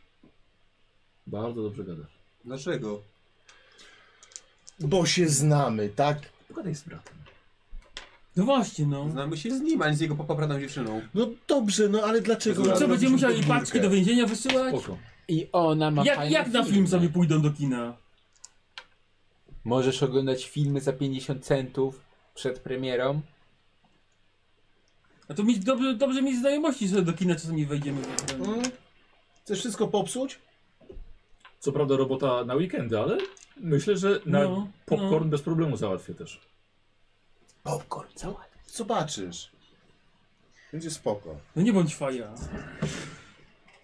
Speaker 1: Bardzo dobrze gadasz.
Speaker 9: Dlaczego?
Speaker 4: Bo się znamy, tak?
Speaker 1: Pogadaj z bratem.
Speaker 10: No właśnie, no.
Speaker 9: Znamy się z nim, a nie z jego poprawną dziewczyną.
Speaker 4: No dobrze, no ale dlaczego?
Speaker 9: Dobra,
Speaker 10: Co,
Speaker 4: robić
Speaker 10: będziemy musieli
Speaker 4: podwórkę?
Speaker 10: paczki do więzienia wysyłać?
Speaker 1: Spoko.
Speaker 3: I ona ma
Speaker 10: Jak,
Speaker 3: fajne
Speaker 10: jak na film
Speaker 3: filmy.
Speaker 10: sobie pójdą do kina?
Speaker 3: Możesz oglądać filmy za 50 centów przed premierą.
Speaker 10: A to mieć dobrze, dobrze mieć znajomości, że do kina czasami wejdziemy. Mm.
Speaker 4: Mm? Chcesz wszystko popsuć?
Speaker 1: Co prawda robota na weekendy, ale myślę, że na
Speaker 10: No,
Speaker 1: popcorn bez problemu załatwię też.
Speaker 4: Popcorn, załatw. Zobaczysz. Będzie spoko.
Speaker 10: No nie bądź faja.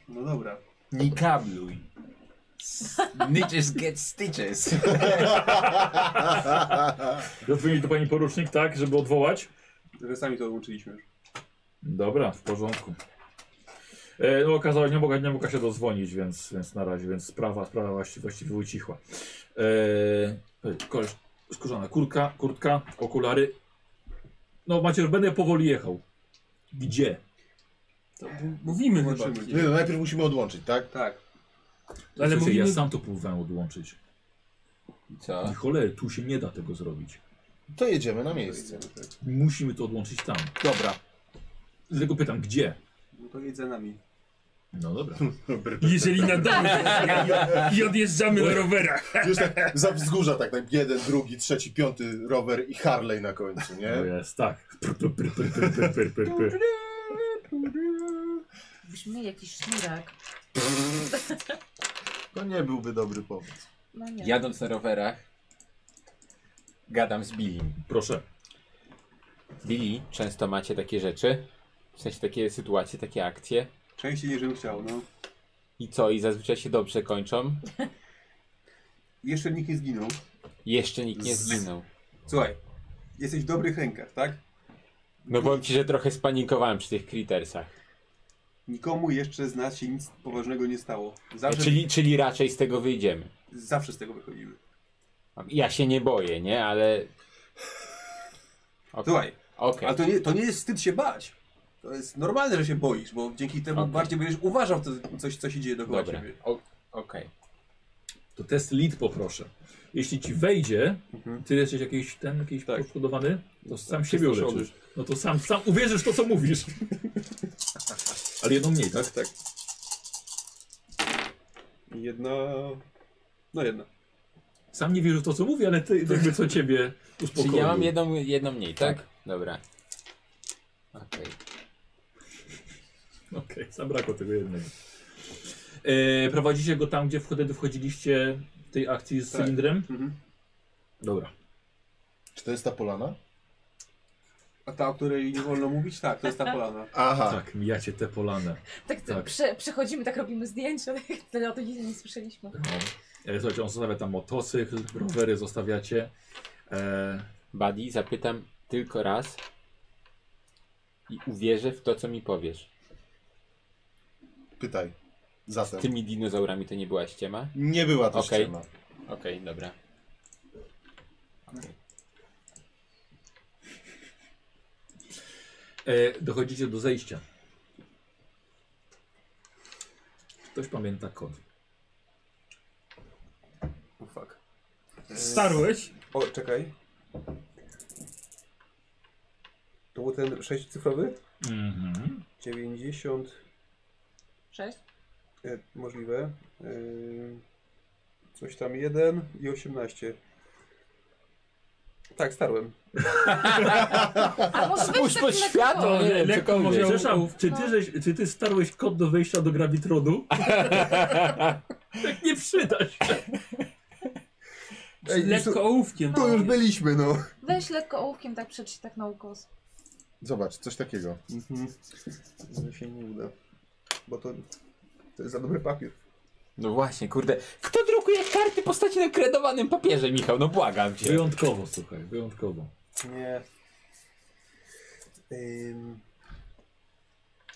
Speaker 9: No dobra.
Speaker 3: Nie kabluj. Snitches get stitches.
Speaker 1: Zadzwonić do pani porucznik, tak, żeby odwołać?
Speaker 9: Że sami to odłączyliśmy już.
Speaker 1: Dobra, w porządku. E, no, okazało się, nie mogła, nie mogła się dozwonić, więc, więc na razie, więc sprawa, sprawa właściwie, właściwie ucichła. E, e, koleś, skórzana kurka, kurtka, okulary. No macie, już będę powoli jechał. Gdzie?
Speaker 10: To m- mówimy chyba.
Speaker 9: Włączymy.
Speaker 4: Nie, no, najpierw musimy odłączyć, tak?
Speaker 9: Tak.
Speaker 10: Ale
Speaker 1: Ale mówimy...
Speaker 10: mówimy-
Speaker 1: Ja sam to próbowałem odłączyć.
Speaker 3: Co?
Speaker 1: I cholery, tu się nie da tego zrobić.
Speaker 4: To jedziemy na miejsce.
Speaker 1: Musimy to odłączyć tam.
Speaker 4: Dobra.
Speaker 1: Dlatego pytam, gdzie?
Speaker 9: No to jedz za nami.
Speaker 1: No dobra.
Speaker 10: Jeżeli nadamy się i odjeżdżamy na rowerach.
Speaker 4: Już tak za wzgórza tak, tak jeden, drugi, trzeci, piąty rower i Harley na końcu,
Speaker 1: To
Speaker 4: nie?
Speaker 1: jest tak. Pr, pr, pr, pr, pr, pr, pr, pr, pr.
Speaker 2: Byśmy mieli jakiś sznurek.
Speaker 4: To nie byłby dobry pomysł.
Speaker 2: No nie.
Speaker 3: Jadąc na rowerach, Gadam z Billim.
Speaker 1: Proszę.
Speaker 3: Billy, często macie takie rzeczy? W sensie takie sytuacje, takie akcje?
Speaker 9: Częściej niż bym chciał, no.
Speaker 3: I co? I zazwyczaj się dobrze kończą?
Speaker 9: Jeszcze nikt nie zginął.
Speaker 3: Jeszcze nikt nie zginął.
Speaker 9: Słuchaj, jesteś w dobrych rękach, tak?
Speaker 3: No powiem ci, że trochę spanikowałem przy tych Crittersach.
Speaker 9: Nikomu jeszcze z nas się nic poważnego nie stało. Zawsze,
Speaker 3: E, Czyli, czyli raczej z tego wyjdziemy.
Speaker 9: zawsze z tego wychodzimy.
Speaker 3: Ja się nie boję, nie? Ale... Ok.
Speaker 9: Słuchaj,
Speaker 3: Okej.
Speaker 9: ale to nie, to nie jest wstyd się bać. To jest normalne, że się boisz, bo dzięki temu
Speaker 3: Okej.
Speaker 9: bardziej będziesz uważał to, coś, co się dzieje dookoła
Speaker 3: Dobra.
Speaker 9: ciebie.
Speaker 3: O- Okej.
Speaker 1: To test lead poproszę. Jeśli ci wejdzie,
Speaker 3: Mhm.
Speaker 1: ty jesteś jakiś ten, jakiś
Speaker 3: Tak.
Speaker 1: poszkodowany, to sam siebie
Speaker 5: Przestraszony.
Speaker 1: uleczysz. No to sam, sam uwierzysz w to, co mówisz. Ale jedną mniej, tak? Tak.
Speaker 9: Jedna... No jedna.
Speaker 1: Sam nie wierzę w to, co mówi, ale ty jakby co ciebie uspokoi.
Speaker 3: Czyli Tak. ja mam jedną, jedną mniej, tak? Dobra. Okej.
Speaker 1: Okej, zabrakło tego jednego. E, prowadzicie go tam, gdzie wtedy wchodziliście w tej akcji z
Speaker 4: Tak.
Speaker 1: cylindrem?
Speaker 3: Mhm.
Speaker 1: Dobra.
Speaker 4: Czy to jest ta polana?
Speaker 9: A ta, o której nie wolno mówić? Tak, to jest ta polana.
Speaker 4: Aha.
Speaker 1: Tak, mijacie te polane.
Speaker 12: Tak,
Speaker 1: Tak.
Speaker 12: Prze, przechodzimy, tak robimy zdjęcia, tyle o to nic nie słyszeliśmy.
Speaker 1: No. E, Słuchajcie, on zostawia tam motocykl, rowery zostawiacie. E,
Speaker 3: Buddy, zapytam tylko raz i uwierzę w to, co mi powiesz.
Speaker 4: Pytaj. Zatem.
Speaker 3: Z tymi dinozaurami to nie była ściema?
Speaker 4: Nie była to
Speaker 3: Okej.
Speaker 4: ściema.
Speaker 3: Okej, dobra. Okej.
Speaker 1: e, dochodzicie do zejścia. Czy Ktoś pamięta kod.
Speaker 9: Oh, fuck.
Speaker 10: Starłeś?
Speaker 9: O, czekaj. To był ten sześciocyfrowy?
Speaker 1: Mhm.
Speaker 9: 90...
Speaker 12: Sześć?
Speaker 9: E, możliwe. E, coś tam 1 i 18. Tak, starłem.
Speaker 12: A może
Speaker 3: Spójrz
Speaker 12: weź
Speaker 3: pod
Speaker 12: tak
Speaker 3: światło,
Speaker 12: lekko.
Speaker 3: nie?
Speaker 1: Lekko
Speaker 3: cokolwiek.
Speaker 1: może... Przepraszam, czy ty, żeś, czy ty starłeś kod do wejścia do gravitronu? tak nie przyda się.
Speaker 10: Ej, lekko to- ołówkiem.
Speaker 4: To już byliśmy, no.
Speaker 12: Weź lekko ołówkiem, tak przeczytaj, tak na ukos.
Speaker 4: Zobacz, coś takiego.
Speaker 9: Mhm. się nie uda. Bo to, to jest za dobry papier.
Speaker 3: No właśnie, kurde. Kto drukuje karty postaci na kredowanym papierze, Michał? No błagam cię.
Speaker 1: Wyjątkowo, słuchaj, wyjątkowo.
Speaker 9: Nie. Ym,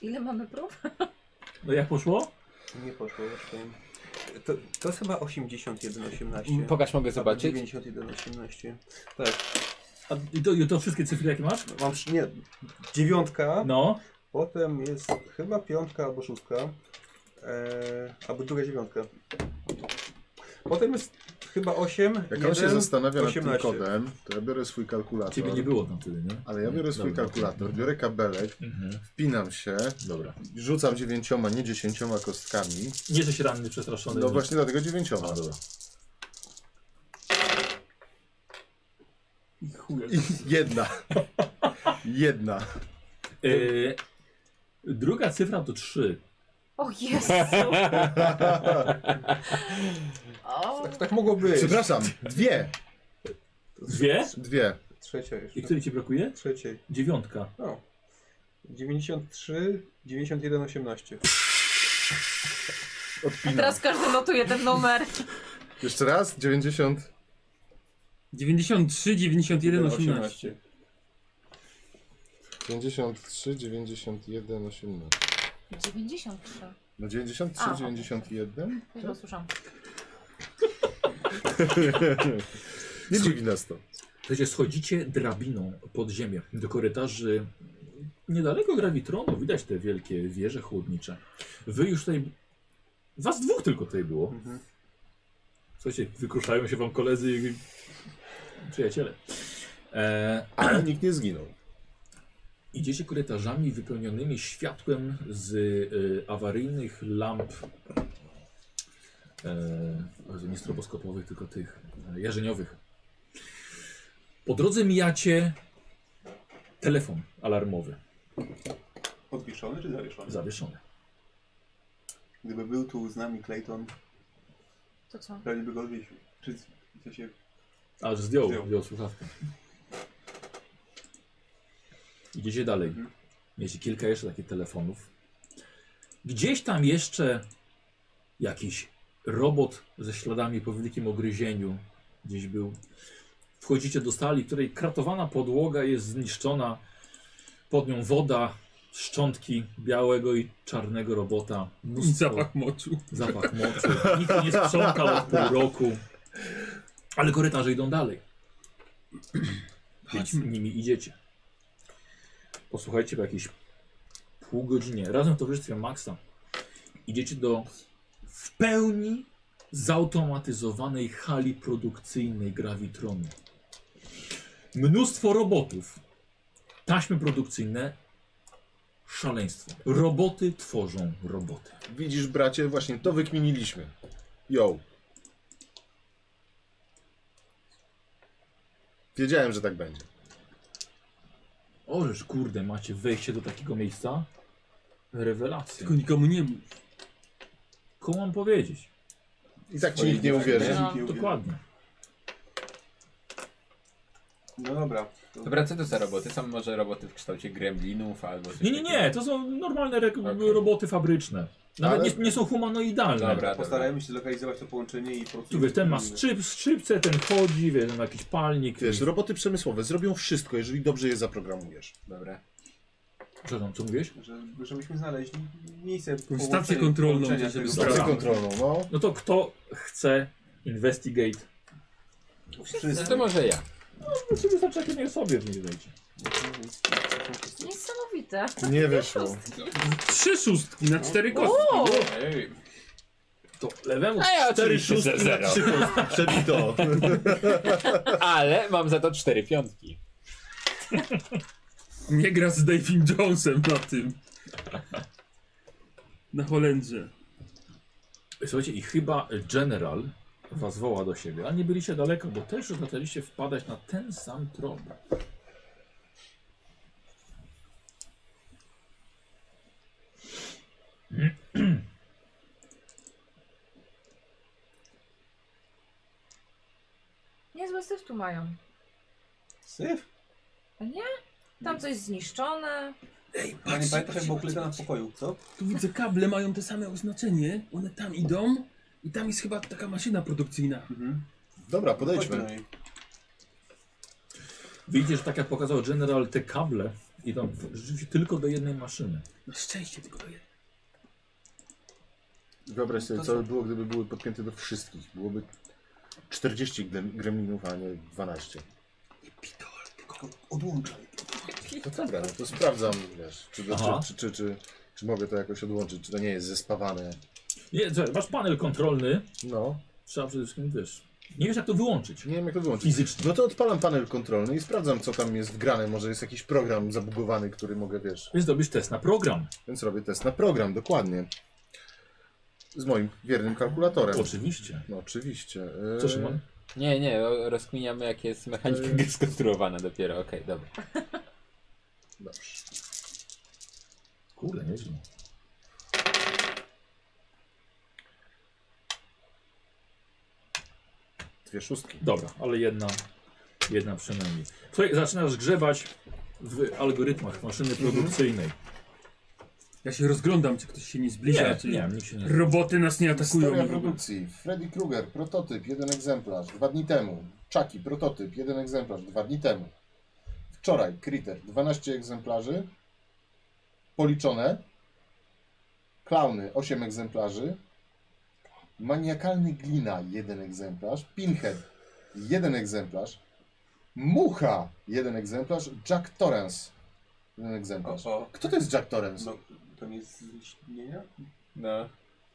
Speaker 12: Ile mamy prób?
Speaker 1: No jak poszło?
Speaker 9: nie poszło, zaczekaj. To, to jest chyba 81, 18.
Speaker 3: Mm, pokaż, mogę
Speaker 9: Albo
Speaker 3: zobaczyć?
Speaker 9: 91, 18. Tak.
Speaker 1: A i to, i to wszystkie cyfry jakie masz?
Speaker 9: No, Mam, przy- nie, dziewiątka.
Speaker 1: No.
Speaker 9: Potem jest chyba piątka albo szóstka. Eee, albo druga dziewiątka. Potem jest chyba 8.
Speaker 4: Jak on się zastanawia nad tym kodem, to ja biorę swój kalkulator.
Speaker 1: Ciebie nie było tam wtedy, nie?
Speaker 4: Ale ja biorę swój
Speaker 1: Dobra.
Speaker 4: kalkulator, biorę kabelek, wpinam się,
Speaker 1: Dobra.
Speaker 4: rzucam dziewięcioma, nie dziesięcioma kostkami.
Speaker 1: Nie, że się ranny, przestraszony.
Speaker 4: No właśnie dlatego dziewięcioma.
Speaker 10: I chuje.
Speaker 4: I jedna. Jedna.
Speaker 1: Yy, druga cyfra to 3.
Speaker 12: O Jezu! O,
Speaker 9: Tak mogło być.
Speaker 4: Przepraszam, dwie.
Speaker 1: Dwie?
Speaker 4: Dwie.
Speaker 9: Trzecia jeszcze.
Speaker 1: I której ci brakuje?
Speaker 9: Trzeciej.
Speaker 1: Dziewiątka.
Speaker 9: No. 93, 91, 18.
Speaker 4: Odpinam.
Speaker 12: teraz każdy notuje ten numer.
Speaker 4: Jeszcze raz, 90.
Speaker 10: 93, 91, 18.
Speaker 4: 93, 91, 18.
Speaker 12: 93.
Speaker 4: No
Speaker 12: A,
Speaker 4: 93,
Speaker 12: okej.
Speaker 4: 91?
Speaker 12: Już go słyszałam.
Speaker 4: Nie dziwi nas to.
Speaker 1: Słuchajcie, schodzicie drabiną pod ziemię do korytarzy. Niedaleko grawitronu widać te wielkie wieże chłodnicze. Wy już tutaj. Was dwóch tylko tutaj było. Słuchajcie, wykruszają się wam koledzy i przyjaciele. E,
Speaker 4: Ale nikt nie zginął.
Speaker 1: Idziecie korytarzami wypełnionymi światłem z e, awaryjnych lamp. E, nie stroboskopowych, tylko tych e, jarzeniowych. Po drodze mijacie telefon alarmowy
Speaker 9: Podwieszony czy zawieszony?
Speaker 1: zawieszony.
Speaker 9: Gdyby był tu z nami Clayton,
Speaker 12: To co?
Speaker 9: pewnie by go odwiesił. Czy w sensie
Speaker 1: Aż zdjął, zdjął, słuchawkę. Idziecie dalej. Mieliście kilka jeszcze takich telefonów. Gdzieś tam jeszcze jakiś robot ze śladami po wielkim ogryzieniu gdzieś był. Wchodzicie do sali, której kratowana podłoga jest zniszczona. Pod nią woda, szczątki białego i czarnego robota. Mnóstwo-
Speaker 5: Zapach moczu.
Speaker 1: Zapach moczu. Nikt nie sprzątał od pół roku. Ale korytarze idą dalej. Więc nimi idziecie. Posłuchajcie po jakiejś pół godzinie. Razem w towarzystwie Maxa idziecie do w pełni zautomatyzowanej hali produkcyjnej Gravitronu. Mnóstwo robotów, taśmy produkcyjne, szaleństwo. Roboty tworzą roboty.
Speaker 4: Widzisz, bracie, właśnie to wykminiliśmy. Yo. Wiedziałem, że tak będzie.
Speaker 1: Ożeż kurde, macie wejście do takiego miejsca? Rewelacja.
Speaker 7: Tylko nikomu nie mów.
Speaker 1: Komu mam powiedzieć?
Speaker 4: I tak ci nikt nie uwierzy.
Speaker 1: No, dokładnie.
Speaker 3: No dobra. Dobra, co to za roboty? Są może roboty w kształcie gremlinów albo coś
Speaker 1: Nie, nie, nie, to są normalne re- roboty fabryczne. Nawet
Speaker 3: Ale-
Speaker 1: nie, nie są humanoidalne.
Speaker 3: Dobra,
Speaker 9: Postarajmy się zlokalizować to połączenie i po prostu...
Speaker 1: Tu wiesz, ten ma skrzyp, skrzypce, ten chodzi, wiesz, ten ma jakiś palnik.
Speaker 4: Wiesz, roboty przemysłowe zrobią wszystko, jeżeli dobrze je zaprogramujesz.
Speaker 3: Dobra.
Speaker 1: Przepraszam, co mówisz?
Speaker 9: Że, żebyśmy znaleźli miejsce
Speaker 1: Stację
Speaker 9: połączenia-
Speaker 1: kontrolną,
Speaker 9: połączenia
Speaker 1: żeby
Speaker 9: tego-
Speaker 1: stację
Speaker 9: Dobra.
Speaker 1: kontrolną,
Speaker 4: no.
Speaker 1: No to kto chce investigate?
Speaker 3: Wszyscy. To może ja.
Speaker 1: No, właściwie wystarczy, jak jednej osobie w niej wejdzie.
Speaker 12: Niesamowite.
Speaker 4: Nie wyszło.
Speaker 7: Trzy szóstki na cztery kostki.
Speaker 12: O!
Speaker 3: Ej.
Speaker 1: To lewemu
Speaker 3: A ja
Speaker 1: cztery
Speaker 3: oczywiście
Speaker 1: szóstki
Speaker 3: za
Speaker 1: na
Speaker 3: zero.
Speaker 1: trzy kostki.
Speaker 4: Przebito.
Speaker 3: Ale mam za to cztery piątki.
Speaker 7: Nie gra z Davim Jonesem na tym.
Speaker 1: Na Holendzie. Słuchajcie, i chyba General was woła do siebie, a nie byliście daleko, bo też już zaczęliście wpadać na ten sam trop.
Speaker 2: Niezłe syf tu mają.
Speaker 9: Syf?
Speaker 2: A nie? Tam coś zniszczone.
Speaker 7: Ej,
Speaker 9: A nie
Speaker 7: patrz,
Speaker 9: pamiętasz, jak
Speaker 7: patrz,
Speaker 9: było
Speaker 7: patrz,
Speaker 9: klęta na
Speaker 7: patrz.
Speaker 9: pokoju, co?
Speaker 7: Tu widzę, kable mają te same oznaczenie. One tam idą i tam jest chyba taka maszyna produkcyjna.
Speaker 4: Dobra,
Speaker 9: podejdźmy.
Speaker 1: Widzicie, że tak jak pokazał General, te kable idą w- rzeczywiście tylko do jednej maszyny.
Speaker 7: Na szczęście tylko to jest.
Speaker 4: Wyobraź sobie,
Speaker 7: To
Speaker 4: co
Speaker 7: co?
Speaker 4: by było, gdyby były podpięte do wszystkich. Byłoby 40 grem- gremlinów, a nie 12.
Speaker 9: Odłączaj.
Speaker 4: No dobra, no to sprawdzam, wiesz, czy, czy,
Speaker 1: Aha.
Speaker 4: czy, czy, czy, czy mogę to jakoś odłączyć, czy to nie jest zespawane.
Speaker 1: Nie, słuchaj, masz panel kontrolny.
Speaker 4: No.
Speaker 1: Trzeba przede wszystkim wiesz. Nie wiesz jak to wyłączyć.
Speaker 4: Nie wiem jak to wyłączyć. Fizycznie. No to odpalam panel kontrolny i sprawdzam co tam jest wgrane. Może jest jakiś program zabugowany, który mogę, wiesz.
Speaker 1: Więc robisz test na program.
Speaker 4: Więc robię test na program, dokładnie. Z moim wiernym kalkulatorem.
Speaker 1: Oczywiście.
Speaker 4: No oczywiście. Yy,
Speaker 1: Co, Szymon?
Speaker 3: Nie, nie, o- rozkminiamy jak jest mechanika gry skonstruowana dopiero, okej, dobra.
Speaker 4: Dobrze.
Speaker 1: Kurde, nieźle.
Speaker 4: Dwie szóstki.
Speaker 1: Dobra, ale jedna, jedna przynajmniej. Słuchaj, zaczynasz grzebać w algorytmach maszyny
Speaker 4: Mhm.
Speaker 1: produkcyjnej.
Speaker 7: Ja się rozglądam, czy ktoś się nie zbliża.
Speaker 1: Nie,
Speaker 7: czy...
Speaker 1: nie, nikt się nie-
Speaker 7: Roboty nas nie
Speaker 4: Historia
Speaker 7: atakują.
Speaker 4: produkcji. Freddy Krueger, prototyp, jeden egzemplarz, dwa dni temu. Chucky, prototyp, jeden egzemplarz, dwa dni temu. Wczoraj, Critter, 12 egzemplarzy. Policzone. Klauny, 8 egzemplarzy. Maniakalny glina, jeden egzemplarz. Pinhead, jeden egzemplarz. Mucha, jeden egzemplarz. Jack Torrance, jeden egzemplarz. Kto to jest Jack Torrance?
Speaker 9: No, to nie jest zniszczenia?
Speaker 3: No.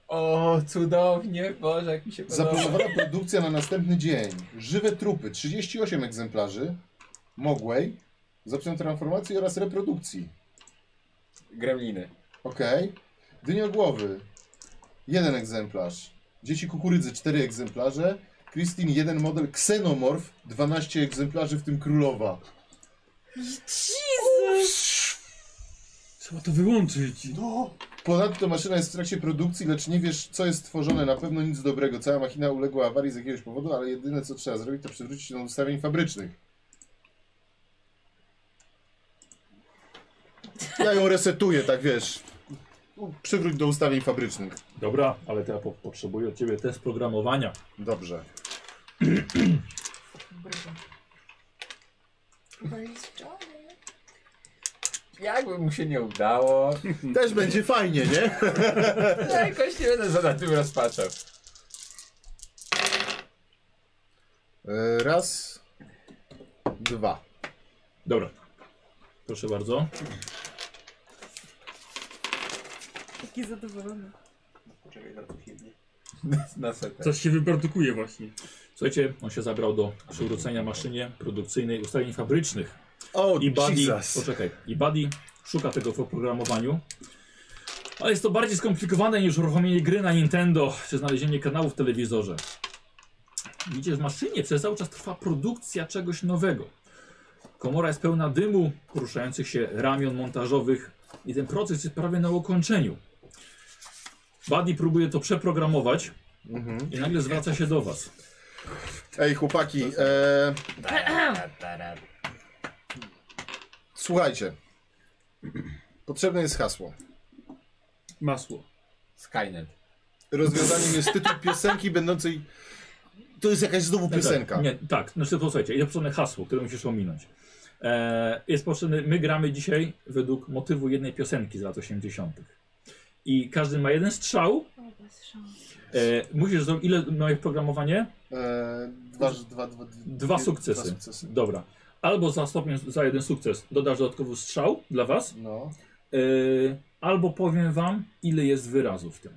Speaker 3: O, cudownie, Boże, jak mi się podoba.
Speaker 4: Zaplanowana produkcja na następny dzień. Żywe trupy, 38 egzemplarzy. Mogłej. Z opcją transformacji oraz reprodukcji.
Speaker 3: Gremliny.
Speaker 4: Okej. Dyniogłowy. Jeden egzemplarz. Dzieci kukurydzy, 4 egzemplarze. Christine, jeden model. Ksenomorf, 12 egzemplarzy, w tym królowa.
Speaker 12: Jezus!
Speaker 7: Trzeba to wyłączyć.
Speaker 9: No,
Speaker 4: Ponadto maszyna jest w trakcie produkcji, lecz nie wiesz, co jest tworzone. Na pewno nic dobrego. Cała machina uległa awarii z jakiegoś powodu, ale jedyne, co trzeba zrobić, to przywrócić ją do ustawień fabrycznych. Ja ją resetuję, tak wiesz. U- Przywróć do ustawień fabrycznych.
Speaker 1: Dobra, ale to ja po, potrzebuję od ciebie test programowania.
Speaker 4: Dobrze.
Speaker 3: Jakby mu się nie udało.
Speaker 4: Też będzie fajnie, nie?
Speaker 3: Ja jakoś nie będę za na tym rozpaczał.
Speaker 4: E, Raz, dwa.
Speaker 1: Dobra. Proszę bardzo.
Speaker 12: Taki zadowolony.
Speaker 9: Poczekaj, zaraz coś jednie.
Speaker 3: Na setę.
Speaker 1: Coś się wyprodukuje właśnie. Słuchajcie, on się zabrał do przywrócenia maszynie produkcyjnej ustawień fabrycznych.
Speaker 4: O,
Speaker 1: I Buddy,
Speaker 4: Jesus.
Speaker 1: poczekaj, i Buddy szuka tego w oprogramowaniu. Ale jest to bardziej skomplikowane niż uruchomienie gry na Nintendo, czy znalezienie kanału w telewizorze. Widzicie, w maszynie przez cały czas trwa produkcja czegoś nowego. Komora jest pełna dymu, poruszających się ramion montażowych i ten proces jest prawie na ukończeniu. Buddy próbuje to przeprogramować i nagle zwraca się do was.
Speaker 4: Ej, chłopaki, e, słuchajcie. Potrzebne jest hasło.
Speaker 1: Masło.
Speaker 3: Skynet.
Speaker 4: Rozwiązaniem jest tytuł piosenki będącej... To jest jakaś znowu piosenka.
Speaker 1: Tak, nie, tak. Znaczy, posłuchajcie, jest potrzebne hasło, które musisz ominąć. E, jest potrzebne, my gramy dzisiaj według motywu jednej piosenki z lat 80. I każdy ma jeden strzał. E, musisz zrobić, ile miałeś programowanie?
Speaker 4: E, dwa, dwa, dwa,
Speaker 1: Dwa sukcesy.
Speaker 4: Dwa sukcesy.
Speaker 1: Dobra. Albo za stopień, za jeden sukces dodasz dodatkowy strzał dla was.
Speaker 4: No.
Speaker 1: E, albo powiem wam, ile jest wyrazów w tym.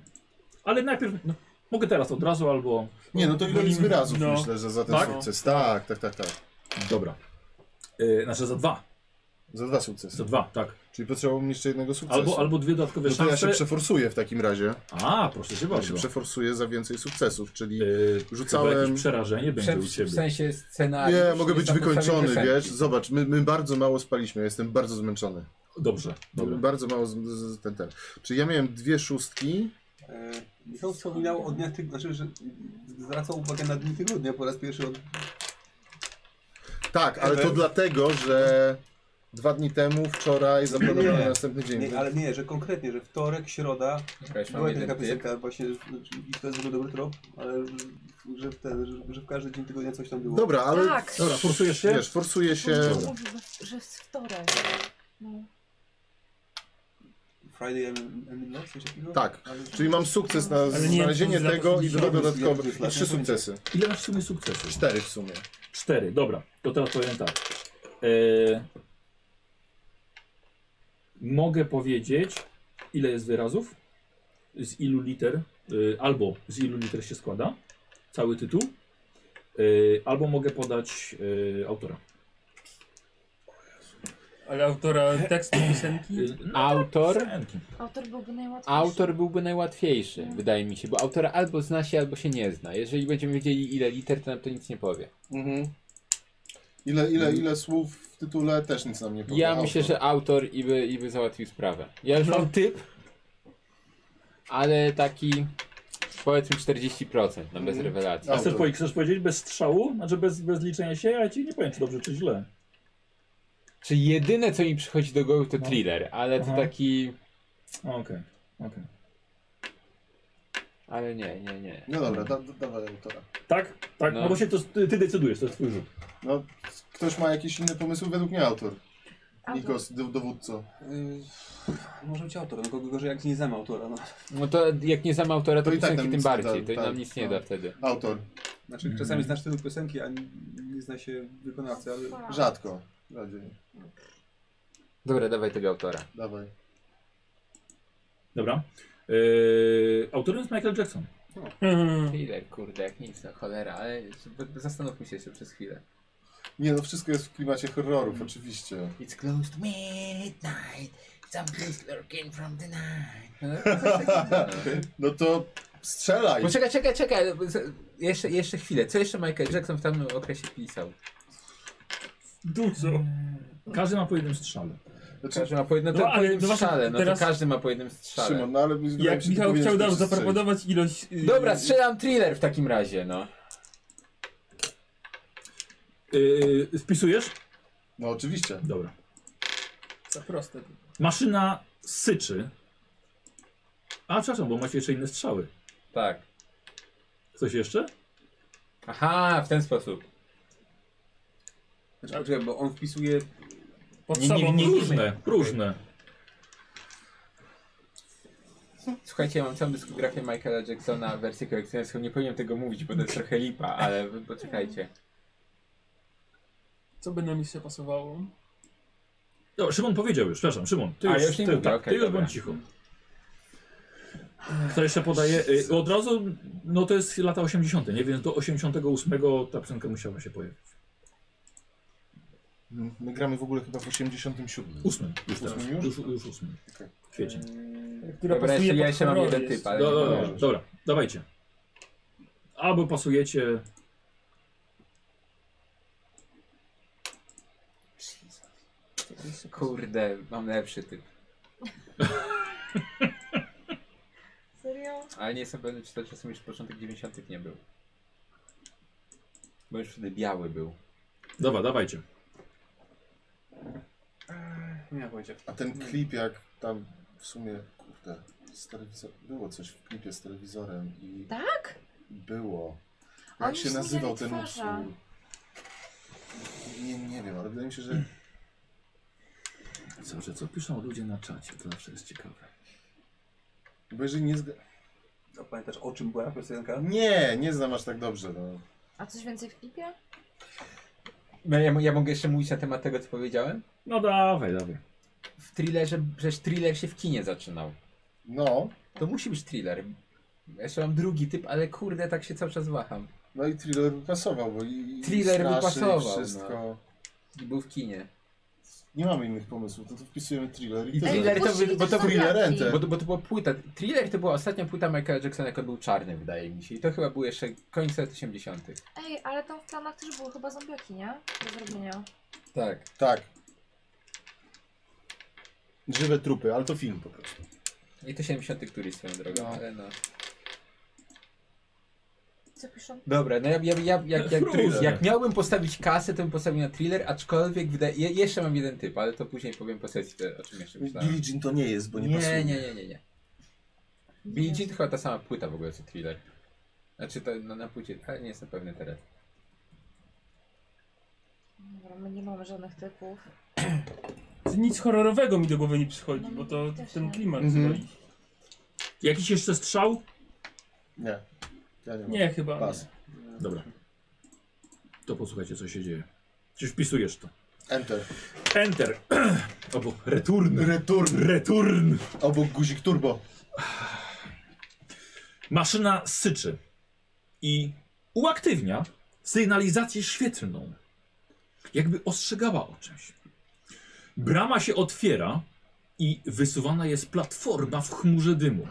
Speaker 1: Ale najpierw, no, mogę teraz od razu, albo...
Speaker 4: Nie, no to ile jest wyrazów,
Speaker 1: No.
Speaker 4: myślę, że za ten
Speaker 1: Tak?
Speaker 4: sukces. Tak, tak, tak, tak.
Speaker 1: Dobra. E, znaczy za dwa.
Speaker 4: Za dwa sukcesy.
Speaker 1: Za dwa, tak.
Speaker 4: Czyli potrzebowałbym jeszcze jednego sukcesu.
Speaker 1: Albo, albo dwie dodatkowe
Speaker 4: No to
Speaker 1: szanse.
Speaker 4: ja się przeforsuję w takim razie.
Speaker 1: A, proszę cię
Speaker 4: Ja się
Speaker 1: bardzo.
Speaker 3: Znaczy,
Speaker 1: E, Y,
Speaker 4: przeforsuję za więcej sukcesów, czyli
Speaker 1: chyba
Speaker 4: rzucałem...
Speaker 1: jakieś przerażenie będzie
Speaker 3: Przed-
Speaker 1: u ciebie.
Speaker 3: W sensie scenariusz.
Speaker 4: Nie, mogę być
Speaker 3: jest na podstawie
Speaker 4: wykończony,
Speaker 3: piosenki.
Speaker 4: wiesz. Zobacz, my, my bardzo mało spaliśmy, ja jestem bardzo zmęczony. No,
Speaker 1: Dobrze,
Speaker 3: Mm.
Speaker 1: dobra.
Speaker 4: Bardzo mało z, z, ten, ten. Czyli ja miałem dwie szóstki.
Speaker 9: E, Michał wspominał o dniach tygodnia, znaczy, że zwracał uwagę na dni tygodnia po raz pierwszy od...
Speaker 4: Tak, ale to
Speaker 9: Ewe.
Speaker 4: dlatego, że dwa dni temu, wczoraj, zaplanowałem na następny dzień.
Speaker 9: Nie, ale nie, że konkretnie, że wtorek, środa,
Speaker 3: Czekaj, mam
Speaker 9: była
Speaker 3: jeden
Speaker 9: taka
Speaker 3: typ.
Speaker 9: piosenka właśnie, że- znaczy, i to jest w ogóle dobry trop, ale że- że w, ten, że, że w każdy dzień tygodnia coś tam było.
Speaker 4: Dobra, ale...
Speaker 12: Tak.
Speaker 1: Dobra, forsujesz się?
Speaker 4: Wiesz, forsuje się...
Speaker 12: Mówił, że jest wtorek. No.
Speaker 9: Friday and, and Love, coś takiego?
Speaker 4: Tak,
Speaker 9: Ale-
Speaker 4: czyli mam sukces na
Speaker 9: Ale nie,
Speaker 4: znalezienie
Speaker 9: to jest
Speaker 4: tego i
Speaker 9: dla-
Speaker 4: dwa
Speaker 9: dla-
Speaker 4: dodatkowe,
Speaker 9: dla-
Speaker 4: i trzy sukcesy.
Speaker 1: Ile masz w sumie sukcesów?
Speaker 4: Cztery w sumie.
Speaker 1: Cztery, dobra. To teraz powiem tak. E... Mogę powiedzieć, ile jest wyrazów, z ilu liter, y, albo z ilu liter się składa cały tytuł, y, albo mogę podać y, autora.
Speaker 7: Ale autora tekstu piosenki?
Speaker 4: No
Speaker 1: Y,
Speaker 3: Autor,
Speaker 1: Piosenki.
Speaker 12: Autor byłby najłatwiejszy.
Speaker 3: autor byłby najłatwiejszy, wydaje mi się, bo autora albo zna się, albo się nie zna. Jeżeli będziemy wiedzieli ile liter, to nam to nic nie powie.
Speaker 4: Mhm. Ile, ile, ile słów w tytule też nic nam nie powie.
Speaker 3: Ja
Speaker 4: Autor.
Speaker 3: myślę, że autor i by, i by załatwił sprawę. Ja
Speaker 4: No.
Speaker 3: już mam typ, ale taki powiedzmy 40% na
Speaker 4: Mhm.
Speaker 3: bez rewelacji.
Speaker 1: A chcesz, powie- chcesz powiedzieć bez strzału? Znaczy bez, bez liczenia się? Ja ci nie powiem, czy dobrze, czy źle.
Speaker 3: Czy jedyne co mi przychodzi do głowy
Speaker 4: No.
Speaker 3: to thriller, ale to
Speaker 1: Aha.
Speaker 4: Mhm.
Speaker 3: taki...
Speaker 1: Okej, okej.
Speaker 3: Ale nie, nie, nie.
Speaker 4: No dobra, da, da, dawaj autora.
Speaker 1: Tak? Tak, no,
Speaker 3: No.
Speaker 1: bo się to, ty ty decydujesz, to jest twój rzut.
Speaker 4: No, ktoś ma jakieś inne pomysły? Według mnie autor.
Speaker 12: Autor.
Speaker 4: Nikos, do, dowódco.
Speaker 9: Y, Może być autor, no go- gorzej jak nie znamy autora. No.
Speaker 3: No to jak nie znamy autora, to,
Speaker 4: To i tak
Speaker 3: piosenki
Speaker 4: nam
Speaker 3: tym
Speaker 4: nic nie
Speaker 3: bardziej.
Speaker 4: da,
Speaker 3: to
Speaker 4: tak,
Speaker 3: nam nic nie
Speaker 4: no.
Speaker 3: da wtedy.
Speaker 4: Autor.
Speaker 9: Znaczy
Speaker 4: Mhm.
Speaker 9: czasami znasz tytuł piosenki, a nie, nie zna się wykonawcy,
Speaker 2: Tak.
Speaker 9: ale...
Speaker 4: Rzadko. Radziej.
Speaker 3: Dobra, dawaj tego autora.
Speaker 4: Dawaj.
Speaker 1: Dobra. Yy, autorem jest Michael Jackson.
Speaker 3: Thriller, kurde, jak nic, no cholera, ale z- zastanówmy się jeszcze przez chwilę.
Speaker 4: Nie no, wszystko jest w klimacie horrorów,
Speaker 2: Mhm.
Speaker 4: oczywiście.
Speaker 3: It's close to midnight, something's lurking from the night.
Speaker 4: No to strzelaj.
Speaker 3: No czekaj, czekaj, czekaj, ale z- jeszcze, jeszcze chwilę. Co jeszcze Michael Jackson w tamtym okresie pisał?
Speaker 1: Dużo. Każdy ma po jednym strzale.
Speaker 4: Znaczy,
Speaker 3: Każdy ma po jednym,
Speaker 7: No,
Speaker 3: no, po
Speaker 7: ale
Speaker 3: jednym
Speaker 7: no właśnie,
Speaker 3: strzale, no
Speaker 7: teraz-
Speaker 3: to każdy ma po jednym strzale.
Speaker 7: Szymon, no, ale Jak się Michał powiedzieć, chciał nam że wszyscy zaproponować strzeli. ilość, yy,
Speaker 3: Dobra, strzelam thriller w takim razie, no.
Speaker 1: Yy, wpisujesz?
Speaker 4: No oczywiście.
Speaker 1: Dobra.
Speaker 7: Za proste.
Speaker 1: Maszyna syczy. A, przepraszam, bo macie jeszcze inne strzały.
Speaker 3: Tak.
Speaker 1: Coś jeszcze?
Speaker 3: Aha, w ten sposób.
Speaker 9: Znaczy, poczekaj, bo on wpisuje...
Speaker 7: Pod
Speaker 3: Nie, nie, sobą. nie, nie.
Speaker 1: Różne, różne.
Speaker 3: Słuchajcie, ja mam całą dyskografię Michaela Jacksona, wersję kolekcjonerską. Nie powinienem tego mówić, bo to jest trochę lipa, ale wy poczekajcie.
Speaker 7: Co by nam jeszcze pasowało?
Speaker 1: No, Szymon powiedział już, przepraszam, Szymon. Ty
Speaker 7: A,
Speaker 1: już,
Speaker 7: ja już nie
Speaker 1: ty,
Speaker 7: mówię,
Speaker 1: tak,
Speaker 7: okej,
Speaker 1: ty już
Speaker 7: dobra.
Speaker 1: bądź cicho. Kto jeszcze podaje? Y, Od razu, no to jest lata 80, nie? Więc do 88 ta piosenka musiała się pojawić.
Speaker 4: Mm, My gramy w ogóle chyba w 87.
Speaker 1: Ósmym, już teraz.
Speaker 4: Ósmym
Speaker 1: Już, już ósmym. Kwiecień.
Speaker 7: Która Dobra, pasuje jeszcze ja pod jeszcze mam kolor, jeden jest. No, typ,
Speaker 1: Do,
Speaker 7: ale nie
Speaker 1: do,
Speaker 7: kojarzę.
Speaker 1: dobra, dobra, dawajcie. Albo pasujecie...
Speaker 3: Kurde, mam lepszy typ.
Speaker 12: Serio?
Speaker 3: Ale nie jestem pewny, czy to czasem już początek 90. nie był. Bo już wtedy biały był.
Speaker 1: Dobra, dawajcie.
Speaker 9: Nie mam pojęcia.
Speaker 4: A ten klip jak tam w sumie, kurde, z telewizor... było coś w klipie z telewizorem i...
Speaker 2: Tak?
Speaker 4: Było.
Speaker 2: Oni
Speaker 4: Jak się
Speaker 2: zmieniali
Speaker 4: nazywał ten
Speaker 2: twarze.
Speaker 4: utwór? Nie, nie wiem, ale wydaje mi się, że...
Speaker 1: Zawsze co piszą ludzie na czacie, to zawsze jest ciekawe.
Speaker 4: Bo jeżeli nie zga...
Speaker 9: A pamiętasz o czym była piosenka?
Speaker 4: Nie, nie znam aż tak dobrze, no.
Speaker 2: A coś więcej w klipie?
Speaker 3: No, ja, ja mogę jeszcze mówić na temat tego, co powiedziałem?
Speaker 1: No dawaj, dawaj.
Speaker 3: W thrillerze, przecież thriller się w kinie zaczynał.
Speaker 4: No.
Speaker 3: To musi być thriller. Ja Jeszcze mam drugi typ, ale kurde, tak się cały czas waham.
Speaker 4: No i thriller by pasował, bo i... i
Speaker 3: Thriller by
Speaker 4: straszy, i
Speaker 3: pasował, no.
Speaker 4: Wszystko.
Speaker 3: I był w kinie.
Speaker 4: Nie mamy innych pomysłów, no to, to wpisujemy thriller i
Speaker 3: I
Speaker 4: tyle.
Speaker 3: thriller to, wy- bo to
Speaker 4: Thriller Enter.
Speaker 3: bo, to- bo to była płyta. Thriller to była ostatnia płyta Michaela Jacksona, jak on był czarny, wydaje mi się. I to chyba było jeszcze końce lat 80.
Speaker 2: Ej, ale tam w planach też były chyba zombiaki, nie? Do zrobienia.
Speaker 3: Tak.
Speaker 4: Tak. Żywe trupy, ale to film po prostu.
Speaker 3: I to 70. któryś swoją drogą,
Speaker 4: No.
Speaker 3: ale no.
Speaker 2: Co piszą?
Speaker 3: Dobra, no ja, ja, ja jak, jak,
Speaker 4: Różne.
Speaker 3: jak miałbym postawić kasę, to bym postawił na thriller, aczkolwiek wydaje, je, jeszcze mam jeden typ, ale to później powiem po sesji, to, o czym jeszcze myślałem.
Speaker 4: Billie Jean to nie jest, bo nie,
Speaker 3: nie
Speaker 4: pasuje.
Speaker 3: Nie, nie, nie, nie. Billie Jean to chyba ta sama płyta w ogóle co thriller. Znaczy to na, na płycie, ale nie jestem pewny teraz.
Speaker 2: Dobra, my nie mamy żadnych typów.
Speaker 7: Nic horrorowego mi do głowy nie przychodzi, bo to ten klimat
Speaker 1: Mhm.
Speaker 7: zwoli.
Speaker 1: Jakiś jeszcze strzał?
Speaker 4: Nie. Ja mam.
Speaker 7: Nie, chyba
Speaker 4: Pas.
Speaker 1: Dobra. To posłuchajcie, co się dzieje. Czy wpisujesz to?
Speaker 4: Enter.
Speaker 1: Enter. Obok return.
Speaker 4: Return.
Speaker 1: Return.
Speaker 4: Obok guzik turbo.
Speaker 1: Maszyna syczy i uaktywnia sygnalizację świetlną. Jakby ostrzegała o czymś. Brama się otwiera i wysuwana jest platforma w chmurze dymu.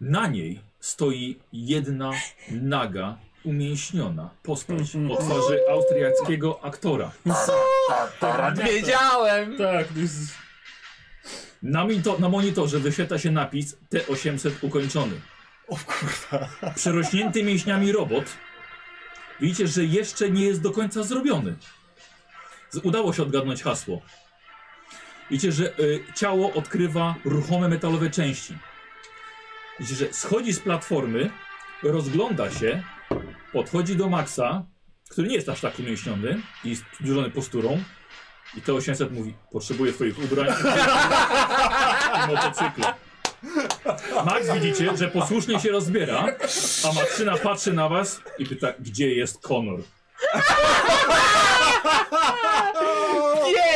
Speaker 1: Na niej stoi jedna naga, umięśniona postać o twarzy austriackiego aktora.
Speaker 3: Wiedziałem!
Speaker 7: Tak, to jest...
Speaker 1: Na, mito, na monitorze wyświetla się napis T800 ukończony. O kurwa. Przerośnięty mięśniami robot. Widzicie, że jeszcze nie jest do końca zrobiony. Z- Udało się odgadnąć hasło. Widzicie, że y, ciało odkrywa ruchome metalowe części. Widzicie, że schodzi z platformy, rozgląda się, podchodzi do Maxa, który nie jest aż tak umięśniony i jest zdurzony posturą. I T800 mówi, potrzebuję twoich ubrań i motocykla. Max widzicie, że posłusznie się rozbiera, a Matryna patrzy na was i pyta, gdzie jest Konor?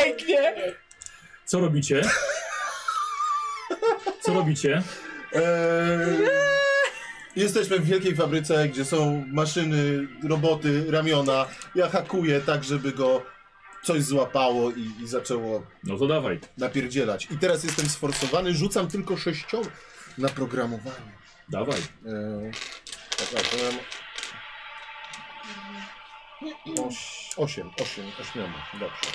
Speaker 3: Pięknie!
Speaker 1: Co robicie? Co robicie?
Speaker 4: Eee, jesteśmy w wielkiej fabryce, gdzie są maszyny, roboty, ramiona. Ja hakuję tak, żeby go coś złapało i, i zaczęło
Speaker 1: no to dawaj.
Speaker 4: napierdzielać. I teraz jestem sforsowany, rzucam tylko sześcią na programowanie.
Speaker 1: Dawaj.
Speaker 4: Eee, tak, tak, to miałem... Oś, osiem, osiem, ośmioma, dobrze.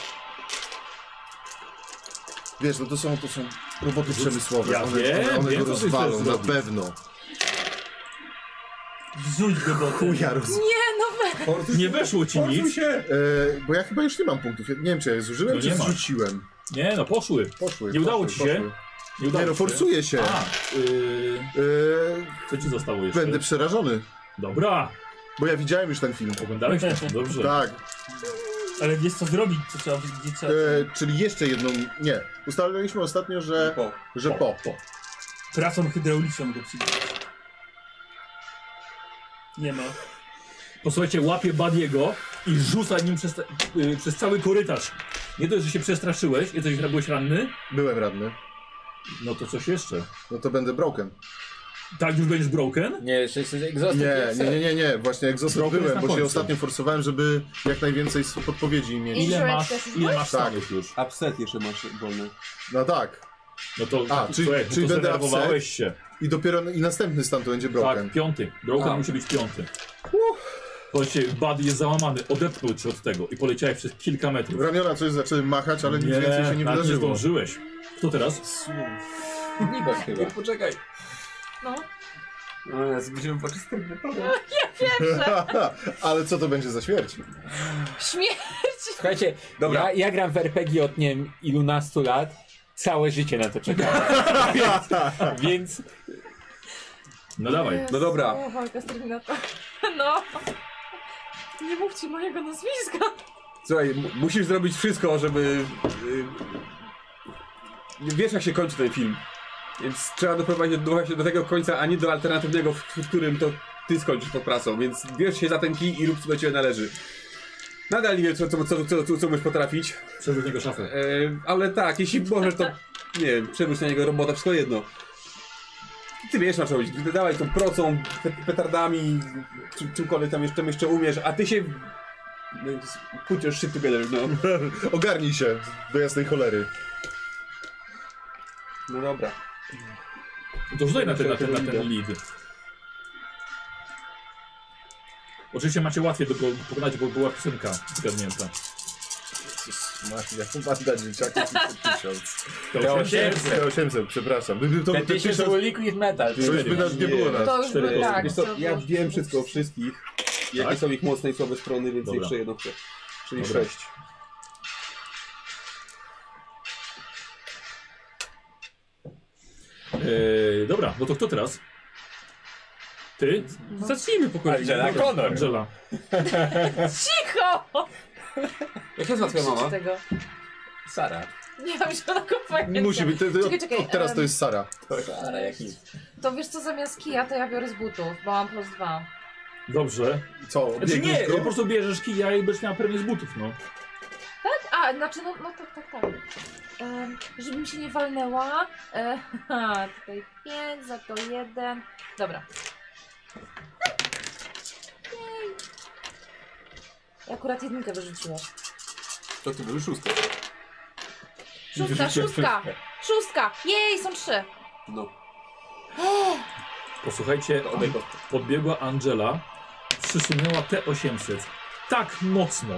Speaker 4: Wiesz, no to są, to są roboty przemysłowe.
Speaker 13: Ja
Speaker 4: one
Speaker 13: wiem,
Speaker 4: one
Speaker 13: wiem,
Speaker 4: go
Speaker 13: co ty chcesz
Speaker 4: rozwalą na
Speaker 13: zrobić.
Speaker 4: pewno.
Speaker 13: Wrzuć go do
Speaker 4: Chuja roz...
Speaker 2: Nie, no we...
Speaker 1: Nie weszło ci nic.
Speaker 4: E, bo ja chyba już nie mam punktów. Ja Nie wiem, czy ja je zużyłem,
Speaker 1: No
Speaker 4: czy
Speaker 1: nie masz.
Speaker 4: zrzuciłem.
Speaker 1: Nie no, poszły.
Speaker 4: Poszły.
Speaker 1: Nie udało ci
Speaker 4: poszły,
Speaker 1: się?
Speaker 4: poszły.
Speaker 1: Nie udało
Speaker 4: no,
Speaker 1: ci się?
Speaker 4: forsuje się.
Speaker 1: A, yy,
Speaker 4: E,
Speaker 1: co ci zostało jeszcze?
Speaker 4: będę przerażony.
Speaker 1: Dobra.
Speaker 4: Bo ja widziałem już ten film.
Speaker 1: Oglądałeś? Dobrze.
Speaker 4: Tak.
Speaker 7: Ale wiesz co zrobić, co trzeba, gdzie trzeba...
Speaker 4: E, czyli jeszcze jedną. Nie. Ustaliliśmy ostatnio, że.
Speaker 6: Po.
Speaker 4: Że po.
Speaker 7: Pracą hydrauliczną go przyjdzie. Nie ma.
Speaker 1: Posłuchajcie, łapie Badiego i rzuca nim przez, te- yy, przez cały korytarz. Nie dość, że się przestraszyłeś, jesteś byłeś ranny?
Speaker 4: Byłem ranny.
Speaker 1: No to coś jeszcze.
Speaker 4: No to będę broken.
Speaker 1: Tak, już będziesz broken?
Speaker 3: Nie, jeszcze jest egzostem.
Speaker 4: Nie, nie, nie, nie, nie. Właśnie egzostem
Speaker 1: Broken jest
Speaker 4: byłem,
Speaker 1: na
Speaker 4: bo się
Speaker 1: końcu.
Speaker 4: ostatnio forsowałem, żeby jak najwięcej s- podpowiedzi mieć.
Speaker 1: Ile
Speaker 2: Insurance
Speaker 1: masz,
Speaker 2: też
Speaker 1: ile
Speaker 2: jest
Speaker 1: masz
Speaker 4: Tak.
Speaker 1: stanów już?
Speaker 6: Upset jeszcze masz wolny.
Speaker 4: No tak.
Speaker 1: No to,
Speaker 4: A,
Speaker 1: to,
Speaker 4: czyli-
Speaker 1: słuchaj,
Speaker 4: czyli
Speaker 1: to
Speaker 4: będę upset?
Speaker 1: zdenerwowałeś się.
Speaker 4: I dopiero i następny stan to będzie broken.
Speaker 1: Tak, piąty. Broken
Speaker 6: A.
Speaker 1: musi być piąty. Słuchajcie, Buddy jest załamany, odepnął cię od tego i poleciałeś przez kilka metrów.
Speaker 4: Ramiona coś zaczęły machać, ale nic więcej się nie
Speaker 1: nawet Tak. nie
Speaker 4: wydarzyło.
Speaker 1: zdążyłeś. Kto teraz?
Speaker 3: Nibas chyba.
Speaker 6: Poczekaj.
Speaker 2: No,
Speaker 6: No, ja zbliżyłem poczystym wypadem.
Speaker 2: pierwsze.
Speaker 4: ale co to będzie za śmierć?
Speaker 2: Śmierć.
Speaker 3: Słuchajcie, Dobra. Ja, ja gram w RPG od nie wiem ilunastu lat. Całe życie na to czekałem. więc, więc
Speaker 1: No dawaj.
Speaker 6: No dobra.
Speaker 2: O, walka z Terminator. No. Nie mówcie mojego nazwiska.
Speaker 6: Słuchaj, mu- musisz zrobić wszystko, żeby... Yy, wiesz jak się kończy ten film. Więc trzeba doprowadzić do, właśnie do tego końca, a nie do alternatywnego, w, w którym to ty skończysz pod pracą. Więc bierz się za ten kij i rób co do ciebie należy. Nadal nie wiem, co, co, co, co, co, co możesz potrafić,
Speaker 1: Przerzuć niego szafę.
Speaker 6: Eee, ale tak, jeśli możesz, to nie wiem, przewróć na niego robota, wszystko jedno. Ty wiesz na co chodzi, Ty dawaj tą procą, pe- petardami, czym, czymkolwiek tam jeszcze, jeszcze umiesz, a ty się... No, Put your shit together, no.
Speaker 4: Ogarnij się, do jasnej cholery.
Speaker 6: No dobra.
Speaker 1: No To rzucaj na ten, na ten, na ten lead. Oczywiście macie łatwiej do go pokonać, bo była piosenka zgadnięta.
Speaker 4: Masz jaką banda dzieciaków i tysiąc.
Speaker 1: To 800.
Speaker 4: 800, przepraszam. Gdyby to
Speaker 3: ten
Speaker 4: był ten
Speaker 3: tysiąc
Speaker 4: tysiąc,
Speaker 3: był liquid metal.
Speaker 4: to już by nas nie było nas.
Speaker 2: To już
Speaker 1: Cztery
Speaker 2: by
Speaker 1: osoby.
Speaker 2: tak.
Speaker 6: Wiesz
Speaker 2: to
Speaker 6: co, ja
Speaker 2: było-
Speaker 6: wiem wszystko o wszystkich, jakie
Speaker 1: Tak?
Speaker 6: są ich mocne i słabe strony, więc
Speaker 1: Dobra.
Speaker 6: jeszcze jedno chcę. Czyli
Speaker 1: Dobra.
Speaker 6: sześć.
Speaker 1: Eee, dobra, no to kto teraz? Ty?
Speaker 7: Zacznijmy po kolei.
Speaker 3: Angela Connor.
Speaker 1: Angela.
Speaker 2: Cicho!
Speaker 6: Jak się nazywa
Speaker 2: Nie
Speaker 6: twoja mama?
Speaker 2: krzyczy tego.
Speaker 3: Sara.
Speaker 2: Nie mam zielonego pojęcia.
Speaker 4: Musi być, to, to,
Speaker 2: Czekaj, czekaj,
Speaker 4: od teraz
Speaker 2: em,
Speaker 4: to jest Sara.
Speaker 3: Sara, jak nic.
Speaker 2: To wiesz co, zamiast kija to ja biorę z butów, bo mam plus dwa.
Speaker 1: Dobrze.
Speaker 4: Co,
Speaker 1: Znaczy
Speaker 4: obiegniesz
Speaker 1: nie,
Speaker 4: go?
Speaker 1: po prostu bierzesz kija i będziesz miała pewnie z butów, no.
Speaker 2: A, znaczy, no, no tak, tak, tak. Em, żebym się nie walnęła. E, haha, tutaj pięć, za to jeden. Dobra. Jej. Ja Akurat jedynkę wyrzuciłaś.
Speaker 6: To ty były szósty.
Speaker 2: Szóstka, szóstka! Szóstka! Jej, są trzy!
Speaker 6: No.
Speaker 1: Posłuchajcie,
Speaker 6: To odejdę.
Speaker 1: podbiegła Angela, przysunęła T800 tak mocno,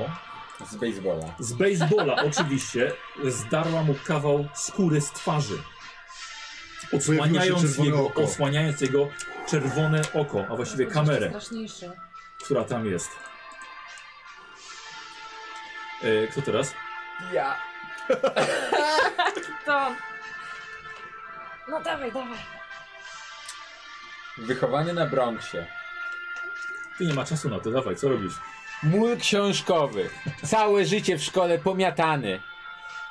Speaker 3: Z baseballa.
Speaker 1: z baseballa oczywiście, zdarła mu kawał skóry z twarzy.
Speaker 4: Pojawiło się
Speaker 1: Odsłaniając
Speaker 4: czerwone
Speaker 1: jego,
Speaker 4: oko.
Speaker 1: osłaniając jego czerwone oko, a właściwie
Speaker 2: To jest jeszcze
Speaker 1: kamerę,
Speaker 2: Straszniejszy.
Speaker 1: która tam jest. E, kto teraz?
Speaker 3: Ja.
Speaker 2: To... No dawaj, dawaj.
Speaker 3: Wychowany na Bronxie.
Speaker 1: Ty nie ma czasu na to, dawaj, co robisz?
Speaker 3: Mól książkowy. Całe życie w szkole pomiatany.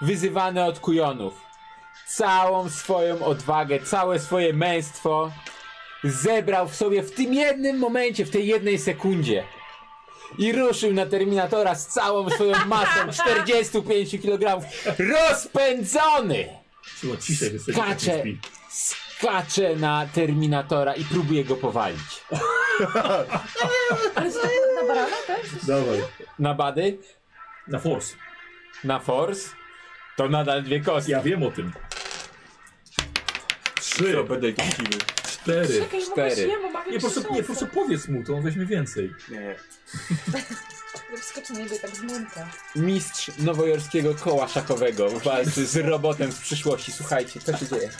Speaker 3: Wyzywany od kujonów. Całą swoją odwagę, całe swoje męstwo zebrał w sobie w tym jednym momencie, w tej jednej sekundzie. I ruszył na Terminatora z całą swoją masą 45 kg. Rozpędzony!
Speaker 1: Trzeba ciszej jesteś.
Speaker 3: Skacze, skacze na Terminatora i próbuje go powalić. No.
Speaker 2: Ale co, na barana też?
Speaker 1: Dawaj.
Speaker 3: Na bady?
Speaker 1: Na force.
Speaker 3: Na force? To nadal dwie kostki.
Speaker 1: Ja wiem o tym. Trzy,
Speaker 6: Co, będę kicimy.
Speaker 1: cztery.
Speaker 2: Czekaj,
Speaker 3: Cztery.
Speaker 2: mogę się, bo mam
Speaker 1: Nie, po prostu, nie, po prostu powiedz mu, to on weźmie więcej.
Speaker 6: Nie.
Speaker 2: Wskoczy na niego i tak z młynka.
Speaker 3: Mistrz nowojorskiego koła szachowego walczy z robotem z przyszłości. Słuchajcie, co się dzieje?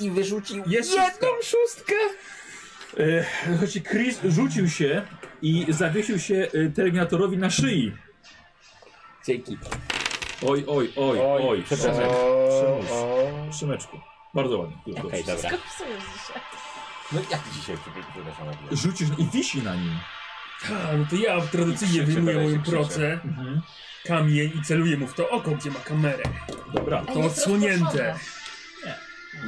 Speaker 3: I wyrzucił jedną szóstkę!
Speaker 1: E, Słuchajcie, Chris rzucił się i zawiesił się e, Terminatorowi na szyi.
Speaker 3: Dzięki.
Speaker 1: Oj, oj, oj, oj.
Speaker 3: Oj,
Speaker 1: oj.
Speaker 3: przepraszam.
Speaker 1: Przymus. Przymeczku. Bardzo ładnie. Już
Speaker 3: Okej,
Speaker 1: dobrze.
Speaker 3: dobra.
Speaker 2: Skąd psujesz dzisiaj?
Speaker 11: No jak dzisiaj, przepraszam, przepraszam. na chwilę.
Speaker 1: Rzucisz i wisi na nim.
Speaker 7: Tak,
Speaker 10: A, no to ja tradycyjnie
Speaker 11: Krzyczy,
Speaker 10: wyjmuję
Speaker 11: dalej się
Speaker 10: moją
Speaker 11: krzyczy.
Speaker 10: procę,
Speaker 1: Mhm.
Speaker 10: kamień i celuję mu w to oko, gdzie ma kamerę.
Speaker 1: Dobra.
Speaker 10: To odsłonięte.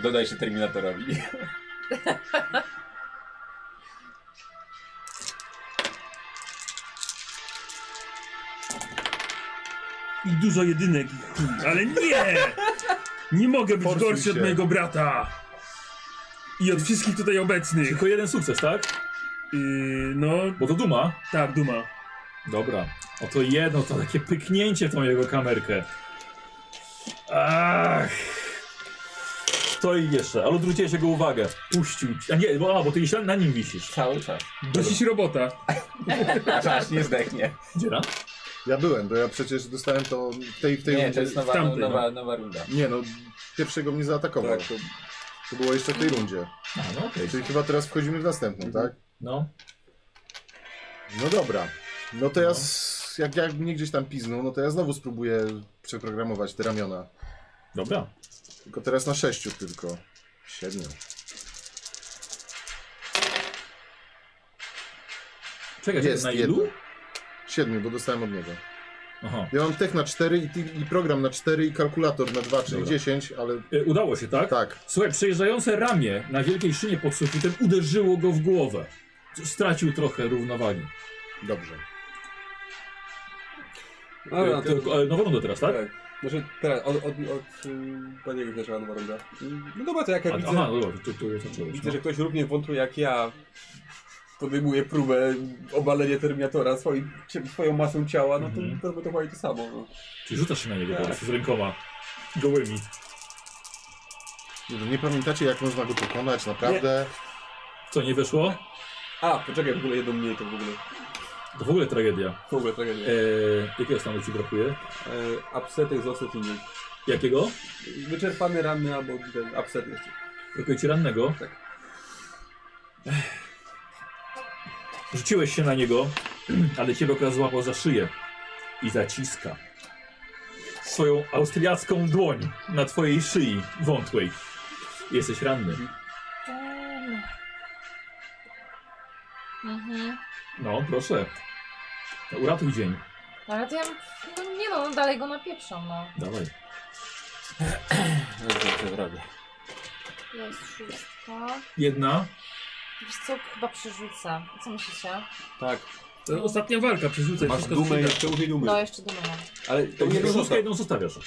Speaker 11: Dodaj się Terminatorowi.
Speaker 10: I dużo jedynek i chuj. Ale nie! Nie mogę być
Speaker 5: Forsuj
Speaker 10: gorszy od
Speaker 5: się.
Speaker 10: mojego brata. I od wszystkich tutaj obecnych.
Speaker 1: Tylko jeden sukces, tak?
Speaker 10: Yy, no,
Speaker 1: Bo to duma.
Speaker 10: tak, duma.
Speaker 1: Dobra. Oto jedno, to takie pyknięcie w tą jego kamerkę. Ach. To i jeszcze, ale odwróciłeś jego uwagę. Puścił ci. A nie, bo, a, bo ty iś- na nim wisisz.
Speaker 3: Cały czas.
Speaker 10: Dosyć robota.
Speaker 3: Aż, aż nie zdechnie.
Speaker 1: Dziera?
Speaker 4: Ja byłem, bo ja przecież dostałem to w tej, w tej
Speaker 3: Nie,
Speaker 4: rundzie.
Speaker 3: to jest nowa,
Speaker 10: Tamtej,
Speaker 3: nowa, nowa runda.
Speaker 4: Nie no, pierwszego mnie zaatakował.
Speaker 9: Tak, to-
Speaker 4: To było jeszcze w tej rundzie.
Speaker 1: A, no okej.
Speaker 4: Czyli chyba teraz wchodzimy w następną, tak?
Speaker 1: No.
Speaker 4: No dobra. No to ja, s- jak, jak mnie gdzieś tam piznął, no to ja znowu spróbuję przeprogramować te ramiona.
Speaker 1: Dobra.
Speaker 4: Tylko teraz na sześciu tylko. Siedmiu.
Speaker 1: Czekaj, czekaj,
Speaker 4: Jest
Speaker 1: na
Speaker 4: jedno.
Speaker 1: ilu?
Speaker 4: Siedmiu, bo dostałem od niego.
Speaker 1: Aha.
Speaker 4: Ja mam tech na 4 i, ti- i program na 4 i kalkulator na 2, czyli
Speaker 1: Dobra.
Speaker 4: 10, ale
Speaker 1: Y, udało się, tak?
Speaker 4: tak.
Speaker 1: Słuchaj, przejeżdżające ramię na wielkiej szynie pod sufitem uderzyło go w głowę. Stracił trochę równowagi.
Speaker 4: Dobrze.
Speaker 1: Dobra, to... e, Nową rundę teraz, tak?
Speaker 9: Tak. Może teraz od, od, od ym, paniego też nowa runda. Ym, No dobra, to jak ja
Speaker 1: A,
Speaker 9: widzę,
Speaker 1: aha, no dobra, tu, tu już zacząłeś.
Speaker 9: widzę,
Speaker 1: No.
Speaker 9: że ktoś równie wątły jak ja podejmuje próbę obalenia Terminatora swoim, cie- swoją masą ciała, no to
Speaker 1: Mhm.
Speaker 9: mm to dokładnie to samo. No.
Speaker 1: Czyli rzucasz się na niego po
Speaker 9: Tak.
Speaker 1: prostu z rękoma gołymi.
Speaker 4: Nie, no nie pamiętacie jak można go pokonać, naprawdę?
Speaker 1: Co, nie wyszło?
Speaker 9: A, poczekaj, w ogóle jedną mniej to w ogóle.
Speaker 1: To w ogóle tragedia.
Speaker 9: W ogóle tragedia.
Speaker 1: E, jakiego stanu ci brakuje?
Speaker 9: E, upsetek z ostatnim.
Speaker 1: Jakiego?
Speaker 9: Wyczerpany, ranny albo ten upset jeszcze.
Speaker 1: Brakuje ci rannego?
Speaker 9: Tak.
Speaker 1: Ech. Rzuciłeś się na niego, ale ciebie okaz złapał za szyję i zaciska swoją austriacką dłoń na twojej szyi wątłej. Jesteś ranny.
Speaker 9: Mhm.
Speaker 2: Ten. Mhm.
Speaker 1: No, proszę. No, Uratuj dzień.
Speaker 2: No ale to ja... No nie no, no dalej go napieprzam, no.
Speaker 1: Dawaj.
Speaker 3: Dobrze, co zrobię.
Speaker 2: Jest szóstka.
Speaker 1: Jedna.
Speaker 2: Wiesz co, chyba przerzucę. Co myślicie?
Speaker 9: Tak.
Speaker 10: To ostatnia walka, przerzucaj
Speaker 9: Masz
Speaker 10: wszystko
Speaker 9: dumę
Speaker 10: co
Speaker 9: jeszcze użyj dumy.
Speaker 2: No, jeszcze dumę mam.
Speaker 9: Ale to nie
Speaker 1: Jedną
Speaker 9: wyrzuca.
Speaker 1: szóstkę, jedną zostawiasz. To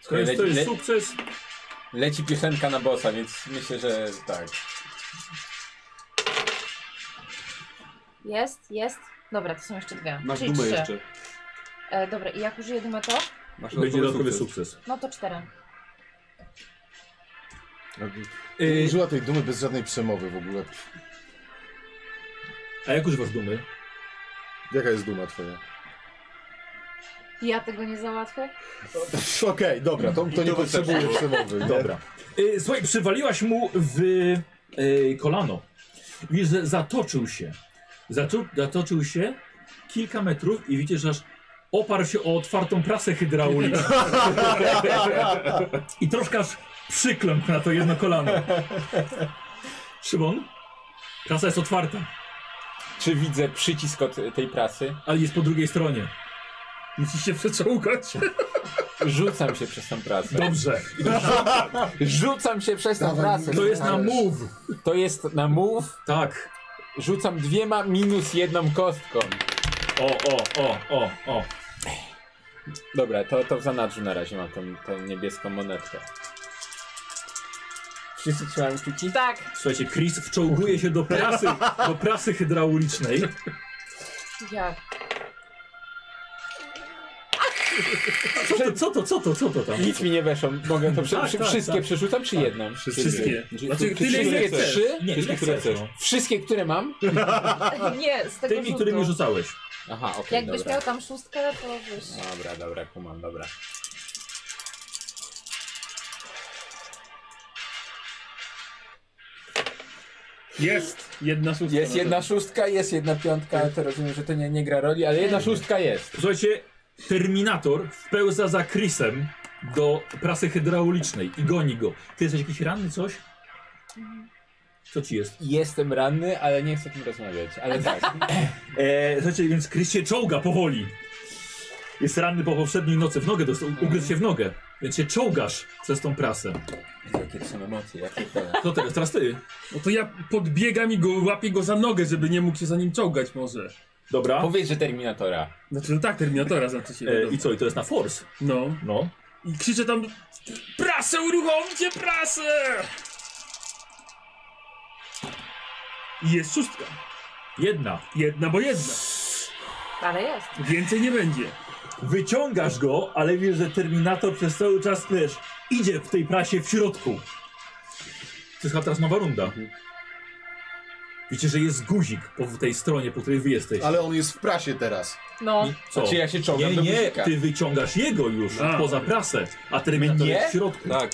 Speaker 3: Słuchaj,
Speaker 1: jest, to
Speaker 3: leci,
Speaker 1: jest
Speaker 3: le,
Speaker 1: sukces.
Speaker 3: leci piosenka na bossa, więc myślę, że tak.
Speaker 2: Jest, jest. Dobra, to są jeszcze dwie.
Speaker 9: Masz
Speaker 2: Czyli
Speaker 9: dumę
Speaker 2: trzy.
Speaker 9: jeszcze.
Speaker 2: E, dobra, i jak użyję dumę to?
Speaker 9: Masz
Speaker 1: Będzie dodatkowy sukces.
Speaker 2: No to cztery.
Speaker 4: Nie Y- użyła tej dumy bez żadnej przemowy w ogóle.
Speaker 1: A jak używasz dumy?
Speaker 4: Jaka jest duma twoja?
Speaker 2: Ja tego nie załatwię?
Speaker 4: Okej, dobra, to, to nie potrzebuje przemowy. nie?
Speaker 1: Dobra. Y, słuchaj, przywaliłaś mu w y, kolano. Widzisz, że zatoczył się. Zatu, zatoczył się kilka metrów i widzisz, że aż oparł się o otwartą prasę hydrauliczną. I troszkę aż przykląkł na to jedno kolano. Szymon? Prasa jest otwarta,
Speaker 3: Czy widzę przycisk od tej prasy?
Speaker 1: ale jest po drugiej stronie.
Speaker 10: Musisz się przeczołgać.
Speaker 3: Rzucam się przez tą prasę.
Speaker 1: Dobrze.
Speaker 3: Rzucam się przez tą
Speaker 4: Dawaj,
Speaker 3: prasę.
Speaker 1: To jest na move.
Speaker 3: To jest na move.
Speaker 1: Tak.
Speaker 3: Rzucam dwiema minus jedną kostką.
Speaker 1: O, o, o, o, o.
Speaker 3: Dobra, to, to w zanadrzu na razie mam tą, tą niebieską monetkę. Wszyscy trzymają kciuki?
Speaker 2: Tak,
Speaker 1: Słuchajcie, Chris wczołguje się do prasy, do prasy hydraulicznej.
Speaker 2: jak?
Speaker 1: Co to, co to, co to, co to tam?
Speaker 3: Nic mi nie weszło. Mogę to prze...
Speaker 1: Tak, tak,
Speaker 3: wszystkie
Speaker 1: tak.
Speaker 3: przerzucam czy jedną?
Speaker 1: Wszystkie.
Speaker 3: Czy-
Speaker 1: Znaczy, tyle,
Speaker 3: czy wszystkie
Speaker 1: ile chcesz.
Speaker 3: trzy?
Speaker 1: Nie,
Speaker 3: wszystkie,
Speaker 1: ile
Speaker 3: które
Speaker 1: chcesz,
Speaker 3: chcesz.
Speaker 1: no.
Speaker 3: Wszystkie, które mam?
Speaker 2: Nie, z tego
Speaker 1: Tymi,
Speaker 2: rzutu.
Speaker 1: którymi rzucałeś.
Speaker 3: Aha, okej,
Speaker 2: Jakbyś
Speaker 3: dobra.
Speaker 2: miał tam szóstkę, to byś...
Speaker 3: Dobra, dobra, kumam, dobra.
Speaker 10: Jest! Jedna szóstka.
Speaker 3: Jest jedna szóstka, jest jedna piątka, ale to rozumiem, że to nie, nie gra roli, ale jedna szóstka jest.
Speaker 1: Słuchajcie, Terminator wpełza za Chrisem do prasy hydraulicznej i goni go. Ty jesteś jakiś ranny, coś? Co ci jest?
Speaker 3: Jestem ranny, ale nie chcę o tym rozmawiać, ale tak.
Speaker 1: E, słuchajcie, więc Chris się czołga powoli. Jest ranny po poprzedniej nocy, w nogę dostał, ugryzł się w nogę. Więc się czołgasz przez tą prasę.
Speaker 3: Jakie są emocje, jakie to...
Speaker 1: Co teraz? Teraz ty.
Speaker 10: No to ja podbiegam i go, łapię go za nogę, żeby nie mógł się za nim czołgać może.
Speaker 1: Dobra.
Speaker 3: Powiedz, że Terminatora.
Speaker 10: Znaczy, no tak, Terminatora znaczy się.
Speaker 1: E,
Speaker 10: wiadomo.
Speaker 1: I co? I to jest na force?
Speaker 10: No.
Speaker 1: No.
Speaker 10: I krzyczę tam, prasę uruchomcie, prasę! I jest szóstka.
Speaker 1: Jedna.
Speaker 10: Jedna, bo jedna.
Speaker 2: Ale jest.
Speaker 10: Więcej nie będzie.
Speaker 1: Wyciągasz go, ale wiesz, że Terminator przez cały czas też idzie w tej prasie w środku. To jest chyba teraz nowa runda.
Speaker 3: Mhm.
Speaker 1: Widzicie, że jest guzik po w tej stronie, po której wy jesteście.
Speaker 4: Ale on jest w prasie teraz.
Speaker 2: No.
Speaker 1: Co?
Speaker 3: Znaczy, ja się czołgam
Speaker 1: nie,
Speaker 3: do
Speaker 1: nie,
Speaker 3: guzika.
Speaker 1: ty wyciągasz jego już
Speaker 3: A.
Speaker 1: poza prasę, a Terminator
Speaker 3: Mnie?
Speaker 1: jest w środku.
Speaker 3: Tak.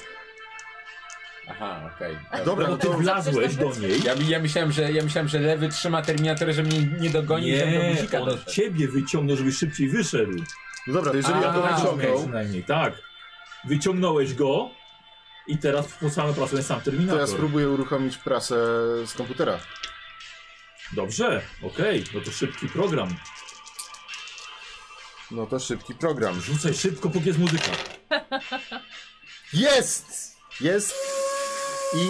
Speaker 3: Aha, okej.
Speaker 1: Dobra,
Speaker 4: No
Speaker 1: bo ty wlazłeś do niej.
Speaker 3: no Ja, ja, myślałem, że, ja myślałem, że lewy trzyma Terminator, że mnie nie dogoni, że do
Speaker 1: Nie,
Speaker 3: guzika
Speaker 1: on
Speaker 3: doszedł.
Speaker 1: ciebie wyciągnął, żebyś szybciej wyszedł.
Speaker 4: No dobra, to jeżeli ja to
Speaker 1: A, okej,
Speaker 4: wyciągnął,
Speaker 1: przynajmniej, tak. Wyciągnąłeś go i teraz po samym pracę sam
Speaker 4: No to
Speaker 1: Terminator.
Speaker 4: ja spróbuję uruchomić prasę z komputera.
Speaker 1: Dobrze, okej, no to szybki program.
Speaker 4: No to szybki program.
Speaker 1: Rzucaj szybko, póki jest muzyka.
Speaker 4: Jest! Jest! I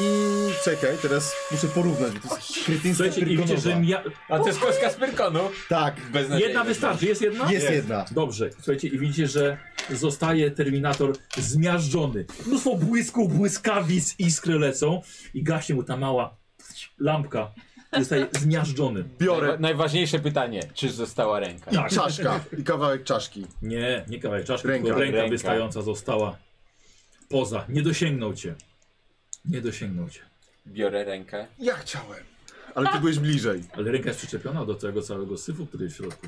Speaker 4: czekaj, teraz muszę porównać, bo to jest krytyńska
Speaker 1: Słuchajcie, i wiecie, że mia...
Speaker 3: A to jest Polska z Pyrkonu.
Speaker 4: Tak,
Speaker 1: jedna wystarczy, jest jedna?
Speaker 4: Jest jedna.
Speaker 1: Dobrze, słuchajcie, i widzicie, że zostaje Terminator zmiażdżony. Mnóstwo błysków, błyskawic, iskry lecą i gaśnie mu ta mała lampka. Zostaje zmiażdżony.
Speaker 4: biorę
Speaker 3: Najwa- Najważniejsze pytanie, czy została ręka?
Speaker 1: Tak.
Speaker 4: czaszka Tak. i kawałek czaszki.
Speaker 1: Nie, nie kawałek czaszki,
Speaker 4: Ręka.
Speaker 1: tylko ręka,
Speaker 3: Ręka.
Speaker 1: wystająca została poza. Nie dosięgnął cię. Nie dosięgnął cię.
Speaker 3: Biorę rękę.
Speaker 4: Ja chciałem. Ale ty byłeś bliżej.
Speaker 1: Ale ręka jest przyczepiona do tego całego syfu, który jest w środku.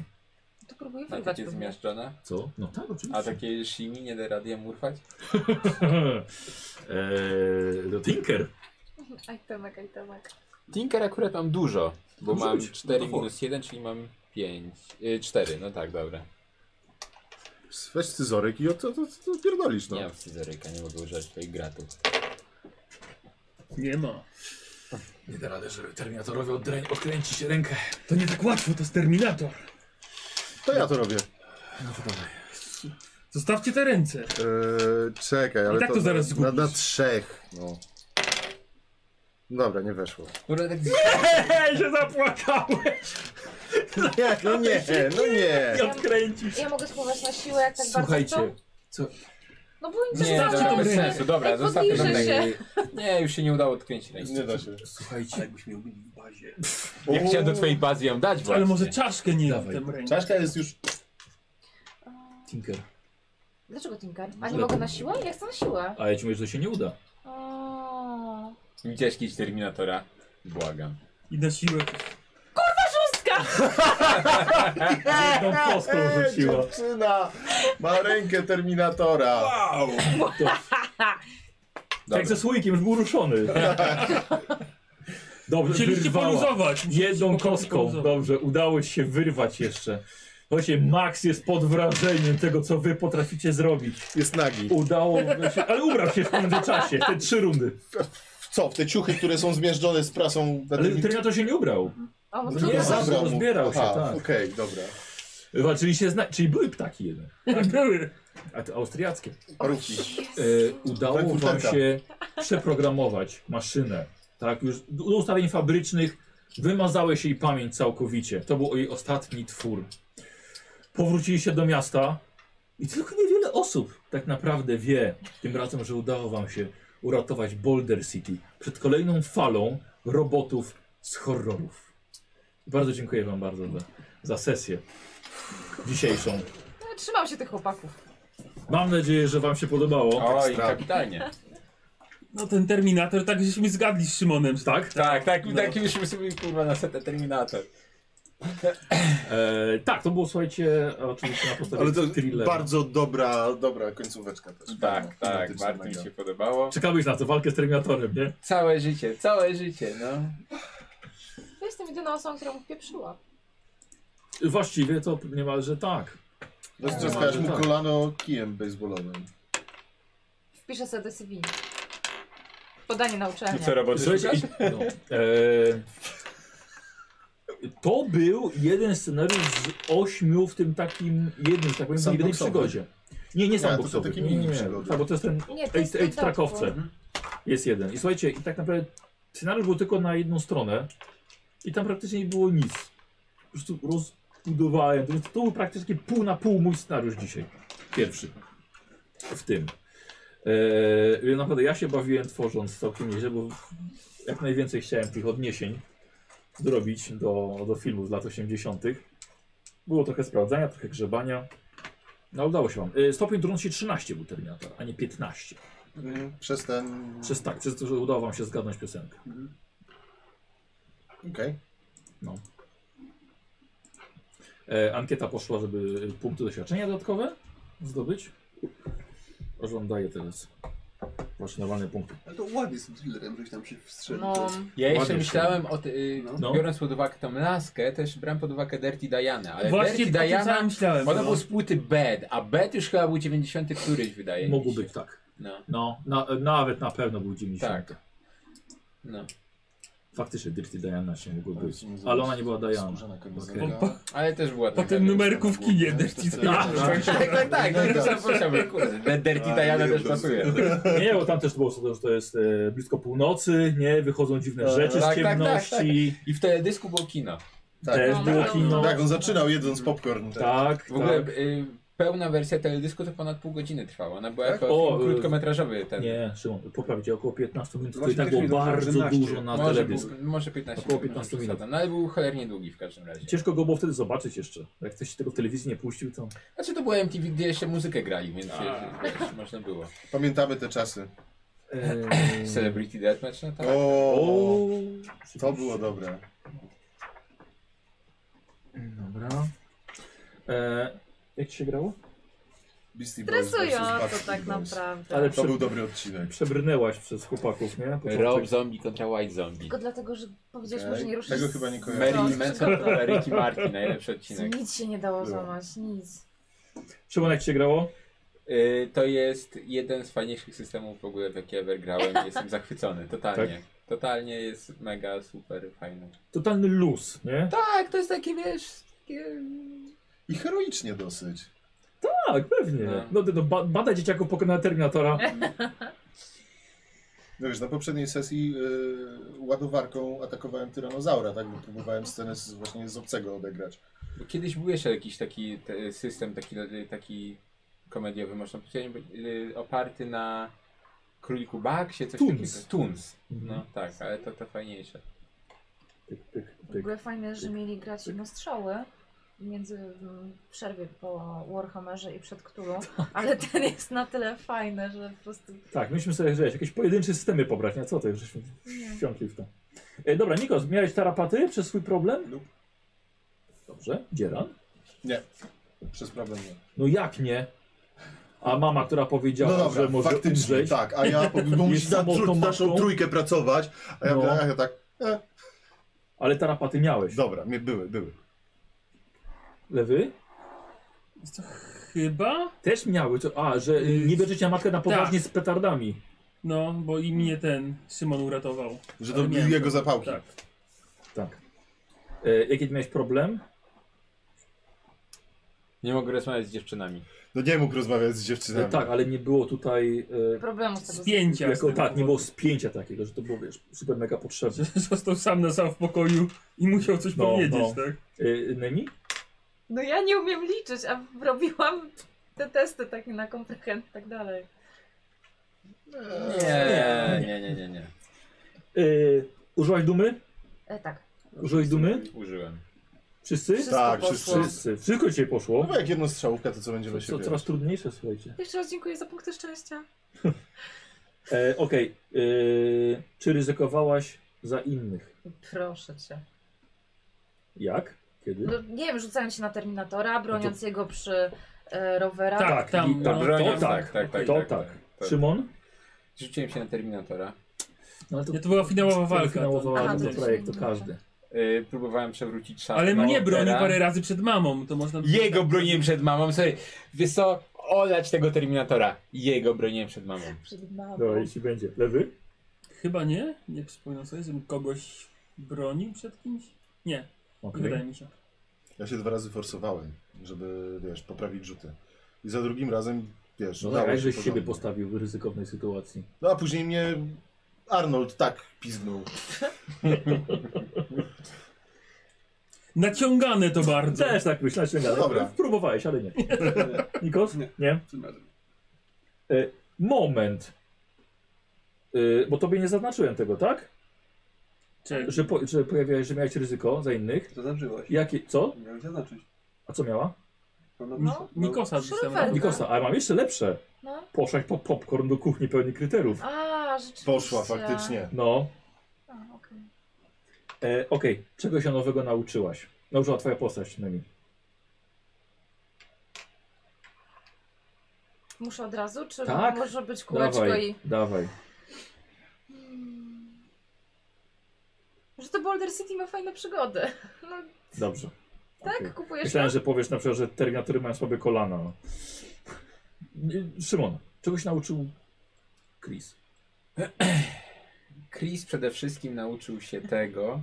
Speaker 2: To próbuję
Speaker 3: Na
Speaker 2: wyrwać.
Speaker 3: takie tak, zmiażdżone.
Speaker 1: Co? No tak, oczywiście.
Speaker 3: A takie shimi nie da radia murfać?
Speaker 1: eee, do Tinker.
Speaker 2: Ajtemek, ajtemek.
Speaker 3: Tinker akurat mam dużo, bo
Speaker 1: Dużo
Speaker 3: mam
Speaker 1: już,
Speaker 3: 4
Speaker 1: no to
Speaker 3: minus 1, czyli mam 5. Y, 4, no tak, dobra.
Speaker 4: Weź scyzoryk i o to, to, to pierdolisz, no.
Speaker 3: Nie mam scyzoryka, nie mogę używać twoich gratów.
Speaker 10: Nie ma.
Speaker 1: Nie da rady, żeby Terminatorowi odrę- odkręcić rękę.
Speaker 10: To nie tak łatwo, to jest Terminator.
Speaker 4: To ja to robię.
Speaker 1: No to dawaj.
Speaker 10: Zostawcie te ręce.
Speaker 4: Eee, czekaj, ale
Speaker 10: I tak to zaraz
Speaker 4: na,
Speaker 10: zgubisz.
Speaker 4: na trzech, no. Dobra, nie weszło.
Speaker 3: Dobra, tak
Speaker 1: Ej, się zapłakałeś!
Speaker 4: Nie, no nie, no nie.
Speaker 1: I odkręcisz.
Speaker 2: Ja mogę spróbować na siłę, jak tak bardzo
Speaker 1: Słuchajcie,
Speaker 2: chcą?
Speaker 1: co?
Speaker 2: No bo im
Speaker 3: Nie,
Speaker 2: zostawcie
Speaker 3: dobra,
Speaker 2: tą
Speaker 3: bez
Speaker 2: rękę.
Speaker 3: sensu, dobra,
Speaker 2: Ej,
Speaker 3: zostawmy
Speaker 2: podbliżę się.
Speaker 3: Nie, już się nie udało odkręcić ręki.
Speaker 4: Nie da się.
Speaker 1: Słuchajcie,
Speaker 3: Ja chciałem do twojej bazy ją dać właśnie.
Speaker 10: Ale może czaszkę nie
Speaker 1: Dawaj.
Speaker 10: w tym ręce.
Speaker 4: Czaszka jest już...
Speaker 1: Tinker.
Speaker 2: Dlaczego Tinker? A nie mogę na siłę? Ja chcę na siłę.
Speaker 1: A ja ci mówię, że to się nie uda.
Speaker 2: O.
Speaker 3: Widziałeś kiedyś Terminatora? Błagam.
Speaker 10: I na siłę.
Speaker 1: Jedną kostką rzuciła.
Speaker 4: Dziewczyna ma rękę Terminatora.
Speaker 1: Jak Tak, ze słoikiem, już był ruszony. Dobrze,
Speaker 10: Chcieliście
Speaker 1: wyrwała.
Speaker 10: poluzować.
Speaker 1: Jedną
Speaker 10: Musieliście
Speaker 1: kostką,
Speaker 10: poluzować.
Speaker 1: dobrze, udało ci się wyrwać jeszcze. Słuchajcie, Max jest pod wrażeniem tego, co wy potraficie zrobić.
Speaker 4: Jest nagi.
Speaker 1: Udało się, ale ubrał się w międzyczasie, w te trzy rundy.
Speaker 4: W co? W te ciuchy, które są zmierzczone z prasą... na
Speaker 1: Ale
Speaker 4: tym-
Speaker 1: Terminator się nie ubrał.
Speaker 2: O,
Speaker 4: No
Speaker 2: może
Speaker 1: Nie,
Speaker 2: to-
Speaker 1: zabrał mu.
Speaker 4: Rozbierał się,
Speaker 1: Aha,
Speaker 4: tak. Okej, dobra.
Speaker 1: Walczyli się zna... Czyli były ptaki jedne,
Speaker 10: Tak były.
Speaker 1: a te austriackie.
Speaker 4: Paruki.
Speaker 1: E, udało wam
Speaker 4: Frankfurterka.
Speaker 1: się przeprogramować maszynę. Tak, już do ustawień fabrycznych wymazałeś jej pamięć całkowicie. To był jej ostatni twór. Powróciliście do miasta i tylko niewiele osób tak naprawdę wie tym razem, że udało wam się uratować Boulder City przed kolejną falą robotów z horrorów. Bardzo dziękuję wam bardzo za, za sesję dzisiejszą.
Speaker 2: No, trzymam się tych chłopaków.
Speaker 1: Mam nadzieję, że wam się podobało.
Speaker 3: Oj, kapitalnie.
Speaker 7: No ten Terminator, tak żeśmy zgadli z Szymonem.
Speaker 1: Tak?
Speaker 3: Tak, tak,
Speaker 7: No.
Speaker 3: taki już sobie kurwa na setę Terminator.
Speaker 1: E, tak, to było słuchajcie, oczywiście na podstawie
Speaker 4: Ale to
Speaker 1: thrillera.
Speaker 4: bardzo dobra, dobra końcóweczka też.
Speaker 3: Tak, tak,
Speaker 4: Klimatyczna
Speaker 3: bardzo mi
Speaker 4: mega.
Speaker 3: się podobało.
Speaker 1: Czekałeś na to, walkę z Terminatorem, nie?
Speaker 3: Całe życie, całe życie, no.
Speaker 2: Ja jestem jedyną osobą, która mu pieprzyła.
Speaker 1: Właściwie to niemalże tak.
Speaker 4: Roztrzaskałeś mu
Speaker 1: Tak.
Speaker 4: kolano kijem baseballowym.
Speaker 2: Wpiszę sobie do CV. Podanie na uczelnię.
Speaker 3: roboty
Speaker 1: Słuchajcie, i- no, e, To był jeden scenariusz z ośmiu w tym takim jednym, że tak powiem, w jednej
Speaker 4: Sandboxowy.
Speaker 1: przygodzie. Nie, nie
Speaker 4: Nie,
Speaker 1: sam
Speaker 4: to są takie
Speaker 1: nie, nie,
Speaker 4: mini
Speaker 1: nie.
Speaker 4: przygody.
Speaker 1: Tak, bo to jest ten
Speaker 2: Nie, to jest
Speaker 1: eight
Speaker 2: w dodatku.
Speaker 1: trakowce.
Speaker 4: Mhm.
Speaker 1: Jest jeden. I słuchajcie, i tak naprawdę scenariusz był tylko na jedną stronę i tam praktycznie nie było nic. Po prostu rozbudowałem. To, to był praktycznie pół na pół mój scenariusz dzisiaj. Pierwszy. W tym. Eee, więc naprawdę ja się bawiłem tworząc całkiem nieźle, bo jak najwięcej chciałem tych odniesień zrobić do, do filmów z lat 80. Było trochę sprawdzania, trochę grzebania. No udało się wam. Eee, stopień trudności 13 był Terminator, a nie 15.
Speaker 4: Mm, Przez ten...
Speaker 1: Przez tak, przez to, że udało wam się zgadnąć piosenkę.
Speaker 4: Okej.
Speaker 1: No. E, ankieta poszła, żeby punkty doświadczenia dodatkowe zdobyć. Żądaję teraz. Właśnie normalne punkty.
Speaker 9: Ale to ładnie z tym thrillerem, żeś tam się wstrzelił.
Speaker 2: No.
Speaker 14: Ja
Speaker 3: Ja jeszcze
Speaker 1: Ładnie
Speaker 3: myślałem o ty, y,
Speaker 1: No.
Speaker 3: biorąc pod uwagę tą laskę, też brałem pod uwagę Dirty Diana, ale
Speaker 7: Właśnie
Speaker 3: Dirty
Speaker 7: o tym
Speaker 3: Diana,
Speaker 7: samym myślałem.
Speaker 3: ona
Speaker 7: no.
Speaker 3: była z płyty Bad, a Bad już chyba był 90 któryś wydaje mi
Speaker 1: Mogło
Speaker 3: się.
Speaker 1: być tak.
Speaker 3: No,
Speaker 1: No, na, nawet na pewno był 90.
Speaker 3: tak. No. Tak,
Speaker 1: Faktycznie Dirty Diana się mogło
Speaker 4: Ale
Speaker 1: być.
Speaker 4: się nie
Speaker 1: Ale
Speaker 4: zobaczy.
Speaker 1: ona nie była Diana.
Speaker 4: Skórzana
Speaker 1: Okej.
Speaker 4: kamizelka.
Speaker 7: Po, po,
Speaker 3: Ale też była
Speaker 7: po
Speaker 3: taka
Speaker 7: tym
Speaker 3: wiesz,
Speaker 7: numerku w kinie
Speaker 4: To jest
Speaker 7: Dirty
Speaker 4: to
Speaker 7: Diana.
Speaker 4: tyle.
Speaker 3: Tak, tak, tak, tak, no i to zapraszamy, kurde. Dirty
Speaker 4: A,
Speaker 3: Diana
Speaker 4: nie
Speaker 3: też
Speaker 4: wiem,
Speaker 3: pasuje.
Speaker 1: Nie, bo tam też było, co to, że to jest e, blisko północy, nie, wychodzą dziwne
Speaker 4: Tak,
Speaker 1: rzeczy z
Speaker 3: tak, tak, tak.
Speaker 1: ciemności,
Speaker 3: I w teledysku było kino.
Speaker 4: Tak,
Speaker 1: też było
Speaker 2: tak,
Speaker 1: kino.
Speaker 4: tak, on zaczynał jedząc popcorn. Tak.
Speaker 1: Tak,
Speaker 3: W ogóle
Speaker 1: tak.
Speaker 3: y, pełna wersja teledysku to ponad pół godziny trwała. Ona była
Speaker 4: Tak?
Speaker 3: jako
Speaker 1: O,
Speaker 3: film
Speaker 1: y,
Speaker 3: krótkometrażowy ten.
Speaker 1: Nie, Szymon, poprawcie, około 15 minut, to i
Speaker 9: Właśnie
Speaker 1: tak
Speaker 9: też
Speaker 1: było
Speaker 9: mi dobrze,
Speaker 1: bardzo
Speaker 9: 11.
Speaker 1: dużo na
Speaker 3: może,
Speaker 1: teledysk.
Speaker 3: był- może 15
Speaker 1: Około
Speaker 3: minut, może
Speaker 1: 15 minut.
Speaker 3: przesadzam, No ale był cholernie długi w każdym razie.
Speaker 1: Ciężko go było wtedy zobaczyć jeszcze. Jak ktoś tego w telewizji nie puścił, to...
Speaker 3: Znaczy to było MTV, gdzie jeszcze muzykę grali, więc wiesz, można było.
Speaker 4: Pamiętamy te czasy.
Speaker 3: Celebrity Deathmatch, no tak.
Speaker 4: O,
Speaker 1: O,
Speaker 4: to było dobre.
Speaker 1: Dobra. E, jak ci się grało?
Speaker 4: Beastie Boys versus
Speaker 2: Stresująco
Speaker 4: Backstreet
Speaker 2: tak
Speaker 4: Boys.
Speaker 2: naprawdę.
Speaker 1: Ale
Speaker 4: To
Speaker 1: prze,
Speaker 4: był dobry odcinek.
Speaker 1: przebrnęłaś przez chłopaków, nie? Początek.
Speaker 3: Rob Zombie kontra White Zombie.
Speaker 2: Tylko dlatego, że powiedziałeś
Speaker 4: Okej,
Speaker 2: mu, że nie ruszysz.
Speaker 4: tego chyba nie kojarzę.
Speaker 3: Mary Manson kontra Ricky Martin, najlepszy odcinek.
Speaker 2: Nic się nie dało
Speaker 4: Było.
Speaker 2: złamać, nic.
Speaker 1: Szymon, jak ci się grało?
Speaker 3: Y, to jest jeden z fajniejszych systemów w ogóle, w jakie ever grałem. Jestem zachwycony, totalnie. Totalnie jest mega, super, fajny.
Speaker 1: Totalny luz, nie?
Speaker 3: Tak, to jest takie, wiesz, takie...
Speaker 4: I heroicznie dosyć.
Speaker 1: Tak, pewnie.
Speaker 3: No.
Speaker 1: No, no, ba bada dzieciaku pokona Terminatora.
Speaker 4: No wiesz, na poprzedniej sesji y, ładowarką atakowałem tyranozaura, tak? Bo próbowałem scenę z, właśnie z obcego odegrać.
Speaker 3: Bo Kiedyś był jeszcze jakiś taki te, system, taki, taki komediowy, można powiedzieć, y, oparty na Króliku Baksie, coś
Speaker 1: Toons.
Speaker 3: takiego. Tunes.
Speaker 1: Mhm.
Speaker 3: No tak, ale to to fajniejsze.
Speaker 1: Pyk, pyk,
Speaker 4: Tak.
Speaker 2: W
Speaker 1: pyk.
Speaker 2: ogóle fajne, że mieli grać na strzały między mm, przerwie po Warhammerze i przed Cthulhu,
Speaker 4: Tak.
Speaker 2: ale ten jest na tyle fajny, że po prostu...
Speaker 1: Tak, myśmy sobie grać, jakieś pojedyncze systemy pobrać, nie? Co to już żeśmy wsiąkli w to. E, dobra, Nikos, miałeś tarapaty przez swój problem?
Speaker 4: Lub.
Speaker 1: Dobrze, dzieran.
Speaker 4: Przez problem nie.
Speaker 1: No jak nie? A mama, która powiedziała, że może umrzeć.
Speaker 4: No tak. A ja, bo musi
Speaker 1: Jest
Speaker 4: na tru,
Speaker 1: samotną
Speaker 4: naszą
Speaker 1: matką.
Speaker 4: trójkę pracować. A ja,
Speaker 1: No.
Speaker 4: no. ja tak, e,
Speaker 1: Ale tarapaty miałeś.
Speaker 4: dobra, mnie były, były.
Speaker 1: Lewy?
Speaker 7: Chyba?
Speaker 1: Też miały. To, a, że y, nie bierzecie na
Speaker 4: tak.
Speaker 1: matkę na poważnie z petardami.
Speaker 7: No, bo i mnie ten Szymon uratował.
Speaker 4: Że
Speaker 7: Ale
Speaker 4: to były
Speaker 7: miałem
Speaker 4: jego
Speaker 7: to.
Speaker 4: zapałki.
Speaker 7: Tak.
Speaker 1: Tak. E, jaki miałeś problem?
Speaker 3: Nie mogę rozmawiać z dziewczynami.
Speaker 4: No nie mógł rozmawiać z
Speaker 1: E,
Speaker 4: dziewczynami.
Speaker 1: tak, ale nie było tutaj... E,
Speaker 2: Problemu z tego
Speaker 7: Spięcia. z
Speaker 1: jako,
Speaker 7: tego
Speaker 1: tak, nie było
Speaker 7: powodu.
Speaker 1: spięcia takiego, że to było wiesz, super mega potrzebne.
Speaker 7: Został sam na sam w pokoju i musiał coś
Speaker 1: No,
Speaker 7: powiedzieć,
Speaker 1: no.
Speaker 7: tak?
Speaker 1: E, Nemi?
Speaker 2: No ja nie umiem liczyć, a robiłam te testy takie na komprehend i tak dalej.
Speaker 3: Nie, nie, nie, nie, nie.
Speaker 1: E, użyłaś dumy?
Speaker 2: E, tak.
Speaker 1: Użyłeś dumy?
Speaker 3: Użyłem.
Speaker 1: Wszyscy?
Speaker 4: Wszystko Tak, poszło. wszyscy.
Speaker 1: wszyscy. Wszystko dzisiaj poszło.
Speaker 4: No bo jak jedno strzałówka, to co będzie we
Speaker 1: To
Speaker 4: siebie?
Speaker 1: coraz trudniejsze, słuchajcie.
Speaker 12: Jeszcze raz dziękuję za punkty szczęścia.
Speaker 1: E, Okej. e, czy ryzykowałaś za innych?
Speaker 2: Proszę cię.
Speaker 1: Jak? Kiedy?
Speaker 2: No, nie wiem, rzucając się na Terminatora, broniąc
Speaker 4: No
Speaker 2: jego przy e, rowerach.
Speaker 1: i- tak,
Speaker 3: bronią,
Speaker 1: to tak,
Speaker 3: tak, tak,
Speaker 1: to
Speaker 3: tak,
Speaker 1: tak.
Speaker 3: tak, tak.
Speaker 1: Szymon?
Speaker 3: Rzuciłem się na Terminatora.
Speaker 1: No, to,
Speaker 7: to była finałowa
Speaker 1: to
Speaker 7: walka. tak.
Speaker 1: finałowa
Speaker 7: to-
Speaker 1: walka, No, to projekt, to każdy.
Speaker 3: Yy, próbowałem przewrócić szafę.
Speaker 7: Ale mnie bronił
Speaker 3: Waltera.
Speaker 7: parę razy przed mamą, to można...
Speaker 3: Jego broniłem przed mamą, sorry. Wiesz co, olać tego Terminatora. Jego broniłem przed mamą.
Speaker 12: Przed
Speaker 4: No
Speaker 12: mamą.
Speaker 1: Dobra, jeśli będzie. Lewy?
Speaker 7: Chyba nie? Nie przypominam sobie, żebym kogoś bronił przed kimś? Nie.
Speaker 1: Okej.
Speaker 7: Nie wydaje mi się.
Speaker 4: Ja się dwa razy forsowałem, żeby, wiesz, poprawić rzuty. I za drugim razem, wiesz,
Speaker 1: No
Speaker 4: udało
Speaker 1: tak, jak
Speaker 4: się
Speaker 1: żeś siebie
Speaker 4: porządnie.
Speaker 1: postawił w ryzykownej sytuacji.
Speaker 4: No a później mnie Arnold tak pizgnął.
Speaker 7: Naciągane to bardzo.
Speaker 1: Też tak myślałem, że
Speaker 4: No dobra.
Speaker 1: Próbowałeś, ale nie. Nikos? Nie.
Speaker 9: Tym razem.
Speaker 1: E, moment. E, bo tobie nie zaznaczyłem tego, tak?
Speaker 7: Czy...
Speaker 1: Że, po, że pojawiałeś, że miałeś ryzyko za innych.
Speaker 9: Zaznaczyłaś.
Speaker 1: Jakie, co?
Speaker 9: Miałem zaznaczyć.
Speaker 1: A co miała?
Speaker 9: No,
Speaker 7: No, Nikosa rzucam.
Speaker 12: Szrofer.
Speaker 1: Nikosa, ale mam jeszcze lepsze.
Speaker 12: tak. No.
Speaker 1: Poszłaś po popcorn do kuchni pełni kryteriów.
Speaker 12: A, rzeczywiście.
Speaker 4: Poszła faktycznie.
Speaker 1: No.
Speaker 12: A, okej.
Speaker 1: E, Okej, czego się nowego nauczyłaś? Nauczyła twoja postać przynajmniej.
Speaker 12: Muszę od razu, czy
Speaker 1: Tak?
Speaker 12: może być kółeczko
Speaker 1: Dawaj,
Speaker 12: i...
Speaker 1: dawaj.
Speaker 12: Hmm. Że to Boulder City ma fajne przygody. No,
Speaker 1: Dobrze.
Speaker 12: tak?
Speaker 1: Okej.
Speaker 12: Kupujesz
Speaker 1: Myślałem,
Speaker 12: to?
Speaker 1: że powiesz na przykład, że terminatory mają słabe kolana. no. Y, Szymon, czego się nauczył Chris?
Speaker 3: Chris przede wszystkim nauczył się tego,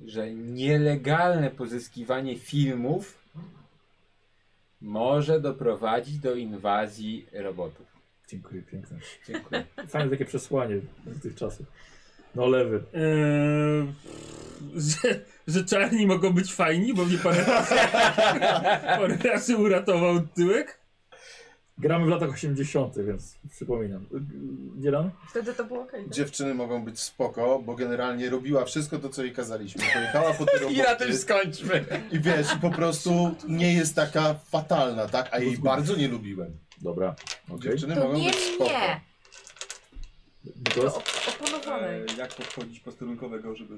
Speaker 3: że nielegalne pozyskiwanie filmów może doprowadzić do inwazji robotów.
Speaker 1: Dziękuję, piękne.
Speaker 3: Dziękuję.
Speaker 1: Fajne takie przesłanie z tych czasów. No lewy.
Speaker 7: Eee, że, że czarni mogą być fajni, bo mnie parę razy, parę razy uratował tyłek.
Speaker 1: Gramy w latach 80., więc przypominam. Dzielan?
Speaker 12: Wtedy to było okej. tak?
Speaker 4: Dziewczyny mogą być spoko, bo generalnie robiła wszystko to, co jej kazaliśmy. Pojechała po te roboty.
Speaker 3: I na tym skończmy.
Speaker 4: I wiesz, i po prostu nie jest taka fatalna, tak? A jej bardzo nie lubiłem.
Speaker 1: Dobra, okej.
Speaker 4: Dziewczyny
Speaker 2: To
Speaker 4: mogą
Speaker 2: nie
Speaker 4: być spoko.
Speaker 2: mnie!
Speaker 1: Nikos?
Speaker 2: Oponowanej.
Speaker 9: E, jak podchodzić posterunkowego, żeby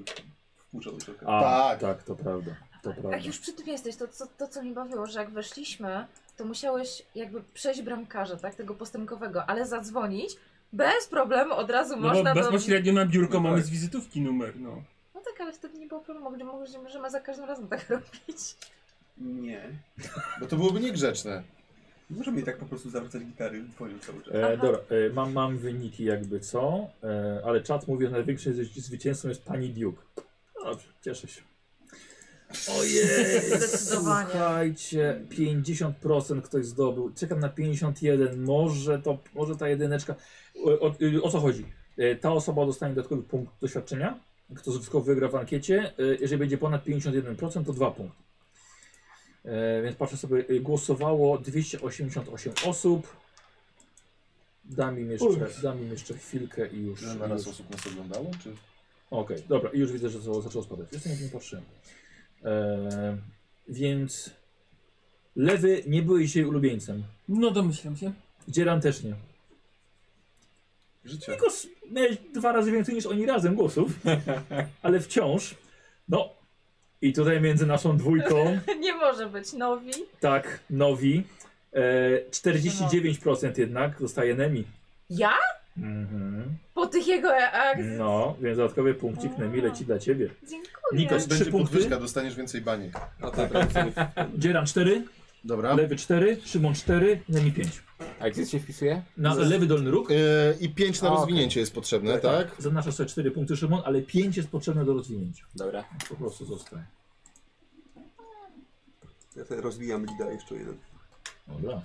Speaker 9: wpuszczał do czeka.
Speaker 1: A, tak.
Speaker 4: Tak.
Speaker 1: tak, to prawda. To
Speaker 2: Jak
Speaker 1: prawda.
Speaker 2: już przy tym jesteś, to, co- to co mi bawiło, że jak weszliśmy, to musiałeś jakby przejść bramkarza, tak? Tego postępkowego, ale zadzwonić bez problemu od razu
Speaker 7: No bo
Speaker 2: można do...
Speaker 7: bezpośrednio na biurko
Speaker 9: No
Speaker 7: mamy
Speaker 9: tak.
Speaker 7: z wizytówki numer, no.
Speaker 2: No tak, ale wtedy nie było problemu, gdy mogłeś- możemy za każdym razem tak robić.
Speaker 9: Nie.
Speaker 4: Bo to byłoby niegrzeczne.
Speaker 9: Możemy jej tak po prostu zawracać gitary dzwonił cały czas.
Speaker 1: E, dobra, e, mam, mam wyniki jakby co, e, ale czat mówi, że największym zwy- zwycięzcą jest pani Duke. Dobrze, cieszę się. Ojej,
Speaker 2: Zdecydowanie.
Speaker 1: słuchajcie, 50% ktoś zdobył, czekam na 51, może to, może ta jedyneczka. O, o, y, o co chodzi? E, Ta osoba dostanie dodatkowy punkt doświadczenia, kto wszystko wygra w ankiecie. E, Jeżeli będzie ponad 51%, to dwa punkty. E, Więc patrzę sobie, y, głosowało 288 osób. Dam im jeszcze, dam im jeszcze chwilkę i już.
Speaker 4: Że
Speaker 1: i
Speaker 4: na raz
Speaker 1: już.
Speaker 4: osób nas oglądało, czy?
Speaker 1: Okej, dobra, i już widzę, że to zaczęło spadać. Jeszcze nie patrzyłem. E, więc lewy nie byłeś jej ulubieńcem.
Speaker 7: No domyślam się.
Speaker 1: Dzieran też nie.
Speaker 4: Życie.
Speaker 1: Tylko s- miałeś dwa razy więcej niż oni razem głosów, ale wciąż. No i tutaj między naszą dwójką,
Speaker 12: Nie może być nowi.
Speaker 1: tak, nowi. E, 49% jednak zostaje Nemi.
Speaker 12: Ja?
Speaker 1: Mhm.
Speaker 12: Po tych jego
Speaker 2: e-
Speaker 12: akcjach?
Speaker 1: No, więc dodatkowy punkcik Nemi leci dla ciebie.
Speaker 12: Dziękuję.
Speaker 1: Nikos,
Speaker 4: Będzie
Speaker 1: trzy punkty.
Speaker 4: podwyżka, dostaniesz więcej baniek.
Speaker 9: A tak, tak.
Speaker 1: Dzieran 4,
Speaker 4: Dobra.
Speaker 1: lewy 4, Szymon 4, Nemi 5.
Speaker 3: A gdzie się wpisuje?
Speaker 1: Na lewy dolny róg.
Speaker 4: E, I 5 na
Speaker 3: A, okej.
Speaker 4: rozwinięcie jest potrzebne, tak?
Speaker 1: Zaznaczasz sobie 4 punkty Szymon, ale 5 jest potrzebne do rozwinięcia.
Speaker 3: Dobra.
Speaker 1: Po prostu zostaje.
Speaker 9: Ja sobie rozwijam lida jeszcze jeden.
Speaker 1: Dobra.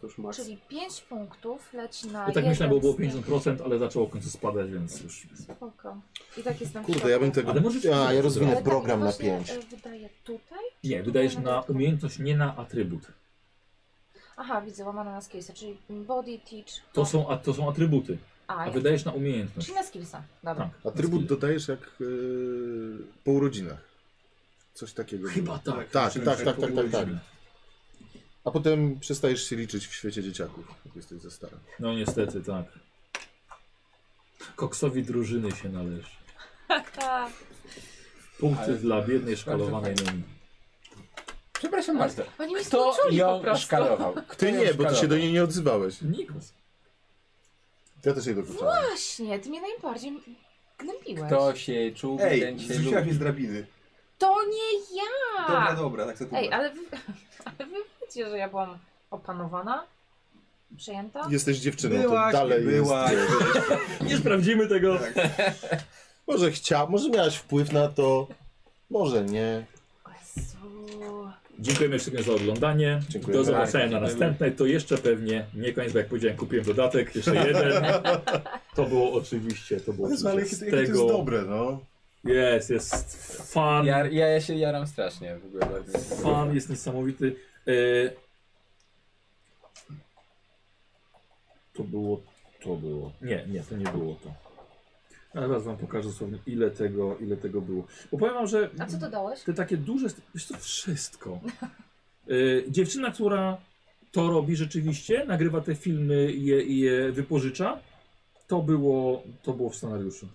Speaker 9: To już max.
Speaker 2: Czyli 5 punktów leci na
Speaker 1: Ja tak
Speaker 2: jeden
Speaker 1: myślałem, bo było
Speaker 2: z nich.
Speaker 1: 50%, ale zaczęło w końcu spadać, więc już.
Speaker 2: Spoko. I tak jestem w
Speaker 4: Kurde,
Speaker 2: środku.
Speaker 4: ja bym tego...
Speaker 1: Ale możesz-
Speaker 4: A, ja rozwinę
Speaker 2: Ale tak
Speaker 4: program na
Speaker 2: właśnie,
Speaker 4: 5.
Speaker 2: e, Wydaje tutaj?
Speaker 1: Nie, wydajesz na umiejętność, nie na atrybut.
Speaker 2: Aha, widzę, łamane na skillsa, czyli body, teach.
Speaker 1: To są, a, to są atrybuty,
Speaker 2: A,
Speaker 1: a
Speaker 2: ja-
Speaker 1: wydajesz na umiejętność.
Speaker 2: Tak. Czyli na skillsa. Dobra.
Speaker 1: Tak.
Speaker 4: Atrybut dodajesz jak yy, po urodzinach. Coś takiego.
Speaker 1: Chyba
Speaker 4: było.
Speaker 1: tak.
Speaker 4: Tak,
Speaker 1: Musimy
Speaker 4: tak,
Speaker 1: się
Speaker 4: tak, tak, tak, tak.
Speaker 1: położyć.
Speaker 4: A potem przestajesz się liczyć w świecie dzieciaków, jak jesteś za stara.
Speaker 1: No niestety, tak. Koksowi drużyny się należy. Tak.
Speaker 2: Tak.
Speaker 1: Punkty
Speaker 3: Ale-
Speaker 1: dla biednej szkalowanej nogi.
Speaker 3: Przepraszam bardzo.
Speaker 2: Oni mi
Speaker 3: Kto
Speaker 2: skończyli Tak. po
Speaker 3: ją
Speaker 2: prostu.
Speaker 3: szkalował? Kto
Speaker 4: Ty
Speaker 3: ją
Speaker 4: nie, bo ty się
Speaker 3: szkalował?
Speaker 4: do niej nie odzywałeś.
Speaker 1: Nikt.
Speaker 4: Ja też jej dokuczałem.
Speaker 2: Właśnie, ty mnie najbardziej gnębiłeś.
Speaker 3: Kto się czuł,
Speaker 6: Ej,
Speaker 3: ten się
Speaker 6: zrzuciła
Speaker 3: lubi.
Speaker 6: mnie z drabiny.
Speaker 2: To nie ja!
Speaker 6: Dobra, dobra, tak sobie
Speaker 2: Ej, ale wy, ale wy wiecie, że ja byłam opanowana? Przejęta?
Speaker 4: Jesteś dziewczyną,
Speaker 6: Byłaś,
Speaker 4: to dalej
Speaker 6: nie byłaś.
Speaker 4: jest.
Speaker 1: Nie sprawdzimy tego.
Speaker 6: Tak.
Speaker 4: Może chciał, może miałaś wpływ na to, może nie.
Speaker 2: Jezu.
Speaker 1: Dziękujemy wszystkim za oglądanie.
Speaker 4: Dziękujemy.
Speaker 1: Do zobaczenia na
Speaker 3: Dziękujemy.
Speaker 1: następnej. To jeszcze pewnie nie koniec, bo jak powiedziałem, kupiłem dodatek, jeszcze jeden. To było oczywiście, to było
Speaker 4: Ale jakie
Speaker 1: oczywiście
Speaker 4: to,
Speaker 1: z
Speaker 4: jakie to jest
Speaker 1: tego.
Speaker 4: dobre, no.
Speaker 1: Jest, jest fan.
Speaker 3: Ja, ja, ja się jaram strasznie w ogóle bardzo.
Speaker 1: Fan jest niesamowity. E... To było, to było. Nie, nie, to nie było to. Ale Zaraz wam pokażę dosłownie ile tego, ile tego było. Bo powiem wam, że
Speaker 2: A co dodałeś?
Speaker 1: te takie duże, st- wiesz to wszystko. Y, dziewczyna, która to robi rzeczywiście, nagrywa te filmy i je, i je wypożycza, to było, to było w scenariuszu.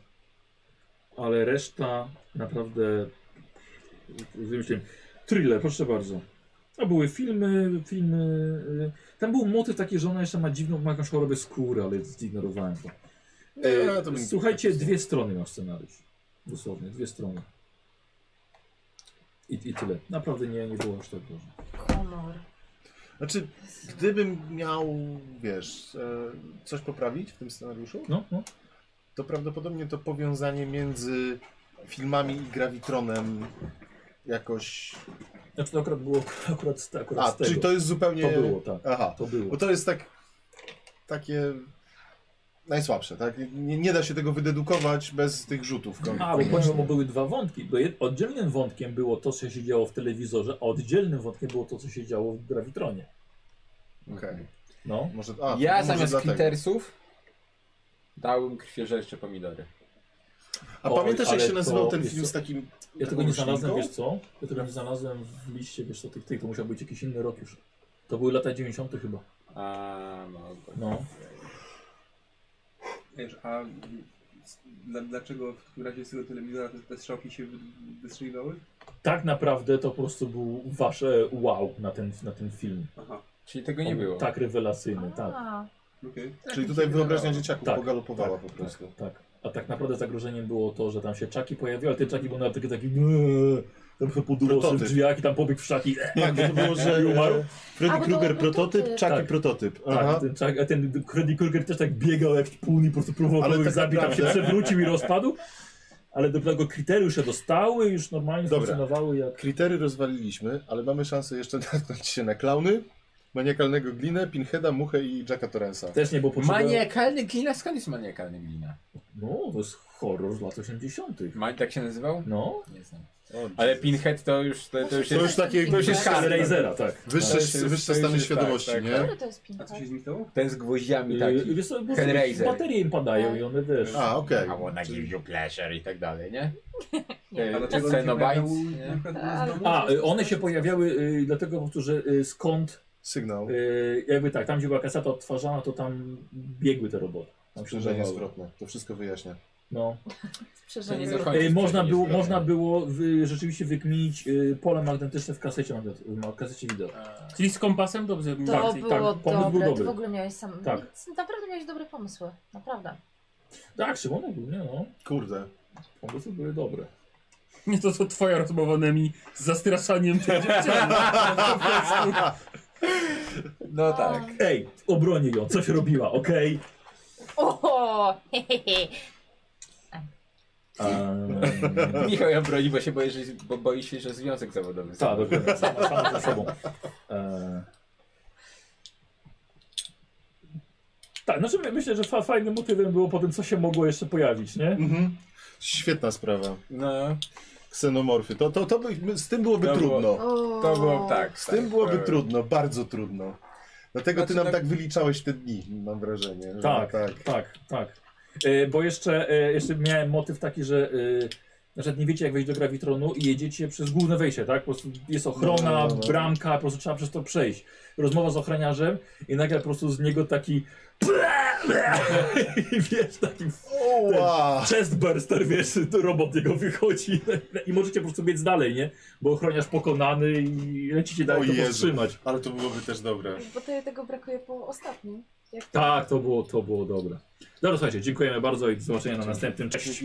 Speaker 1: Ale reszta naprawdę wymyśliłem. Thriller, proszę bardzo. To były filmy, filmy. y, Tam był motyw taki, że ona jeszcze ma dziwną, ma jakąś chorobę skóry, ale zignorowałem to.
Speaker 4: Nie, to bym-
Speaker 1: E, Słuchajcie, dwie strony ma scenariusz. Dosłownie, dwie strony. I, i tyle. Naprawdę nie, nie było aż tak dużo.
Speaker 2: Honor.
Speaker 4: Znaczy, gdybym miał, wiesz, e, coś poprawić w tym scenariuszu,
Speaker 1: No, no.
Speaker 4: to prawdopodobnie to powiązanie między filmami i Gravitronem jakoś...
Speaker 1: Znaczy to akurat było akurat, z- akurat
Speaker 4: A,
Speaker 1: z tego.
Speaker 4: czyli to jest zupełnie...
Speaker 1: To było, tak.
Speaker 4: Aha,
Speaker 1: To było.
Speaker 4: bo to jest tak... takie... najsłabsze, tak? Nie, nie da się tego wydedukować bez tych
Speaker 3: No,
Speaker 4: rzutów. kon-
Speaker 1: A, bo
Speaker 4: koniecznie.
Speaker 1: powiem, bo były dwa wątki. Bo jed- oddzielnym wątkiem było to, co się działo w telewizorze, a oddzielnym wątkiem było to, co się działo w grawitronie.
Speaker 4: Okej.
Speaker 1: No.
Speaker 4: Może, a, to
Speaker 3: Ja
Speaker 4: może
Speaker 3: zamiast
Speaker 4: dlatego.
Speaker 3: klitersów dałbym krwiożercze pomidory.
Speaker 4: A
Speaker 1: Oj,
Speaker 4: pamiętasz, jak
Speaker 1: ale
Speaker 4: się nazywał
Speaker 1: to
Speaker 4: ten
Speaker 1: jest
Speaker 4: film
Speaker 1: co-
Speaker 4: z takim...
Speaker 1: Ja tego
Speaker 4: taką
Speaker 1: nie znalazłem,
Speaker 4: roślinką?
Speaker 1: wiesz co? Ja tego nie znalazłem w liście, wiesz co, tych, tych, to musiał być jakiś inny rok już. To były lata 90. chyba.
Speaker 3: A, mogę.
Speaker 1: No.
Speaker 6: Wiesz, a dla, dlaczego w takim razie z tego telewizora te, te strzałki się wy- wystrzeliwały?
Speaker 1: Tak naprawdę to po prostu był wasze wow na ten, na ten film.
Speaker 6: Aha,
Speaker 3: Czyli tego nie
Speaker 1: On był
Speaker 3: było.
Speaker 1: Tak rewelacyjny, tak.
Speaker 2: A,
Speaker 6: okej.
Speaker 4: Czyli tutaj wyobraźnia dzieciaków
Speaker 1: Tak,
Speaker 4: pogalopowała
Speaker 1: tak,
Speaker 4: po prostu.
Speaker 1: Tak. A tak naprawdę zagrożeniem było to, że tam się czaki pojawiły, ale te czaki były nawet takie, takie tam się podurał sobie w
Speaker 4: Prototyp.
Speaker 1: drzwiach i tam pobiegł w szaki.
Speaker 4: Tak, bo to było, że
Speaker 1: I umarł?
Speaker 4: e, Freddy
Speaker 2: A, bo to
Speaker 4: Krueger
Speaker 2: był
Speaker 4: prototyp,
Speaker 2: prototyp.
Speaker 4: Chucky
Speaker 1: Tak.
Speaker 4: prototyp. Aha.
Speaker 1: Tak, ten, czak, a ten Freddy Krueger też tak biegał jak pół i po prostu próbował
Speaker 4: Ale
Speaker 1: kogoś
Speaker 4: tak
Speaker 1: zabić, tam się
Speaker 4: naprawdę-
Speaker 1: przewrócił i rozpadł. Ale do tego kryterium się dostały, już normalnie
Speaker 4: Dobra.
Speaker 1: funkcjonowały jak...
Speaker 4: Kritery rozwaliliśmy, ale mamy szansę jeszcze natknąć się na klauny, maniakalnego glinę, Pinheada, Muchę i Jacka Torrensa.
Speaker 1: Też nie było potrzeby...
Speaker 3: Maniakalny glina? Skąd jest maniakalny glina?
Speaker 1: No, to jest horror z lat 80.
Speaker 3: Ma, tak się nazywał?
Speaker 1: No.
Speaker 3: Nie znam.
Speaker 4: O,
Speaker 3: Ale Pinhead to już, to, to już
Speaker 4: To już
Speaker 3: jest...
Speaker 4: takie
Speaker 2: To już jest
Speaker 4: wyższe-
Speaker 1: Ale Razera, tak.
Speaker 4: Wyższe,
Speaker 3: To już jest-
Speaker 4: wyższe
Speaker 3: to już
Speaker 4: stany
Speaker 3: jest-
Speaker 4: świadomości,
Speaker 3: tak, tak.
Speaker 4: nie?
Speaker 2: który to jest
Speaker 6: A
Speaker 2: pinka?
Speaker 6: co się z nich stało?
Speaker 3: Ten z gwoździami tak.
Speaker 1: Yy,
Speaker 3: taki.
Speaker 1: Wiesz co, bo
Speaker 3: Hellraiser.
Speaker 1: baterie im padają i one, wiesz...
Speaker 4: A, okej.
Speaker 3: I wanna give you pleasure i tak dalej, nie?
Speaker 2: Nie.
Speaker 6: A
Speaker 3: Yy,
Speaker 6: dlaczego
Speaker 3: Cenobites,
Speaker 6: one się
Speaker 3: nie?
Speaker 6: pojawiały na przykład u nas w domu?
Speaker 1: A, y, one się pojawiały y, dlatego po prostu, że y, skąd,
Speaker 4: Sygnał.
Speaker 1: y, jakby tak, tam gdzie była kaseta odtwarzana, to tam biegły te roboty. Tam się
Speaker 4: Sprzężenie
Speaker 1: udawały.
Speaker 4: zwrotne. To wszystko wyjaśnia.
Speaker 1: No.
Speaker 2: Przeżenie
Speaker 3: Nie
Speaker 2: zrób.
Speaker 3: dochodzi.
Speaker 1: Y, można,
Speaker 3: nie
Speaker 1: było,
Speaker 3: zgrałem.
Speaker 1: można było wy, rzeczywiście wykminić y, pole magnetyczne w kasecie, magnet- w kasecie wideo.
Speaker 7: Czyli z kompasem dobrze mi
Speaker 2: To
Speaker 7: bardziej.
Speaker 2: było
Speaker 1: tak, pomysł
Speaker 2: dobre,
Speaker 1: był dobry.
Speaker 2: ty w ogóle miałeś sam...
Speaker 1: Tak.
Speaker 2: Naprawdę miałeś dobre pomysły, naprawdę.
Speaker 1: Tak, Szymon ogólnie, no.
Speaker 4: Kurde.
Speaker 1: Pomysły były dobre.
Speaker 7: Nie to, co twoja rozmowa Nemi z zastraszaniem tej dziewczyny. Po prostu.
Speaker 3: No tak.
Speaker 1: Ej, obronię ją, coś robiła, okej?
Speaker 2: O, hehehe.
Speaker 1: Ehm,
Speaker 2: Tak.
Speaker 3: Michał ją broni, bo się boi, że, bo boi się, że związek zawodowy.
Speaker 1: Tak, dokładnie, sama, sama ze sobą. E... Tak, znaczy my- myślę, że fa fajnym motywem było potem, co się mogło jeszcze pojawić, nie?
Speaker 4: Mhm. Świetna sprawa.
Speaker 3: No,
Speaker 4: Ksenomorfy. To, to, to by, z tym byłoby
Speaker 3: To było-
Speaker 4: trudno.
Speaker 3: to było tak.
Speaker 4: Z
Speaker 3: tak,
Speaker 4: tym byłoby
Speaker 3: to-
Speaker 4: trudno, bardzo trudno. Dlatego ty
Speaker 3: Znaczy,
Speaker 4: nam
Speaker 3: tak-
Speaker 4: tak wyliczałeś te dni, mam wrażenie. że
Speaker 1: Tak, tak, tak. E, bo jeszcze, e, jeszcze miałem motyw taki, że e, na przykład nie wiecie jak wejść do grawitronu i jedziecie przez główne wejście, tak? Po prostu jest ochrona,
Speaker 4: No, no, no.
Speaker 1: bramka, po prostu trzeba przez to przejść. Rozmowa z ochroniarzem i nagle po prostu z niego taki i wiesz, taki
Speaker 4: Oła!
Speaker 1: ten chestburster, wiesz, to robot jego wychodzi i możecie po prostu biec dalej, nie? Bo ochroniarz pokonany i lecicie
Speaker 4: O
Speaker 1: dalej to
Speaker 4: Jezu,
Speaker 1: powstrzymać.
Speaker 4: ale to byłoby też dobre.
Speaker 12: Bo to, tego brakuje po ostatnim. Jak to
Speaker 1: Tak, to było, to było dobre. Dobra, słuchajcie, dziękujemy bardzo i do zobaczenia na następnym. Cześć!